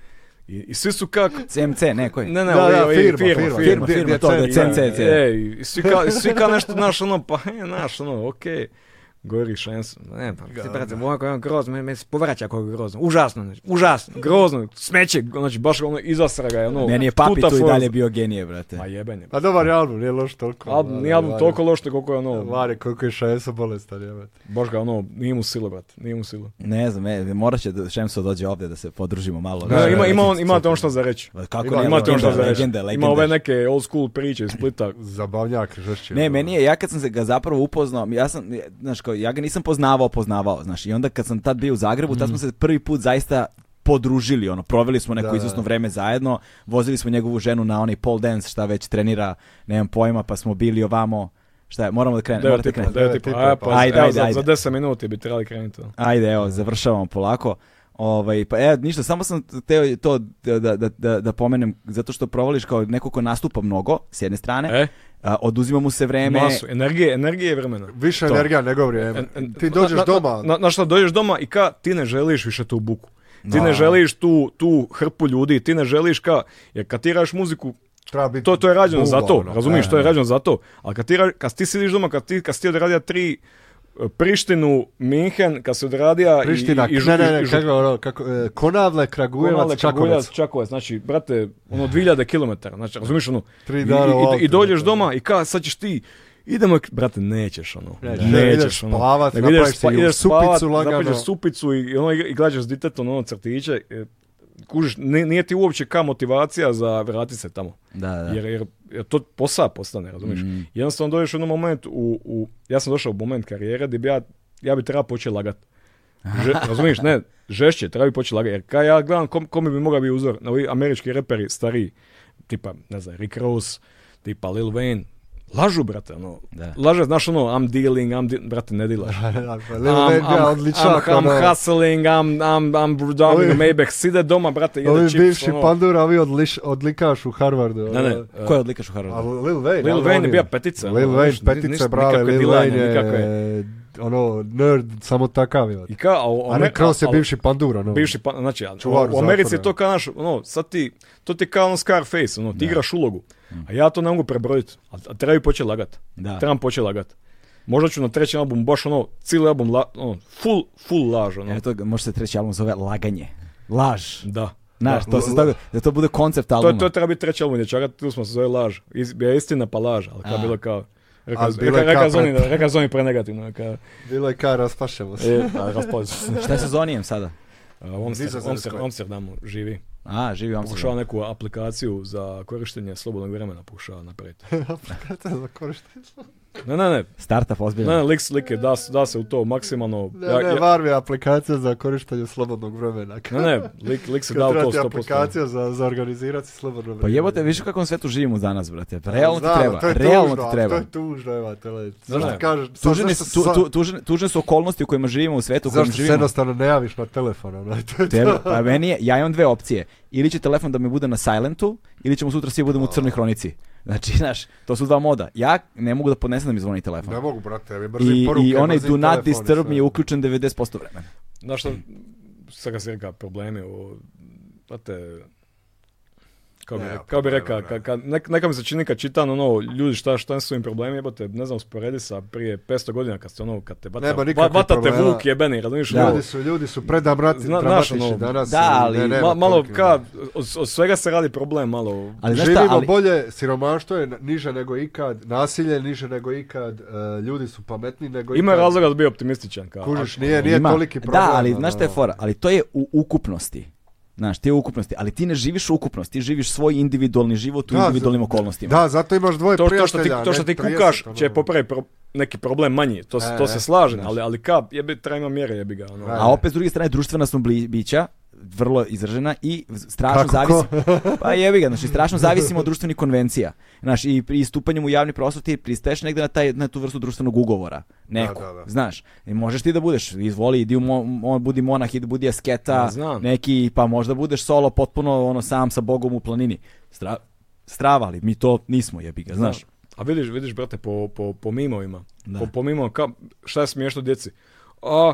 C: I, I svi su kak...
B: CMC, ne, koji?
C: Ne, ne,
D: Da,
C: ovi-
D: da,
C: ovi-
D: firma, firma,
C: firma,
B: firma,
D: Dje-
B: firma, to,
D: djecen-
B: decen, CMC.
C: E, i svi ka, i svi ka nešto, znaš, ono, pa, e, znaš, ono, okej. Gori šans, ne, pa, ti, brate, ovako je grozno, meni meni se povraća kako je grozno, užasno, znači, užasno, grozno, smeće, znači, baš ono, izasra ga je, ono,
B: Meni je papi
C: tuta
B: tu i
C: forza.
B: dalje bio genije, brate.
C: Ma jeben je.
D: A dobar je album, nije loš toliko.
C: Album,
D: Vare,
C: nije album
D: Vare.
C: toliko loš, te koliko je ono,
D: Vare, koliko je šemso bolestan, jebate.
C: baš ga ono, nije mu sile, brate, nije mu sile.
B: Ne znam, e, morat će da- Šemso dođe ovdje da se podružimo malo.
C: Ne,
B: Više,
C: ima,
B: brate,
C: ima, on,
B: s-
C: imate on što za reći.
B: Ma Kako
D: Ima-
B: ne,
C: Imate on što za
B: legenda,
C: reći.
B: legenda, legenda.
C: Ima ovaj ove neke old school priče iz Splita.
D: Zabavnjak, ono. žešće.
B: Ne, meni je, ja kad sam se ga zapravo upoznao, ja sam, znaš, kao, ja ga nisam poznavao, poznavao, znaš, i onda kad sam tad bio u Zagrebu, tad smo se prvi put zaista podružili, ono, proveli smo neko
D: Mhm. Da, da.
B: izvrsno vrijeme zajedno, vozili smo njegovu ženu na onaj pole dance, šta već trenira, nemam pojma, pa smo bili ovamo, šta je, moramo da krenemo,
C: Devet
B: morate
C: tipa,
B: krenuti.
D: Devet
C: devet tipa.
D: tipova,
C: A,
D: pa.
C: pa,
B: Ajde,
C: evo,
B: ajde,
C: za,
B: ajde.
C: za 10 minuti bi trebali krenuti. ono.
B: Ajde, evo, završavamo polako. Ovaj, pa evo, ništa, samo sam teo to da, da, da, da pomenem, zato što provališ kao neko ko nastupa mnogo, s jedne strane,
C: E,
B: a, oduzima mu se vreme,
C: masu, energije, energije i vremena.
D: Više
C: To.
D: energija nego vrijeme.
C: En- en-
D: Ti dođeš
C: na- na-
D: doma,
C: Na, na šta dođeš doma i ka, ti ne želiš više tu buku. Ti
B: Da.
C: ne želiš tu, tu hrpu ljudi, ti ne želiš ka, jer kad ti radiš muziku,
D: treba biti...
C: to, to je rađeno
D: buba,
C: za to,
D: ono.
C: razumiješ,
D: E,
C: to je rađeno za to. Ali kad ti, ra- kad ti sidiš doma, kad ti, kad si ti odradio tri e, Prištinu, Minhen, kad si odradio i-
D: Priština,
C: i, i,
D: ne, ne,
C: i-
D: ne,
C: i-
D: kako, ono, kako, e, Konavle, Kragujevac,
C: Konac, Čakovec.
D: Čakovec.
C: Čakovec, znači, brate, ono, 2000 km, znači, razumiješ, ono,
D: Tri
C: i,
D: dana u
C: i, i,
D: autu,
C: i dođeš
D: brate.
C: doma i ka, sad ćeš ti, idemo, brate, nećeš, ono,
D: Nećeš.
C: nećeš,
D: Ideš
C: ono,
D: spavat,
C: nego
D: napraviš
C: ideš,
D: ti
C: spa, ideš
D: supicu
C: spavat,
D: lagano.
C: napraviš supicu i, ono, i glađaš s ditetom, ono, crtiće, e, kužiš, ni- nije ti uopće ka motivacija za vratit se tamo.
B: da, da.
C: Jer, jer, jer to posao postane, razumiješ?
D: Mm.
C: Jednostavno dođeš u jednom moment, u, u, ja sam došao u moment karijere gdje bi ja, ja bi trebao početi lagat. Že, razumiješ, ne, žešće, treba bi početi lagat. Jer kaj ja gledam kom, kome bi mogao biti uzor, na ovi američki reperi stariji, tipa, ne znam, Rick Ross, tipa Lil Wayne, lažu, brate, ono,
B: Da.
C: laže, znaš, ono, I'm dealing, I'm, de- brate, ne dilaš.
D: Lil Wayne bio odličak,
C: I'm, I'm
D: ono.
C: hustling, I'm, I'm, I'm, driving a Maybach, side doma, brate, jede
D: Ovi
C: čips,
D: bivši
C: ono.
D: pandura, ovi odliš- odlikaš u Harvardu.
C: Ne, e, ne,
D: ono.
B: Ko je odlikaš u Harvardu?
D: A Lil Wayne,
C: Lil
D: ali
C: Wayne
D: on
C: je bio petica,
D: Lil
C: ono,
D: Wayne
C: znaš,
D: petice,
C: ništa,
D: brale,
C: nikakve
D: Lil
C: dilanje,
D: Wayne je
C: nikakve.
D: ono, nerd, samo takav je.
C: I ka, a, u
D: A ne,
C: Amer-
D: Cross je
C: a-
D: bivši pandur, ono.
C: Bivši pa, znači, a-
D: Čuvar
C: u Americi
D: zatvora.
C: je to kao naš, ono, sad ti, to ti je kao ono Scarface, ono, ti igraš ulogu, a ja to ne mogu prebrojiti, a, a treba i početi lagat,
B: Da.
C: trebam početi lagat. Možda ću na treći album, baš ono, cijeli album, la, ono, full, full laž, ono,
B: Evo to, može se treći album zove Laganje. Laž.
C: da.
B: Znaš, to se tako, da to bude koncept
C: To,
B: albuma.
C: to treba biti treći album, dječaka, tu smo se zove laž, Is, je istina pa laž, ali kao
B: A.
C: bilo kao, Reka,
D: Ali bilo
C: reka,
D: je kao
C: reka, zoni,
D: pre-
C: reka zoni prenegativno, kao,
D: Bilo je kaj, raspašemo se.
C: e, a, raspali su se.
B: Šta je sa Zonijem sada?
C: A, u Amster-
D: Nizozemskoj.
C: Amster- Amsterdamu živi.
B: A, živi u
C: Pokušava
B: Amsterdamu.
C: neku aplikaciju za korištenje slobodnog vremena, pokušava napraviti.
D: Aplikata za korištenje.
C: Ne, ne, ne,
B: Startup
C: Ne, ne,
B: ozbiljno.
C: lik slike, da, s- da se u to maksimalno...
D: Ne,
C: ja-
D: ne,
C: ja-
D: var mi je aplikacija za korištenje slobodnog vremena.
C: ne, ne, lik, lik se
D: Kad
C: da u
D: treba
C: to
D: ti
C: 100%.
D: aplikacija za, za organizirati slobodno vreme.
B: Pa jebote, viš u kakvom svetu živimo danas, brate. Pa Realno ti
D: Znam,
B: treba.
D: to je
B: Realno
D: tužno,
B: ti
D: ali To
B: treba.
D: je tužno, evo, to je.
C: Znaš
D: Zašto
C: šta?
D: kažeš? sad
B: Tužne,
D: zašto
B: su- tu-
D: sad-
B: tu- tužne- tužne su okolnosti u kojima živimo, u svetu u kojem
D: Zašto se
B: živimo.
D: jednostavno ne javiš na telefon, ono, to je
B: Tebe,
D: to.
B: pa meni je, ja imam dve opcije. Ili će telefon da mi bude na silentu, ili ćemo sutra svi budemo u crnoj hronici. Znači, znaš, to su dva moda. Ja ne mogu da podnesem da mi zvoni telefon.
D: Ne mogu, brate, ja mi brzim
B: I,
D: poruke,
B: I onaj
D: brzim
B: do not
D: telefon ono. i
B: disturb
D: sve.
B: mi je uključen 90% vremena.
C: Znaš šta, sad kad si rekao problemi o... Znate, kako bi,
D: Ne,
C: re- kako bi
D: problema,
C: rekao,
D: ne.
C: ka, ka- nek- neka mi se čini kad čitam ono, ljudi šta, šta su im problemi, jebate, ne znam, usporedi sa prije 500 godina kad ste ono, kad te bata,
D: Nema
C: va-
D: nikakvih
C: vata te
D: problema.
C: vuk jebeni, razumiješ?
B: Da.
C: ono,
D: Ljudi su, ljudi su predamrati,
C: Zna- znaš,
D: dramatični
C: ono,
D: danas.
B: da,
D: i
B: ali
D: nema
C: ma- malo
D: toliko.
C: ka, od, od svega se radi problem, malo...
B: Ali znaš šta,
D: Živimo
B: ali,
D: bolje, siromaštvo je niže nego ikad, nasilje je niže nego ikad, e, ljudi su pametni nego
C: Ima
D: ikad.
C: razloga da bi optimističan, kao.
D: Kužiš, nije, nije
B: Ima-
D: toliki problem.
B: Da, ali
D: ono.
B: znaš šta je fora? Ali to je u ukupnosti. Znaš, ti je u ukupnosti, ali ti ne živiš u ukupnosti, ti živiš svoj individualni život u
D: Da,
B: individualnim
D: za-
B: okolnostima.
D: Da, zato imaš dvoje
C: To, to što ti,
D: prijatelja.
C: to
D: ne
C: što ti
D: 30,
C: kukaš
D: ono.
C: će popraviti pro- neki problem manji, to, se-
D: E,
C: to se
D: e,
C: slažem,
D: znaš. E.
C: ali, ali kap, jebi, treba ima mjere, jebi ga. Ono.
D: Da.
B: A opet s druge strane društvena smo bli- bića vrlo izražena i strašno
D: Kako ko?
B: zavisimo. Pa jebi ga, znači strašno zavisimo od društvenih konvencija. Znaš, i pri stupanjem u javni prostor ti pristaješ negde na, taj, na tu vrstu društvenog ugovora. Neko,
D: Da, da, da.
B: znaš. I možeš ti da budeš, izvoli, idi u mo, mo- budi monah, idi budi asketa,
C: Ja znam.
B: neki, pa možda budeš solo potpuno ono sam sa Bogom u planini. Stra, strava, ali mi to nismo jebi ga, znaš.
C: A vidiš, vidiš, brate, po, po, po mimovima.
B: Da.
C: Po, po mimovima, ka, šta je smiješno djeci? A,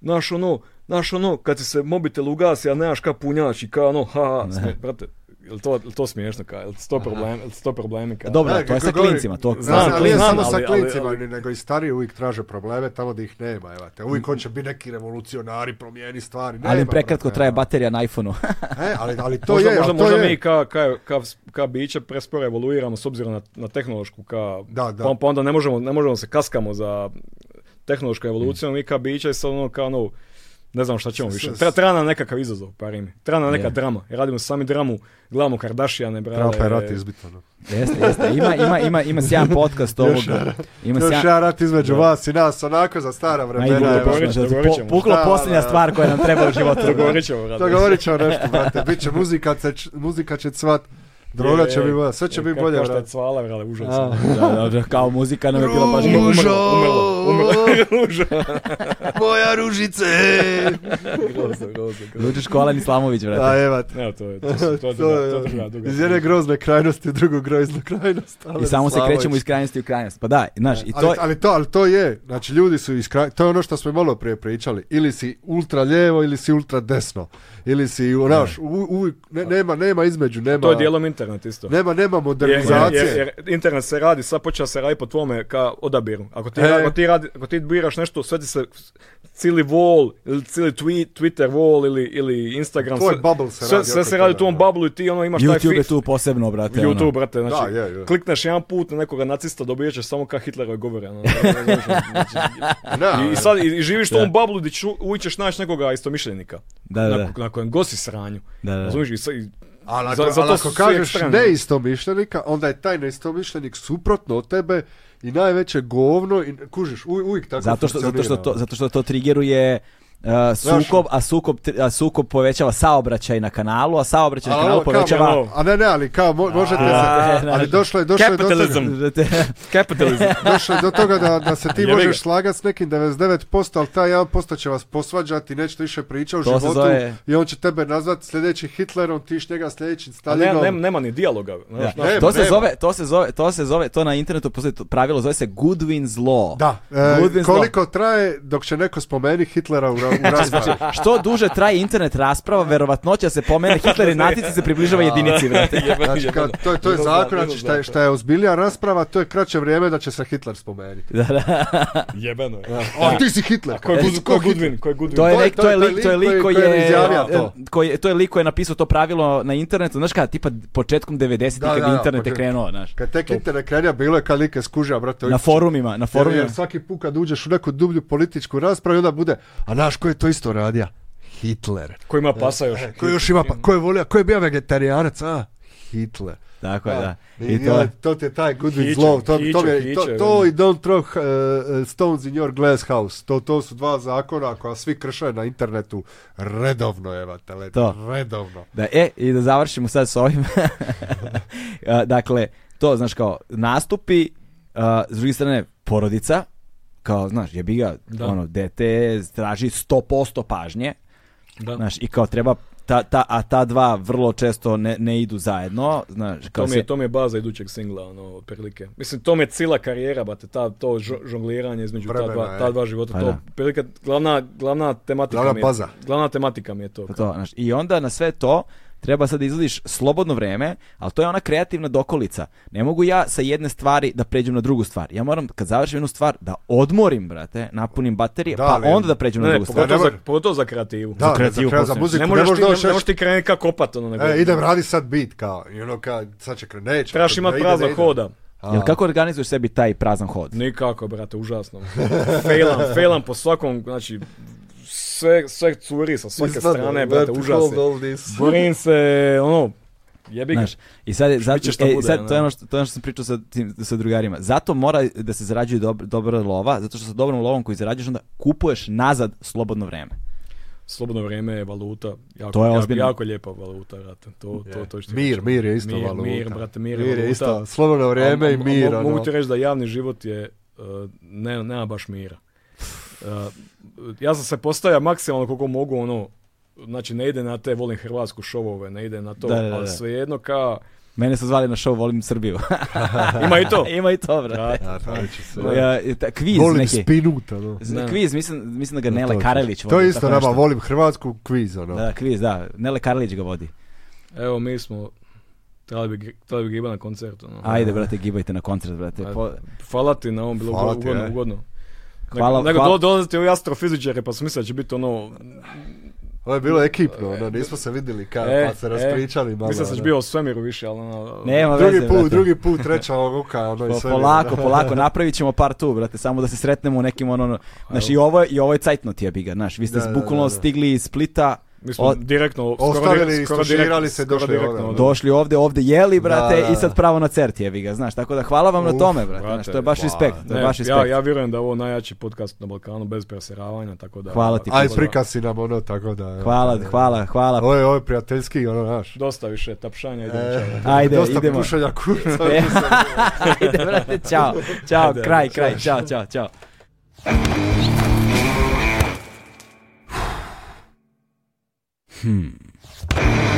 C: znaš ono, znaš ono, kad ti se mobitel ugasi, a nemaš ka punjači, ka ono, ha, ha, smije- brate, jel to, jel to smiješno, ka, jel to problem, jel to problemi, ka?
B: Dobro,
D: Da,
B: to je
D: kako
B: sa
D: govori-
B: klincima, to
D: Znam,
C: Znam,
D: ali
C: to
D: nije
C: znam,
D: samo sa
C: ali- ali-
D: klincima,
C: ali-
D: nego i stariji uvijek traže probleme tamo gdje ih nema, evo te. Uvijek hoće biti neki revolucionari, promijeni stvari, nema.
B: ali im prekratko
D: brate,
B: traje
D: evo.
B: baterija na iphone
D: E, ali, ali to
C: možda,
D: je,
C: možda,
D: ali to
C: možda
D: je.
C: mi ka, ka, ka, ka biće presporo evoluiramo s obzirom na, na tehnološku, ka,
D: Da, da.
C: Pa, pa onda ne možemo, ne možemo se kaskamo za tehnološku evoluciju, mi ka biće sad ono kao ono, ne znam šta ćemo više. Treba, treba nam nekakav izazov, pari mi. Treba nam neka
B: Je.
C: drama. Radimo sami dramu, gledamo Kardashiane, brale.
D: Treba pa je rat izbiti, ono.
B: Jeste, jeste. Ima, ima, ima, ima sjajan podcast
D: Još
B: ovoga. Ima
D: Još
B: sjajan...
D: jedan rat između vas i nas, onako za stara
B: Ajde,
D: vremena. evo.
C: dogovorit ćemo.
B: po-
C: ćemo.
B: pukla
D: Da,
B: posljednja
D: da.
B: stvar koja nam treba u životu.
C: Dogovorit ćemo, brate.
D: To govorit ćemo nešto, brate. Biće muzika, će, muzika će cvat, droga će
C: Je, je,
D: biti bolja, sve će
C: je,
D: biti
C: kako
D: bolje,
C: Što je
D: brate.
C: cvala, brale, užasno.
D: A.
B: Da, da, da, kao muzika nam je bila baš...
C: Umrlo,
D: Ružo!
C: umrlo, umrlo, ružo.
D: Moja ružice!
C: Grozno, grozno, grozno.
B: Lučiš Kolan Islamović,
D: Da,
B: brate.
D: evo te.
C: Ne, to je, to, su- to je,
D: To
C: druga-
D: je,
C: to je druga, druga.
D: Iz jedne grozne krajnosti u drugu groznu krajnost. ali
B: I samo se
D: Slavović.
B: krećemo iz krajnosti u krajnost. Pa da, znaš, i
D: Ali,
B: to...
D: ali to, ali to je, znači ljudi su iz kraj- to je ono što smo malo prije pričali, ili si ultra lijevo ili si ultra desno, ili si, znaš, u- uvijek, ne- nema, nema između, nema,
C: To je dijelom internet isto.
D: nema, nema
C: Jer,
D: modernizacije.
C: jer- jer internet se radi, sad počeo se radi po tvome ka odabiru. Ako ti,
D: E.
C: ako ti, radi, ako ti biraš nešto, sve ti se cijeli wall, ili cijeli tweet, Twitter wall ili, ili Instagram.
D: Tvoj
C: sve-
D: bubble se
C: sve,
D: radi
C: sve
D: oko
C: se radi u
D: toga,
C: tvom
D: da.
C: bublu i ti ono imaš taj
B: YouTube je
C: fix-
B: tu posebno, brate. ono.
C: YouTube, brate, znači,
D: Da, je, je.
C: klikneš jedan put na nekoga nacista, dobiješ ćeš samo ka Hitlerove govore. ono, znači,
D: Da,
C: I, i sad, i, i živiš u tom bablu gdje ću, uvijek ćeš naći nekoga istomišljenika.
B: Da, da,
C: Na,
B: da.
C: na kojem gosi sranju.
B: Da, da, da.
C: Razumiješ? I, sad- i-
D: ali ako,
C: za- zato
D: ali ako
C: su svi
D: kažeš
C: ekstremni.
D: neistomišljenika, onda je taj neistomišljenik suprotno od tebe i najveće govno, i, kužiš, u- uvijek tako
B: Zato što, zato što,
D: funkcionira.
B: to, zato što to trigeruje uh, sukob, a sukob, tri- a sukob povećava saobraćaj na kanalu, a saobraćaj na
D: Ali
B: kanalu
D: ovo, kao,
B: povećava...
C: ovo.
D: a ne, ne, ali kao, mo- možete
B: A,
D: se,
B: ne,
D: ali
B: ne.
D: došlo je, došlo je do toga-
C: Capitalism. Capitalism.
D: došlo je do toga da, da se ti
C: Jebi
D: možeš
C: ga.
D: slagati s nekim 99%, ali taj 1% će vas posvađati, nećete više pričati u
B: To se
D: životu
B: zove-
D: i on će tebe nazvati sljedeći Hitlerom, ti ćeš njega sljedećim
C: A ne,
D: Stalinom.
C: ne- nema ni dijaloga.
B: Da.
C: znaš,
D: Nema,
B: to se
D: nema.
B: zove, to se zove, to se zove, to na internetu postoji to pravilo, zove se Goodwin's Law.
D: Da, e,
B: Goodwin's Law.
D: koliko traje dok će neko spomeni Hitlera u, ra- u
C: Znači,
D: raspravi.
B: Znači, Što duže traje internet rasprava, verovatnoća se pomene Hitler i nacici se približava jedinici, brate.
D: Znači, kao, to, je, to je zakon, znači šta je, šta je ozbiljnija rasprava, to je kraće vrijeme da će se Hitler spomenuti.
C: Jebeno je.
D: A ti si Hitler.
C: Ko je,
D: pa ti
C: Gud,
D: si
C: ko je
D: Hitler.
C: Goodwin? Ko je Goodwin?
B: To je
D: To je-
B: lik, to je lik, to je lik koji je
D: izjavio to.
B: e, koji je- to je lik koji je napisao to pravilo na internetu, znaš kada, tipa početkom 90-ih
D: Da,
B: kad
D: da, da,
B: internet je
D: početkom.
B: krenuo, znaš.
D: Kad tek internet krenja, bilo je kad like skuža, brate.
B: Na
D: ovi-
B: forumima, na
D: Jer,
B: forumima.
D: jer svaki put kad uđeš u neku dublju političku raspravu, onda bude, a naš ko je to isto radio? Hitler.
C: Ko ima pasa još?
D: Ko još ima, pa, ko je volio, ko je bio vegetarijanac, a? Hitler.
B: Tako je, da.
D: I,
B: I to je.
D: to ti je taj Goodwin's
C: Hiće,
D: Law, to, to, mi je-
C: hiće,
D: to,
C: hiće.
D: to i Don't Throw uh, uh, Stones in Your Glass House, to, to su dva zakona koja svi krše na internetu redovno, evo, tele,
B: To.
D: redovno.
B: Da, e, i da završimo sad s ovim. A, dakle, to, znaš, kao, nastupi, a, s druge strane, porodica, kao, znaš, jebi ga,
C: Da.
B: ono, dete traži 100% pažnje,
C: Da.
B: znaš, i kao treba, ta, ta, a ta dva vrlo često ne, ne idu zajedno, znaš, kao
C: To mi, je,
B: se-
C: to mi je baza idućeg singla, ono, otprilike. Mislim, to mi je cila karijera, bate, ta, to žo- žongliranje između ta
D: Vremena,
C: dva,
D: je.
C: ta dva života.
B: Pa
C: to,
B: da.
C: otprilike, glavna, glavna tematika
D: Glavna
C: mi je,
D: baza.
C: Glavna tematika mi je to.
B: Pa to, znaš, I onda na sve to treba sad da izvadiš slobodno vreme, ali to je ona kreativna dokolica. Ne mogu ja sa jedne stvari da pređem na drugu stvar. Ja moram kad završim jednu stvar da odmorim, brate, napunim baterije,
D: Da,
B: pa
D: ali-
B: onda da pređem
C: Ne,
B: na
C: ne,
B: drugu stvar.
D: ne
C: pogotovo za,
D: moram.
C: pogotovo za kreativu.
D: Da, za,
B: kreativu
D: kraj, za
B: posebno.
D: muziku,
C: ne možeš, ti,
D: doći-
C: ne možeš ti krenuti kako kopat, ono, nego...
D: E, idem radi sad bit, kao, i ono, kao, sad će krenuti, neće.
C: Trebaš
D: ne
C: imati
D: ide,
C: prazna
D: ne ide.
C: hoda.
B: Jel kako organizuješ sebi taj prazan hod?
C: Nikako, brate, užasno. Failam, failam po svakom, znači, sve, sve curi sa svake
D: Izvadno,
C: strane, brate,
D: brate,
C: užas
D: hold
C: je.
D: all this.
C: Borim se, ono, jebi ga.
B: Znaš, i sad, je, zato,
C: biće šta
B: e,
C: bude,
B: sad to, je
C: ono.
B: ono što, to je ono što sam pričao sa, tim, sa drugarima. Zato mora da se zarađuje dob, dobra lova, zato što sa dobrom lovom koju zarađuješ onda kupuješ nazad slobodno vreme.
C: Slobodno vrijeme je valuta. Jako,
B: To je
C: jako-
B: ozbiljno.
C: Jako lijepa valuta, brate. To, to, to što ti
D: Mir,
C: kažem.
D: mir je isto
C: mir,
D: valuta.
C: Mir, brate, mir,
D: Mir
C: valuta.
D: je isto, slobodno vrijeme i
C: Mo- mo-
D: mir,
C: mo-
D: ono.
C: Mogu ti reći da javni život je, uh, ne, nema baš mira. Uh, ja sam se postavio maksimalno koliko mogu, ono, znači ne ide na te volim Hrvatsku šovove, ne ide na to,
B: Da, da, da.
C: ali svejedno ka,
B: Mene su zvali na show Volim Srbiju.
C: ima i to.
B: Ima i to, brate.
D: A, znači se.
B: Ja, i ta- kviz
D: Oh. Volim
B: neki.
D: spinut, ono.
B: Z-
C: Da.
B: Kviz, mislim, mislim da ga
D: To
B: Nele
D: ću.
B: Karelić vodi.
H: voli,
D: To je isto
B: tako
D: nama,
B: nešto.
D: volim hrvatsku kviz, ono.
B: Da, kviz, da. Nele Karelić ga vodi.
C: Evo, mi smo, trebali bi, gri- trebali bi griba na koncertu. ono.
B: Ajde, brate, gibajte na koncert,
D: Pa,
B: brate.
C: Ajde.
B: Po-
C: Hvala ti na ovom, bilo
D: Hvala ti,
C: ugodno,
D: e.
C: ugodno.
B: Hvala-
C: nego,
B: hvala-
C: nego dolazite u astrofizičare, pa sam mislio da će biti ono...
D: Ovo je bilo ekipno, ono, nismo se vidjeli kad,
C: E,
D: pa se
C: e,
D: raspričali malo.
C: Mislim da
D: ono.
C: ćeš bio o svemiru više, ali ono...
B: Nema
D: Drugi
B: veze,
D: put,
B: brate.
D: drugi put, treća ovoga, ono i
B: Po-
D: sve.
B: polako, polako, napravit ćemo par tu, brate, samo da se sretnemo u nekim ono, ono znaš, i ovo, je- i ovo je cajtnot jebi ga, znaš, vi ste
D: Da, da,
B: bukvalno
D: da, da.
B: stigli iz Splita,
C: Mi smo
B: Od-
C: direktno...
D: Ostavili,
C: direkt-
D: istuširali se,
C: skoro
D: došli
C: direktno
D: ovdje.
C: od-
B: došli ovdje, ovdje jeli, brate,
D: Da, da, da.
B: i sad pravo na cert jebi ga, znaš, tako da hvala vam na
D: Uf,
B: tome, brate,
C: brate,
B: znaš, to je baš
D: hvala.
B: respekt, to je
C: Ne,
B: baš respekt.
C: ja, ja vjerujem da je ovo najjači podcast na Balkanu bez preseravanja, tako da...
B: Hvala ti,
D: Aj,
B: Kuba.
D: prikasi nam ono, tako da... evo.
B: Hvala, hvala, hvala.
D: Ovo je, ovo je prijateljski, ono, znaš.
C: Dosta više tapšanja, idemo
D: E,
C: čao.
B: Ajde,
D: dosta
B: idemo.
D: pušenja kurca.
B: E, Ajde, brate, čao, čao, kraj, kraj, čao, čao, čao. Hmm.